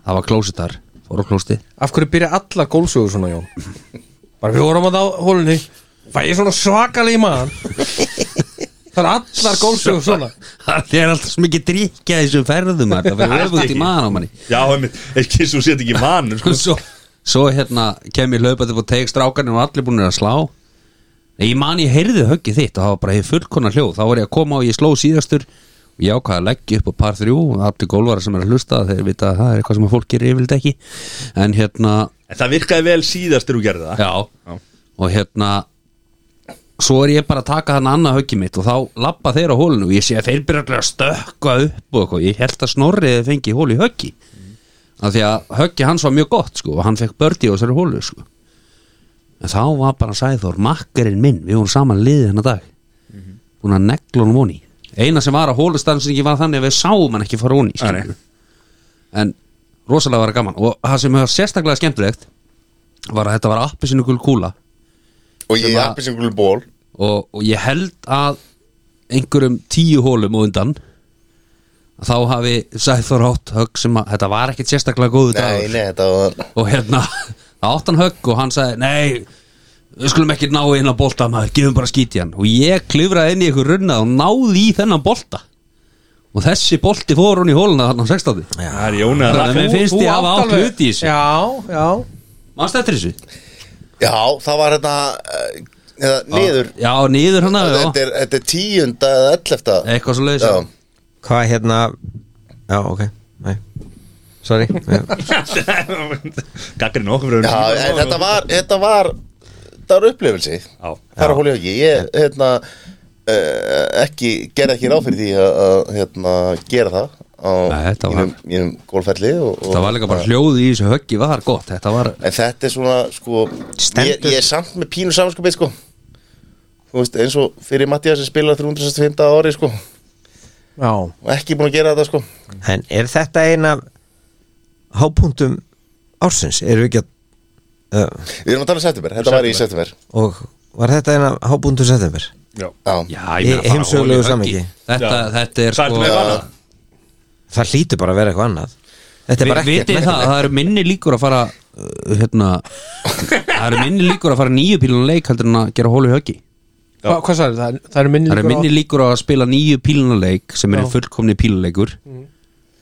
[SPEAKER 3] Það var klósið þar, fór á klósið
[SPEAKER 4] Af hverju byrja alla gólfsögur svona Jón? Bara við vorum að þá hólunni Fæ ég svona svakalega í maðan Það er allar gólfsögur svona
[SPEAKER 3] Það er alltaf svo mikið drikja í þessum ferðum maður. Það fyrir öfugt í maður á manni
[SPEAKER 1] Já, einmitt, ekki svo set ekki mann sko.
[SPEAKER 3] Og svo, svo hérna kem ég hlaupandi og teg strákanir og allir búinir að slá Nei, ég man ég heyrði höggið þitt og það var bara hér fullkonar hljóð þá var ég að koma og ég sló síðastur og ég ákvaði að leggja upp á par þrjú og allir gólvara sem er að hlusta þeir vita að það er eitthvað sem að fólk gerir yfirleitt ekki en hérna,
[SPEAKER 1] En það virkaði vel síðast þegar þú gerði það
[SPEAKER 3] já og hérna svo er ég bara að taka hann annað höggið mitt og þá lappa þeir á hólinu og ég sé að þeir byrja allir að stökka upp og eitthvað ég held að snorriði fengi hól í höggi
[SPEAKER 1] Mm.
[SPEAKER 3] af því að höggi hans var mjög gott sko, og hann fekk bördi á þessari hólu sko. en þá var bara Sæþór makkarinn minn, við vorum saman liðið hennar dag
[SPEAKER 1] Mhm.
[SPEAKER 3] búin að negla honum voni eina sem var að hólustansingi var þannig að við sáum hann ekki fara voni
[SPEAKER 1] Nei.
[SPEAKER 3] en rosalega var það gaman og það sem var sérstaklega skemmtilegt var að þetta var appi sinu gul kúla
[SPEAKER 2] Og ég
[SPEAKER 3] Sem að-
[SPEAKER 2] appi sem gulur ból
[SPEAKER 3] og, og ég held að einhverjum tíu hólum og undan þá hafi Sæþór átt högg sem að þetta var ekkit sérstaklega góðu dagur
[SPEAKER 2] Nei, nei, þetta var
[SPEAKER 3] og hérna það átt hann högg og hann sagði nei, við skulum ekki ná inn á bolta maður, gefum bara skít í hann og ég klifraði inn í einhver runna og náði í þennan bolta og þessi bolti fór hún í hóluna þarna á 16.
[SPEAKER 1] Það er Jóni að
[SPEAKER 3] Þannig að mér finnst
[SPEAKER 4] Þú
[SPEAKER 3] ég hafa
[SPEAKER 4] átt
[SPEAKER 3] átt
[SPEAKER 4] alveg-
[SPEAKER 3] hlut í þessu
[SPEAKER 4] Já, já
[SPEAKER 3] Manstu eftir þessu?
[SPEAKER 2] Já, það var hérna eh, eða, Niður
[SPEAKER 3] Já, nýður hann að
[SPEAKER 2] Þetta er, þetta er tíunda eða ellefta
[SPEAKER 3] Eitthvað svo leiðis
[SPEAKER 2] Já,
[SPEAKER 5] Hvað hérna Já, ok, nei Sorry Já.
[SPEAKER 1] Gaggarinn okkur fyrir
[SPEAKER 2] já en þetta var Þetta var Þetta var upplifelsi
[SPEAKER 1] Já.
[SPEAKER 2] Fara hóli ekki Ég, hérna eh, ekki, gerði ekki ráð fyrir því að- að hérna, gera það á
[SPEAKER 3] Nei, þetta var-
[SPEAKER 2] mínum, mínum gólferli og, og
[SPEAKER 3] Það var líka bara hljóðu í þessu höggi var gott Þetta var,
[SPEAKER 2] En þetta er svona, sko ég,
[SPEAKER 5] Stendur.
[SPEAKER 2] ég er samt með pínu samanskapið, sko Þú veist, eins og fyrir Mattias sem spilar 365 á ári, sko og
[SPEAKER 4] Já,
[SPEAKER 2] ekki búin að gera þetta, sko
[SPEAKER 5] En er þetta eina Hápunktum ársins Erum við ekki að uh,
[SPEAKER 2] Við erum að tala um september, þetta var í september
[SPEAKER 5] Og var þetta eina hápunktum september
[SPEAKER 2] Já,
[SPEAKER 3] já, ég meina
[SPEAKER 5] Í
[SPEAKER 3] bara hól í
[SPEAKER 5] heimsögulegu
[SPEAKER 3] höggi
[SPEAKER 5] samhengi.
[SPEAKER 3] Þetta,
[SPEAKER 1] Já.
[SPEAKER 3] þetta er sko-
[SPEAKER 1] Sættu með bara
[SPEAKER 5] Það hlýtur bara að vera eitthvað annað Þetta er
[SPEAKER 3] Vi,
[SPEAKER 5] bara ekkert
[SPEAKER 3] vitið það,
[SPEAKER 5] merkilegt.
[SPEAKER 3] það eru minni líkur að fara uh, hérna, það eru minni líkur að fara nýju píluna leik heldur en að gera hólu í höggi
[SPEAKER 4] Hva, hvað sagði það? er- Það eru minni
[SPEAKER 3] það eru
[SPEAKER 4] líkur á-
[SPEAKER 3] minni líkur að spila nýju píluna leik sem er
[SPEAKER 4] Já.
[SPEAKER 3] Já. fullkomni píluleikur
[SPEAKER 2] Mm.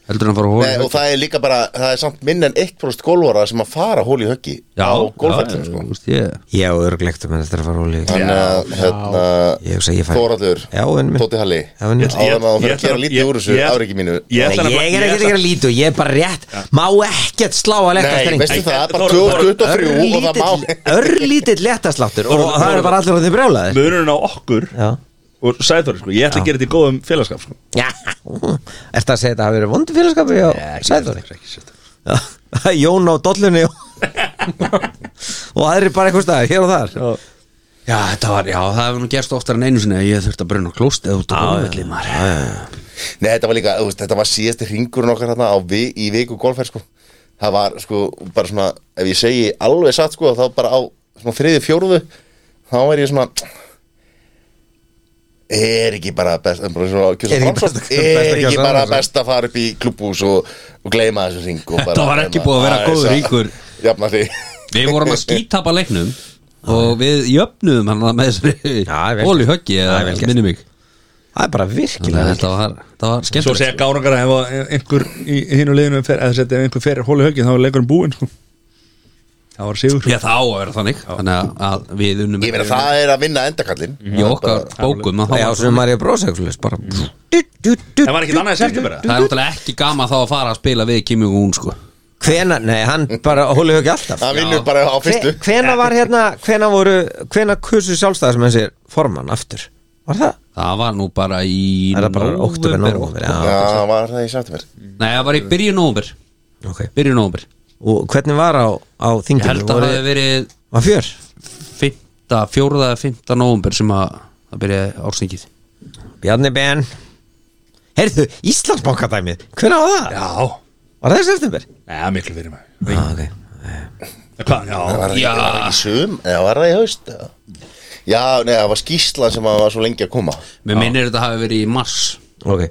[SPEAKER 3] heldur en að fara hólu í
[SPEAKER 2] Nei, og
[SPEAKER 3] höggi
[SPEAKER 2] það er líka bara, það er samt minn en 1% gólvara sem að fara hól í höggi á gólfellinu,
[SPEAKER 3] já,
[SPEAKER 2] sko
[SPEAKER 3] þú veist, ég-
[SPEAKER 5] Já, örglegt um þetta er að fara óli
[SPEAKER 2] Þannig að, hérna,
[SPEAKER 5] Ég hugsa að ég fæ
[SPEAKER 2] Þóraldur,
[SPEAKER 5] Já, en mér
[SPEAKER 2] Tóti Halli
[SPEAKER 5] Já, en-
[SPEAKER 2] Áðan að þú fyrir að gera lítið úr þessu afriki mínu
[SPEAKER 1] Ég ætla
[SPEAKER 5] Nei,
[SPEAKER 1] nefnilega-
[SPEAKER 5] ég er ekkert að gera lítið og ég er bara rétt Má ekkert slá að letta
[SPEAKER 2] Nei,
[SPEAKER 5] streng
[SPEAKER 2] veistu það, bara
[SPEAKER 1] Þórhallur,
[SPEAKER 2] 2023 og það má
[SPEAKER 5] Örlítill- Örlítill lettasláttur Og það er bara allir að þið brjálaðir
[SPEAKER 1] Munurinn á okkur
[SPEAKER 5] Já
[SPEAKER 1] og Sæþóri sko Ég ætla að gera þetta í góðum félagskap sko
[SPEAKER 5] Já, ertu að segja þetta hafi verið vondu félagskapi á Sæðóri? Jón á dollunni og, og aðri bara eitthvað staðar, hér og þar
[SPEAKER 3] já, þetta var, já, það hefur nú gerst oftar en einu sinni að ég þurfti að bruna klóst eða út á gólfelli maður.
[SPEAKER 2] Nei, þetta var líka, þú veist, þetta var síðasti ringurinn okkar hérna á vi, í viku golfer, sko Það var, sko, bara svona, ef ég segi alveg satt, sko, þá bara á svona þriði, fjóruðu, þá er ég svona Er ekki bara best, um, bara svona, kjósa
[SPEAKER 5] Er ekki
[SPEAKER 2] Framsókn,
[SPEAKER 5] best-
[SPEAKER 2] er
[SPEAKER 5] best að
[SPEAKER 2] ekki
[SPEAKER 5] kjósa
[SPEAKER 2] bara
[SPEAKER 5] Framsókn?
[SPEAKER 2] best að fara upp í klubbús og, og gleyma þessu ring og bara, hérna
[SPEAKER 3] þetta var ekki búið að vera góður ríkur
[SPEAKER 2] Jafna því
[SPEAKER 3] við vorum að skítapa leiknum og við jöfnum hann með
[SPEAKER 5] Já, vel
[SPEAKER 3] þessari
[SPEAKER 5] gert.
[SPEAKER 3] hólu í höggi
[SPEAKER 5] Já, vel gert.
[SPEAKER 3] minni mig
[SPEAKER 5] Það er bara
[SPEAKER 3] Þannig að
[SPEAKER 5] virkilega
[SPEAKER 3] þetta var, þetta var
[SPEAKER 1] Svo
[SPEAKER 3] skemmtilegt
[SPEAKER 1] segja gárangar að ef- ef einhver í hinu liðinu fer, eða setja ef einhver fer hóli höggi þá er leikurinn búinn sko Það var sigur sko.
[SPEAKER 3] Já, það á að vera þannig Þannig að- að við unnum
[SPEAKER 2] Ég meina, það er að vinna endakallin
[SPEAKER 3] Í okkar bókum að það
[SPEAKER 5] Já,
[SPEAKER 3] var-
[SPEAKER 5] sem Marja Brósækulus bara En
[SPEAKER 1] En var ekkert annað í september, eða?
[SPEAKER 3] Það er náttúrulega ekki gama þá að fara að spila við Kimi Hún sko
[SPEAKER 5] Hvena, nei, hann bara hólu ekki alltaf
[SPEAKER 2] Það vinnur bara á fyrstu
[SPEAKER 5] Hve- Hvena var hérna, hvena voru Hvena kursu sjálfstæðar sem þessi formann aftur? Var það?
[SPEAKER 3] Það var nú bara í
[SPEAKER 5] Er það bara óttubir nógum?
[SPEAKER 3] nóvember.
[SPEAKER 2] Já,
[SPEAKER 5] Já,
[SPEAKER 2] var það í september
[SPEAKER 3] Nei, það var í byrjun óvumber
[SPEAKER 5] ok
[SPEAKER 3] Byrjun óvumber
[SPEAKER 5] Og hvernig var á, á
[SPEAKER 3] Ég
[SPEAKER 5] þinginu?
[SPEAKER 3] held að það
[SPEAKER 5] Voru-
[SPEAKER 3] hefði verið
[SPEAKER 5] Var fjör?
[SPEAKER 3] fimmta, fjórða eða fimmta nóvumber sem að það byrjaði árstingið
[SPEAKER 5] Bjarni Ben Heyrðu, Íslandsbankadæmið Hvernig var það?
[SPEAKER 1] Já,
[SPEAKER 5] Var það í september?
[SPEAKER 1] neða miklu fyrir mig
[SPEAKER 5] Ah, ok
[SPEAKER 1] Hvað, já
[SPEAKER 2] Var það í- var það í sum, eða var það í haust eða? Já, nei, það var skýsla sem að var svo lengi að koma
[SPEAKER 3] Mér minnir þetta hafi verið í mars
[SPEAKER 5] Ok,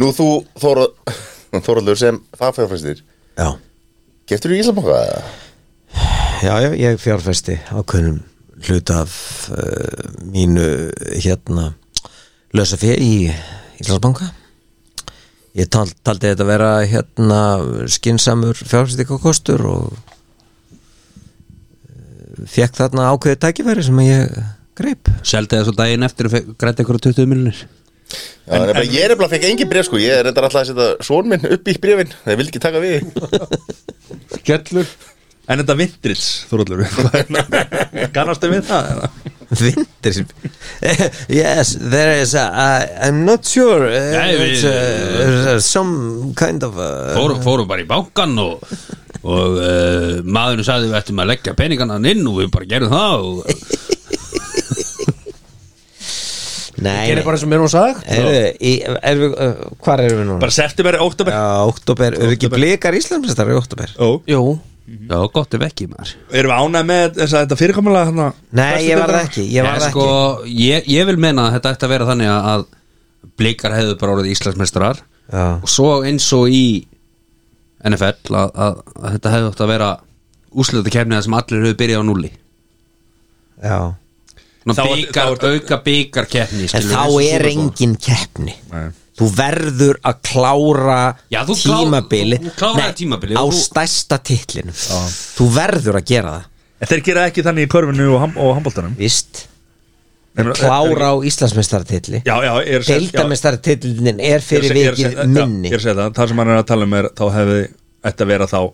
[SPEAKER 2] Nú þú, Þóra- Þóraldur, sem fagfjárfæstir
[SPEAKER 5] já
[SPEAKER 2] Geftur þú í Íslandbanka?
[SPEAKER 5] Já, já, ég fjárfesti ákveðnum hlut af uh, mínu hérna lösa fyrir í Íslandsbanka Ég tal, taldi þetta vera hérna skinsamur fjárfestikakostur og uh, fekk þarna ákveðið tækifæri sem ég greip
[SPEAKER 3] Seldi það svo daginn eftir og græti ykkur 20 miljonir
[SPEAKER 2] Já, en, en, ég er nefnilega fekk engin bref sko Ég er reyndar alltaf að setja són minn upp í brefin Það vildi ekki taka við
[SPEAKER 4] Skellur
[SPEAKER 9] En þetta vintrils, Þorallur Kannastu við það? eða?
[SPEAKER 5] Vindir Yes, there is a I, I'm not sure uh,
[SPEAKER 3] Nei, við-
[SPEAKER 5] it's, uh, some kind of uh,
[SPEAKER 3] Fóru, Fórum bara í bankan og, og uh, maðurinn sagði við ættum að leggja peningana inn og við bara gerum það og,
[SPEAKER 5] Nei,
[SPEAKER 4] Gerir
[SPEAKER 5] nei.
[SPEAKER 4] bara eins og mér hún sagt
[SPEAKER 5] Heyrðu, í- er við, uh, Hvar erum við núna?
[SPEAKER 9] Bara september, oktober
[SPEAKER 5] Já, oktober, eru ekki blikar Íslandsmestari í oktober?
[SPEAKER 9] Ó,
[SPEAKER 4] Jú
[SPEAKER 3] Já, gott ef ekki maður
[SPEAKER 9] erum við ánægð með þess að þetta fyrirkomulega hérna
[SPEAKER 5] Nei, ég var það ekki, ég var
[SPEAKER 3] Ég,
[SPEAKER 5] það
[SPEAKER 3] sko,
[SPEAKER 5] ekki
[SPEAKER 3] ég, ég vil meina að þetta ætti að vera þannig að- að blikar hefðu bara orðið Íslandsmestrar
[SPEAKER 5] Já.
[SPEAKER 3] og svo eins og í NFL að, að, að þetta hefðu átt að vera úslöta kemniða sem allir hefur byrjað á núli
[SPEAKER 5] Já.
[SPEAKER 3] Ná,
[SPEAKER 9] Þá er-
[SPEAKER 3] bikar,
[SPEAKER 9] þá er-
[SPEAKER 3] auka bikar keppni
[SPEAKER 5] En
[SPEAKER 3] skilur
[SPEAKER 5] þá
[SPEAKER 3] við, eins og
[SPEAKER 5] er
[SPEAKER 3] Super Bowl.
[SPEAKER 5] engin keppni
[SPEAKER 9] Nei.
[SPEAKER 5] Þú verður að klára
[SPEAKER 3] Já, þú klá-
[SPEAKER 5] tímabili
[SPEAKER 3] þú- þú kláraði
[SPEAKER 5] Nei,
[SPEAKER 3] tímabilið
[SPEAKER 5] Á
[SPEAKER 3] og þú-
[SPEAKER 5] stærsta titlin Þú verður að gera það
[SPEAKER 9] En Þeir gera ekki þannig í körfinu og, ham, og handbóltanum
[SPEAKER 5] Vist,
[SPEAKER 9] Þeir-
[SPEAKER 5] klára
[SPEAKER 9] þeir-
[SPEAKER 5] á Íslandsmestari titli
[SPEAKER 9] Já, já, ég er að segja- já,
[SPEAKER 5] Deildamestari titlinin er
[SPEAKER 9] ég
[SPEAKER 5] fyrir
[SPEAKER 9] er að segja-
[SPEAKER 5] vikið
[SPEAKER 9] ég er að segja- já,
[SPEAKER 5] minni
[SPEAKER 9] Ég er að segja það, það sem hann er að tala um er þá hefði ætti að vera þá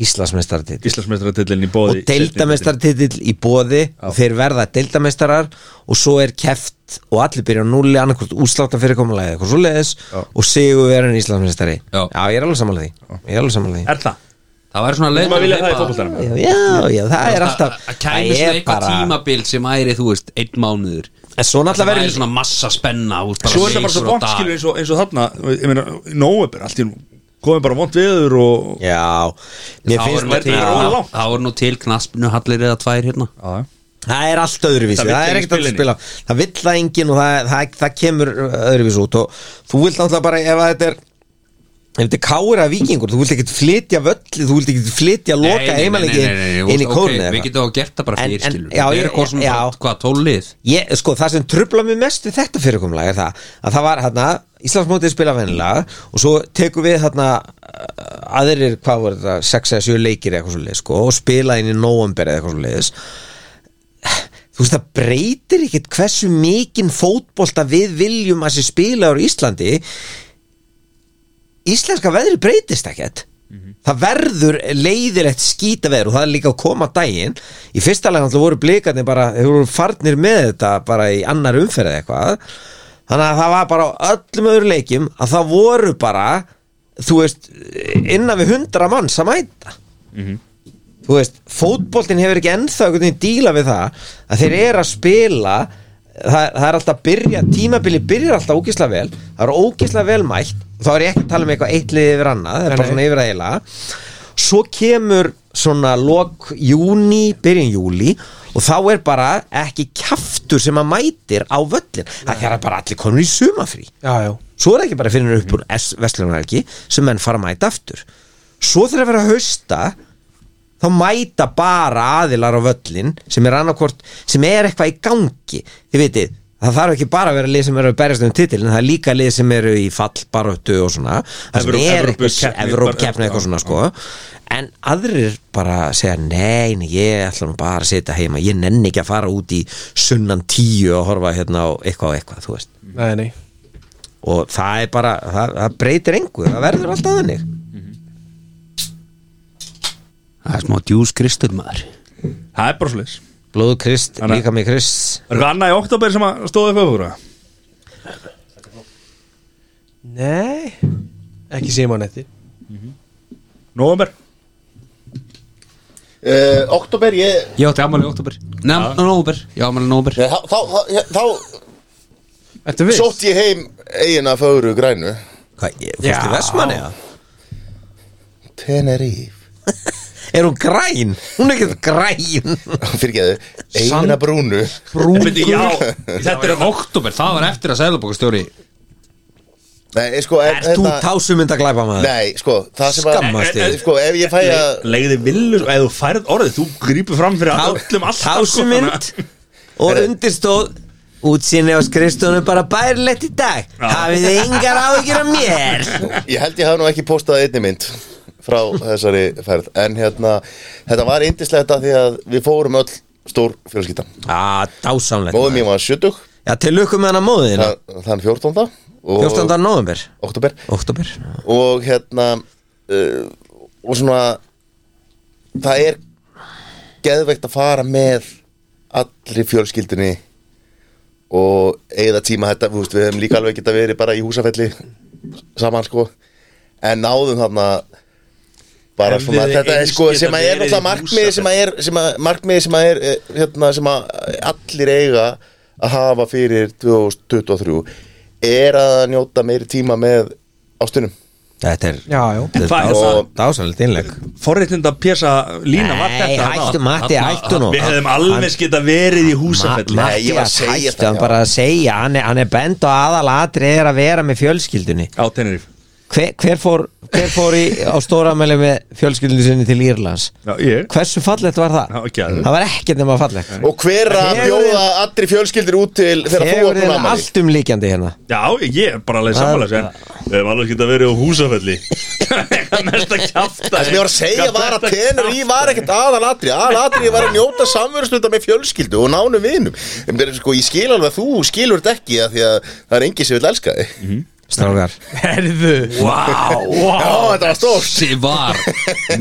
[SPEAKER 5] Íslandsmestari titli
[SPEAKER 9] Íslandsmeistaratillin í bóði
[SPEAKER 5] og deildamestartitill í bóði og þeir verða deildamestarar og svo er keft og allir byrja á núli annarkvort úsláta fyrirkomulagi eitthvað svoleiðis og sigur verðin Íslandsmestari
[SPEAKER 3] Já.
[SPEAKER 5] ég er alveg sammála því ég er alveg sammála því
[SPEAKER 9] Er það?
[SPEAKER 3] Það væri svona leið
[SPEAKER 9] Maður vilja það í fótboltanum
[SPEAKER 5] já, já, já, það er alltaf
[SPEAKER 3] Að kæmi
[SPEAKER 5] það
[SPEAKER 3] svona
[SPEAKER 5] er
[SPEAKER 3] eitthvað tímabil sem æri, þú veist, einn mánuður
[SPEAKER 5] en svo
[SPEAKER 3] Það
[SPEAKER 5] náttúrulega
[SPEAKER 3] væri
[SPEAKER 5] verður
[SPEAKER 3] svona massa spenna úr bara
[SPEAKER 9] Svo er það bara svo
[SPEAKER 3] leikur og
[SPEAKER 9] vont
[SPEAKER 3] dag.
[SPEAKER 9] skilur eins og, eins og þarna Ég meina, nóöpir, allt í nú komið bara vont viður og
[SPEAKER 5] já,
[SPEAKER 3] Þá
[SPEAKER 5] mér
[SPEAKER 3] er
[SPEAKER 5] finnst
[SPEAKER 3] nú til-
[SPEAKER 9] er
[SPEAKER 5] þetta
[SPEAKER 9] rólega
[SPEAKER 3] þá-
[SPEAKER 9] langt.
[SPEAKER 3] þá er nú til knaspinu hallir eða tvær hérna
[SPEAKER 9] Já,
[SPEAKER 5] það er allt öðruvísi,
[SPEAKER 9] Það
[SPEAKER 5] það,
[SPEAKER 9] vill
[SPEAKER 5] er
[SPEAKER 9] enginn
[SPEAKER 5] ekkert
[SPEAKER 9] spila
[SPEAKER 5] að spila það vill það enginn og það, það, það kemur öðruvísi út og þú vilt náttúrulega bara ef að þetta er ef þetta er kára vikingur, þú vilt ekkert flytja völl þú vilt ekkert flytja loka
[SPEAKER 3] Nei, nei, nei,
[SPEAKER 5] heimalegi
[SPEAKER 3] nei, nei, nei,
[SPEAKER 5] inn í
[SPEAKER 3] ok,
[SPEAKER 5] kórnu
[SPEAKER 3] Við getum að gert það bara
[SPEAKER 5] En-
[SPEAKER 3] fyrir
[SPEAKER 5] en-
[SPEAKER 3] skilur
[SPEAKER 5] já,
[SPEAKER 3] Það er
[SPEAKER 5] ég-
[SPEAKER 3] hvað sem
[SPEAKER 5] já. hvað,
[SPEAKER 3] hvað tólið
[SPEAKER 5] Ég, sko, það sem trubla mig mest við þetta fyrirkomlega er það að það var hérna Íslandsmótið spila vennilega og svo tekum við hérna uh, aðrir, hvað voru þetta, 6 eða 7 leikir eða eitthvað svo leiðis, sko, og spila inn í november eða eitthvað svo leiðis þú veist, það breytir ekkit hversu mikinn fótbolta við viljum að sé spila úr Íslandi íslenska veðri breytist ekkert það verður leiðilegt skýta veður og það er líka að koma á daginn í fyrsta lega náttúrulega voru blikarnir bara þeir voru farnir með þetta bara í annar umferð eða eitthvað þannig að það var bara á öllum öðru leikjum að það voru bara þú veist, innan við hundra manns að mæta þú veist, fótboltin hefur ekki ennþá einhvern veginn díla við það að þeir eru að spila það, það er alltaf að byrja, tímabili byrjar alltaf ógisla vel, það er ógisla vel mætt þá er ég ekki að tala um eitthvað eitt liðið yfir annað það er bara svona yfir að eila svo kemur svona lok júni, byrjun júli og þá er bara ekki kjaftur sem að mætir á völlin það er bara allir konur í sumafrí
[SPEAKER 4] Já, já
[SPEAKER 5] svo er það ekki bara fyrir upp úr Vestlunarhelgi sem menn fara að mæta aftur svo þegar að vera að hausta þá mæta bara aðilar á völlin sem er annarkvort, sem er eitthvað í gangi þið vitið, það þarf ekki bara að vera lið sem eru að berjast um titil, en það er líka lið sem eru í fallbarötu og svona það sem
[SPEAKER 9] Evró-
[SPEAKER 5] er
[SPEAKER 9] Evrópukeppni,
[SPEAKER 5] Evrópkeppni
[SPEAKER 9] bara-
[SPEAKER 5] eitthvað svona sko en aðrir bara segja nei, nei, ég ætla nú bara að sitja heima ég nenni ekki að fara út í sunnan tíu og horfa hérna á eitthvað og eitthvað, þú veist
[SPEAKER 4] Nei, nei
[SPEAKER 5] og það er bara, það, það breytir engu það verður alltaf þannig
[SPEAKER 3] Það er smá djús kristur maður
[SPEAKER 9] það er bara slis
[SPEAKER 5] blóðu krist,
[SPEAKER 9] Þannig-
[SPEAKER 5] líka mig krist
[SPEAKER 9] Er það annað í oktober sem að stóðu upp öfura?
[SPEAKER 4] Nei Ekki sem hann eftir
[SPEAKER 9] Nóvember?
[SPEAKER 2] uh, Oktober, ég
[SPEAKER 3] Ég átti ammæli í oktober Nei, nóber, ég ammæli í nóber
[SPEAKER 2] Þá, þá, þá, þá
[SPEAKER 4] Ertu við?
[SPEAKER 2] sótt ég heim eigin að fögru grænu
[SPEAKER 5] hvað, ég- fórstu í Vestmanni
[SPEAKER 2] Teneríf
[SPEAKER 5] Er hún græn? Hún er ekkert græn
[SPEAKER 2] Fyrirgeðu, eina brúnu
[SPEAKER 1] Brúkur Já, þetta er
[SPEAKER 3] Þetta er oktober, það var eftir að sæðlabokastjóri
[SPEAKER 2] Nei, sko,
[SPEAKER 5] Er þú tásumynd að glæpa maður?
[SPEAKER 2] Nei, sko, það sem
[SPEAKER 5] Skammast
[SPEAKER 2] að
[SPEAKER 5] þín.
[SPEAKER 2] Sko, ef ég fæ að
[SPEAKER 1] Legði villu, ef þú færð orðið Þú grýpur fram fyrir öllum alltaf sko,
[SPEAKER 5] Tásumynd
[SPEAKER 1] þannig
[SPEAKER 5] og undirstóð Útsinni á skrifstofunum bara bærilegt í dag Hafið þið engar áhyggjur af mér
[SPEAKER 2] Ég held ég hafði nú ekki postað einni mynd frá þessari ferð en hérna, þetta var indislegt að því að við fórum öll stór fjölskylda
[SPEAKER 5] Á, dásamlegt
[SPEAKER 2] Móðum
[SPEAKER 5] maður.
[SPEAKER 2] ég var 70,
[SPEAKER 5] Já, til lukku með hana móðina
[SPEAKER 2] þa- þann 14. og
[SPEAKER 5] 14. november,
[SPEAKER 2] oktober
[SPEAKER 5] oktober
[SPEAKER 2] og hérna uh, og svona það er geðveikt að fara með allri fjölskyldinni og eigða tíma þetta, þú veist, við hefum líka alveg geta verið bara í húsafelli saman sko en náðum þarna bara
[SPEAKER 1] Hefðu
[SPEAKER 2] svona,
[SPEAKER 1] þið
[SPEAKER 2] þetta er
[SPEAKER 1] eins
[SPEAKER 2] sko
[SPEAKER 1] geta
[SPEAKER 2] sem að
[SPEAKER 1] verið
[SPEAKER 2] er
[SPEAKER 1] í
[SPEAKER 2] náttúrulega markmiði sem að er, sem að, markmiði sem að er eh, hérna, sem að allir eiga að hafa fyrir 2023 er að njóta meiri tíma með ástunum
[SPEAKER 5] Þetta er
[SPEAKER 4] Já, já
[SPEAKER 1] En hvað er það?
[SPEAKER 5] dás- dásamlegt innleg
[SPEAKER 1] Forréttinda pjasa lína var
[SPEAKER 5] Nei,
[SPEAKER 1] þetta
[SPEAKER 5] hættu,
[SPEAKER 1] þarna.
[SPEAKER 5] Matti,
[SPEAKER 1] Þarna-
[SPEAKER 5] hættu nú.
[SPEAKER 1] Við hefðum
[SPEAKER 5] Hann-
[SPEAKER 1] alveg skita verið í húsafelli
[SPEAKER 5] Ma-
[SPEAKER 2] Nei, ég var að
[SPEAKER 5] Matthías,
[SPEAKER 2] segja
[SPEAKER 5] hættu,
[SPEAKER 2] það,
[SPEAKER 5] hann
[SPEAKER 2] já.
[SPEAKER 5] bara að segja Hann er, hann er bend og aðal atrið er að vera með fjölskyldunni
[SPEAKER 1] Á Teneríf
[SPEAKER 5] Hver, hver fór, hver fór í, á stóramæli með fjölskyldunni sinni til Írlands?
[SPEAKER 1] Já, ég
[SPEAKER 5] Hversu fallegt var það?
[SPEAKER 1] Já, ekki aðeins.
[SPEAKER 5] það var ekkert nema fallegt
[SPEAKER 2] og hver að
[SPEAKER 5] Hefurðu-
[SPEAKER 2] bjóða allri fjölskyldir út til þegar þú
[SPEAKER 5] Hefur
[SPEAKER 2] ert
[SPEAKER 5] þið
[SPEAKER 2] hún ammali
[SPEAKER 5] allt umlíkjandi hérna
[SPEAKER 1] Já, ég er bara alveg sammála En við hefum alveg skita verið á húsafelli Mesta kjafta
[SPEAKER 2] Það sem ég var að segja var að tenur í var ekkert aðalatri Aðalatri var að njóta samverðstunda með fjölskyldu og nánum vinum En mér er sko, ég skil alveg að þú skilur þetta ekki af Því að það er engi sem vil elska þig
[SPEAKER 5] Strágar
[SPEAKER 4] Herðu
[SPEAKER 2] Já, þetta var stórt
[SPEAKER 3] Þessi var,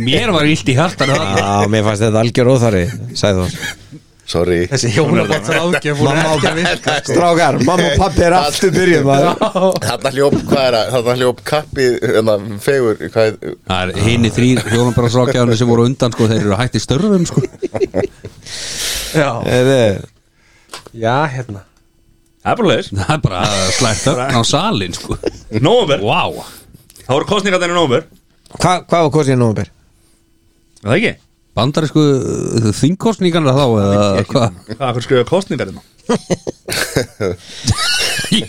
[SPEAKER 3] mér var illt í hjartan
[SPEAKER 5] Já, mér fannst þetta algjör óþari Sæði þú
[SPEAKER 2] Sorry
[SPEAKER 4] Þessi hjónabandsráðgjöf hún er ekki að sko. virka
[SPEAKER 5] Strágar, mamma og pappi er aftur byrjuð maður
[SPEAKER 2] Þarna hljóp, hvað er það? Þarna hljóp kappið, hérna, fegur hvað er,
[SPEAKER 3] Það er hinni þrýr hjónabarasrákjaðunni sem voru undan sko, þeir eru hætti störfum sko.
[SPEAKER 4] Já,
[SPEAKER 5] Heyrðu,
[SPEAKER 4] já hérna
[SPEAKER 1] Það er bara leiðis
[SPEAKER 3] Það er bara slægt öfn á salin sko.
[SPEAKER 1] Nóver
[SPEAKER 3] Vá
[SPEAKER 1] Það voru kostningar þenni nóver
[SPEAKER 5] Hvað hvað var kosið í nómber?
[SPEAKER 1] Það ekki?
[SPEAKER 3] Bandarísku uh, þingkostningarna þá eða hvað
[SPEAKER 1] Hvað, hvað skrifa hérna? kostningar þarna?
[SPEAKER 3] Ég,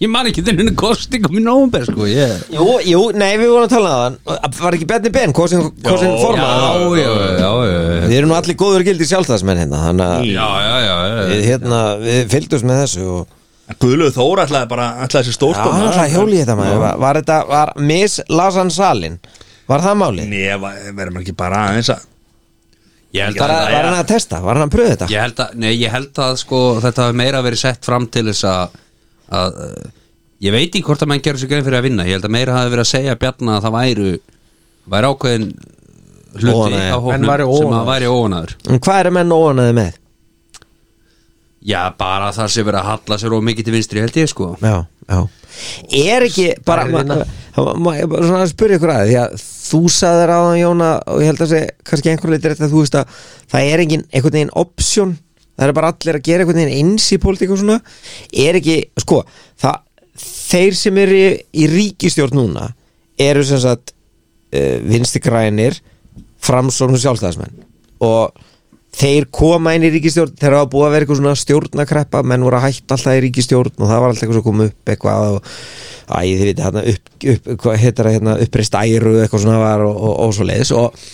[SPEAKER 3] ég man ekki þennan kostningum í nómber sko ég.
[SPEAKER 5] Jú, jú, nei, við vorum að tala um það Var ekki Benni Ben, kosin, kosin
[SPEAKER 1] Jó,
[SPEAKER 5] forma
[SPEAKER 3] Já, já, já já,
[SPEAKER 5] Við erum nú allir góður gildi sjálfstæðsmenn hérna Þannig að
[SPEAKER 3] Já, já, já,
[SPEAKER 5] við,
[SPEAKER 3] já
[SPEAKER 5] hérna, við fylgdumst með þessu og,
[SPEAKER 1] Guðlöð Þóra ætlaði bara ætlaði sér
[SPEAKER 5] Já, hann
[SPEAKER 1] stórstofn
[SPEAKER 5] ætlaði að hjóli í þetta hérna, maður Var, var þetta, var Miss Lasan Salin Var það málið?
[SPEAKER 1] Nei, verðum ekki bara aðeins að
[SPEAKER 3] Ég held
[SPEAKER 5] Var,
[SPEAKER 3] að,
[SPEAKER 5] var hann að testa? Var hann að pröfa þetta?
[SPEAKER 3] ég held að, nei, ég held að sko, þetta hafi meira verið sett fram til þess að, að uh, ég veit ekki hvort að menn gerur sér grein fyrir að vinna ég held að meira hafi verið að segja Bjarna að það væru væri ákveðin hluti á
[SPEAKER 5] Óánægja.
[SPEAKER 4] Menn
[SPEAKER 3] hóknum sem
[SPEAKER 4] væru óánægðir.
[SPEAKER 3] að væri óanæður
[SPEAKER 5] En Hvað eru menn óanaði með?
[SPEAKER 3] já, bara það sé verið að halla sér og mikið til vinstri held ég sko
[SPEAKER 5] Já, já Er ekki bara ma- ma- ma- ég bara Svona að spyrja ykkur að því að þú saðir á það Jóna og ég held að segja kannski einhver leitir þetta að þú veist að það er engin einhvern veginn option það er bara allir að gera einhvern veginn eins í pólitík og svona er ekki, sko það, þeir sem eru í, í ríkistjórn núna eru sem sagt uh, vinstigrænir framsókn og sjálfstæðismenn og þeir koma inn í ríkistjórn þeir hafa búið að vera eitthvað svona stjórnakreppa menn voru að hætta alltaf í ríkistjórn og það var alltaf eitthvað sem kom upp eitthvað og æ, þið veit, hérna, upp, upp, hvað heitir það hérna, uppreist æru eitthvað svona var og, og, og svo leiðis og,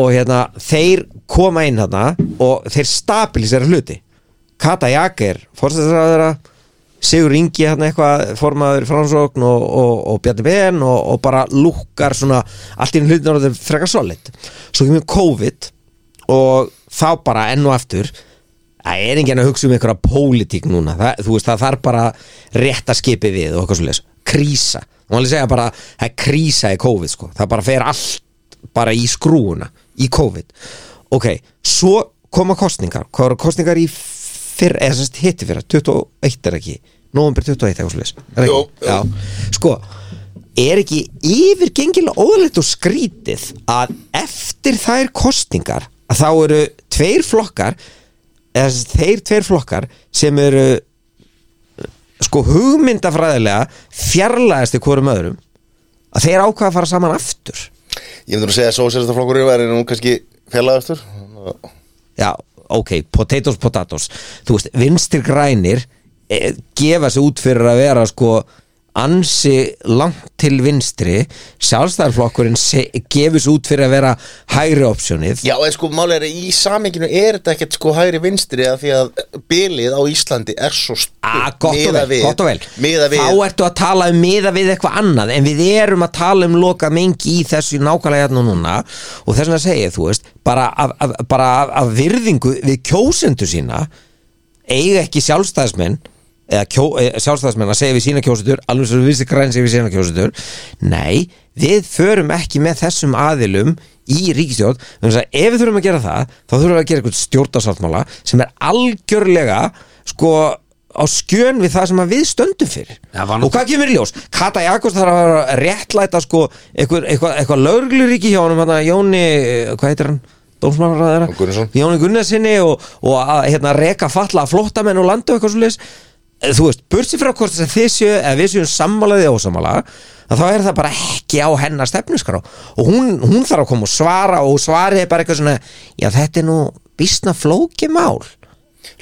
[SPEAKER 5] og hérna, þeir koma inn hérna og þeir stabilisera hluti Kata Jager, fórstæðisraðara Sigur Ingi hann eitthvað formaður framsókn og, og, og Bjarni Ben og, og bara lúkkar svona allt í hlutinu og þetta frekar solid svo kemur COVID og þá bara enn og aftur það er enginn að hugsa um einhverja pólitík núna, það, þú veist það þarf bara rétt að skipi við og eitthvað svo leys krísa, þú má alveg segja bara það er krísa í COVID sko, það bara fer allt bara í skrúuna í COVID, ok svo koma kostningar, hvað eru kostningar í fyrr, eða sem sagt hitti fyrra 21 er ekki, november 21 eitthvað svo leys, er ekki,
[SPEAKER 2] Jú, jú.
[SPEAKER 5] já sko, er ekki yfirgengilega óðalegt og skrítið að eftir þær kostningar að þá eru tveir flokkar eða sem sagt þeir tveir flokkar sem eru sko hugmyndafræðilega fjarlæðasti hvorum öðrum að þeir ákvaða að fara saman aftur
[SPEAKER 2] ég myndi nú að segja að sósélistaflokkurinn væri nú kannski fjarlægastur
[SPEAKER 5] já, ok, potatoes, potatoes þú veist, vinstir grænir e, gefa sig út fyrir að vera sko ansi langt til vinstri sjálfstæðarflokkurinn se- gefur sig út fyrir að vera hægri opsjónið
[SPEAKER 2] Já, en sko málið er að í saminginu er þetta ekkert sko hægri vinstri að því að bilið á Íslandi er svo stutt
[SPEAKER 5] Ah, gott og vel, gott og vel
[SPEAKER 2] Miða við
[SPEAKER 5] Þá ertu að tala um miða við eitthvað annað En við erum að tala um loka mengi í þessu nákvæmlega hérna og núna Og þess vegna segja, þú veist Bara af, af, bara af, af virðingu við kjósendu sína Eiga ekki sjálfstæðismenn Eða kjó, e, sjálfstæðismenn að segja við sína kjósendur Alveg svo vissi græn segja við sína kjósendur Nei, við förum ekki með þessum aðilum í ríkistjórn Þannig að ef við þurfum að gera það Þá þurfum við að gera eitthvað stjórnarsáttmála Sem er algjörlega, sko á skjön við það sem að við stöndum fyrir
[SPEAKER 3] Það var nú-
[SPEAKER 5] og hvað kemur í ljós? Kata Jakobs þarf að vera að réttlæta sko eitthvað, eitthvað, eitthvað lögregluríki hjá honum hann Jóni, eh, hvað heitir hann? Dómsmálaráðara?
[SPEAKER 2] Jón Gunnarsson.
[SPEAKER 5] Jóni Gunnarsinni og, og að hérna reka falla flottamenn og landa og eitthvað svo leis þú veist, bursi frá hvort þess að þið séu eða við séum sammálaðið og ósammála að þá er það bara ekki á hennar stefnuskrá og hún, hún þarf að koma og svara og svarið er bara eitthvað svona já þetta er nú býstna flóki mál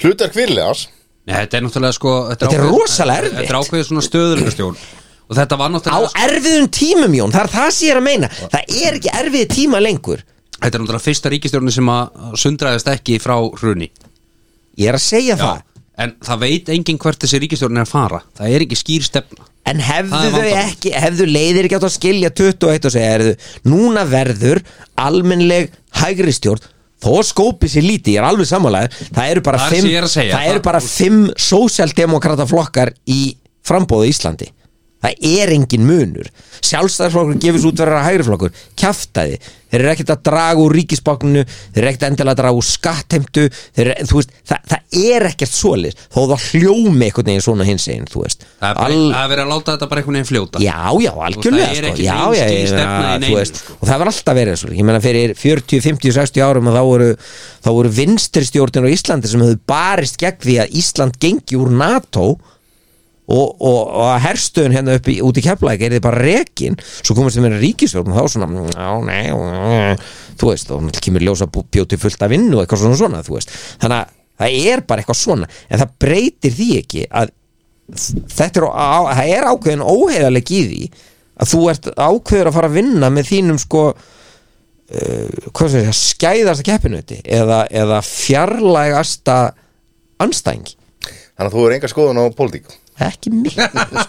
[SPEAKER 2] Hlutar kvirlegas
[SPEAKER 3] Nei, þetta er náttúrulega sko
[SPEAKER 5] Þetta er
[SPEAKER 3] ákveðið-
[SPEAKER 5] rosalega erfitt.
[SPEAKER 3] Þetta er ákveðið svona stöðurleikastjón Og þetta var
[SPEAKER 5] á
[SPEAKER 3] náttúrulega
[SPEAKER 5] erfiðum tímum Jón, það er það sem ég er að meina það er ekki erfiði tíma lengur
[SPEAKER 3] Þetta er náttúrulega fyrsta ríkistjórni sem að sundraðist ekki frá hruni
[SPEAKER 5] ég er að segja það
[SPEAKER 3] En það veit enginn hvert þessi ríkistjórni er að fara Það er ekki skýr stefna
[SPEAKER 5] en hefðu
[SPEAKER 3] Það er
[SPEAKER 5] þau
[SPEAKER 3] vandamál.
[SPEAKER 5] ekki, hefðu leiðir ekki átt að skilja 21 og segja, erðu, núna verður almennleg hægri stjórn þó skópið sér lítið, ég er alveg sammálaður það eru bara
[SPEAKER 3] Það er
[SPEAKER 5] fimm,
[SPEAKER 3] sem ég er að segja.
[SPEAKER 5] það eru bara fimm sósjaldemokrata flokkar í frambóðu Íslandi það er engin munur sjálfstæðarflokkur gefur svo útverðar að hægri flokkur kjaftaði, þeir eru ekkert að draga úr ríkisbákninu, þeir eru ekkert endilega að draga úr skattheimtu, þeir eru, þú veist það, það er ekkert svolir, þó það hljómi einhvern veginn svona hins einn, þú veist
[SPEAKER 3] Það er, All...
[SPEAKER 5] Al-
[SPEAKER 3] það er verið að láta þetta bara einhvern veginn fljóta
[SPEAKER 5] Já, já, algjörlega
[SPEAKER 3] það er
[SPEAKER 5] sko.
[SPEAKER 3] ekki
[SPEAKER 5] já,
[SPEAKER 3] nein
[SPEAKER 5] já,
[SPEAKER 3] skýr
[SPEAKER 5] ég
[SPEAKER 3] stefna
[SPEAKER 5] meina,
[SPEAKER 3] í
[SPEAKER 5] þú
[SPEAKER 3] neinu,
[SPEAKER 5] veist,
[SPEAKER 3] sko.
[SPEAKER 5] Og það var alltaf verið svo Ég meina fyrir 40, 50, 60 árum að þá voru, þá voru vinstri stjórnir á Íslandi sem höfðu barist gegn því að Ísland gengi úr NATO og, og, og að herstöðun hérna upp í, út í keflæk er þið bara rekin svo komast þið meira ríkisstjórn og þá svona mm, já, nei, mm, þú veist og náttúrulega kemur ljósa bjóti fullt af vinnu og eitthvað svona svona, þú veist þannig að það er bara eitthvað svona en það breytir því ekki að þetta er, á, það er ákveðin óheiðaleg í því að þú ert ákveður að fara að vinna með þínum sko uh, hvað sem ég, skæðasta keppinuti eða, eða fjarlægasta anstæðing
[SPEAKER 2] Þannig að þú er enga skoðun á pólitík
[SPEAKER 5] ekki mikið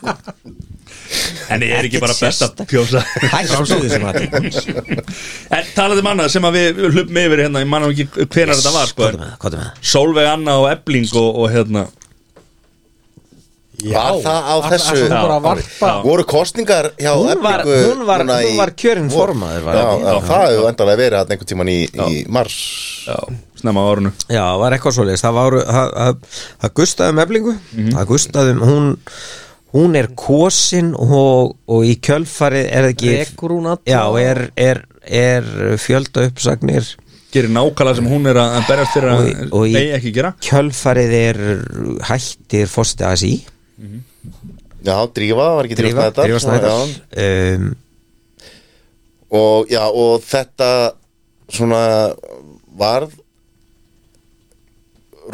[SPEAKER 1] En er ekki
[SPEAKER 5] Ekkert
[SPEAKER 1] bara best að
[SPEAKER 5] sérstakt.
[SPEAKER 1] pjósa
[SPEAKER 5] hættu þessi maður
[SPEAKER 1] En talaðu um annað sem að við, við hlupum yfir hérna Ég manna ekki hvenar þetta var sko, en
[SPEAKER 5] hvað er með það?
[SPEAKER 1] Sólveig Anna og Ebling og, og hérna
[SPEAKER 2] Var það á þessu
[SPEAKER 4] Þú bara varpa
[SPEAKER 2] Voru kostningar hjá
[SPEAKER 5] Hún var-
[SPEAKER 2] Eflingu
[SPEAKER 5] hún var-
[SPEAKER 2] núna
[SPEAKER 5] hún
[SPEAKER 2] í
[SPEAKER 5] var kjörin
[SPEAKER 2] vor?
[SPEAKER 5] formaður, var
[SPEAKER 2] Já,
[SPEAKER 5] það ekki?
[SPEAKER 2] já, það hefur endanlega verið hann einhvern tíman í, í mars
[SPEAKER 1] já, Snemma á árunu
[SPEAKER 5] Já, það var eitthvað svoleiðis það, var, það, það, það gustaði um eflingu það gustaði um hún hún er kosin og, og í kjölfarið er það ekki
[SPEAKER 4] Rekur hún alla?
[SPEAKER 5] Já, er, er, er fjölda uppsagnir
[SPEAKER 1] Gerir nákvæmlega sem hún er að að berjast fyrir að
[SPEAKER 5] Og- og í-
[SPEAKER 1] eigi ekki gera
[SPEAKER 5] kjölfarið er hættir fórsti ASI
[SPEAKER 2] Já, Drífa var ekki Drífa
[SPEAKER 5] Drífa,
[SPEAKER 2] Snædal,
[SPEAKER 5] Drífa
[SPEAKER 2] já.
[SPEAKER 5] Snædal um,
[SPEAKER 2] Og já, og þetta svona varð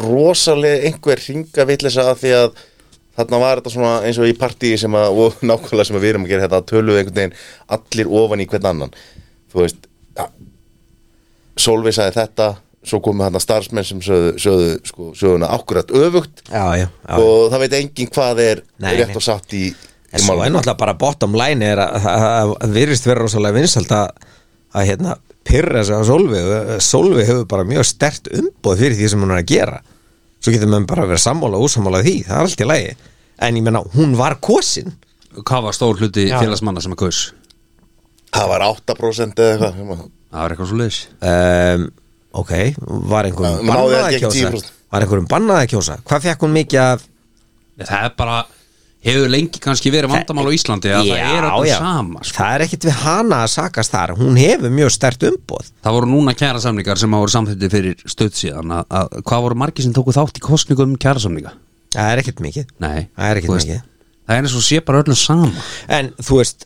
[SPEAKER 2] rosalega einhver ringa vitleysa af því að þarna var þetta svona eins og í partíi sem að, og nákvæmlega sem að við erum að gera þetta töluðu einhvern veginn allir ofan í hvern annan þú veist ja, Solveig sagði þetta svo komu hann starfsmenn sem sögðu, sögðu sko, söguna akkurat öfugt
[SPEAKER 5] Já, já, já
[SPEAKER 2] og það veit enginn hvað er
[SPEAKER 5] Nei,
[SPEAKER 2] rétt
[SPEAKER 5] nei.
[SPEAKER 2] og satt í,
[SPEAKER 5] En
[SPEAKER 2] í
[SPEAKER 5] svo er
[SPEAKER 2] málum
[SPEAKER 5] náttúrulega bara bottom line er að það- það það virðist vera rosalega vinsalt að, að hérna, pyrra sig á Solvi Solvi hefur bara mjög stert umboð fyrir því sem hún er að gera svo getur maður bara að vera sammála og ósammála því það er allt í lagi, en ég menna hún var kosin
[SPEAKER 3] Hvað var stór hluti félagsmanna sem að kaus?
[SPEAKER 2] það var 8% eða eitthvað
[SPEAKER 3] Það var eitthvað svo leiðis
[SPEAKER 5] um, ok, var einhverjum
[SPEAKER 2] Náði
[SPEAKER 5] bannað
[SPEAKER 2] ekki
[SPEAKER 5] að kjósa
[SPEAKER 2] 10%.
[SPEAKER 5] var einhverjum bannað að kjósa, hvað fekk hún mikið af
[SPEAKER 3] Það er bara, hefur lengi kannski verið vandamál á Íslandi að það er
[SPEAKER 5] já.
[SPEAKER 3] allir sama sko.
[SPEAKER 5] það er ekkit við hana að sakast þar hún hefur mjög stert umboð
[SPEAKER 3] Það voru núna kjærasamningar sem hafa voru samþýtti fyrir stöð síðan að, að hvað voru margir sem tóku þátt í kostningum um kjærasamninga?
[SPEAKER 5] það er ekkit mikið
[SPEAKER 3] Nei
[SPEAKER 5] það er ekkit
[SPEAKER 3] þú veist,
[SPEAKER 5] mikið
[SPEAKER 3] Það er eins og sé bara öllum sama
[SPEAKER 5] En þú veist,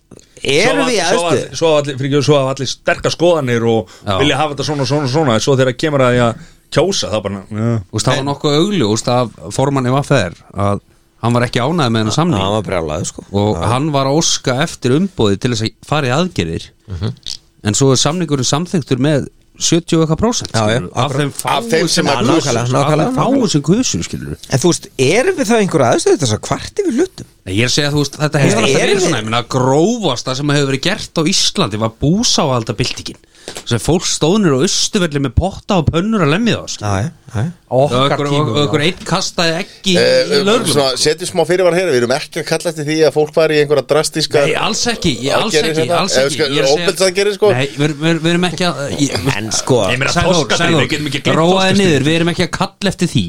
[SPEAKER 5] erum við í aðstöðu
[SPEAKER 9] Svo hafa allir, fyrir ekki, svo hafa allir sterkar skoðanir og
[SPEAKER 3] Já.
[SPEAKER 9] vilja hafa þetta svona, svona, svona en Svo þegar kemur að því að kjósa þá bara ja.
[SPEAKER 3] Þú veist, það var nokkuð augljúst af formanni Vaffer að hann var ekki ánæði með hennar samning
[SPEAKER 5] Það var brjálaði sko
[SPEAKER 3] og hann var að óska eftir umbóði til þess að fara í aðgerðir
[SPEAKER 5] Mhm.
[SPEAKER 3] en svo er samningurinn samþyktur með 70 og eitthvað prósent
[SPEAKER 5] Já, já,
[SPEAKER 3] skilurðu, af þeim
[SPEAKER 2] Af þeim
[SPEAKER 3] fáu
[SPEAKER 2] sem
[SPEAKER 3] sem
[SPEAKER 2] að
[SPEAKER 3] kusu,
[SPEAKER 5] nákvæmlega,
[SPEAKER 3] sko, af
[SPEAKER 5] nákvæmlega.
[SPEAKER 3] þeim fáu sem kusu skilur
[SPEAKER 5] En þú veist, erum við það einhverja aðstöðu þess að kvarti við hlutum?
[SPEAKER 3] Nei, ég er að segja að þú veist, þetta hefur
[SPEAKER 5] Nei,
[SPEAKER 3] alltaf
[SPEAKER 5] er
[SPEAKER 3] verið
[SPEAKER 5] við-
[SPEAKER 3] svona, ég meina grófasta sem hefur verið gert á Íslandi var búsáhaldabildingin sem fólk stóðnir á östuvelli með potta og pönnur að lemmið á sko.
[SPEAKER 5] Já, já, já
[SPEAKER 4] Á
[SPEAKER 3] og
[SPEAKER 4] okkar
[SPEAKER 3] okkur, og
[SPEAKER 4] tímum já.
[SPEAKER 3] okkur einn kastaði ekki
[SPEAKER 2] Eh,
[SPEAKER 3] í lögum
[SPEAKER 2] svona, Setjum smá fyrirvar hér, við erum ekki að kalla eftir því að fólk fari í einhverja drastíska
[SPEAKER 3] Nei, alls ekki, ég, alls
[SPEAKER 2] Aðgerðir
[SPEAKER 3] ekki,
[SPEAKER 2] hérna?
[SPEAKER 3] alls
[SPEAKER 2] Ef við
[SPEAKER 3] ekki
[SPEAKER 2] skal-
[SPEAKER 3] Ég er að segja-
[SPEAKER 2] ofbeldsaðgerðir, sko?
[SPEAKER 3] Nei, við við- við erum ekki að ég-
[SPEAKER 5] En sko,
[SPEAKER 9] Ég meina
[SPEAKER 3] Sæður,
[SPEAKER 9] þorskastríð,
[SPEAKER 3] Sæður,
[SPEAKER 9] við getum ekki gleymt
[SPEAKER 3] Róaði
[SPEAKER 9] þorskastríð.
[SPEAKER 3] niður, við erum ekki að kalla eftir því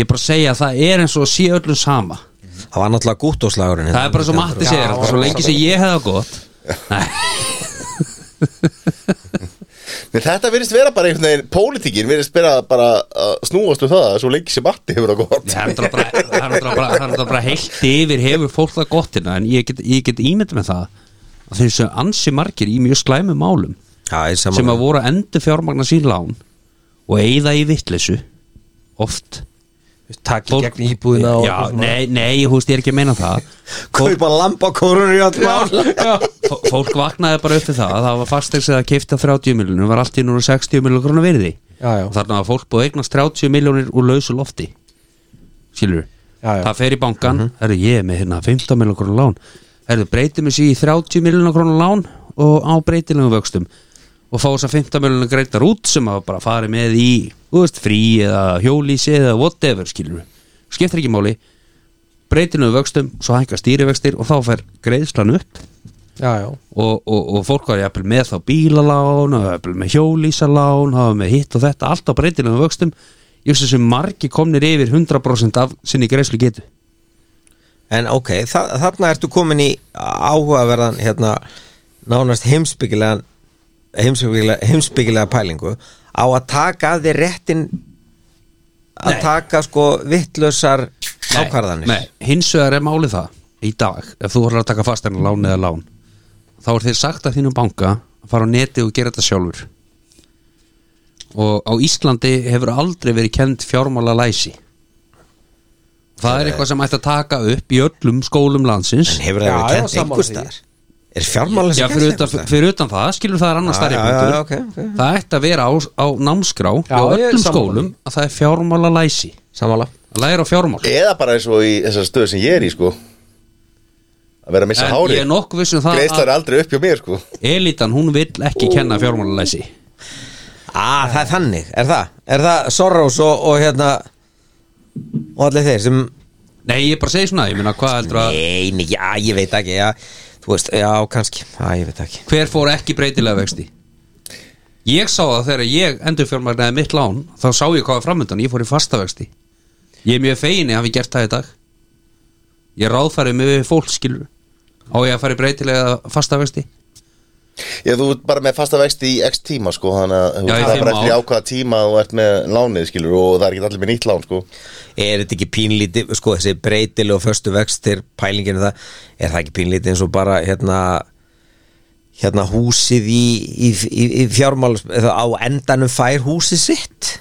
[SPEAKER 3] Ég er bara að segja að það er eins og að sé öllum sama
[SPEAKER 5] það var náttúrulega hérna. gútt óslagurinn
[SPEAKER 3] Það er bara svo Matti segir, alltaf, svo lengi sem ég hefða gott Nei,
[SPEAKER 2] Nei, Þetta virðist vera bara einhvern veginn Pólitíkin virðist vera bara að snúast um það að Svo lengi sem Matti hefur það gott
[SPEAKER 3] það er náttúrulega bara- það er náttúrulega bara- það er náttúrulega bara heilt yfir hefur fólk það gott hérna En ég get, ég get ímynd með það að þeir sem ansi margir í mjög slæmum málum
[SPEAKER 5] sem,
[SPEAKER 3] sem að voru að endur fjármagna sín lán og eigða í vittleysu oft
[SPEAKER 4] Takk í
[SPEAKER 3] Fólk-
[SPEAKER 4] gegn íbúðina og
[SPEAKER 3] Já,
[SPEAKER 4] eitthvað svona.
[SPEAKER 3] nei, nei, hú veist, ég er ekki að meina það
[SPEAKER 5] Kaupa lampa kórunni í öll mál
[SPEAKER 3] Fó- Fólk vaknaði bara upp við það að það var fastegs að keifta 30 miljonum var allt í núna 60 miljonum krona virði
[SPEAKER 4] Já, já.
[SPEAKER 3] og þarna var fólk búið að eignast 30 miljonir úr lausu lofti skilur
[SPEAKER 4] Já, Mhm. já.
[SPEAKER 3] það fer í bankan, mm herðu ég er með hérna 15 miljonum krona lán herðu breytið mér sér í 30 miljonum krona lán og á breytilegum vöxtum og fá þess að 15 miljonum greitar út sem að bara farið með í þú veist, frí eða hjólísi eða whatever skilur skiptir ekki máli breytilegum vöxtum, svo hækka stýrivextir og þá fer greiðslan upp
[SPEAKER 4] Já, já
[SPEAKER 3] og, og, og fólk var jafnvel með þá bílalán og jafnvel með hjólísalán hafa með hitt og þetta, allt á breytinu og vöxtum, ég veist þessu margi komnir yfir 100% af sinni greiðslu getu
[SPEAKER 5] En ok, þa þarna ertu komin í áhugaverðan hérna, nánast heimsbyggilegan heimsbyggilega, heimsbyggilega pælingu á að taka að þið réttin að
[SPEAKER 3] Nei.
[SPEAKER 5] taka sko vittlösar ákvarðanir
[SPEAKER 3] Nei, hins vegar er málið það í dag, ef þú voru að taka fasteina lán eða lán, þá er þér sagt að þínum banka að fara á neti og gera þetta sjálfur og á Íslandi hefur aldrei verið kend fjármála læsi það er eitthvað sem ætti að taka upp í öllum skólum landsins
[SPEAKER 5] En hefur það
[SPEAKER 4] Já,
[SPEAKER 5] verið
[SPEAKER 4] já,
[SPEAKER 5] kent
[SPEAKER 4] sammála
[SPEAKER 5] einhvers
[SPEAKER 4] því.
[SPEAKER 5] staðar? Er fjármála
[SPEAKER 3] Já,
[SPEAKER 5] sem
[SPEAKER 3] fyrir utan, fyrir utan það, skilur það er annar
[SPEAKER 5] Já,
[SPEAKER 3] starri
[SPEAKER 5] já,
[SPEAKER 3] punktur
[SPEAKER 5] já, ok, ok.
[SPEAKER 3] Það ætti að vera á, á námskrá
[SPEAKER 4] Já,
[SPEAKER 3] á
[SPEAKER 4] ég er
[SPEAKER 3] öllum
[SPEAKER 4] sammála
[SPEAKER 3] skólum að það er fjármála læsi
[SPEAKER 5] Samála
[SPEAKER 3] að læra á fjármál
[SPEAKER 2] Eða bara eins og í þessar stöðu sem ég er í sko Að vera að missa
[SPEAKER 3] En
[SPEAKER 2] hári
[SPEAKER 3] ég er nokkuð vissum það
[SPEAKER 2] Gleislar er aldrei upp hjá mér sko
[SPEAKER 3] að elitan hún vill ekki kenna fjármála læsi
[SPEAKER 5] ah, Það er þannig, er það? Er það Soros og, og hérna og allir þeir sem
[SPEAKER 3] Nei, ég bara segi svona, ég meina hvað heldur að
[SPEAKER 5] Nei, nei, já, ég veit ekki já, Þú veist, já, kannski, já, ég veit ekki
[SPEAKER 3] hver fór ekki breytilega vexti Ég sá það þegar ég endur fjármagnaði mitt lán þá sá ég hvað var framöndan, ég fór í fasta vexti Ég er mjög fegin að hafi gert það í dag Ég ráðfæri mig við fólk skilur á ég að fara í breytilega fasta vexti
[SPEAKER 2] Ég þú ert bara með fasta vexti í x tíma sko Þannig að þú
[SPEAKER 3] Já, í
[SPEAKER 2] veist, það er
[SPEAKER 3] fimm
[SPEAKER 2] bara eftir
[SPEAKER 3] ár.
[SPEAKER 2] ákvaða tíma að Þú ert með lánið skilur og það er ekki allir með nýtt lán sko
[SPEAKER 5] er þetta ekki pínlítið sko þessi breytileg og föstu vextir pælinginu það, er það ekki pínlítið eins og bara hérna hérna húsið í, í, í, í fjármál á endanum fær húsið sitt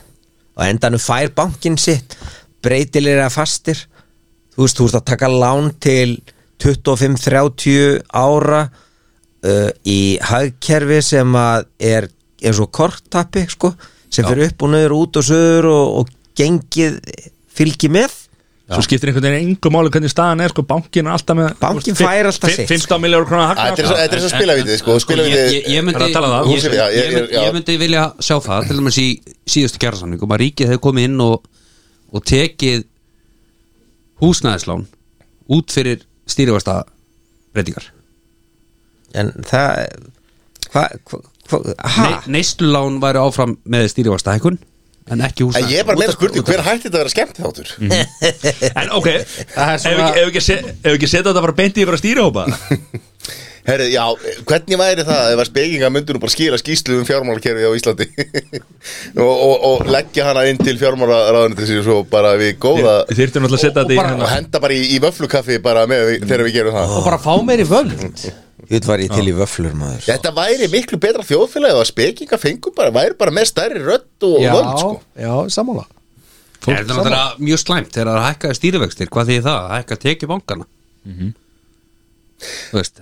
[SPEAKER 5] á endanum fær bankin sitt breytilegir að fastir þú veist, þú veist að taka lán til 25-30 ára uh, í hagkerfi sem að er eins og korttappi sko, sem fyrir upp og nöður út og söður og, og gengið fylgi með
[SPEAKER 9] Svo skiptir einhvern veginn engum máli hvernig staðan er sko bankin er alltaf með
[SPEAKER 5] Bankinn
[SPEAKER 9] þú veist,
[SPEAKER 5] fær alltaf
[SPEAKER 9] fimm-
[SPEAKER 5] sitt,
[SPEAKER 9] fimm- 15 miljóður krona
[SPEAKER 2] Æ, Þetta
[SPEAKER 9] hagna
[SPEAKER 2] er svo- þetta er svo spilavitið sko
[SPEAKER 3] ég, ég,
[SPEAKER 2] Spilavitið
[SPEAKER 3] ég, myndi,
[SPEAKER 9] Er að tala það?
[SPEAKER 3] ég,
[SPEAKER 2] Húsið,
[SPEAKER 3] ég,
[SPEAKER 2] já, ég-
[SPEAKER 3] um ég, myndi,
[SPEAKER 2] já.
[SPEAKER 3] ég myndi vilja sjá það til dæmis í síðustu kjærasamningum að ríkið hefur komið inn og, og tekið húsnæðislán út fyrir stýrifasta breytingar
[SPEAKER 5] en það hvað hva, hva, ha?
[SPEAKER 3] ne Neistlulán væri áfram með stýrifasta hækkun en ekki
[SPEAKER 2] En
[SPEAKER 3] húsnæðislán
[SPEAKER 2] ég er bara meira spurning Hver hætti þetta að vera skemmt þáttur?
[SPEAKER 9] En ok, ef
[SPEAKER 4] er
[SPEAKER 9] við
[SPEAKER 4] svona-
[SPEAKER 9] ekki, ef ekki, se- ef ekki setja þetta bara beint í yfir að stýrihópa
[SPEAKER 2] Herri, já, hvernig væri það ef að spekinga myndunum bara skila skýslu um fjármálakerfi á Íslandi og, og, og leggja hana inn til fjármálaráðunni til svo bara við góða
[SPEAKER 1] Þyrftum náttúrulega að setja þetta í
[SPEAKER 2] og
[SPEAKER 1] hérna Mm.
[SPEAKER 2] henda bara í, í vöflukaffi bara með við, þegar við gerum það
[SPEAKER 4] og bara fá meiri völd
[SPEAKER 5] Jútt var ég til í vöflur maður
[SPEAKER 2] Þetta væri miklu betra þjóðfélagi og að spekinga fengum bara, væri bara með stærri rödd og
[SPEAKER 4] já,
[SPEAKER 2] völd sko
[SPEAKER 4] já, sammála
[SPEAKER 3] Það er náttúrulega mjög slæmt þegar það er hækkaði stýrivextir hvað því það, að hækka tekið bankana Þú veist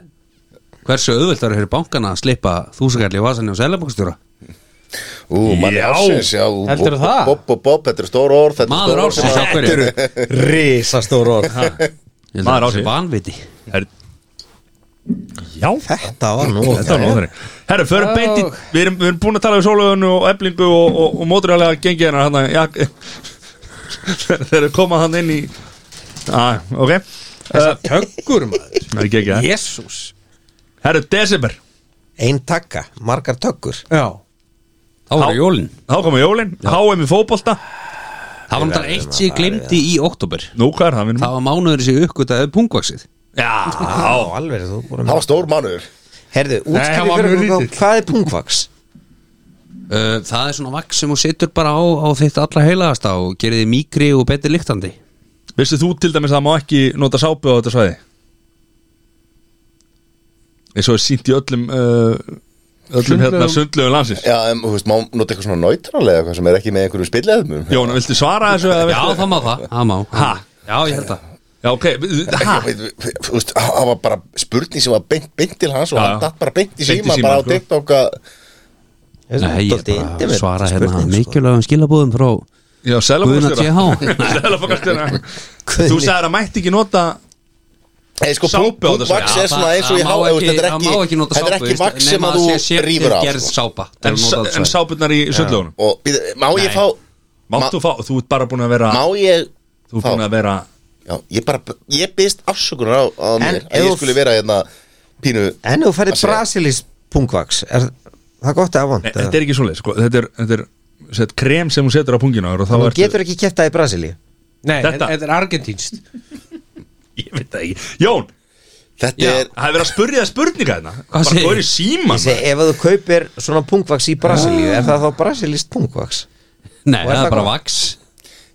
[SPEAKER 3] Hversu auðvöldar eru bankana að slippa þúsakalli vasanni á selabankastjóra
[SPEAKER 2] Ú, manni
[SPEAKER 1] Já.
[SPEAKER 2] ásins, já
[SPEAKER 4] Heldurðu það?
[SPEAKER 2] Bob, bob, bob, þetta er stór orð þetta er
[SPEAKER 3] Maður
[SPEAKER 2] stór orð
[SPEAKER 3] ársins á
[SPEAKER 2] sem-
[SPEAKER 3] hverju
[SPEAKER 5] Rísastór orð
[SPEAKER 1] Maður
[SPEAKER 3] Maður
[SPEAKER 1] ársins.
[SPEAKER 3] ársins Vanviti
[SPEAKER 1] Her- Já,
[SPEAKER 5] Þetta var nú
[SPEAKER 1] þetta var nóðari Herru, förum beint í Við erum, við erum búin að tala um sólöðun og eblingu og, og, og móturhælega gengið hennar hann að Þeir eru komað hann inn í ah, Ok,
[SPEAKER 4] þessar töggur maður
[SPEAKER 1] það er ekki ekki
[SPEAKER 4] jésús
[SPEAKER 1] Herru, desember,
[SPEAKER 5] Ein takka, margar tökkur
[SPEAKER 4] já,
[SPEAKER 3] Þá var jólin
[SPEAKER 1] þá koma jólin HM í fótbolta
[SPEAKER 3] Það var náttúrulega eitt sem ég glemdi í oktober
[SPEAKER 1] Nú, hvað er það minnum?
[SPEAKER 3] Það var mánuður sem ég uppgötaði pungvaksið
[SPEAKER 1] Já,
[SPEAKER 5] Á, alveg þú voru
[SPEAKER 2] Það
[SPEAKER 5] með
[SPEAKER 2] var stór mánuður
[SPEAKER 5] Herðu,
[SPEAKER 1] hann
[SPEAKER 5] útskýri
[SPEAKER 1] var
[SPEAKER 5] fyrir
[SPEAKER 1] mjög
[SPEAKER 5] okkur hvað-
[SPEAKER 1] lítill.
[SPEAKER 5] hvað er pungvaks?
[SPEAKER 3] Uh, Það er svona vaks sem þú situr bara á, á þitt allra heilagasta og gerir þið mýkri og betur lyktandi
[SPEAKER 1] Vissið þú til dæmis að það má ekki nota sápu á þetta svæði? Eins og er sínt í öllum uh, öllum hérna sundlegu landsins
[SPEAKER 2] Já, en þú veist, má nota eitthvað svona náttúrulega eitthvað sem er ekki með einhverju spilleðum
[SPEAKER 1] Jón, viltu svara þessu? eða
[SPEAKER 3] Já,
[SPEAKER 1] viltu-
[SPEAKER 3] það má það, það má
[SPEAKER 1] Ha?
[SPEAKER 3] Já, ég held að
[SPEAKER 1] Já, ok ha?
[SPEAKER 2] Þú veist, það var bara spurning sem var beint, beint til hans og
[SPEAKER 1] Já,
[SPEAKER 2] hann
[SPEAKER 1] já.
[SPEAKER 2] datt bara beint í
[SPEAKER 1] Beint í
[SPEAKER 2] síma
[SPEAKER 1] símann,
[SPEAKER 2] bara á
[SPEAKER 1] sko.
[SPEAKER 2] TikTok að
[SPEAKER 3] Nei, ég
[SPEAKER 5] Dálítið
[SPEAKER 3] bara
[SPEAKER 5] intimate
[SPEAKER 3] svara hérna
[SPEAKER 5] spurning, sko.
[SPEAKER 3] mikilvægum skilabóðum frá
[SPEAKER 1] Já,
[SPEAKER 3] Guðna
[SPEAKER 1] selafokastjóra
[SPEAKER 3] TH
[SPEAKER 1] Selafokastjóra Þú sagðir að mætti ekki nota
[SPEAKER 2] Nei, sko,
[SPEAKER 1] Sápu á
[SPEAKER 2] punkt
[SPEAKER 1] þessu.
[SPEAKER 2] vaks
[SPEAKER 3] Já,
[SPEAKER 2] er svona
[SPEAKER 3] það-
[SPEAKER 2] eins og
[SPEAKER 3] það
[SPEAKER 2] ég
[SPEAKER 3] má
[SPEAKER 2] hafa
[SPEAKER 3] ekki-
[SPEAKER 2] Þetta er
[SPEAKER 3] það
[SPEAKER 2] ekki,
[SPEAKER 3] má ekki nota
[SPEAKER 2] þetta er
[SPEAKER 3] sápu,
[SPEAKER 2] ekki
[SPEAKER 3] veist,
[SPEAKER 2] vaks sem
[SPEAKER 3] nema
[SPEAKER 2] að
[SPEAKER 3] sé
[SPEAKER 2] þú
[SPEAKER 3] sér til
[SPEAKER 2] rýfur af
[SPEAKER 3] gerð
[SPEAKER 2] sko.
[SPEAKER 3] sápa til
[SPEAKER 1] en,
[SPEAKER 3] að nota
[SPEAKER 1] sa-
[SPEAKER 3] þetta
[SPEAKER 1] en
[SPEAKER 3] svæði.
[SPEAKER 1] sápurnar í sundlegunum
[SPEAKER 2] Og býðu, má ég
[SPEAKER 3] Nei.
[SPEAKER 2] fá
[SPEAKER 1] Máttu fá, þú ert bara búin að vera
[SPEAKER 2] Má ég
[SPEAKER 1] Þú ert búin
[SPEAKER 2] fá-
[SPEAKER 1] að vera
[SPEAKER 2] Já, ég bara, ég byrst afsökunar á, á mér
[SPEAKER 5] ef
[SPEAKER 2] að ég
[SPEAKER 5] þú-
[SPEAKER 2] skuli vera hérna pínu
[SPEAKER 5] En ef þú færir
[SPEAKER 2] Að segja.
[SPEAKER 5] brasilis pungvaks Er það gott eða vond?
[SPEAKER 1] Nei, Þetta er ekki svoleið, sko Þetta er, þetta er set, krem sem hún setur á punginu og þá
[SPEAKER 5] Þú
[SPEAKER 1] ertu-
[SPEAKER 5] getur ekki kæft það í Brasili
[SPEAKER 4] nei,
[SPEAKER 1] Þetta-
[SPEAKER 4] þetta er argentínst
[SPEAKER 1] Ég veit það ekki Jón,
[SPEAKER 2] Þetta
[SPEAKER 3] Já.
[SPEAKER 2] er,
[SPEAKER 1] það hefur verið að spurja það spurninga hérna Bara
[SPEAKER 3] segir-
[SPEAKER 1] góður í síman
[SPEAKER 5] Ég segi, ef þú kaupir svona pungvaks í Brasili Er það þá brasilist pungvaks?
[SPEAKER 3] Nei,
[SPEAKER 5] Og er
[SPEAKER 3] það
[SPEAKER 5] það
[SPEAKER 3] er bara
[SPEAKER 5] gott?
[SPEAKER 3] vaks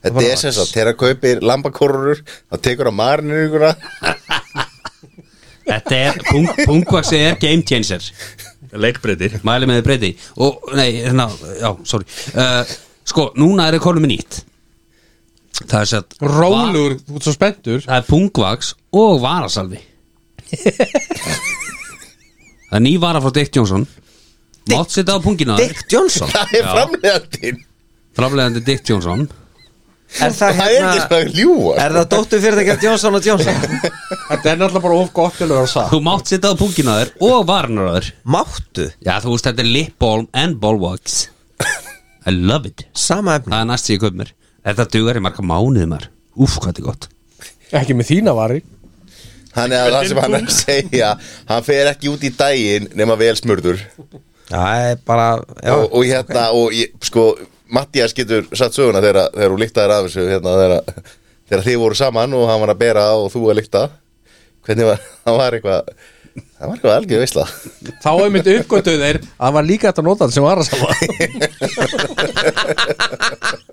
[SPEAKER 2] þetta er sem sagt Þegar kaupir lambakorrur Það tekur á marinu ykkurna
[SPEAKER 3] Þetta er, pung, pungvaksi er game changer
[SPEAKER 1] Leikbreytir
[SPEAKER 3] Mæli með þið breyti Og, nei, hérna, já, sorry uh, Sko, núna er ekkonum nýtt Það er sett
[SPEAKER 4] rólur, þú ert svo spenntur
[SPEAKER 3] Það er pungvaks og varasalvi Það er ný vara frá Dick Johnson Mátt setja á
[SPEAKER 1] Ah.
[SPEAKER 3] pungina á þér.
[SPEAKER 5] Dick Johnson
[SPEAKER 2] Það er framlegandinn
[SPEAKER 3] Framlegandi Dick Johnson
[SPEAKER 5] Er það
[SPEAKER 2] Það er ekki
[SPEAKER 5] hérna
[SPEAKER 2] svona ljúa
[SPEAKER 5] Er það dóttu fyrir það ekki Johnson og Johnson?
[SPEAKER 4] þetta er náttúrulega bara of gott til að vera satt
[SPEAKER 3] Þú mátt setja á pungina á þér og varunar á þér
[SPEAKER 5] Máttu
[SPEAKER 3] Já, þú veist, þetta er lip balm and ball wax I love it
[SPEAKER 5] Sama efni
[SPEAKER 1] Ah.
[SPEAKER 3] Það er næst sem ég köp mér Þetta dugar í marga mánuði mar Úf, hvað þetta er gott
[SPEAKER 4] ekki með þína varir
[SPEAKER 2] Þannig að það sem hann er að segja Hann fer ekki út í daginn nema vel smurður
[SPEAKER 5] Það er bara já,
[SPEAKER 2] og, og hérna, og ég, sko Mattias getur satt söguna þegar, þegar hún líktaðir af þessu hérna, þegar, þegar þið voru saman og hann var að bera og þú að líkta Hvernig var, hann var eitthvað Það var eitthvað algjör veisla
[SPEAKER 4] þá er mitt uppgötuð þeir að það var líka hægt að nota þetta sem var að satt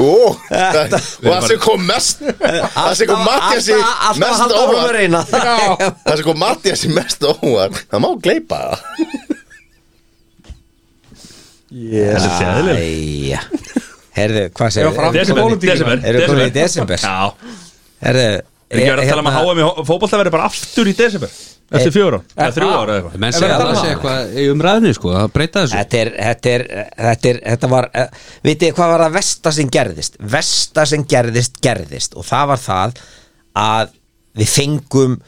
[SPEAKER 2] Ó, það- og það sem kom mest Það sem kom Mattias í
[SPEAKER 5] Alltaf- Alltaf að
[SPEAKER 2] mest
[SPEAKER 5] halda áfram að
[SPEAKER 2] óvart
[SPEAKER 5] reyna
[SPEAKER 2] Það sem kom Mattias í mest óvart Það má gleypa það
[SPEAKER 5] Yes Æja Herðu, hvað segir
[SPEAKER 4] Já, fram-
[SPEAKER 1] Desember,
[SPEAKER 4] Pólitíkina.
[SPEAKER 1] desember
[SPEAKER 5] Eru komin í desember? Eh, hérna-
[SPEAKER 1] Já,
[SPEAKER 5] Herðu
[SPEAKER 1] er ekki verið að tala um að HM í fótbolta verið bara aftur í desember
[SPEAKER 5] Eh,
[SPEAKER 1] Eftir fjóra, eða þrjú
[SPEAKER 5] ah,
[SPEAKER 1] ára eða eitthvað
[SPEAKER 3] Menn segja að
[SPEAKER 4] þetta
[SPEAKER 3] það
[SPEAKER 4] mál?
[SPEAKER 3] sé eitthvað í umræðinu sko Það breyta þessu
[SPEAKER 5] Þetta er, þetta er, þetta er, þetta var eh, vitið þið hvað var það versta sem gerðist versta sem gerðist, gerðist og það var það að við fengum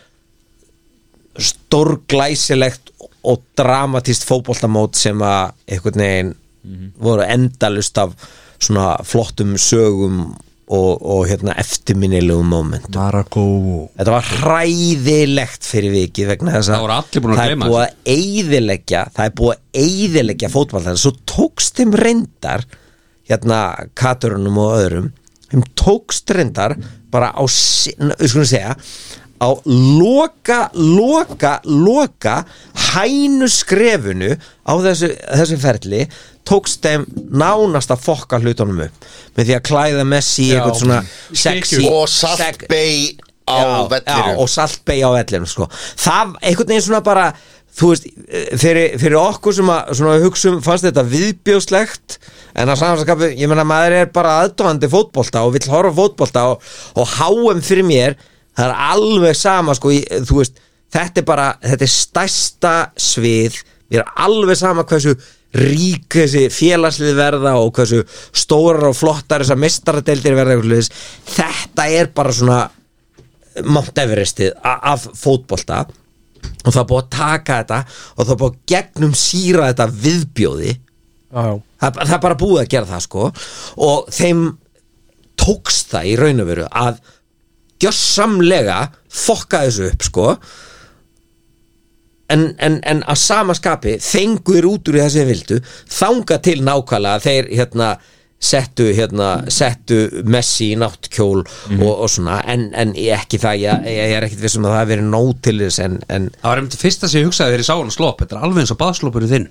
[SPEAKER 5] stórglæsilegt og dramatíst fótboltamót sem að einhvern veginn
[SPEAKER 3] Mhm.
[SPEAKER 5] voru endalust af svona flottum sögum og, og hérna eftirminnilegum moment
[SPEAKER 1] Maragó
[SPEAKER 5] Þetta var hræðilegt fyrir vikið vegna þess að
[SPEAKER 3] Það voru allir búin að
[SPEAKER 5] það er
[SPEAKER 3] gleyma
[SPEAKER 5] búið að eyðileggja það er búið að eyðileggja fótballtæðan svo tókst þeim reyndar hérna katurunum og öðrum þeim tókst reyndar bara á si- n- við skulum segja á loka, loka, loka hænuskrefinu á þessu, þessu ferli tókst þeim nánast að fokka hlutunum upp með því að klæða Messi í eitthvað svona sexy
[SPEAKER 2] Og
[SPEAKER 5] sex-
[SPEAKER 2] saltbei á
[SPEAKER 5] Já, já,
[SPEAKER 2] vellirum
[SPEAKER 5] og saltbei á vellinum sko. það einhvern veginn svona bara þú veist, eh, fyrir, fyrir okkur sem að svona að hugsa um, fannst þetta viðbjóðslegt en að samanskapu, ég meina maður er bara aðdóðandi fótbolta og vill horfa á fótbolta og, og háum fyrir mér það er alveg sama sko, í, þú veist, þetta er bara, þetta er stærsta svið, við erum alveg sama hversu rík þessi félagslið verða og hversu stórar og flottar þessar mistaradeildir verða eitthvað svoleiðis. þetta er bara svona Mount Everestið a- af fótbolta og það er búið að taka þetta og það er búið að gegnum síra þetta viðbjóði
[SPEAKER 4] já, já.
[SPEAKER 5] það, það er bara búið að gera það sko og þeim tókst það í raun og veru að gjössamlega fokka þessu upp sko en, en, en að sama skapi fengur út úr þessi vildu þanga til nákvæmlega þeir hérna settu, hérna, settu Messi í náttkjól
[SPEAKER 3] Mhm.
[SPEAKER 5] og, og svona en, en ég ekki það, ég, ég er ekkit vissum að það hafi verið nóg til þess en, en
[SPEAKER 3] Það var einmitt fyrsta sem ég hugsaði þegar ég sá hann slopp Þetta er alveg eins og baðslopur í þinn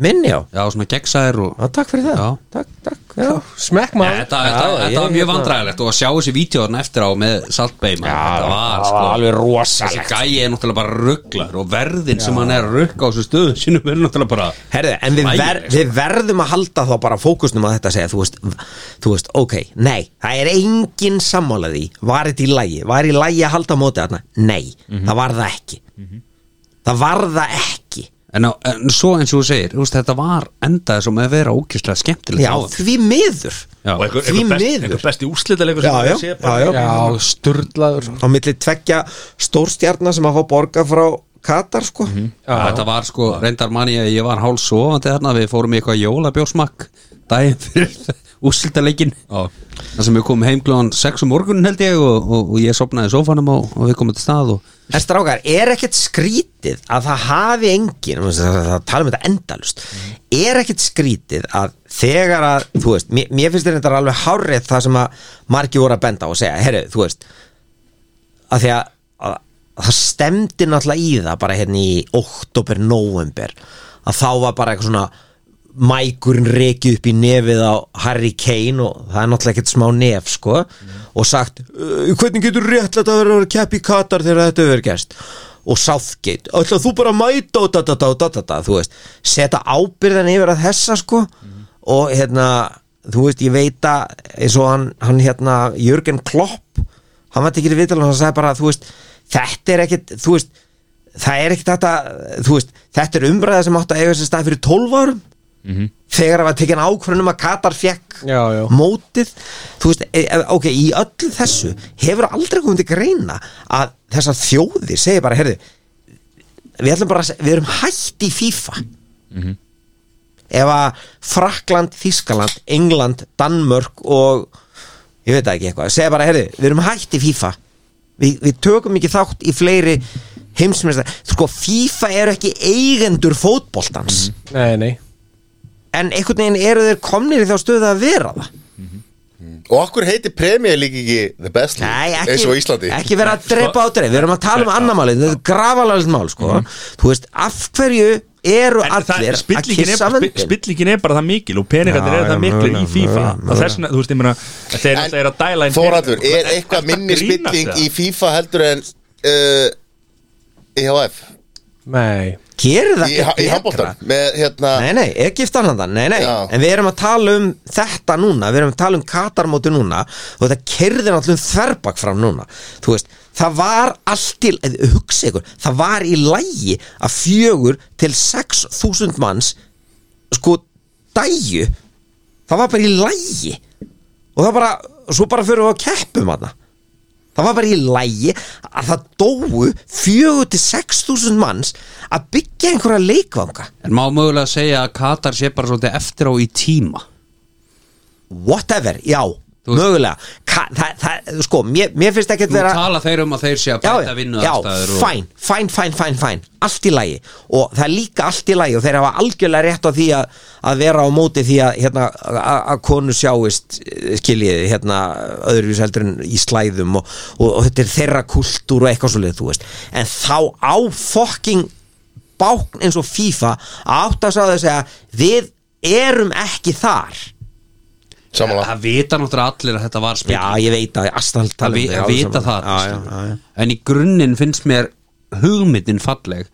[SPEAKER 5] minni á
[SPEAKER 3] Já, svona gegnsæðir og
[SPEAKER 5] Já, takk fyrir það
[SPEAKER 3] Já.
[SPEAKER 5] Takk, takk, já.
[SPEAKER 4] smekk
[SPEAKER 3] Nei,
[SPEAKER 4] maður
[SPEAKER 3] Þetta, þetta,
[SPEAKER 5] Já,
[SPEAKER 3] þetta
[SPEAKER 5] ég-
[SPEAKER 3] var mjög
[SPEAKER 5] hérna-
[SPEAKER 3] vandræðilegt og að sjá þessi vídjóðan eftir á með saltbeima Þetta var sko Þessi
[SPEAKER 5] alveg rosalegt
[SPEAKER 3] gæi er náttúrulega bara rugglar og verðin sem hann er að rugga á þessu stöðu sínum er náttúrulega bara
[SPEAKER 5] Herðu, en við, ver,
[SPEAKER 1] sko.
[SPEAKER 3] Hlægilegt.
[SPEAKER 5] við verðum að halda þá bara fókusnum að þetta að segja, þú veist, v- þú veist, ok, nei, það er engin sammála því, var þetta í lægi, var í lægi að halda mótið þarna, nei,
[SPEAKER 1] Mhm.
[SPEAKER 5] það var það ekki, það var það ekki,
[SPEAKER 3] En, á, en svo eins og þú segir, þú veist, þetta var endaði svo með að vera ókýrslega skemmtilegt
[SPEAKER 5] já,
[SPEAKER 3] á þeim.
[SPEAKER 5] því miður,
[SPEAKER 3] Já.
[SPEAKER 1] Og einhver,
[SPEAKER 5] Því
[SPEAKER 1] einhver, best,
[SPEAKER 5] miður.
[SPEAKER 1] einhver besti úrslitaleikur
[SPEAKER 5] já,
[SPEAKER 1] sem
[SPEAKER 5] já,
[SPEAKER 1] ég sé
[SPEAKER 5] já,
[SPEAKER 1] bara.
[SPEAKER 5] já,
[SPEAKER 4] já, sturlaður
[SPEAKER 5] á milli tvekja stórstjarnar sem að fá borga frá Katar, sko,
[SPEAKER 1] Mhm.
[SPEAKER 3] Já, Þetta var sko, reyndar manni að ég var hálf sofandi þarna Við fórum í eitthvað jólabjórsmakk daginn fyrir úrsildaleikin Það sem við komum heim klóðan 6 um morgunin held ég og, og, og ég sopnaði í sófanum og, og við komum til stað og
[SPEAKER 5] En strákar, er ekkert skrítið að það hafi engin, það tala um þetta endalust, er ekkert skrítið að þegar að, þú veist, mér, mér finnst þetta alveg hárrið það sem að margir voru að benda á og segja, herru, þú veist, að því að, að, að það stemdi náttúrulega í það bara hérna í oktober, november, að þá var bara eitthvað svona mækurinn reikið upp í nefið á Harry Kane og það er náttúrulega ekkert smá nef sko og sagt "Uh, hvernig getur réttlega að vera að keppi í Katar þegar þetta verður gerst og Southgate, ætla þú bara að mæta og da da da da da da, þú veist seta ábyrðan yfir að þessa sko og hérna, þú veist ég veit að eins og hann, hann hérna Jörgen Klopp, hann var tekið í viðtal og hann sagði bara, þú veist, þetta er ekkert þú veist, það er ekkert þetta þú veist, þetta er umræða sem átt að eiga sér stað fyrir 12 árum þegar það var tekin ákvörðunum að Katar fekk
[SPEAKER 4] Já, já.
[SPEAKER 5] mótið þú veist, e- e- ok, í öllu þessu hefur aldrei komið til greina að þessar þjóðir segir bara, herðu við ætlum bara, að se- við erum hætt í FIFA ef að Frakland, Þískaland, England Danmörk og ég veit það ekki eitthvað, segja bara, herðu, við erum hætt í FIFA Vi, við tökum ekki þátt í fleiri heimsmeistar sko, FIFA eru ekki eigendur fótboltans
[SPEAKER 4] nei, nei
[SPEAKER 5] en einhvern veginn eru þeir komnir í þá stöðu að vera það
[SPEAKER 2] Og okkur heitir premjör líka ekki The Best
[SPEAKER 5] Nei,
[SPEAKER 2] League,
[SPEAKER 5] ekki,
[SPEAKER 2] eins og á Íslandi
[SPEAKER 5] ekki vera að drepa á dreif við erum að tala um annar málið, þetta er gravalalegt mál sko. þú veist, af hverju eru
[SPEAKER 9] Mhm. En það-
[SPEAKER 5] allir að
[SPEAKER 9] spillingin er-
[SPEAKER 5] kissa
[SPEAKER 9] spi-
[SPEAKER 5] vöndin
[SPEAKER 9] Spillingin er bara það mikil og peningarnir
[SPEAKER 5] Já,
[SPEAKER 9] er
[SPEAKER 5] já,
[SPEAKER 9] það mikil í
[SPEAKER 5] mögulega,
[SPEAKER 9] FIFA
[SPEAKER 5] mögulega,
[SPEAKER 9] og þess vegna, þú veist, ég meina þeir
[SPEAKER 2] En
[SPEAKER 9] náttúrulega eru að dæla inn
[SPEAKER 2] Þóraldur,
[SPEAKER 9] peninga.
[SPEAKER 2] er eitthvað minni
[SPEAKER 9] Ertu að grínast
[SPEAKER 2] spilling
[SPEAKER 9] eða?
[SPEAKER 2] í FIFA heldur en uh, EHF
[SPEAKER 4] nei,
[SPEAKER 5] gerir það
[SPEAKER 2] Í,
[SPEAKER 5] ekki
[SPEAKER 2] í
[SPEAKER 5] betra?
[SPEAKER 2] handbóltan með hérna
[SPEAKER 5] Nei, nei, ekki eftirhandan, nei, nei
[SPEAKER 2] Já.
[SPEAKER 5] En við erum að tala um þetta núna Við erum að tala um katarmóti núna Og þetta kerði náttúrulega um þverbak fram núna Þú veist, það var allt til eh, Hugsa ykkur, það var í lægi Að fjögur til 6.000 manns Sko, dæju Það var bara í lægi Og það bara, svo bara fyrir við að keppum hana Það var bara í lægi að það dóu fjögur til 6.000 manns að byggja einhverja leikvanga
[SPEAKER 3] En má mögulega segja að Katar sé bara svolítið eftir á í tíma
[SPEAKER 5] whatever, já mögulega Ka, það, það, sko, mér, mér finnst ekki að
[SPEAKER 3] Nú
[SPEAKER 5] vera
[SPEAKER 3] tala þeir um að þeir sé að
[SPEAKER 5] já,
[SPEAKER 3] bæta vinnu
[SPEAKER 5] já, fæn, fæn, fæn, fæn, fæn allt í lagi og það er líka allt í lagi og þeir hafa algjörlega rétt á því að, að vera á móti því að hérna, a- að konu sjáist eh, skiljið hérna, öðruvís heldur en í slæðum og, og, og þetta er þeirra kultúr og eitthvað svoleið þú veist en þá á fokking bákn eins og FIFA að átt að sá þess að við erum ekki þar
[SPEAKER 2] Samanlega
[SPEAKER 3] Það vita náttúrulega allir að þetta var spil
[SPEAKER 5] já ég veit að Astal
[SPEAKER 3] Það vi, að vita það
[SPEAKER 5] já, já,
[SPEAKER 3] skilur.
[SPEAKER 5] já, já.
[SPEAKER 3] En í grunninn finnst mér hugmyndin falleg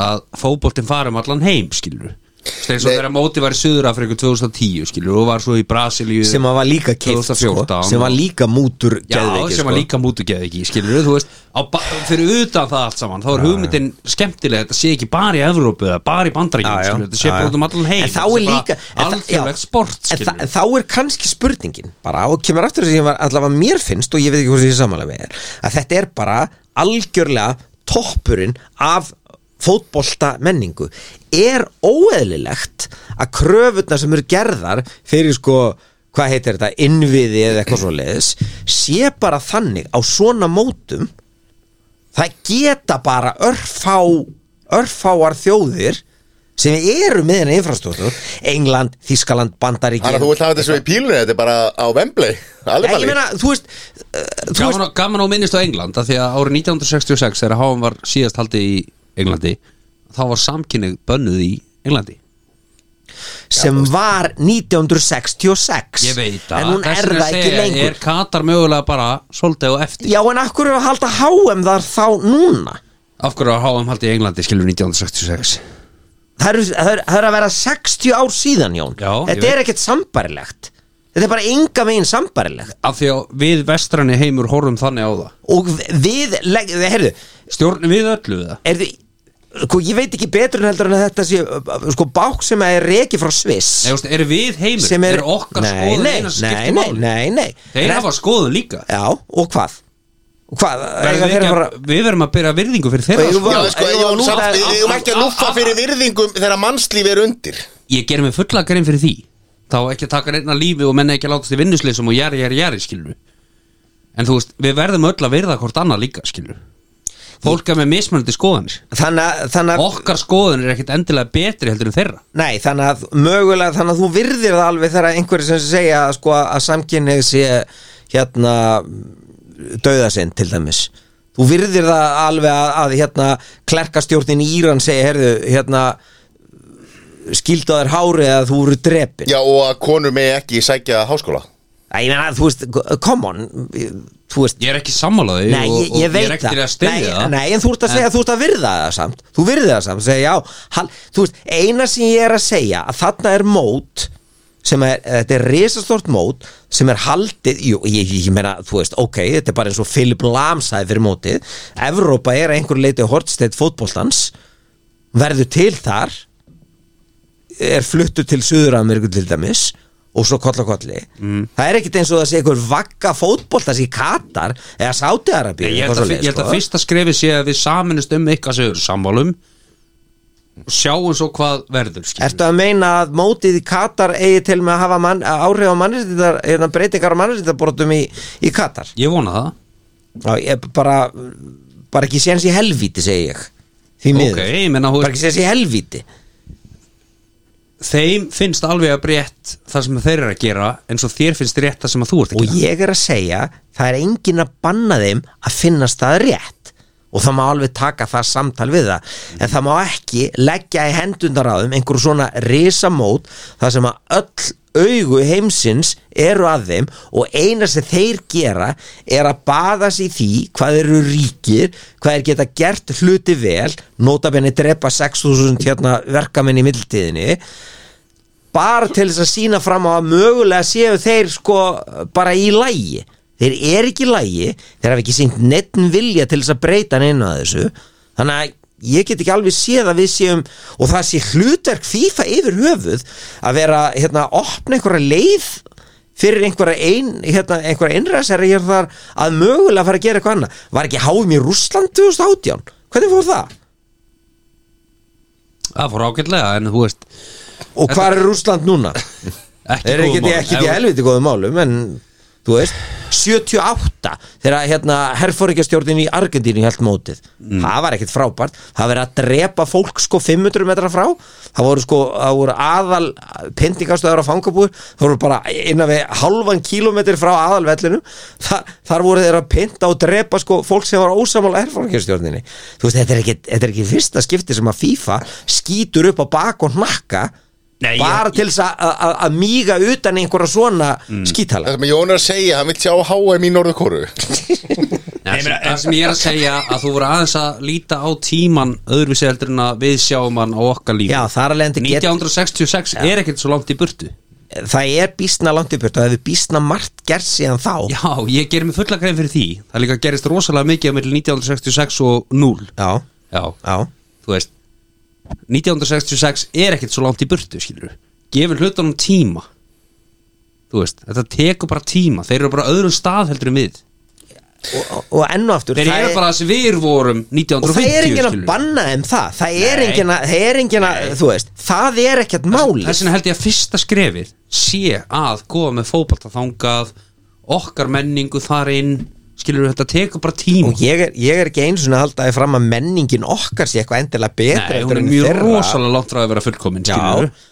[SPEAKER 3] að fótboltinn fara um allan heim skilur Steins og
[SPEAKER 2] Nei.
[SPEAKER 3] þegar mótið var í Suðurafriku 2010 skilur og var svo í Brasilíu
[SPEAKER 5] sem að var líka keift sko,
[SPEAKER 3] 2014
[SPEAKER 5] sem var líka mútur
[SPEAKER 3] Já,
[SPEAKER 5] geðveiki, sko.
[SPEAKER 3] sem var líka mútugeð ekki, skilur þú veist, á, ba- fyrir utan það allt saman þá er hugmyndin skemmtileg, þetta sé ekki bara í Evrópu eða bara í
[SPEAKER 5] Já, já.
[SPEAKER 3] Bandaríkjum, þetta sé
[SPEAKER 5] Já, já.
[SPEAKER 3] bara út um allan heim þetta
[SPEAKER 5] En þá
[SPEAKER 3] sé
[SPEAKER 5] er
[SPEAKER 3] bara
[SPEAKER 5] líka- en það-
[SPEAKER 3] alþjóðlegt
[SPEAKER 5] já.
[SPEAKER 3] sport,
[SPEAKER 5] En
[SPEAKER 3] skilur
[SPEAKER 5] þa- þá er kannski spurningin bara og kemur aftur þess að ég var allavega mér finnst og ég veit ekki hvað sem ég samanlega með er að þetta er bara algjörlega toppurinn af fótbolta menningu er óeðlilegt að kröfurna sem eru gerðar fyrir sko hvað heitir þetta, innviði eða eitthvað svo leiðis sé bara þannig á svona mótum það geta bara örfá örfáar þjóðir sem eru með henni infrastruktúr England, Þískaland, Bandaríkjum
[SPEAKER 2] Þannig að þú vilt hafa þetta svo í pílunni, þetta er bara á Vembley
[SPEAKER 5] Nei,
[SPEAKER 2] Alveg
[SPEAKER 5] ég meina, þú veist, uh, þú
[SPEAKER 3] gaman,
[SPEAKER 5] veist
[SPEAKER 3] veist... gaman og minnist á England að því að árið 1966 þegar háum var síðast haldið í Englandi þá var samkynning bönnuð í Englandi
[SPEAKER 5] sem var 1966
[SPEAKER 3] ég veit það
[SPEAKER 5] en hún
[SPEAKER 3] Þess
[SPEAKER 5] er
[SPEAKER 3] vegna
[SPEAKER 5] það
[SPEAKER 3] segi
[SPEAKER 5] ekki
[SPEAKER 3] ég,
[SPEAKER 5] lengur
[SPEAKER 3] er Katar mögulega bara svolítið og eftir
[SPEAKER 5] já en af hverju er að halda HM þar þá núna
[SPEAKER 3] af hverju var háum haldið í Englandi skilur 1966
[SPEAKER 5] það eru- það eru er að vera 60 ár síðan Jón
[SPEAKER 3] Já, ég
[SPEAKER 5] þetta er
[SPEAKER 3] veit.
[SPEAKER 5] ekkert sambarilegt þetta er bara enga megin sambarilegt
[SPEAKER 3] af því að við vestrani heimur horfum þannig á það
[SPEAKER 5] og við, legg- herðu
[SPEAKER 3] stjórnum við öllu við það
[SPEAKER 5] er því Sko, ég veit ekki betur en heldur en að þetta sé uh, sko, bák sem er reki frá Sviss
[SPEAKER 3] Nei, veist, er við heimur,
[SPEAKER 5] sem er,
[SPEAKER 3] okkar
[SPEAKER 5] nei,
[SPEAKER 3] skoðun
[SPEAKER 5] nei,
[SPEAKER 3] eina sem
[SPEAKER 5] nei,
[SPEAKER 3] skiptir
[SPEAKER 5] nei,
[SPEAKER 3] máli
[SPEAKER 5] nei, nei
[SPEAKER 3] þeir
[SPEAKER 5] En
[SPEAKER 3] hafa skoðun líka
[SPEAKER 5] Já, og hvað? Og hvað?
[SPEAKER 3] Verðum
[SPEAKER 5] eiga
[SPEAKER 3] við,
[SPEAKER 5] þeir
[SPEAKER 3] ekki
[SPEAKER 5] bara,
[SPEAKER 3] að, við verum að byrja virðingu fyrir þeirra
[SPEAKER 5] Og eigum
[SPEAKER 3] skoðun.
[SPEAKER 5] við-
[SPEAKER 2] Já, sko,
[SPEAKER 5] Jú,
[SPEAKER 2] ég var
[SPEAKER 5] nú-
[SPEAKER 2] samt,
[SPEAKER 5] það er-
[SPEAKER 2] ég ég var ekki að lúffa fyrir virðingum þegar mannslífi er undir
[SPEAKER 3] ég ger mig fulla grein fyrir því þá ekki að taka reyna lífi og menna ekki að látast í vinnusleysum og jari, jari, jari, skilur en þú veist, við verðum öll að virða hvort annað líka, skilur fólk er með mismunandi skoðanir
[SPEAKER 5] þannig, að- þannig, að-
[SPEAKER 3] okkar skoðanir er ekkit endilega betri heldur en þeirra
[SPEAKER 5] nei, þannig að mögulega þannig að þú virðir það alveg þegar einhverjir sem segja sko, að samkynnið sé hérna döðasinn til dæmis þú virðir það alveg að, að hérna klerkastjórnin í Íran segja herðu, hérna skildaður hárið að þú eru drepin
[SPEAKER 2] Já, og að konur megi ekki sækja háskóla
[SPEAKER 5] Æ, ég meina, þú veist, come on þú veist,
[SPEAKER 3] ég er ekki sammálaði
[SPEAKER 5] Nei,
[SPEAKER 3] og,
[SPEAKER 5] ég,
[SPEAKER 3] og
[SPEAKER 5] ég
[SPEAKER 3] ég er
[SPEAKER 5] veit
[SPEAKER 3] ekki til að
[SPEAKER 5] það
[SPEAKER 3] styrja
[SPEAKER 5] nei,
[SPEAKER 3] það
[SPEAKER 5] nei, en þú ert að segja, þú ert að virða það samt Þú virði það samt, segja já hal, Þú veist, eina sem ég er að segja að þarna er mót sem er, þetta er risastort mót sem er haldið, jú, ég, ég, ég meina þú veist, ok, þetta er bara eins og Philip Lam sagði fyrir mótið, Evrópa er að einhver leiti hortsteitt fótboltans verður til þar er fluttur til Suður-Ameríku til dæmis og svo koll og kolli
[SPEAKER 3] Mm.
[SPEAKER 5] það er ekkit eins og það sé einhver vagga fótboltas í Katar eða Sáti-Arabíu
[SPEAKER 3] Nei, ég held
[SPEAKER 5] eitthvað
[SPEAKER 3] að,
[SPEAKER 5] svoleiðis,
[SPEAKER 3] ég held að
[SPEAKER 5] sko.
[SPEAKER 3] fyrsta skrefi sé að við saminist um eitthvað sem við erum sammálum og sjáum svo hvað verður skilur.
[SPEAKER 5] Ertu að meina að mótið í Katar eigi til með að hafa mann, að áhrif á mannréttindar hérna, breytingar á mannréttindarbrotum í, í Katar?
[SPEAKER 3] ég vona það
[SPEAKER 5] Já, ég bara, bara ekki séns í helvíti, segi ég Því miður
[SPEAKER 3] ok, ég menna
[SPEAKER 5] Bara ekki séns í helvíti
[SPEAKER 3] þeim finnst alveg að breytt það sem þeir eru að gera eins og þér finnst rétt það sem að þú ert að
[SPEAKER 5] Og
[SPEAKER 3] gera
[SPEAKER 5] ég er að segja, það er engin að banna þeim að finnast það rétt og það má alveg taka það samtal við það en það má ekki leggja í hendundar á þeim einhver svona risamót þar sem að öll augu heimsins eru að þeim og eina sem þeir gera er að baða sig í því hvað þeir eru ríkir, hvað þeir geta gert hluti vel, notabenni drepa 6.000 hérna verkamenn í middiltíðinni bara til þess að sína fram á að mögulega séu þeir sko bara í lægi þeir eru ekki í lægi, þeir hafa ekki sínt nettin vilja til þess að breyta hann inn á þessu þannig að ég get ekki alveg séð að við séum og það sé hlutverk FIFA yfir höfuð að vera hérna að opna einhverja leið fyrir einhverja, ein, hérna, einhverja innræsari hér þar að mögulega fara að gera eitthvað annað var ekki háum í Rússland 2018 hvernig fór það?
[SPEAKER 3] það fór ágætlega en þú veist
[SPEAKER 5] og
[SPEAKER 3] Þetta-
[SPEAKER 5] hvar er Rússland núna?
[SPEAKER 3] ekki
[SPEAKER 5] er
[SPEAKER 3] góð
[SPEAKER 5] ekki,
[SPEAKER 3] mál.
[SPEAKER 5] ekki, ekki
[SPEAKER 3] Ef-
[SPEAKER 5] helviti góðum málum en þú veist 78 þegar hérna herfóringastjórnin í Argentínu held mótið það var ekkit frábært, það verið að drepa fólk sko 500 metra frá það voru sko, það voru aðal pyntingastöðar á fangabúður, það voru bara innan við halvan kílómetri frá aðalvellinu Þa, þar voru þeir að pynta og drepa sko fólk sem var ósamála herfóringastjórninni, þú veist, þetta er ekki þetta er ekki fyrsta skipti sem að FIFA skýtur upp á bak og hnakka
[SPEAKER 1] Nei, ég-
[SPEAKER 5] bara til þess að- að að míga utan í einhverja svona mm. skítala
[SPEAKER 2] Það sem Jón er að segja, hann vil sjá HM í Norðurkóru
[SPEAKER 3] Nei, sem, það sem ég er að segja að þú voru aðeins að líta á tíman öðruvísi heldur en að við sjáum hann á okkar lífi
[SPEAKER 5] Já, þar alveg endi get,
[SPEAKER 3] 1966 er ekkert svo langt í burtu
[SPEAKER 5] það er býstna langt í burt og það hefur býstna margt gert síðan þá
[SPEAKER 3] Já, ég gerir mig fulla grein fyrir því Það líka gerist rosalega mikið á milli 1966 og 0
[SPEAKER 5] já,
[SPEAKER 3] Já,
[SPEAKER 5] já.
[SPEAKER 3] þú veist 1966 er ekkert svo langt í burtu, skilur Gefur hlutunum tíma Þú veist, þetta tekur bara tíma Þeir eru bara á öðrum stað heldur en við
[SPEAKER 5] Og, og enn og aftur
[SPEAKER 3] Þeir
[SPEAKER 5] það
[SPEAKER 3] eru
[SPEAKER 5] er-
[SPEAKER 3] bara þessi við vorum 1950
[SPEAKER 5] og það er enginn að
[SPEAKER 3] skilurðu.
[SPEAKER 5] banna þeim það það er
[SPEAKER 3] Nei.
[SPEAKER 5] enginn að, það er enginn að þú veist, það er ekkert máli
[SPEAKER 3] Þess vegna held ég að fyrsta skrefið sé að koma með fótbalta þangað okkar menningu þar inn skilur við þetta tekur bara tíma
[SPEAKER 5] og ég er, ég er ekki eins og að halda þið fram að menningin okkar sé eitthvað endilega betra
[SPEAKER 3] Nei,
[SPEAKER 5] heldur
[SPEAKER 3] hún er
[SPEAKER 5] en
[SPEAKER 3] mjög
[SPEAKER 5] þeirra.
[SPEAKER 3] rosalega langt frá að vera fullkomin skilur
[SPEAKER 5] Já,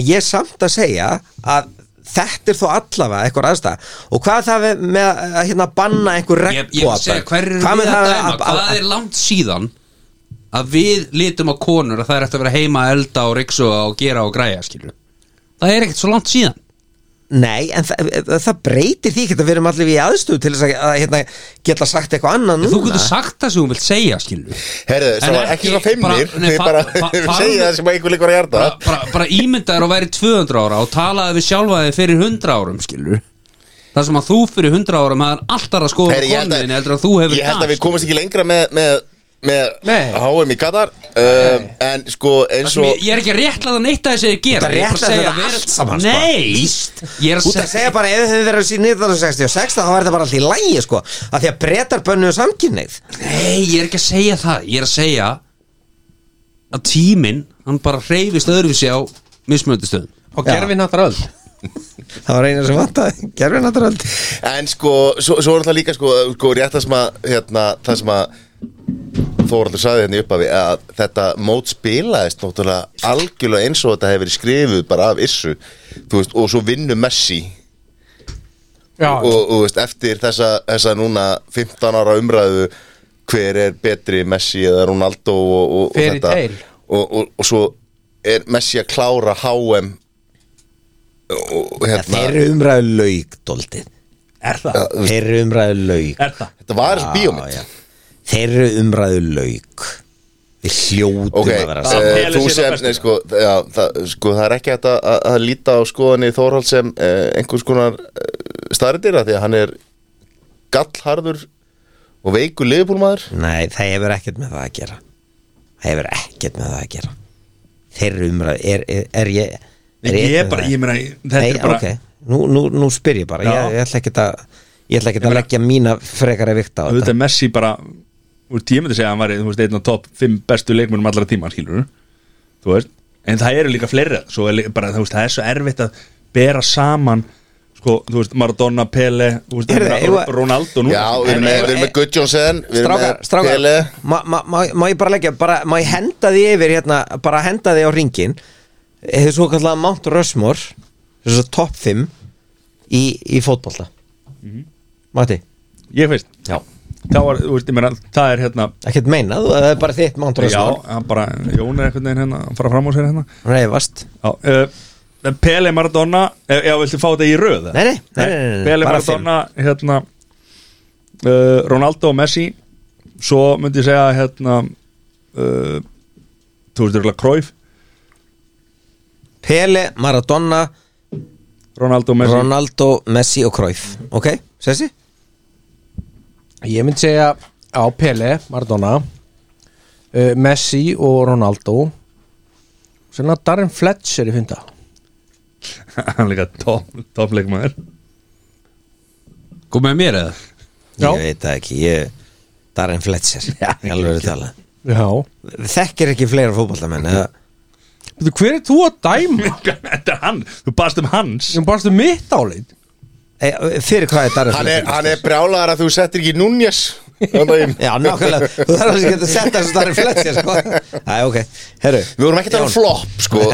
[SPEAKER 5] en ég er samt að segja að þetta er þó allavega eitthvað aðstæða og hvað er það við- með að hérna, banna einhver
[SPEAKER 3] ég, ég vil segja, hver er við
[SPEAKER 5] Hvað með
[SPEAKER 3] að
[SPEAKER 5] það að-
[SPEAKER 3] dæma
[SPEAKER 5] að- að-
[SPEAKER 3] hvað er langt síðan að við litum á konur að það er eftir að vera heima að elda og riksuga og gera og græja skilur það er ekkert svo langt síðan
[SPEAKER 5] Nei, en það, það breytir því ekki að við erum allir í aðstöðu til þess að, að hérna, geta sagt eitthvað annað
[SPEAKER 3] en
[SPEAKER 5] núna
[SPEAKER 3] þú getur sagt það sem þú vilt segja skilur
[SPEAKER 2] Herðu, það
[SPEAKER 3] En
[SPEAKER 2] var ekki
[SPEAKER 3] ekki-
[SPEAKER 2] svona feimnir
[SPEAKER 3] bara- nei,
[SPEAKER 2] Þið
[SPEAKER 3] fa-
[SPEAKER 2] bara,
[SPEAKER 3] fa-
[SPEAKER 2] þið
[SPEAKER 3] farðu-
[SPEAKER 2] segja það sem einhver líkur að hjarta
[SPEAKER 3] bara, bara, bara ímyndaður að væri 200 ára og talaði við sjálfa þig fyrir 100 árum skilur þar sem að þú fyrir 100 árum hafði alltaf að skoða
[SPEAKER 2] Herri, ég held að-
[SPEAKER 3] konuðin heldur að þú hefur sko.
[SPEAKER 2] Ég held
[SPEAKER 3] dag,
[SPEAKER 2] að við
[SPEAKER 3] skilurðu.
[SPEAKER 2] komumst ekki lengra með, með, með
[SPEAKER 4] Nei.
[SPEAKER 2] HM í Katar uh, En sko, eins
[SPEAKER 3] Svo...
[SPEAKER 2] og
[SPEAKER 3] Ég er ekki að réttlaða neitt að þessi að gera
[SPEAKER 5] Þú ert að
[SPEAKER 3] Ég er bara
[SPEAKER 5] réttlæta
[SPEAKER 3] segja
[SPEAKER 5] þetta
[SPEAKER 3] vera-
[SPEAKER 5] allt saman, sko.
[SPEAKER 3] Nei, ég er
[SPEAKER 5] Út að segja bara ef þið hefðu verið síðan 1966 þá var þetta bara allir í lægi sko að því að breytar bönnuðu samkynneið
[SPEAKER 3] Nei, ég er ekki að segja það Ég er að segja að tíminn, hann bara hreyfist öðruvísi á mismöndistöðum
[SPEAKER 4] Og gerfi náttúrulega
[SPEAKER 5] það var eina sem vantaði, gerfið náttúrulega
[SPEAKER 2] En sko, svo, svo er það líka sko, sko rétt það sem að, hérna, það sem að Þóraldur sagði hérna í upphafi að þetta mót spilaðist náttúrulega algjörlega eins og þetta hefur verið skrifuð bara af Issu, þú veist, og svo vinnu Messi og,
[SPEAKER 4] Já,
[SPEAKER 2] og þú veist, eftir þessa, þessa núna 15 ára umræðu hver er betri Messi eða Ronaldo og, og, og
[SPEAKER 4] Fairy
[SPEAKER 2] þetta
[SPEAKER 4] tale.
[SPEAKER 2] og, og, og svo er Messi að klára HM og og hérna
[SPEAKER 5] Þeir eru umræðu laug, doldið Er það? Þeir eru umræðu laug
[SPEAKER 9] Er það?
[SPEAKER 2] þetta var þessi bíómynd
[SPEAKER 5] Já, já. Þeir eru umræðu laug Við hljótum
[SPEAKER 2] Ok,
[SPEAKER 5] að vera
[SPEAKER 2] eh,
[SPEAKER 5] saman
[SPEAKER 9] Pelé sé
[SPEAKER 2] þú
[SPEAKER 9] það
[SPEAKER 2] sem,
[SPEAKER 9] besta.
[SPEAKER 2] nei sko, já, það, sko, það er ekki hægt að, að- að líta á skoðanni Þórhald sem eh, einhvers konar eh, starriðir að því að hann er gallharður og veikur liðbúlmaður
[SPEAKER 5] Nei, það hefur ekkert með það að gera Það hefur ekkert með það að gera Þeir eru umræðu Er, er, er ég er
[SPEAKER 9] Ég
[SPEAKER 5] með
[SPEAKER 9] er bara,
[SPEAKER 5] það?
[SPEAKER 9] ég meina, þetta
[SPEAKER 5] Nei,
[SPEAKER 9] er bara
[SPEAKER 5] ok, nú, nú, nú spyr ég bara
[SPEAKER 9] Já.
[SPEAKER 5] ég, ég ætla ekkert að Ég ætla ekkert að leggja mína frekari vikta á
[SPEAKER 9] Þetta
[SPEAKER 5] þetta
[SPEAKER 9] er Messi bara Þú veist, ég myndi segja að hann væri, þú veist, einn af topp Fimm bestu leikmennum allra tíma, skilur Þú veist, en það eru líka fleira Svo er líka bara, þú veist, það er svo erfitt að Bera saman, sko, þú veist Maradona, Pele, þú veist,
[SPEAKER 5] Heyrðu,
[SPEAKER 9] ég meina,
[SPEAKER 5] eigum við-
[SPEAKER 9] Ronaldo nú
[SPEAKER 2] Já, við erum með, við erum með Gudjónsen Við erum
[SPEAKER 5] Strákar,
[SPEAKER 2] með
[SPEAKER 5] strákar
[SPEAKER 2] Pele
[SPEAKER 5] má, má, má, má ég bara leggja, bara, má ég henda því yfir hérna, bara henda því á ringin Þið svo kallega Mount Rushmore Þess að top 5 Í, í fótbolta Mati,
[SPEAKER 9] Ég veist,
[SPEAKER 5] Já.
[SPEAKER 9] þá var, þú veist, ég meina, það er hérna
[SPEAKER 5] ekkert meinað Það er bara þitt Mount
[SPEAKER 9] Já,
[SPEAKER 5] Rushmore
[SPEAKER 9] hann bara, Jón er einhvern veginn hérna að fara fram á sér hérna
[SPEAKER 5] Reifast
[SPEAKER 9] Já, uh, Pele Maradona eh, Já, viltu fá þetta í röð? eða?
[SPEAKER 5] Nei, nei, nei, nei, nei, nei,
[SPEAKER 9] Pele
[SPEAKER 5] bara
[SPEAKER 9] Maradona, hérna uh, Ronaldo og Messi Svo myndi ég segja hérna uh, Þú veist, Rúla Cruyff
[SPEAKER 5] Pele, Maradona,
[SPEAKER 9] Ronaldo og Messi
[SPEAKER 5] Ronaldo, Messi og Cruyff Ok, sessi?
[SPEAKER 4] ég myndi segja á Pele, Maradona uh, Messi og Ronaldo Svona Darren Fletcher í fynda
[SPEAKER 9] Hann er líka topp top leikmaður
[SPEAKER 3] Kom með mér eða?
[SPEAKER 4] Já.
[SPEAKER 5] Ég veit það ekki, ég Darren Fletcher, alveg að tala
[SPEAKER 4] Já
[SPEAKER 5] Þekkir ekki fleira fótballamenn eða?
[SPEAKER 4] Þú, Hver er þú að dæma?
[SPEAKER 9] Þetta er hann, þú baðst um hans
[SPEAKER 4] Ég barstu mitt áleit
[SPEAKER 5] e, fyrir hvað er Darja
[SPEAKER 2] Hann er, hann er brjálaðar að þú settir ekki Núñez Við
[SPEAKER 5] Já, nákvæmlega, þú þarf alveg ekki að setja þessu Darja Fletcher sko. Æ, ok, herru
[SPEAKER 2] vorum ekki að tala um
[SPEAKER 5] Jón.
[SPEAKER 2] flop sko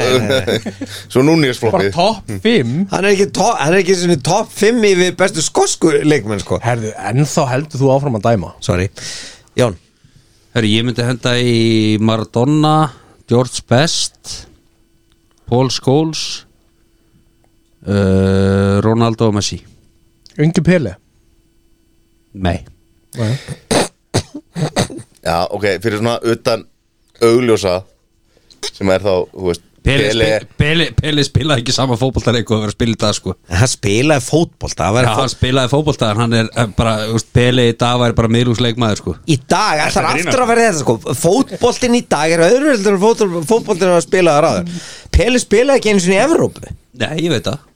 [SPEAKER 2] Svo Núñez
[SPEAKER 4] bara
[SPEAKER 2] floppið
[SPEAKER 4] topp 5
[SPEAKER 5] Hann er ekki, top, hann er ekki sinni top 5 yfir bestu skosku leikmenn sko.
[SPEAKER 4] herðu, ennþá heldur þú áfram að dæma
[SPEAKER 5] Sorry, Jón
[SPEAKER 3] Herri, ég myndi henda í Maradona George Best Paul Scholes uh, Ronaldo og Messi
[SPEAKER 4] ungi pili
[SPEAKER 3] Nei
[SPEAKER 2] Já, ok, fyrir svona utan augljósa sem er þá, þú veist
[SPEAKER 3] Pele, Pele, Pele, Pele spilaði ekki sama fótboltareik og hefur að spila í dag sko
[SPEAKER 5] Hann spilaði fótbolta hann var
[SPEAKER 3] Já,
[SPEAKER 5] að
[SPEAKER 3] hann
[SPEAKER 5] fót...
[SPEAKER 3] spilaði fótbolta en hann er eh, bara, þú veist, Pele í dag væri bara miðlúsleikmaður sko
[SPEAKER 5] Í dag, ætlar
[SPEAKER 9] að grínast?
[SPEAKER 5] aftur að vera þetta sko Fótboltin í dag er öðruveldur en fótbol- fótboltin að spila það ráður Peli spilaði ekki einu sinni í Evrópu
[SPEAKER 3] Nei, ég veit það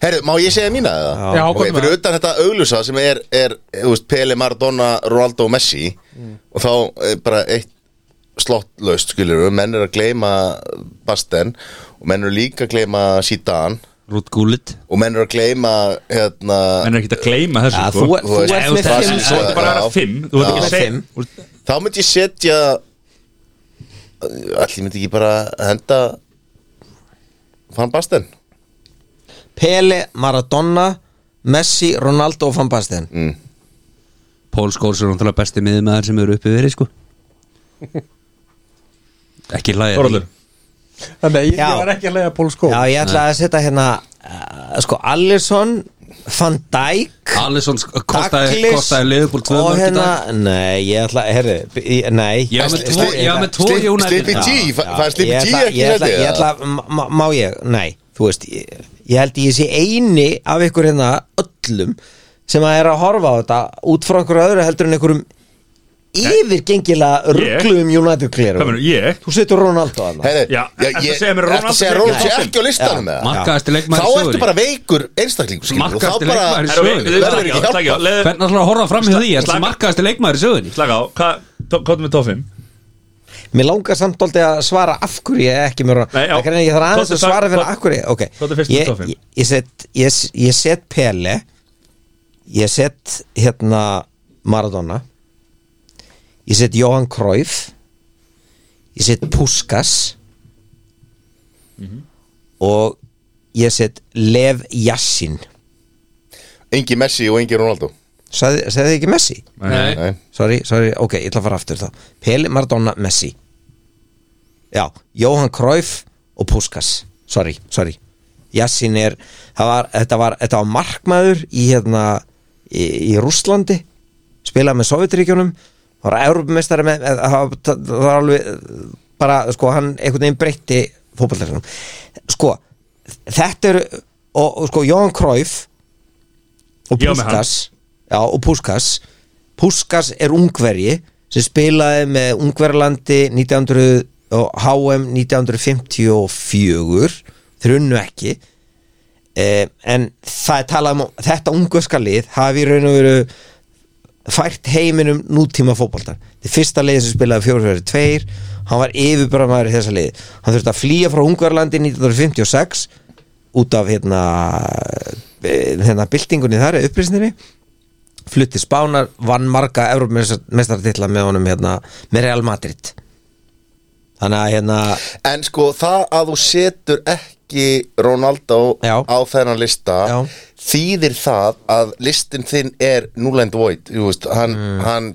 [SPEAKER 2] Herru, má ég segja mína eða?
[SPEAKER 4] Já,
[SPEAKER 2] ok,
[SPEAKER 4] komdu með
[SPEAKER 2] fyrir utan þetta augljósa sem er, er þú veist, Pele, Maradona, Ronaldo og Messi og þá er bara eitt slottlaust, skilur við, menn eru að gleyma Basten og menn eru líka að gleyma Zidane
[SPEAKER 3] Rút Gullit
[SPEAKER 2] og menn eru að gleyma hérna,
[SPEAKER 9] menn er ekki að gleyma þessu
[SPEAKER 5] Já,
[SPEAKER 9] sko.
[SPEAKER 5] þú, þú
[SPEAKER 2] veist,
[SPEAKER 5] ert
[SPEAKER 9] Þú
[SPEAKER 5] með
[SPEAKER 9] ert
[SPEAKER 2] það-
[SPEAKER 5] fimm
[SPEAKER 9] bara- þú ert bara að vera
[SPEAKER 2] Já.
[SPEAKER 9] fimm Þú ert ekki að
[SPEAKER 5] Já.
[SPEAKER 9] segja
[SPEAKER 5] Fimm.
[SPEAKER 9] Þú ert-
[SPEAKER 2] þá myndi ég setja allir myndi ekki bara henda Fann Basten
[SPEAKER 5] Pele, Maradona, Messi, Ronaldo og Van Basten
[SPEAKER 3] Paul Scholes er náttúrulega besti miðmaður sem eru uppi verið sko Ekki hlæðið
[SPEAKER 9] Þorvaldur
[SPEAKER 4] þannig að ég,
[SPEAKER 5] Já.
[SPEAKER 4] ég var ekki að leiða Pól
[SPEAKER 2] Sko.
[SPEAKER 4] Skó
[SPEAKER 5] Já, ég ætlaði að setja hérna uh, Sko, Allison, Van Dijk
[SPEAKER 3] Alisson sk- kostaði,
[SPEAKER 5] Douglas
[SPEAKER 3] kostaði liðbúl tvö
[SPEAKER 5] og
[SPEAKER 3] mörg í dag
[SPEAKER 5] hérna, nei, ég ætla, herri ég- nei,
[SPEAKER 3] Ég var með tvo- ég var með tvo
[SPEAKER 2] Slip-
[SPEAKER 3] í United
[SPEAKER 2] Slippi G,
[SPEAKER 5] Já,
[SPEAKER 2] fa- fannst
[SPEAKER 5] ég
[SPEAKER 2] Slippi G
[SPEAKER 5] ætla-
[SPEAKER 2] ekki
[SPEAKER 5] ég ætla,
[SPEAKER 2] setja
[SPEAKER 5] ég
[SPEAKER 2] það?
[SPEAKER 5] ætla, ma- má ég, nei, þú veist ég, ég held ég sé eini af ykkur hérna öllum sem að er að horfa á þetta út frá ykkur öðru heldur en ykkurum yfirgengilega ruggluðum United
[SPEAKER 9] Hvað
[SPEAKER 5] klerum
[SPEAKER 9] mennur, ég?
[SPEAKER 5] þú setur Ronaldo að
[SPEAKER 2] Herri,
[SPEAKER 9] Já, ertu að segja mér að
[SPEAKER 2] ertu
[SPEAKER 9] Ronaldo
[SPEAKER 2] að segja
[SPEAKER 9] sé
[SPEAKER 2] Ronaldo
[SPEAKER 9] ekki
[SPEAKER 2] sé
[SPEAKER 9] á
[SPEAKER 2] ekki á listanum með það?
[SPEAKER 3] Markaðasti
[SPEAKER 2] Þá
[SPEAKER 3] leikmaður í
[SPEAKER 2] ertu
[SPEAKER 3] sögunni
[SPEAKER 2] bara veikur einstaklingur skilur, og
[SPEAKER 3] Markaðasti
[SPEAKER 2] þá bara-
[SPEAKER 9] Herra,
[SPEAKER 3] leikmaður í
[SPEAKER 9] við-
[SPEAKER 3] sögunni
[SPEAKER 9] við-
[SPEAKER 2] Verður
[SPEAKER 9] takk,
[SPEAKER 2] ekki hjálpað.
[SPEAKER 9] takk, leið-
[SPEAKER 3] Hvernig ætlar að horfa fram hjá því Er það
[SPEAKER 9] Slaka-
[SPEAKER 3] markaðasti leikmaður í sögunni
[SPEAKER 9] Slaka á, hvað hvað er með tóf 5?
[SPEAKER 5] mér langar samt dóldi að svara af hverju ég er ekki mér
[SPEAKER 9] Nei, já.
[SPEAKER 5] að ég þarf aðeins
[SPEAKER 9] Tóttu
[SPEAKER 5] að
[SPEAKER 9] svar-
[SPEAKER 5] svara fyrir
[SPEAKER 9] tóttu-
[SPEAKER 5] af hverju ok,
[SPEAKER 9] tóttu fyrst með
[SPEAKER 5] ég,
[SPEAKER 9] toppinn.
[SPEAKER 5] ég, ég set ég, s- ég set Pele ég set hérna Maradona ég set Johan Cruyff ég set Puskas
[SPEAKER 9] Mhm.
[SPEAKER 5] og ég set Lev Yassin
[SPEAKER 2] Engi Messi og engi Ronaldo
[SPEAKER 5] sagði, sagði þið ekki Messi?
[SPEAKER 9] Nei
[SPEAKER 2] Nei.
[SPEAKER 5] sorry, sorry, ok, ég ætla að fara aftur þá Pele, Maradona, Messi Já, Johan Cruyff og Puskas, sorry, sorry Jassin er, það var, þetta var þetta var markmaður í hérna í, í Rússlandi spilaði með Sovjetríkjunum var Európumestari með, eða það var- það var alveg bara, sko, hann einhvern veginn breytti fótballtæknum sko, þetta eru og, og sko, Johan Cruyff og
[SPEAKER 9] Ég var með hann.
[SPEAKER 5] Puskas já, og Puskas Puskas er ungverji sem spilaði með Ungverjalandi 1900 og HM 1954 þrunnu ekki eh, en það er talað um þetta ungverska lið hafi í raun og veru fært heiminum nútíma fótboltar þetta er fyrsta liðið sem spilaði 4-4-2 hann var yfirbramæður í þessa liði hann þurfti að flýja frá Ungverjalandi 1956 út af hérna eh, hérna byltingunni þar upprisninni flutti Spánar, vann marga Evrópmestartitla með honum hérna með Real Madrid þannig að hérna
[SPEAKER 2] En sko það að þú setur ekki Ronaldo
[SPEAKER 5] Já.
[SPEAKER 2] á þennan lista
[SPEAKER 5] Já.
[SPEAKER 2] þýðir það að listin þinn er null and void Þú veist, hann,
[SPEAKER 5] Mm.
[SPEAKER 2] hann,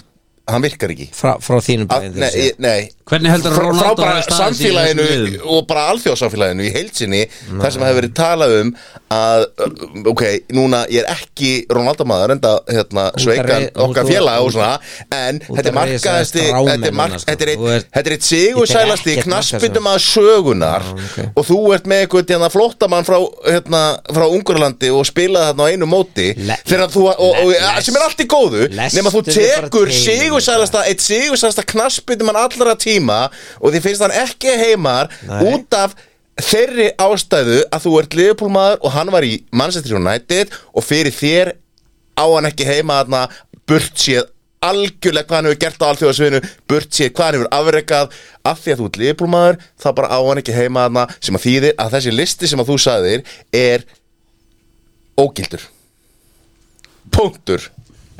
[SPEAKER 2] hann virkar ekki
[SPEAKER 5] frá, frá þínum
[SPEAKER 2] að,
[SPEAKER 5] bæðin
[SPEAKER 2] nei, ég- nei
[SPEAKER 3] Hvernig heldur
[SPEAKER 2] Frá- frá
[SPEAKER 3] Ronaldo
[SPEAKER 2] bara
[SPEAKER 3] hafi staðið sig í
[SPEAKER 2] samfélaginu
[SPEAKER 3] þessum liðum?
[SPEAKER 2] og bara alþjóðsamfélaginu í heilsinni þar sem hefur verið talað um að uh, ok, núna ég er ekki Ronaldo maður enda hérna
[SPEAKER 5] Út að
[SPEAKER 2] sveikan
[SPEAKER 5] rei- út
[SPEAKER 2] okkar
[SPEAKER 5] að-
[SPEAKER 2] félag og
[SPEAKER 5] út
[SPEAKER 2] svona en
[SPEAKER 5] út
[SPEAKER 2] þetta er
[SPEAKER 5] að reisa
[SPEAKER 2] markaðasti
[SPEAKER 5] strámenn
[SPEAKER 2] þetta er mark-
[SPEAKER 5] núna, sko.
[SPEAKER 2] þetta er eitt-
[SPEAKER 5] Þú ert-
[SPEAKER 2] þetta er eitt
[SPEAKER 5] Ég
[SPEAKER 2] sigursælasti
[SPEAKER 5] tek ekkert
[SPEAKER 2] knassbyndum að sögunar
[SPEAKER 5] ok.
[SPEAKER 2] og þú ert með eitthvað hérna, flóttamann frá, hérna, frá Ungurlandi og spilaði þarna á einu móti
[SPEAKER 5] Le-
[SPEAKER 2] þegar þú, og, og,
[SPEAKER 5] le-
[SPEAKER 2] sem er allt í góðu
[SPEAKER 5] lestu
[SPEAKER 2] nema þú
[SPEAKER 5] þið bara
[SPEAKER 2] tekur
[SPEAKER 5] til,
[SPEAKER 2] sigursælasta eitt sigursælasta knassbyttumann allra tíma og þið finnst hann ekki heimar
[SPEAKER 5] Nei.
[SPEAKER 2] út af þeirri ástæðu að þú ert liðbúlmaður og hann var í Manchester United og fyrir þér á hann ekki heima þarna burt séð algjörlega hvað hann hefur gert á alþjóðasviðinu burt séð hvað hann hefur afrekað af því að þú ert liðbúlmaður þá bara á hann ekki heima þarna sem að þýðir að þessi listi sem að þú sagðir er ógildur punktur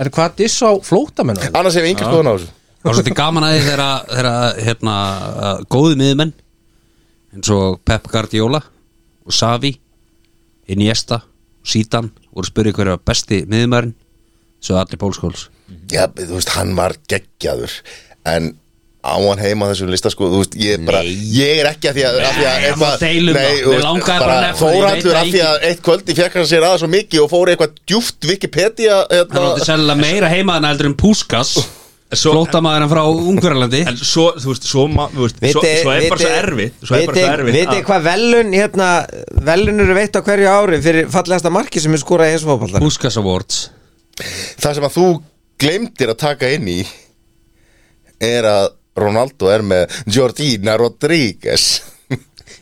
[SPEAKER 4] En hvað diss á flótamennu?
[SPEAKER 2] Annars hefur yngri skoðan á þessu
[SPEAKER 3] Það var svolítið gaman að því þegar að- þegar að, hérna, að góði miðmenn eins og Pep Guardiola og Savi Iniesta og Sítan voru spurði hverju var besti miðmærin svo allir pólskóls
[SPEAKER 2] Já, þú veist, hann var geggjaður En á hann heima á þessum lista sko Þú veist, ég er bara Ég er ekki að því að, að, því að
[SPEAKER 3] Nei, það má deila um það.
[SPEAKER 2] þú
[SPEAKER 3] Mig
[SPEAKER 2] veist,
[SPEAKER 3] langaði bara að nefna það, ég veit
[SPEAKER 2] Þórhallur
[SPEAKER 3] það
[SPEAKER 2] að því að eitt kvöldi fekk hann sér aðeins svo mikið og fór í eitthvað djúft Wikipedia
[SPEAKER 3] Það var
[SPEAKER 2] hérna,
[SPEAKER 3] sennilega meira heimaðan heldur en Púskas
[SPEAKER 9] Svo-
[SPEAKER 3] flótamaðurinn frá Ungverjalandi
[SPEAKER 9] En svo, þú veist, svo, ma- þú veist, svo,
[SPEAKER 5] Vitið-
[SPEAKER 9] svo er bara svo
[SPEAKER 5] vitið-
[SPEAKER 9] erfitt Svo er bara svo
[SPEAKER 5] vitið-
[SPEAKER 9] erfitt
[SPEAKER 5] Vitið hvað velun, hérna, velun eru veitt á hverju ári fyrir fallegasta marki sem er skorað í heimsfóðballar
[SPEAKER 3] Púskas Awards
[SPEAKER 2] Það sem að þú glemdir að taka inn í Er að Ronaldo er með Jordina Rodríguez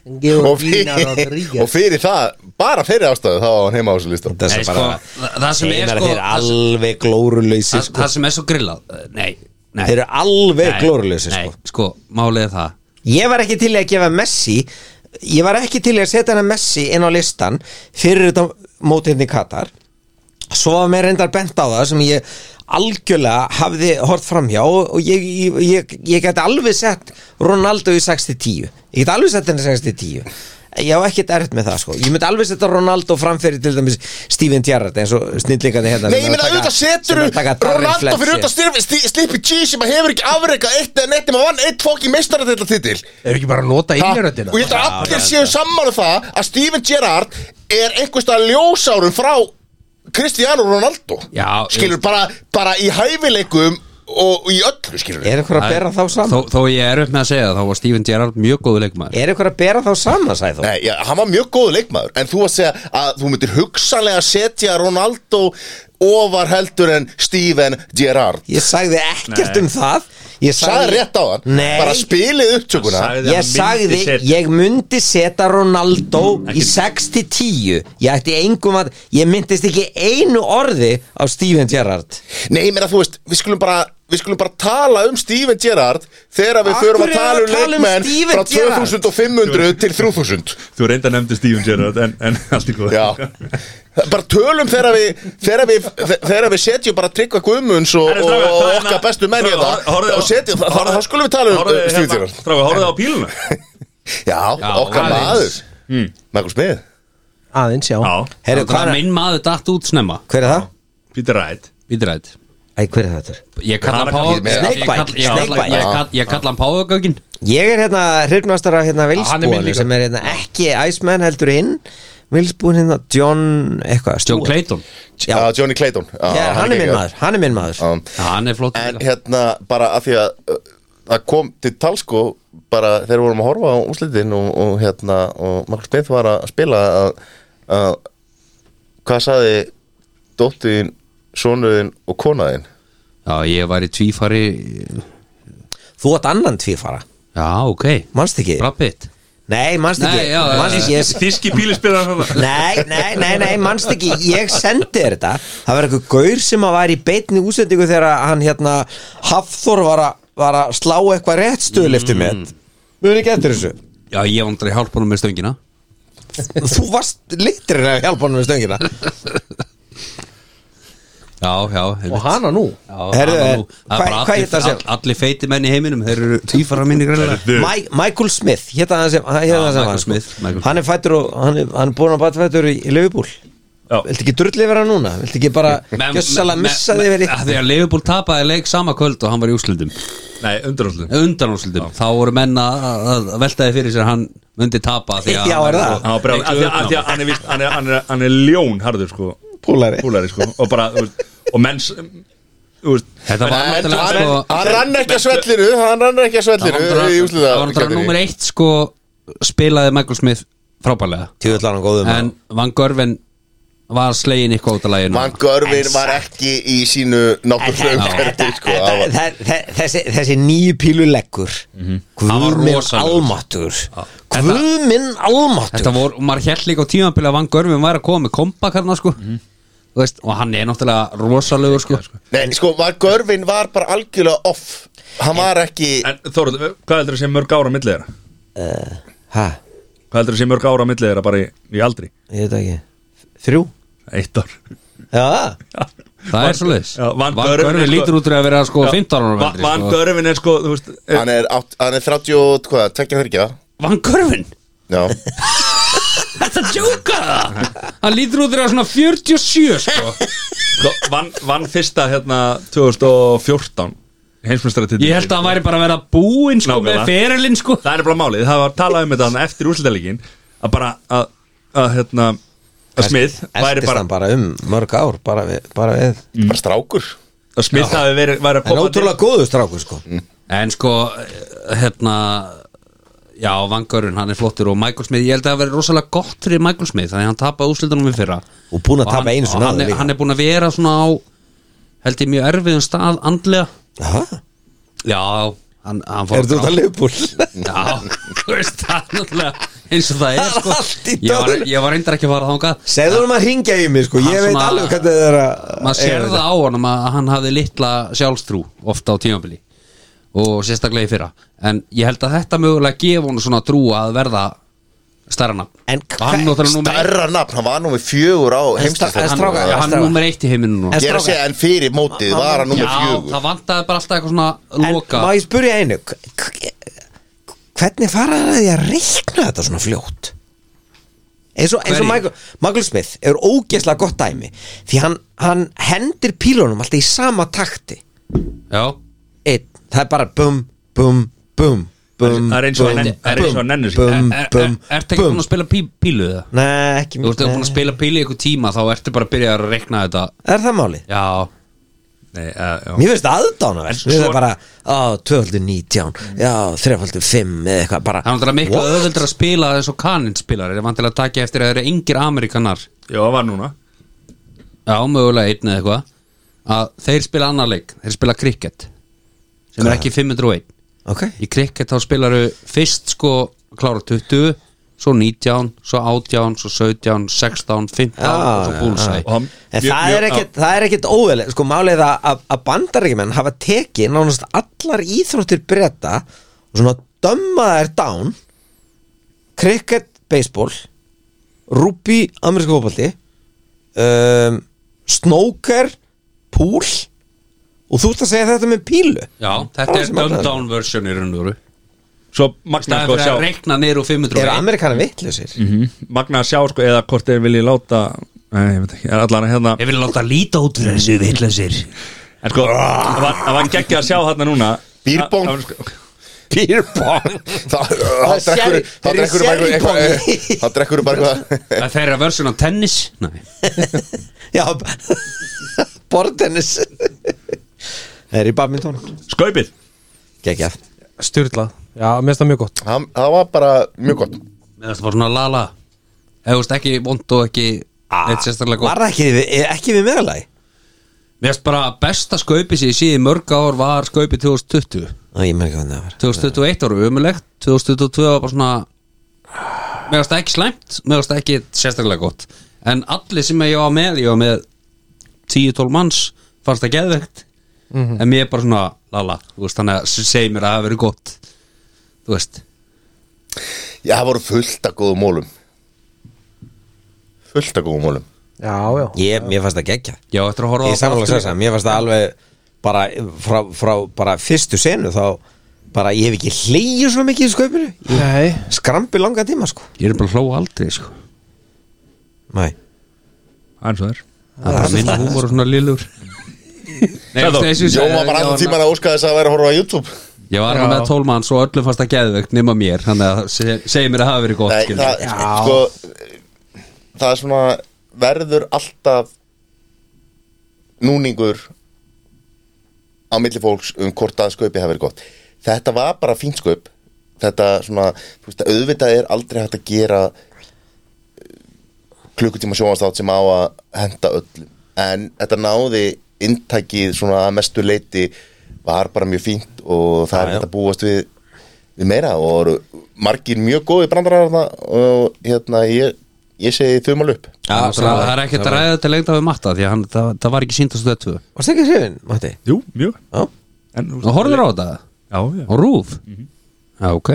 [SPEAKER 2] og, fyrir, og fyrir það bara fyrir ástöðu þá á hann heima á þessu lista
[SPEAKER 5] Þess
[SPEAKER 3] Nei,
[SPEAKER 5] að
[SPEAKER 3] sko,
[SPEAKER 5] bara
[SPEAKER 3] það- það sem er
[SPEAKER 5] Einar,
[SPEAKER 3] sko-
[SPEAKER 5] þeir eru
[SPEAKER 3] það sem-
[SPEAKER 5] alveg glóruleysi
[SPEAKER 3] það,
[SPEAKER 5] sko.
[SPEAKER 3] það sem er svo grillað eh, Nei, nei
[SPEAKER 5] Þeir eru alveg
[SPEAKER 3] nei,
[SPEAKER 5] glóruleysi
[SPEAKER 3] nei,
[SPEAKER 5] sko.
[SPEAKER 3] sko, málið er það
[SPEAKER 5] Ég var ekki til í að gefa Messi Ég var ekki til í að setja hennar Messi inn á listan Fyrir þetta mótið í Katar Svo var mér reyndar bent á það sem ég algjörlega hafði hort framhjá og og ég, ég, ég, ég geti alveg sett Ronaldo í 6-10 Ég geti alveg sett henni 6-10 Ég á ekkert erfitt með það sko Ég myndi alveg setja Ronaldo framfyrir til dæmis Steven Gerrard eins og snillingandi hérna
[SPEAKER 2] Nei,
[SPEAKER 5] sem
[SPEAKER 2] ég
[SPEAKER 5] eru að
[SPEAKER 2] meina,
[SPEAKER 5] taka-
[SPEAKER 2] auðvitað setur
[SPEAKER 5] sem eru að taka Darwin
[SPEAKER 2] Ronaldo fyrir
[SPEAKER 5] Fletcher.
[SPEAKER 2] auðvitað styrfi Slippi G sem hefur ekki afreikað eitt eða neitt nema vann eitt fólki meistaradeild að titil
[SPEAKER 4] Ef ekki bara að nota innröndina
[SPEAKER 2] og ég held að allir séu sammála um það að Steven Gerrard er einhverstað ljósárum frá Cristiano Ronaldo
[SPEAKER 3] Já,
[SPEAKER 2] skilur
[SPEAKER 3] ég-
[SPEAKER 2] bara, bara í hæfileikum og í öllu skilur
[SPEAKER 5] Er einhver að bera þá saman?
[SPEAKER 3] Þó, þó ég er upp með að segja það, þá var Steven Gerrard mjög góðu leikmaður
[SPEAKER 5] Er einhver að bera þá saman, sagði þú?
[SPEAKER 2] Nei, já, hann var mjög góð leikmaður En þú að segja að þú myndir hugsanlega setja Ronaldo ofar heldur en Steven Gerrard
[SPEAKER 5] Ég sagði ekkert um það Ég
[SPEAKER 2] Sæði rétt á hann
[SPEAKER 5] Nei.
[SPEAKER 2] Bara spilið upptökuna
[SPEAKER 9] Sagði að
[SPEAKER 5] Ég
[SPEAKER 9] hann myndi
[SPEAKER 5] sagði,
[SPEAKER 9] setja-
[SPEAKER 5] ég myndi setja Ronaldo í 6-10 Ég ætti engum að, ég myndist ekki einu orði á Steven Gerrard
[SPEAKER 2] Nei, ég meina þú veist, við skulum bara Við skulum bara tala um Steven Gerrard Þegar við
[SPEAKER 5] Af
[SPEAKER 2] förum að
[SPEAKER 5] hverju
[SPEAKER 2] tala um
[SPEAKER 5] erum við að tala um
[SPEAKER 2] leikmenn
[SPEAKER 5] Steven
[SPEAKER 2] Frá
[SPEAKER 5] Gerrard?
[SPEAKER 2] 2500 til 3000
[SPEAKER 9] Þú reynda nefndi Steven Gerrard en, en allt í góð
[SPEAKER 2] Já Bara tölum þegar við Þegar við, þegar við setjum bara tryggva guðmunds Og,
[SPEAKER 9] Herri,
[SPEAKER 2] og,
[SPEAKER 9] strákar,
[SPEAKER 2] og
[SPEAKER 9] það er
[SPEAKER 2] okkar
[SPEAKER 9] hérna-
[SPEAKER 2] bestu menn í
[SPEAKER 9] strákar, horfðu-
[SPEAKER 2] þetta Og setjum, þá-
[SPEAKER 9] horfðu-
[SPEAKER 2] þá skulum við tala um
[SPEAKER 9] Horfðu,
[SPEAKER 2] uh, Steven
[SPEAKER 9] hérna,
[SPEAKER 2] Gerrard
[SPEAKER 9] Stráka, horfðu á bíluna
[SPEAKER 2] Já, okkar
[SPEAKER 3] aðeins.
[SPEAKER 2] maður
[SPEAKER 9] Hmm.
[SPEAKER 2] Michael Smith
[SPEAKER 4] Aðeins, já
[SPEAKER 9] Já,
[SPEAKER 5] Heyrðu,
[SPEAKER 3] Það
[SPEAKER 5] hvað
[SPEAKER 3] er
[SPEAKER 5] er,
[SPEAKER 3] minn maður datt út snemma
[SPEAKER 5] hver er það?
[SPEAKER 9] Peter Wright
[SPEAKER 3] Býtrætt
[SPEAKER 5] Æ, hver er það þetta?
[SPEAKER 3] Ég kalla
[SPEAKER 9] Hann-
[SPEAKER 3] páfagögn
[SPEAKER 2] Snake
[SPEAKER 3] ég kalla-
[SPEAKER 5] bite,
[SPEAKER 3] ég kalla-
[SPEAKER 5] snake bite.
[SPEAKER 3] ég kalla- Ég kalla hann páfagögn
[SPEAKER 5] Ég er hérna hrifnastar af hérna
[SPEAKER 4] hann er minn
[SPEAKER 5] vilsbúinu
[SPEAKER 4] líka.
[SPEAKER 5] sem er hérna ekki Iceman heldur hinn Vilsbúin hérna John eitthvað
[SPEAKER 3] John
[SPEAKER 5] Stewart.
[SPEAKER 3] Clayton
[SPEAKER 5] Já.
[SPEAKER 2] Já, Johnny Clayton Já,
[SPEAKER 5] Já, hann er minn
[SPEAKER 2] geggjaður.
[SPEAKER 5] maður, hann er minn maður
[SPEAKER 2] Já.
[SPEAKER 3] Já, Hann er flott
[SPEAKER 2] En
[SPEAKER 3] líka.
[SPEAKER 2] hérna, bara að því að uh, það kom til talsko bara þegar við vorum að horfa á úslitin og, og hérna, og Michael Smith var að spila að, að hvað saði dóttuðin, sonuðin og konaðin
[SPEAKER 3] Já, ég var í tvífari
[SPEAKER 5] Þú átt annan tvífara,
[SPEAKER 3] Já, ok
[SPEAKER 5] manst ekki?
[SPEAKER 3] Brappið
[SPEAKER 5] Nei, manst
[SPEAKER 3] Nei,
[SPEAKER 5] ekki,
[SPEAKER 3] já,
[SPEAKER 5] manst ekki ég-
[SPEAKER 9] Þíski bílispilar
[SPEAKER 5] Nei, nei, nei, nei, mannst ekki Ég sendi þér þetta Það var eitthvað gaur sem að var í beinni útsendingu Þegar að hann hérna Hafþór var að, var að slá eitthvað rétt stöðliftu
[SPEAKER 3] Mm.
[SPEAKER 5] með Mjög ekki eftir þessu
[SPEAKER 3] Já, ég vandrar í hálpunum með stöngina
[SPEAKER 5] Þú varst litrin að hjálpa honum með stöngina
[SPEAKER 3] Já, já
[SPEAKER 4] Og hana nú
[SPEAKER 3] Já,
[SPEAKER 5] Herðu,
[SPEAKER 3] hana nú.
[SPEAKER 5] eh,
[SPEAKER 3] Það er
[SPEAKER 5] hvað-
[SPEAKER 3] bara
[SPEAKER 5] hvað
[SPEAKER 3] allir-
[SPEAKER 5] hét það sem-
[SPEAKER 3] all- Allir feiti menn í heiminum Þeir eru tvífara minni greinlega
[SPEAKER 5] My, Michael Smith, hérna hann sem, hérna
[SPEAKER 3] Já,
[SPEAKER 5] hann, sem
[SPEAKER 3] Michael
[SPEAKER 5] var, sko.
[SPEAKER 3] Smith, Michael.
[SPEAKER 5] hann er fættur og hann er, hann er búin að bata fættur í, í Liverpool
[SPEAKER 9] Já.
[SPEAKER 5] Viltu ekki drullið vera núna? Viltu ekki bara gjössalega missa þig verið
[SPEAKER 3] Þegar Þegar Leifubúl tapaði leik sama kvöld og hann var í úslundum
[SPEAKER 9] Nei, undanáttlum
[SPEAKER 3] undanúrslutum þá voru menna að veltaði fyrir sér að hann myndi tapa því að sko-
[SPEAKER 5] Já, er það?
[SPEAKER 9] Hann var brjál- af því að- af því að hann er víst- hann er- hann er- hann er ljón harður sko
[SPEAKER 5] Púlari
[SPEAKER 9] Púlari sko Og bara, þú veist Og menns Þú veist
[SPEAKER 3] þetta var
[SPEAKER 2] En
[SPEAKER 3] náttúrulega
[SPEAKER 2] hann,
[SPEAKER 3] sko
[SPEAKER 2] hann rann ekki að svellinu hann rann ekki að
[SPEAKER 3] það var
[SPEAKER 2] svellinu í
[SPEAKER 3] náttúrulega-
[SPEAKER 2] úslita
[SPEAKER 3] það var náttúrulega nummer eitt sko spilaði Michael Smith frábælega
[SPEAKER 5] Tjóðlan og góðum
[SPEAKER 3] en Van Görven var slegin í kótalæginu
[SPEAKER 2] Van Görvin var ekki í sínu náttúrulega umferði sko, það var-
[SPEAKER 5] Þe- þe- þessi, þessi nýju pílu leggur
[SPEAKER 3] Hann Mhm. var
[SPEAKER 5] Guð minn
[SPEAKER 3] rosalegur.
[SPEAKER 5] almáttur
[SPEAKER 3] Þetta-
[SPEAKER 5] Guð minn almáttur
[SPEAKER 3] þetta voru, og maður held líka á tímabili að Van Görven var að koma með kompa hérna sko
[SPEAKER 9] Mhm.
[SPEAKER 3] Þú veist, og hann er náttúrulega rosalegur sko
[SPEAKER 2] Nei, sko, Van Görvin var bara algjörlega off hann var ekki
[SPEAKER 9] En Þórald, hvað heldur það sé mörg ára millið þeirra?
[SPEAKER 5] Hæ,
[SPEAKER 9] Hvað heldur það sé mörg ára millið þeirra bara í, í aldri?
[SPEAKER 5] ég veit það ekki Þrjú?
[SPEAKER 9] Eitt ár
[SPEAKER 5] Já,
[SPEAKER 3] Það er svo leiðis
[SPEAKER 9] Já, Van
[SPEAKER 3] Van
[SPEAKER 9] Görvin
[SPEAKER 3] Görfi
[SPEAKER 9] er sko-
[SPEAKER 3] lítur út til að vera sko 15 ára
[SPEAKER 9] Va-
[SPEAKER 3] veldri,
[SPEAKER 9] Van
[SPEAKER 3] sko.
[SPEAKER 9] Görvin er sko þú veist, eh,
[SPEAKER 2] Hann er, átt, hann er 30 og hvað, 23
[SPEAKER 3] Van Görvin?
[SPEAKER 2] Já,
[SPEAKER 3] Þetta djóka Hann lítur út til að vera svona 47 sko
[SPEAKER 9] sko, vann van fyrsta hérna 2014 heimsmyndstara
[SPEAKER 3] Ég held að hann væri bara að vera búinn sko
[SPEAKER 9] Nákvæmlega.
[SPEAKER 3] með ferilinn sko
[SPEAKER 9] það er bara málið, það var talað um þetta þarna eftir úrslitaleikin að bara að, að hérna að Smith væri
[SPEAKER 5] Eltist
[SPEAKER 9] bara,
[SPEAKER 5] hann bara um mörg ár bara við, bara við.
[SPEAKER 2] bara strákur
[SPEAKER 9] að Smith hafi verið væri að
[SPEAKER 5] En
[SPEAKER 9] koma
[SPEAKER 5] ótrúlega góðu strákur sko
[SPEAKER 3] En sko, hérna Já, Van Görvin, hann er flottur og Michael Smith, ég held að það verið rosalega gott fyrir Michael Smith þannig að hann tapaði úslitunum við fyrra
[SPEAKER 5] Og búinn að
[SPEAKER 3] hann-
[SPEAKER 5] tapa einu
[SPEAKER 3] og
[SPEAKER 5] sinni
[SPEAKER 3] hann,
[SPEAKER 5] áður
[SPEAKER 3] er-
[SPEAKER 5] líka.
[SPEAKER 3] hann er búin að vera svona á held ég mjög erfiðum stað andlega
[SPEAKER 5] Aha,
[SPEAKER 3] Já, hann, hann fór
[SPEAKER 5] Er þetta út að liðbúl?
[SPEAKER 3] Já, þú veist það er náttúrulega eins og það er
[SPEAKER 5] Það er
[SPEAKER 3] sko
[SPEAKER 5] allt í
[SPEAKER 3] Ég var,
[SPEAKER 5] dörr.
[SPEAKER 3] ég var reyndar ekki að fara þangað
[SPEAKER 5] Segðu hann að ringja í mig sko Ég
[SPEAKER 3] Hann
[SPEAKER 5] veit
[SPEAKER 3] svona-
[SPEAKER 5] alveg hvernig það er að
[SPEAKER 3] Maður sér
[SPEAKER 5] eiga
[SPEAKER 3] það á honum að hann hafði litla sjálfstrú ofta á tímabili og sérstaklega í fyrra En ég held að þetta mögulega gefa honum svona trú að verða stærra nafn
[SPEAKER 5] En
[SPEAKER 3] Og hann
[SPEAKER 5] hva-
[SPEAKER 3] náttúrulega númer eitt-
[SPEAKER 2] Stærra nafn, hann var nú með fjögur á
[SPEAKER 5] En
[SPEAKER 2] heimslistan
[SPEAKER 5] stráka-
[SPEAKER 3] hann- hann
[SPEAKER 5] stráka.
[SPEAKER 3] númer eitt í heiminu núna
[SPEAKER 5] En
[SPEAKER 2] Ég er að segja, en fyrir mótið var hann nú með
[SPEAKER 3] Já,
[SPEAKER 2] fjögur
[SPEAKER 3] það vantaði bara alltaf eitthvað svona
[SPEAKER 5] En
[SPEAKER 3] loka
[SPEAKER 5] má ég spurja einu k- k- Hvernig fara það að ég að reikna þetta svona fljótt? Eins og, eins og
[SPEAKER 3] Hverju?
[SPEAKER 5] Michael, Michael Smith er ógeðslega gott dæmi Því hann, hann hendir pílunum alltaf í sama takti
[SPEAKER 3] Já,
[SPEAKER 5] Einn, það er bara bum, bum, bum Bum,
[SPEAKER 9] Það er eins og hann- það er eins og hann nennir sig.
[SPEAKER 5] bum,
[SPEAKER 3] Er- er-
[SPEAKER 5] bum,
[SPEAKER 3] er- ertu ekki búin
[SPEAKER 5] bum
[SPEAKER 3] að spila pí- pílu það?
[SPEAKER 5] Nei, ekki
[SPEAKER 3] Þú ert ekki búin að
[SPEAKER 5] nei.
[SPEAKER 3] spila pílu í eitthvað tíma þá ertu bara að byrja að rekna þetta eh,
[SPEAKER 5] Er það málið?
[SPEAKER 3] Já,
[SPEAKER 9] Nei, uh,
[SPEAKER 5] Mér finnst aðdánavert
[SPEAKER 9] En
[SPEAKER 5] Við
[SPEAKER 9] svo-
[SPEAKER 5] erum bara, á, 12.19 Já, 3.5 eða eitthvað bara
[SPEAKER 3] Það er náttúrulega miklu
[SPEAKER 5] What?
[SPEAKER 3] öðvöldur að spila eins og kaninn spilar Það er vantilega að taka eftir að það eru yngir Amerikanar
[SPEAKER 9] já, var núna
[SPEAKER 3] Já, mögulega einn eða eitthvað að þeir spila annar leik, þeir spila krikket sem er ekki 501
[SPEAKER 5] Ok,
[SPEAKER 3] Í krikket þá spilaru fyrst sko klára 20 svo 19, svo 18, svo 17 16, 15
[SPEAKER 5] Já,
[SPEAKER 3] og svo
[SPEAKER 5] já,
[SPEAKER 3] búlsæ
[SPEAKER 9] og hann,
[SPEAKER 5] En það, er ekkit, það er ekkit óveðlega sko málið að, að, að bandaríkjumenn hafa tekið nánast allar íþróttir breyta og svona dömmaðar down cricket, baseball rúbi, amerísku fótbolti um, snóker pool og þú ert að segja þetta með pílu
[SPEAKER 3] Já,
[SPEAKER 5] Það
[SPEAKER 3] þetta
[SPEAKER 5] er
[SPEAKER 3] er
[SPEAKER 5] sem að-
[SPEAKER 3] down version í raun og veru
[SPEAKER 9] svo magna
[SPEAKER 3] Það
[SPEAKER 9] sko,
[SPEAKER 3] er
[SPEAKER 9] að
[SPEAKER 3] að
[SPEAKER 9] sjá,
[SPEAKER 3] rekna niður úr 501
[SPEAKER 5] eru amerikanar vitlausir
[SPEAKER 9] magna að sjá sko, eða hvort þeir vilji láta Nei, ég veit ekki, er allan að hérna
[SPEAKER 3] Ég vil láta líta út fyrir þessu vitleysir
[SPEAKER 9] En sko,
[SPEAKER 5] Ah.
[SPEAKER 9] það var- það var geggja að sjá hérna núna
[SPEAKER 2] Bírbong.
[SPEAKER 9] Að- að- sko,
[SPEAKER 5] pýrbong
[SPEAKER 2] Það
[SPEAKER 5] er sherry-
[SPEAKER 2] það
[SPEAKER 5] þeir eru
[SPEAKER 2] drekkur bara eitthvað
[SPEAKER 5] sherrypong.
[SPEAKER 2] eitthvað- Það drekkur bara eitthvað
[SPEAKER 3] Það er þeirra version á tennis Nei
[SPEAKER 5] já bortennis það er í badminton
[SPEAKER 9] Skaupið
[SPEAKER 5] geggjað
[SPEAKER 4] Sturlað, já, mér finnst það mjög gott
[SPEAKER 2] Hann- Það var bara mjög gott
[SPEAKER 3] Mér finnst það bara svona lala Ef þú veist ekki vond og ekki Neitt sérstaklega
[SPEAKER 5] Var
[SPEAKER 3] góð
[SPEAKER 5] það ekki, við- ekki við meðalagi?
[SPEAKER 3] Mér finnst bara besta skaupi sem ég sé í mörg ár var skaupi 2020
[SPEAKER 5] Æ, ég með ekki hvernig það var
[SPEAKER 3] 2021 var umulegt 2022 var bara svona Mér finnst það ekki slæmt Mér finnst það ekki sérstaklega gott En allir sem ég var með Ég var með 10-12 manns Fannst það geðvegt En mér er bara svona lala Þú veist þannig að segi mér að það hafi verið gott Þú veist
[SPEAKER 2] Já, það voru fullt af góðum mólum Fullt af góðum mólum
[SPEAKER 4] Já, já,
[SPEAKER 5] Ég, mér fannst það geggja
[SPEAKER 3] Já, eftir að horfa á
[SPEAKER 5] Ég
[SPEAKER 3] það
[SPEAKER 5] samfélag
[SPEAKER 3] aftur.
[SPEAKER 5] sér það, mér fannst það alveg bara frá, frá bara fyrstu senu þá bara ég hef ekki hleyju svo mikið í sköpunu
[SPEAKER 4] nei
[SPEAKER 5] Skrampi langa tíma sko
[SPEAKER 3] Ég er bara að hlóa aldrei sko
[SPEAKER 5] Nei
[SPEAKER 9] Það er svo þér
[SPEAKER 3] Það er bara minn húmor og svona lillur Nei,
[SPEAKER 9] Sæþór,
[SPEAKER 3] þessu
[SPEAKER 2] Jó, maður bara andan tíman að óska þess að væri að horfa á YouTube
[SPEAKER 3] Ég var hann með tólmann svo öllum fast að geðvegt nema mér, þannig að seg- segi mér að hafa verið gott
[SPEAKER 2] Nei,
[SPEAKER 3] skilur.
[SPEAKER 2] það, sko, það er svona verður alltaf núningur á milli fólks um hvort að skaupi hafi verið gott þetta var bara fínt skaup þetta svona, þú veist, auðvitað er aldrei hægt að gera eh, klukkutíma sjónastátt sem á að henda öllum en þetta náði inntækið svona að mestu leiti var bara mjög fínt og það er
[SPEAKER 5] já.
[SPEAKER 2] hægt að búast við, við meira og eru margir mjög góði brandararna og hérna ég, ég segi þumal upp
[SPEAKER 3] Já, það, það er ekkert að ræða þetta lengt af við matta því að hann, það, það var ekki sínt að stöðu
[SPEAKER 5] Varst ekki hrifin, Matti?
[SPEAKER 9] Jú, mjög
[SPEAKER 5] Já
[SPEAKER 9] En,
[SPEAKER 3] Og horfður á þetta?
[SPEAKER 9] Já, já
[SPEAKER 3] Og rúf? Já, ok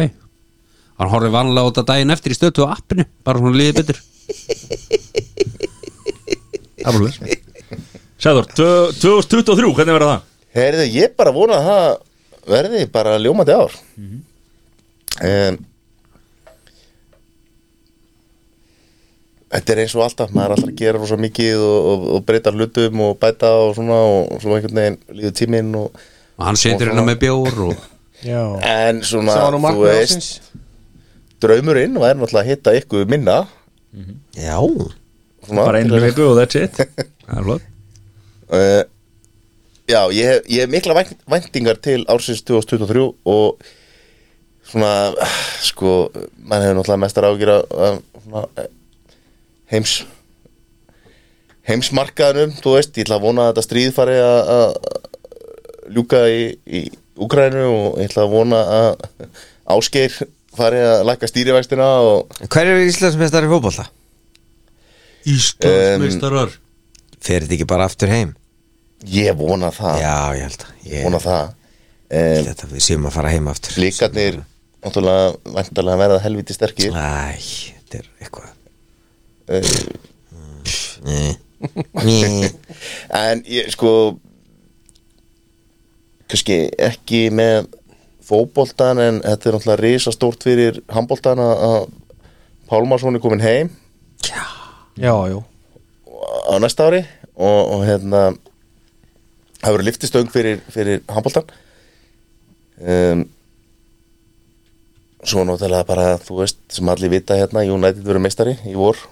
[SPEAKER 3] Hann horfður vanlega á þetta daginn eftir í stöðu á appinu bara svona liðið betur
[SPEAKER 9] Það er bara þess Sæður, 2023, hvernig verður það?
[SPEAKER 2] Herðu, ég bara vona að það verði bara ljómandi ár mm Þetta er eins og alltaf maður er alltaf að gera rosa mikið og, og, og breyta hlutum og bæta og svona og svo einhvern veginn líður tíminn og,
[SPEAKER 3] og hann setur hérna með bjór og
[SPEAKER 4] Já
[SPEAKER 2] en svona,
[SPEAKER 4] Sá nú
[SPEAKER 2] þú
[SPEAKER 4] markmið ásins
[SPEAKER 2] veist draumurinn væri náttúrulega að hitta ykkur minna
[SPEAKER 5] Já,
[SPEAKER 2] svona,
[SPEAKER 9] Bara einu
[SPEAKER 2] til að-
[SPEAKER 9] viku og that's it Það er flott
[SPEAKER 2] uh, Já, ég hef, ég hef mikla vænt, væntingar til ársins 2023 og svona, ah, sko mann hefur náttúrulega mestar ágjur að svona, eh, heims heimsmarkaðunum, þú veist, ég ætla að vona að þetta stríð fari að að ljúka í, í Ukrænu og ég ætla að vona að Ásgeir fari að lækka stýrivægstina og
[SPEAKER 5] hver er Íslandsmeistar í fótbolta?
[SPEAKER 1] Íslandsmeistarar
[SPEAKER 9] Um,
[SPEAKER 5] Fer þetta ekki bara aftur heim?
[SPEAKER 2] ég vona það,
[SPEAKER 5] Já, ég held að Ég
[SPEAKER 2] vona það um,
[SPEAKER 5] held að við séum að fara heim aftur
[SPEAKER 2] Blikarnir náttúrulega vantarlega verða helviti sterkir
[SPEAKER 5] Æ, þetta er eitthvað
[SPEAKER 2] Eh,
[SPEAKER 5] Nei. Nei.
[SPEAKER 2] en ég sko kannski ekki með fótboltan en þetta er náttúrulega risastórt fyrir handboltan að- að Pálmarsson er komin heim
[SPEAKER 4] Já, já
[SPEAKER 2] á næsta ári og, og hérna það verður liftistöng fyrir, fyrir handbóltan um, svo náttúrulega bara þú veist sem allir vita hérna United verður meistari í vor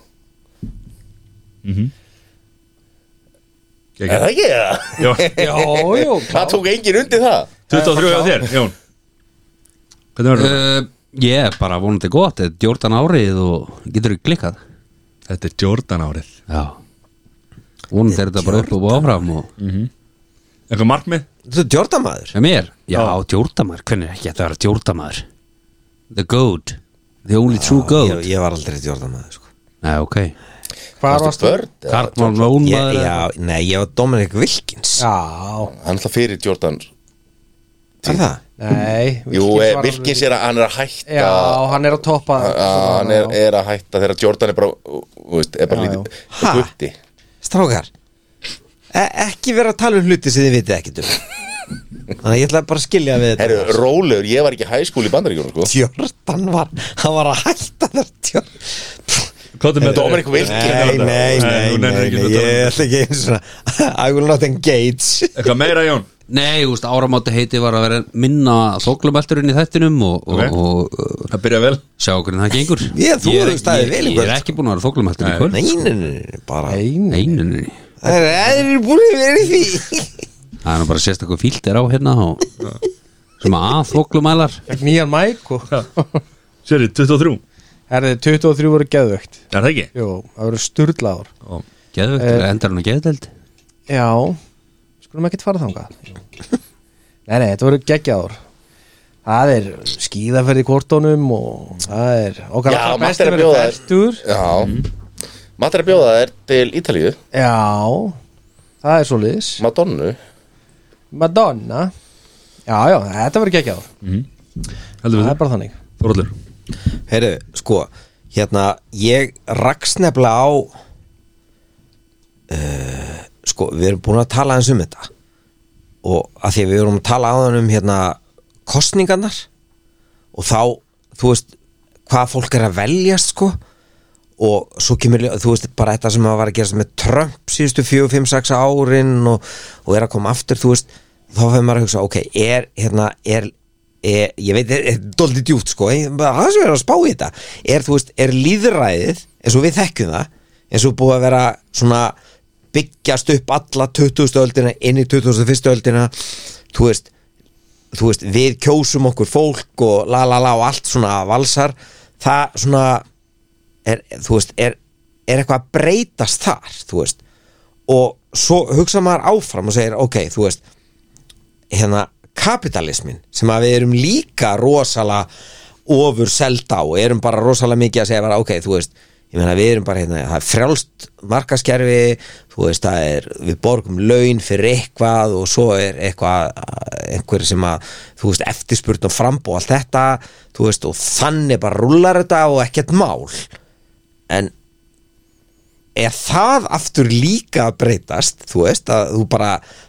[SPEAKER 9] Gekk.
[SPEAKER 2] er það ekki það?
[SPEAKER 9] Jó,
[SPEAKER 4] Já, já,
[SPEAKER 2] það tók engin undir það
[SPEAKER 9] 23 á þér, Jón Hvernig verður það?
[SPEAKER 3] uh, Ég er bara vonandi gott, þetta er 14 árið og getur ekki klikkað
[SPEAKER 9] Þetta er Jordan árið
[SPEAKER 3] Já Vonandi er þetta bara upp og áfram og
[SPEAKER 9] Eitthvað markmið?
[SPEAKER 5] Þú er djordamaður
[SPEAKER 3] sem er, já, djórdamar, hvernig er ekki þetta að vera djórdamar The goat The only true
[SPEAKER 5] ég,
[SPEAKER 3] goat
[SPEAKER 5] ég var aldrei djordamaður sko.
[SPEAKER 3] Nei, ok
[SPEAKER 4] hvað varstu?
[SPEAKER 2] Börn,
[SPEAKER 3] Karlmann
[SPEAKER 5] ég,
[SPEAKER 3] Lónmaður eða-
[SPEAKER 5] já, Nei, ég var Dominic Wilkins
[SPEAKER 4] Já,
[SPEAKER 2] hann er það fyrir Jordan
[SPEAKER 5] Er það?
[SPEAKER 4] nei
[SPEAKER 2] Jú,
[SPEAKER 4] var
[SPEAKER 2] eh,
[SPEAKER 4] alveg-
[SPEAKER 2] Wilkins er að hann er að hætta
[SPEAKER 4] Já, hann er að toppa
[SPEAKER 2] að hann er, er að hætta þegar Jordan er bara, ú- þú veist, er bara
[SPEAKER 4] Já,
[SPEAKER 2] lítið
[SPEAKER 5] Ha?
[SPEAKER 2] gutti
[SPEAKER 5] Strákar e Ekki vera að tala um hluti sem þið vitið ekkert um Þannig að ég ætla bara að skilja við þetta
[SPEAKER 2] Herru, rólegur, ég var ekki hæskúli í bandaríkjónu sko.
[SPEAKER 5] Djordan var, hann var að hætta þar djörn
[SPEAKER 9] Kóttum með
[SPEAKER 2] Dominic
[SPEAKER 5] Nei,
[SPEAKER 2] Wilkins
[SPEAKER 5] nei, nei,
[SPEAKER 9] þú
[SPEAKER 5] nei,
[SPEAKER 9] nennir ekki
[SPEAKER 5] nei
[SPEAKER 9] að tala um
[SPEAKER 5] Ég ætla ekki einu svona I will not engage
[SPEAKER 9] Eitthvað meira, Jón
[SPEAKER 3] Nei, þú veist, áramáti heiti var að vera minna þóklumælturinn í þættinum og, og,
[SPEAKER 9] Ok.
[SPEAKER 3] og, og
[SPEAKER 9] Það byrja vel
[SPEAKER 3] sjá hvernig það gengur
[SPEAKER 5] Ég, þú
[SPEAKER 3] er-
[SPEAKER 5] hefur staðið
[SPEAKER 3] ég-
[SPEAKER 5] vel
[SPEAKER 3] Ég
[SPEAKER 5] í
[SPEAKER 3] er
[SPEAKER 5] kvöld,
[SPEAKER 3] ekki búin að vera þóklumælturinn í kvöld
[SPEAKER 5] Nei, nei, nei, nei, bara
[SPEAKER 4] Ein,
[SPEAKER 3] Einu, nei, nei.
[SPEAKER 5] Það er aðrir búin að vera í því
[SPEAKER 3] Það er nú bara sérstakur fíldir á hérna og, sem að þóklumælar
[SPEAKER 4] fekk nýjan mæk og
[SPEAKER 9] Sér 23
[SPEAKER 4] Herði, 23 voru geðvögt
[SPEAKER 9] Er það ekki?
[SPEAKER 4] Jú, það voru sturglaður
[SPEAKER 3] Geðvegt,
[SPEAKER 4] Eh.
[SPEAKER 3] endar hann að geðdeld
[SPEAKER 4] Já, skulum ekki fara þangað Jú. Nei, nei, þetta voru geggjaður Það er skíðaferð í kortónum og það er okkar
[SPEAKER 2] Já,
[SPEAKER 4] allra
[SPEAKER 2] margt
[SPEAKER 4] besti
[SPEAKER 2] er að
[SPEAKER 4] verið
[SPEAKER 2] bjóða þér.
[SPEAKER 4] fertur.
[SPEAKER 2] Já
[SPEAKER 5] Mhm.
[SPEAKER 2] Matur að bjóða þær til Ítalíu
[SPEAKER 4] Já, það er svoleiðis
[SPEAKER 2] Madonnu
[SPEAKER 4] Madonna Já, já, þetta voru geggjaður
[SPEAKER 9] Heldur
[SPEAKER 4] Það
[SPEAKER 9] við
[SPEAKER 4] er bara þannig
[SPEAKER 9] þau Þorallur
[SPEAKER 5] Herru, sko, hérna ég raks nefnilega á uh, sko, við erum búin að tala eins um þetta og að því að við erum að tala áðan um hérna kostningarnar og þá, þú veist hvað fólk er að veljast, sko og svo kemur, ljó- þú veist, bara þetta sem að var að gerast með Trump síðustu 4, 5, 6 árin og, og er að koma aftur, þú veist þá fyrir maður að hugsa, ok, er hérna, er, er ég veit, er, er doldið djúpt, sko, ég- bara það sem er að spá í þetta er, þú veist, er líðræðið eins og við þekkjum það, eins og búið að vera svona byggjast upp alla 20. öldina inn í 21. öldina, þú veist þú veist, við kjósum okkur fólk og la la la og allt svona valsar, það svona er, þú veist, er, er eitthvað að breytast þar, þú veist og svo hugsa maður áfram og segir, ok, þú veist hérna, kapitalismin sem að við erum líka rosalega ofur selda á og erum bara rosalega mikið að segja bara, ok, þú veist ég meina við erum bara hérna, það er frjálst markaskerfi, þú veist, það er við borgum laun fyrir eitthvað og svo er eitthvað einhver sem að, þú veist, eftirspurn og frambó allt þetta, þú veist, og þannig bara rúlar þetta og ekkert mál en er það aftur líka að breytast þú veist að þú bara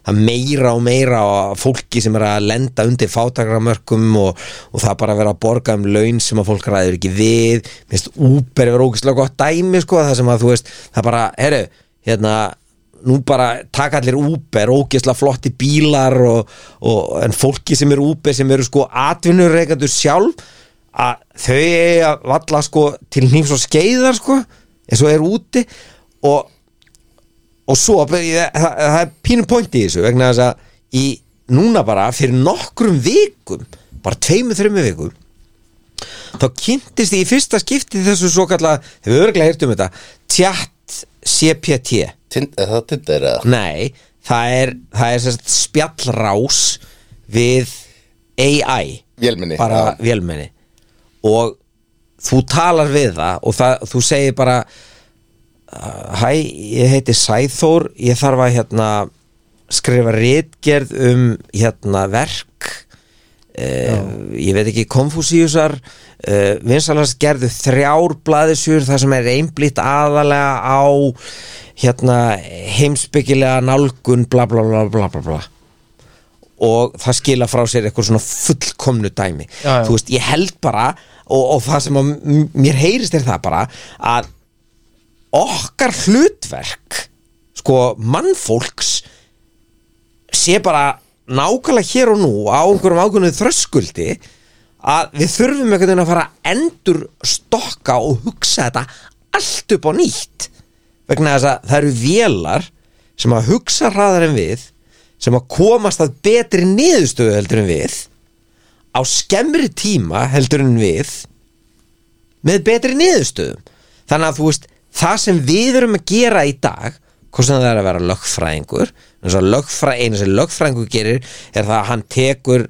[SPEAKER 5] að meira og meira á fólki sem er að lenda undir fátakramörkum og, og það bara að vera að borga um laun sem að fólk ræður ekki við minnst úper er ógeðslega gott dæmi sko það sem að þú veist það bara, herru, hérna nú bara taka allir úper, ógeðslega flotti bílar og, og en fólki sem eru úper sem eru sko atvinnureikandur sjálf að þau eiga valla sko til nýms og skeiðar sko eins og er úti og, og svo það, það er pínum point í þessu vegna þess að í núna bara fyrir nokkrum vikum bara tveimur, þreimur vikum þá kynntist ég í fyrsta skipti þessu svo kalla, hefur örglega heyrt um þetta tjatt CPT
[SPEAKER 2] Tind, er það tindir eða?
[SPEAKER 5] Nei, það er, það er sérst spjallrás við AI
[SPEAKER 2] Vélmenni,
[SPEAKER 5] bara
[SPEAKER 2] já.
[SPEAKER 5] vélmenni og þú talar við það og það, þú segir bara uh, hæ, ég heiti Sæþór ég þarf að hérna skrifa rétgerð um hérna verk uh, ég veit ekki konfúsíusar uh, vinsalans gerðu þrjár blaðisjur þar sem er einblýtt aðalega á hérna heimsbyggilega nálgun bla bla bla bla bla bla og það skila frá sér eitthvað svona fullkomnu dæmi
[SPEAKER 4] Já, já.
[SPEAKER 5] þú veist, ég held bara og, og það sem að m- mér heyrist er það bara að okkar hlutverk sko mannfólks sé bara nákvæmlega hér og nú á einhverjum ákveðnum þröskuldi að við þurfum einhvern veginn að fara að endur stokka og hugsa þetta allt upp á nýtt vegna þess að það eru vélar sem að hugsa hraðar en við sem að komast að betri niðurstöðu heldur en við á skemmri tíma heldur en við með betri niðurstöðum þannig að þú veist, það sem við erum að gera í dag hvort sem það er að vera lögfræðingur eins og lögfræ, einu sem lögfræðingur gerir er það að hann tekur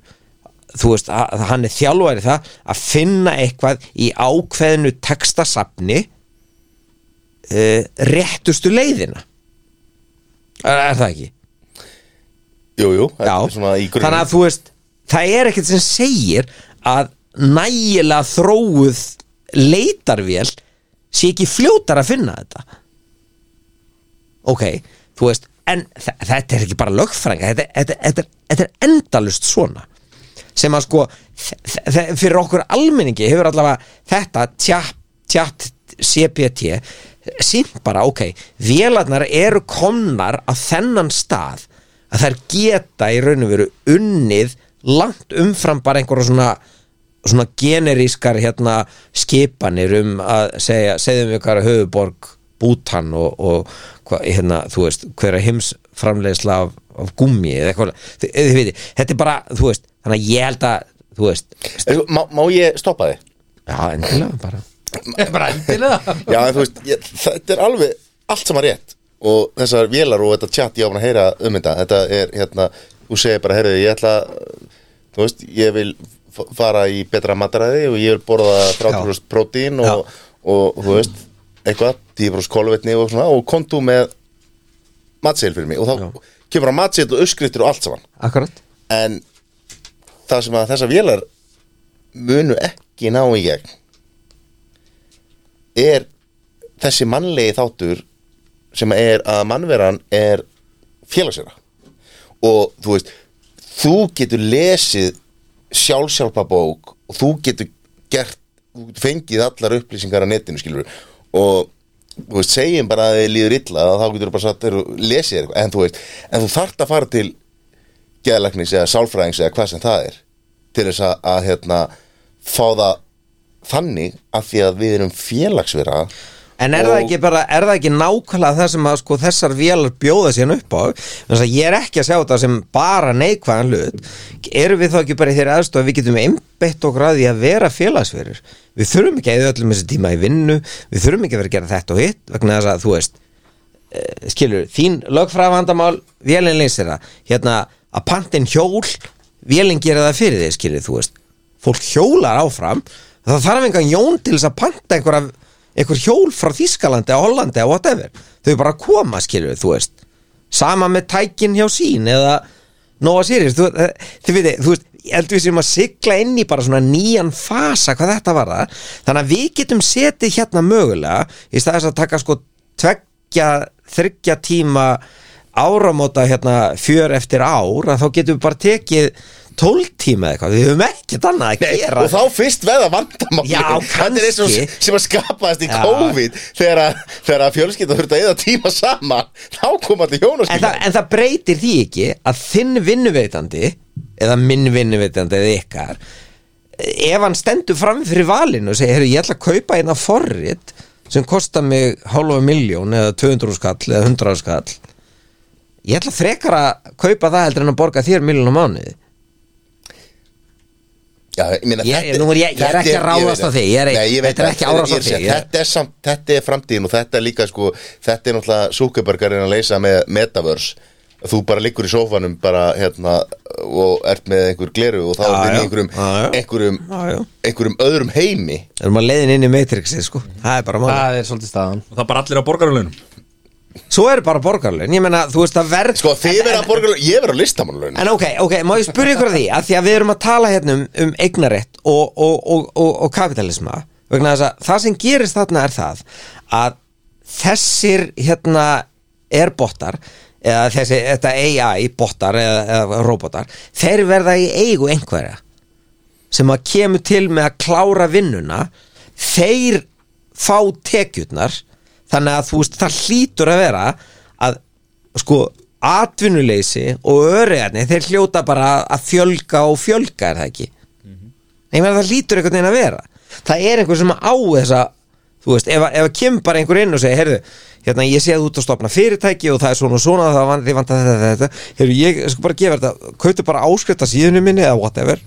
[SPEAKER 5] þú veist, að, að hann er þjálfæri það að finna eitthvað í ákveðinu textasafni uh, réttustu leiðina er, er það ekki?
[SPEAKER 2] Jú, jú,
[SPEAKER 5] Já,
[SPEAKER 2] þetta er svona í grunn
[SPEAKER 5] þannig að þú veist það er ekkert sem segir að nægilega þróuð leitarvél sé ekki fljótar að finna þetta ok, þú veist en þe- þetta er ekki bara lögfrænga þetta, þetta, þetta, er- þetta er endalust svona sem að sko þ- þ- fyrir okkur almenningi hefur allavega þetta tjatt, tjatt CPT sínt bara, ok, vélarnar eru komnar á þennan stað að þær geta í raun og veru unnið langt umfram bara einhverja svona svona generískar hérna skipanir um að segja, segðum við hvað er höfuborg Bútan og, og hva, hérna, þú veist, hverja heims framleiðsla af, af gummi eða eitthvað þið, þið veitir, þetta er bara, þú veist þannig að ég held að, þú veist
[SPEAKER 2] En svo, má, má ég stoppa þig?
[SPEAKER 5] já, endilega bara
[SPEAKER 4] bara endilega
[SPEAKER 2] Já, en þú veist, ég, þetta er alveg allt saman rétt og þessar vélar og þetta tjatt ég á að heyra um þetta þetta er hérna, þú segir bara heyrðu, ég ætla þú veist, ég vil f- fara í betra mataræði og ég vil borða 30% prótín og, og, þú veist, eitthvað 10% kolvetni og svona og kontu með matseil fyrir mig og þá kemur að matseil og uppskriftir og allt saman
[SPEAKER 5] akkurat
[SPEAKER 2] en það sem að þessar vélar munu ekki ná í gegn er þessi mannlegi þáttur sem er að mannveran er félagsera og þú veist þú getur lesið sjálfsjálfabók og þú getur gert, þú getur fengið allar upplýsingar á netinu skilur og þú veist, segjum bara að þið líður illa og þá getur þú bara satt þér og lesið þér eitthvað en þú veist, en þú þart að fara til geðlagnis eða sálfræðings eða hvað sem það er til þess að, að hérna, fá það þannig af því að við erum félagsvera
[SPEAKER 5] En er, það
[SPEAKER 2] Og-
[SPEAKER 5] ekki bara, er það ekki nákvæmlega það sem að sko þessar vélar bjóða sérna upp á Þannig að ég er ekki að sjá þetta sem bara neikvæðan hlut Erum við þá ekki bara í þeirri aðstof að við getum einbeitt okkur að því að vera félagsverur Við þurfum ekki að eða öllum þessi tíma í vinnu Við þurfum ekki að vera að gera þetta og hitt Vegna þess að þú veist eh, Skilur, þín lögfræðvandamál, vélinn leysir það Hérna, að pantin hjól, vélinn gera það fyrir þig skilur, þú veist Fólk hjólar áfram Það þarf engan jón til þess að panta einhverja einhver hjól frá Þískalandi eða Hollandi eða whatever, þau bara koma skilur þú veist, sama með tækin hjá sín eða Nóa Sirius, þú, eh, þið veitir, þú veist ég held við sem að sigla inn í bara svona nýjan fasa hvað þetta var það, þannig að við getum setið hérna mögulega, í staðis að taka sko tvegg þryggja, þryggja tíma áramóta hérna fjör eftir ár að þá getum við bara tekið 12 tíma eða eitthvað, við höfum ekkert annað að
[SPEAKER 2] Nei,
[SPEAKER 5] gera
[SPEAKER 2] og þá fyrst veða vandamáli
[SPEAKER 5] Já,
[SPEAKER 2] Þetta er eins og
[SPEAKER 5] kannski.
[SPEAKER 2] sem að skapaðist í
[SPEAKER 5] Já.
[SPEAKER 2] COVID þegar, að- þegar að fjölskylda þurfti að eða tíma saman þá kom allir hjón og
[SPEAKER 5] en,
[SPEAKER 2] skilja
[SPEAKER 5] það, en það breytir því ekki að þinn vinnuveitandi eða minn vinnuveitandi eða ykkar ef hann stendur fram fyrir valinu og segir, heyrðu, ég ætla að kaupa eina forrit sem kostar mig hálfa miljón eða 200 skall eða 100 skall ég ætla frekar að kaupa það heldur en að borga þér miljón á mánuði
[SPEAKER 2] Já, ég, meina,
[SPEAKER 5] Ég- nú er ég- ég er
[SPEAKER 2] þetta
[SPEAKER 5] ekki
[SPEAKER 2] ég
[SPEAKER 5] að ráðast
[SPEAKER 2] veit
[SPEAKER 5] á
[SPEAKER 2] það.
[SPEAKER 5] þig, ég er-
[SPEAKER 2] Nei, ég veit
[SPEAKER 5] þetta er
[SPEAKER 2] það.
[SPEAKER 5] ekki árás á
[SPEAKER 2] Ég sé,
[SPEAKER 5] þig, ég-
[SPEAKER 2] Þetta er samt, þetta er framtíðin og þetta er líka sko Þetta er náttúrulega súkubörgarinn að leysa með Metaverse Þú bara liggur í sófanum bara hérna og ert með einhver gleru og þá
[SPEAKER 5] Já,
[SPEAKER 2] er
[SPEAKER 5] já.
[SPEAKER 2] í einhverjum,
[SPEAKER 5] Já, já.
[SPEAKER 2] einhverjum,
[SPEAKER 5] Já, já.
[SPEAKER 2] einhverjum öðrum heimi
[SPEAKER 5] erum að leiðin inn í Matrixið sko það er bara mánuði
[SPEAKER 4] Það er svolítið staðan
[SPEAKER 9] Og það bara allir á borgarlunum
[SPEAKER 5] svo er bara borgarlun, ég meina, þú veist að verð
[SPEAKER 2] Sko þið verða að borgarlun, ég verða á listamannlaun
[SPEAKER 5] En ok, ok, má ég spyrja ykkur að því að því að við erum að tala hérna um, um eignarétt og, og, og, og, og kapitalisma vegna þess að það sem gerist þarna er það að þessir hérna airbottar eða þessi, þetta AI bottar eða, eða robotar, þeir verða í eigu einhverja sem að kemur til með að klára vinnuna þeir fá tekjurnar þannig að þú veist það hlýtur að vera að sko atvinnuleysi og örygarni þeir hljóta bara að fjölga og fjölga er það ekki Nei, ég meina það lítur einhvern veginn að vera Það er einhver sem á þessa Þú veist, ef, að- ef að kemur bara einhver inn og segir Heyrðu, hérna ég sé að þú ert að stopna fyrirtæki og það er svona og svona, það vant, þið vant að þetta, þetta, þetta Heyrðu, ég sko bara gefa þetta Kautu bara áskrifta síðunum minni eða whatever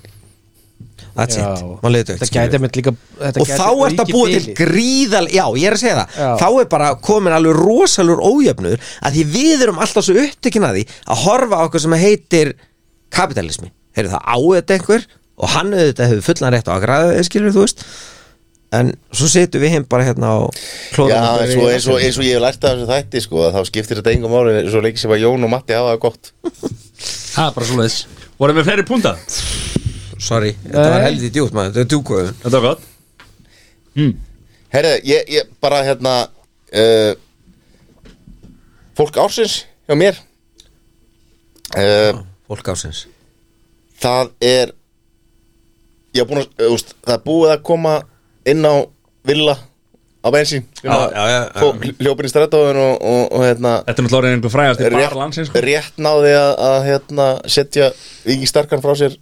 [SPEAKER 5] That's
[SPEAKER 4] Já.
[SPEAKER 5] it, maður leiður
[SPEAKER 4] Þetta gæti einmitt líka þetta
[SPEAKER 5] Og
[SPEAKER 4] gæti
[SPEAKER 5] þá er þetta
[SPEAKER 4] aukið
[SPEAKER 5] búið til
[SPEAKER 4] bilið.
[SPEAKER 5] gríðal Já, ég er að segja það
[SPEAKER 4] Já.
[SPEAKER 5] Þá er bara komin alveg rosalur ójöfnur að því við erum alltaf svo upptekin að því að horfa á okkur sem heitir kapitalismi Heyrðu það á þetta einhver og hann auðvitað hefur fullan rétt á að græða skilur þú veist en svo setum við heim bara hérna á
[SPEAKER 2] Já,
[SPEAKER 5] klóðum
[SPEAKER 2] eins og, eins, og, eins og ég hef lært af þessu þætti sko, að þá skiptir þetta engum ári svo leik sem að Jón og Matti hafa það gott
[SPEAKER 3] Það er bara svo leiðis
[SPEAKER 9] Vorum við fleiri púnta?
[SPEAKER 5] Sorry, þetta var heldig djúpt maður, þetta er djúkuðum
[SPEAKER 9] Þetta var gott
[SPEAKER 2] Herra, ég, ég bara hérna uh, Fólk ársins hjá mér uh,
[SPEAKER 5] Fólk ásins
[SPEAKER 2] Það er Ég hef búin að, uh, úst, það er búið að koma inn á villa á bensín
[SPEAKER 5] Já, já, já, já.
[SPEAKER 2] Hljópin í strætóðun og, og, og hérna
[SPEAKER 9] Þetta er náttúrulega orðin einhver frægast í
[SPEAKER 2] rétt,
[SPEAKER 9] bara landsins sko.
[SPEAKER 2] rétt náði að, að hérna, setja Viki Starkan frá sér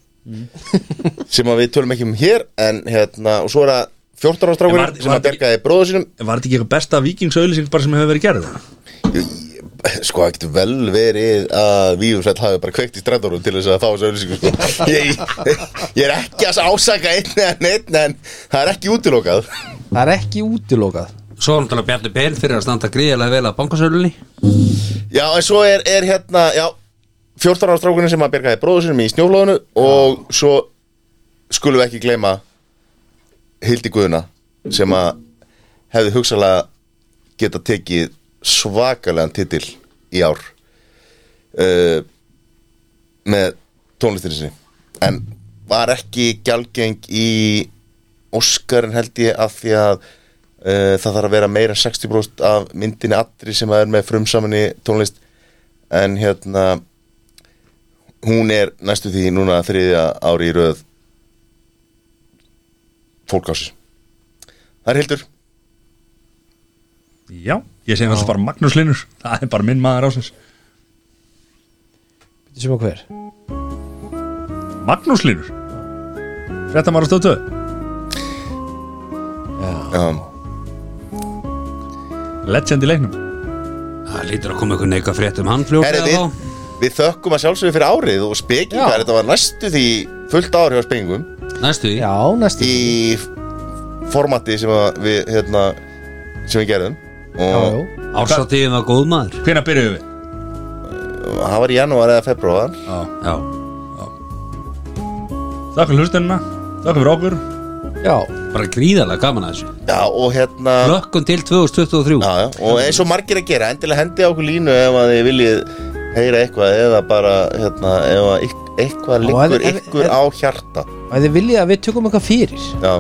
[SPEAKER 2] sem að við tölum ekki um hér en hérna, og svo er það 14 ára
[SPEAKER 9] En var-
[SPEAKER 2] strákurinn sem
[SPEAKER 9] var
[SPEAKER 2] að bergaði bróðu sínum
[SPEAKER 9] Var þetta ekki eitthvað besta vikingsauðlýsing bara sem hefur verið gerð?
[SPEAKER 2] sko það getur vel verið að Víðursveld hafi bara kveikt í strætórum til þess að fá þessu auðlýsingu sko. ég, ég er ekki að ásaka einn en einn en það er ekki útilokað
[SPEAKER 4] Það er ekki útilokað
[SPEAKER 3] Svo er náttúrulega Bjarni Ben fyrir að standa gríðilega vel að bankasölunni
[SPEAKER 2] já en svo er, er hérna já, 14 ára strákurinn sem að bergaði bróðu sínum í snjóflóðinu og svo skulum við ekki gleyma Hildi Guðuna sem að hefði hugsalega geta tekið svakalegan titil í ár uh, með tónlistinni sinni en var ekki gjaldgeng í Óskarinn held ég af því að uh, það þarf að vera meira en 60% af myndinni allri sem að er með frumsaminni tónlist en hérna hún er næstu því núna þriðja ári í röð fólkásis Það er Hildur
[SPEAKER 9] Já Ég segi alltaf bara Magnús Linur Það er bara minn maður ásins
[SPEAKER 4] Sem og hver
[SPEAKER 9] Magnús Linur Þetta maður stóttu
[SPEAKER 2] Já,
[SPEAKER 9] Legend í leiknum
[SPEAKER 3] Það lítur að koma eitthvað neika frétt um hann fljótt
[SPEAKER 2] Herri, við, við þökkum að sjálfsögðu fyrir árið og spekingar, þetta var næstu því fullt ár hjá spekingum
[SPEAKER 3] Næstu því
[SPEAKER 4] Já, næstu
[SPEAKER 2] í f- formati sem að við hérna, sem við gerðum
[SPEAKER 4] Já,
[SPEAKER 2] og
[SPEAKER 4] já.
[SPEAKER 3] Ársatíðin var góð maður
[SPEAKER 9] Hvenær byrjuðum við?
[SPEAKER 2] það var í janúar eða februar
[SPEAKER 3] Já
[SPEAKER 9] Þakka fyrir hlustunina Þakka fyrir okkur
[SPEAKER 4] Já,
[SPEAKER 3] Bara gríðalega gaman að þessu
[SPEAKER 2] já, og hérna
[SPEAKER 3] Lökkum til 2023
[SPEAKER 2] já, já, og eins og margir að gera, endilega hendi á okkur línu ef að þið viljið heyra eitthvað eða bara hérna, ef að ykk- eitthvað
[SPEAKER 4] ef-
[SPEAKER 2] liggur
[SPEAKER 4] ef-
[SPEAKER 2] ykkur
[SPEAKER 4] ef-
[SPEAKER 2] á hjarta
[SPEAKER 4] að þið viljið að við tökum eitthvað fyrir
[SPEAKER 2] já,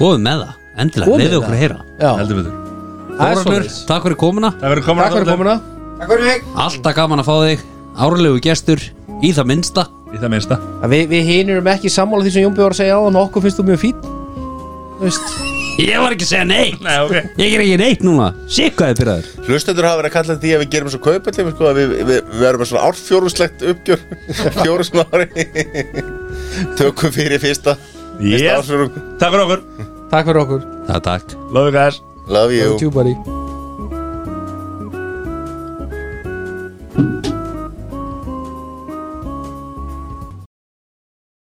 [SPEAKER 3] Komum með það Endilega,
[SPEAKER 4] Komið
[SPEAKER 3] leiðu
[SPEAKER 4] með
[SPEAKER 3] okkur að heyra
[SPEAKER 4] Já,
[SPEAKER 9] Heldur betur
[SPEAKER 4] Það er
[SPEAKER 3] Þórarnur,
[SPEAKER 4] svoleiðis.
[SPEAKER 3] takk fyrir komuna
[SPEAKER 9] Það verður komin
[SPEAKER 4] Takk fyrir komuna
[SPEAKER 3] Alltaf gaman að fá þig Árlegu gestur Í það minnsta
[SPEAKER 9] Í það minnsta
[SPEAKER 4] Við vi hinir erum ekki sammála því sem Jónbjörn var að segja á hann Okkur finnst þú mjög fín Þú veist
[SPEAKER 3] Ég var ekki að segja neitt
[SPEAKER 9] Nei, ok
[SPEAKER 3] Ég er ekki neitt núna Sikkaði pyrraður
[SPEAKER 2] Hlustendur hafa verið að kalla því að við gerum svo kaupallum sko, að við, við, við erum með svona árfjóruslegt uppgjör Fjóru svona ári Tökum fyrir fyrsta Fyrsta
[SPEAKER 9] Yes.
[SPEAKER 2] ársfjórðung.
[SPEAKER 9] Takk fyrir okkur
[SPEAKER 4] Takk fyrir okkur
[SPEAKER 3] Það er takk
[SPEAKER 9] Love you guys
[SPEAKER 2] Love you
[SPEAKER 4] Tjúbari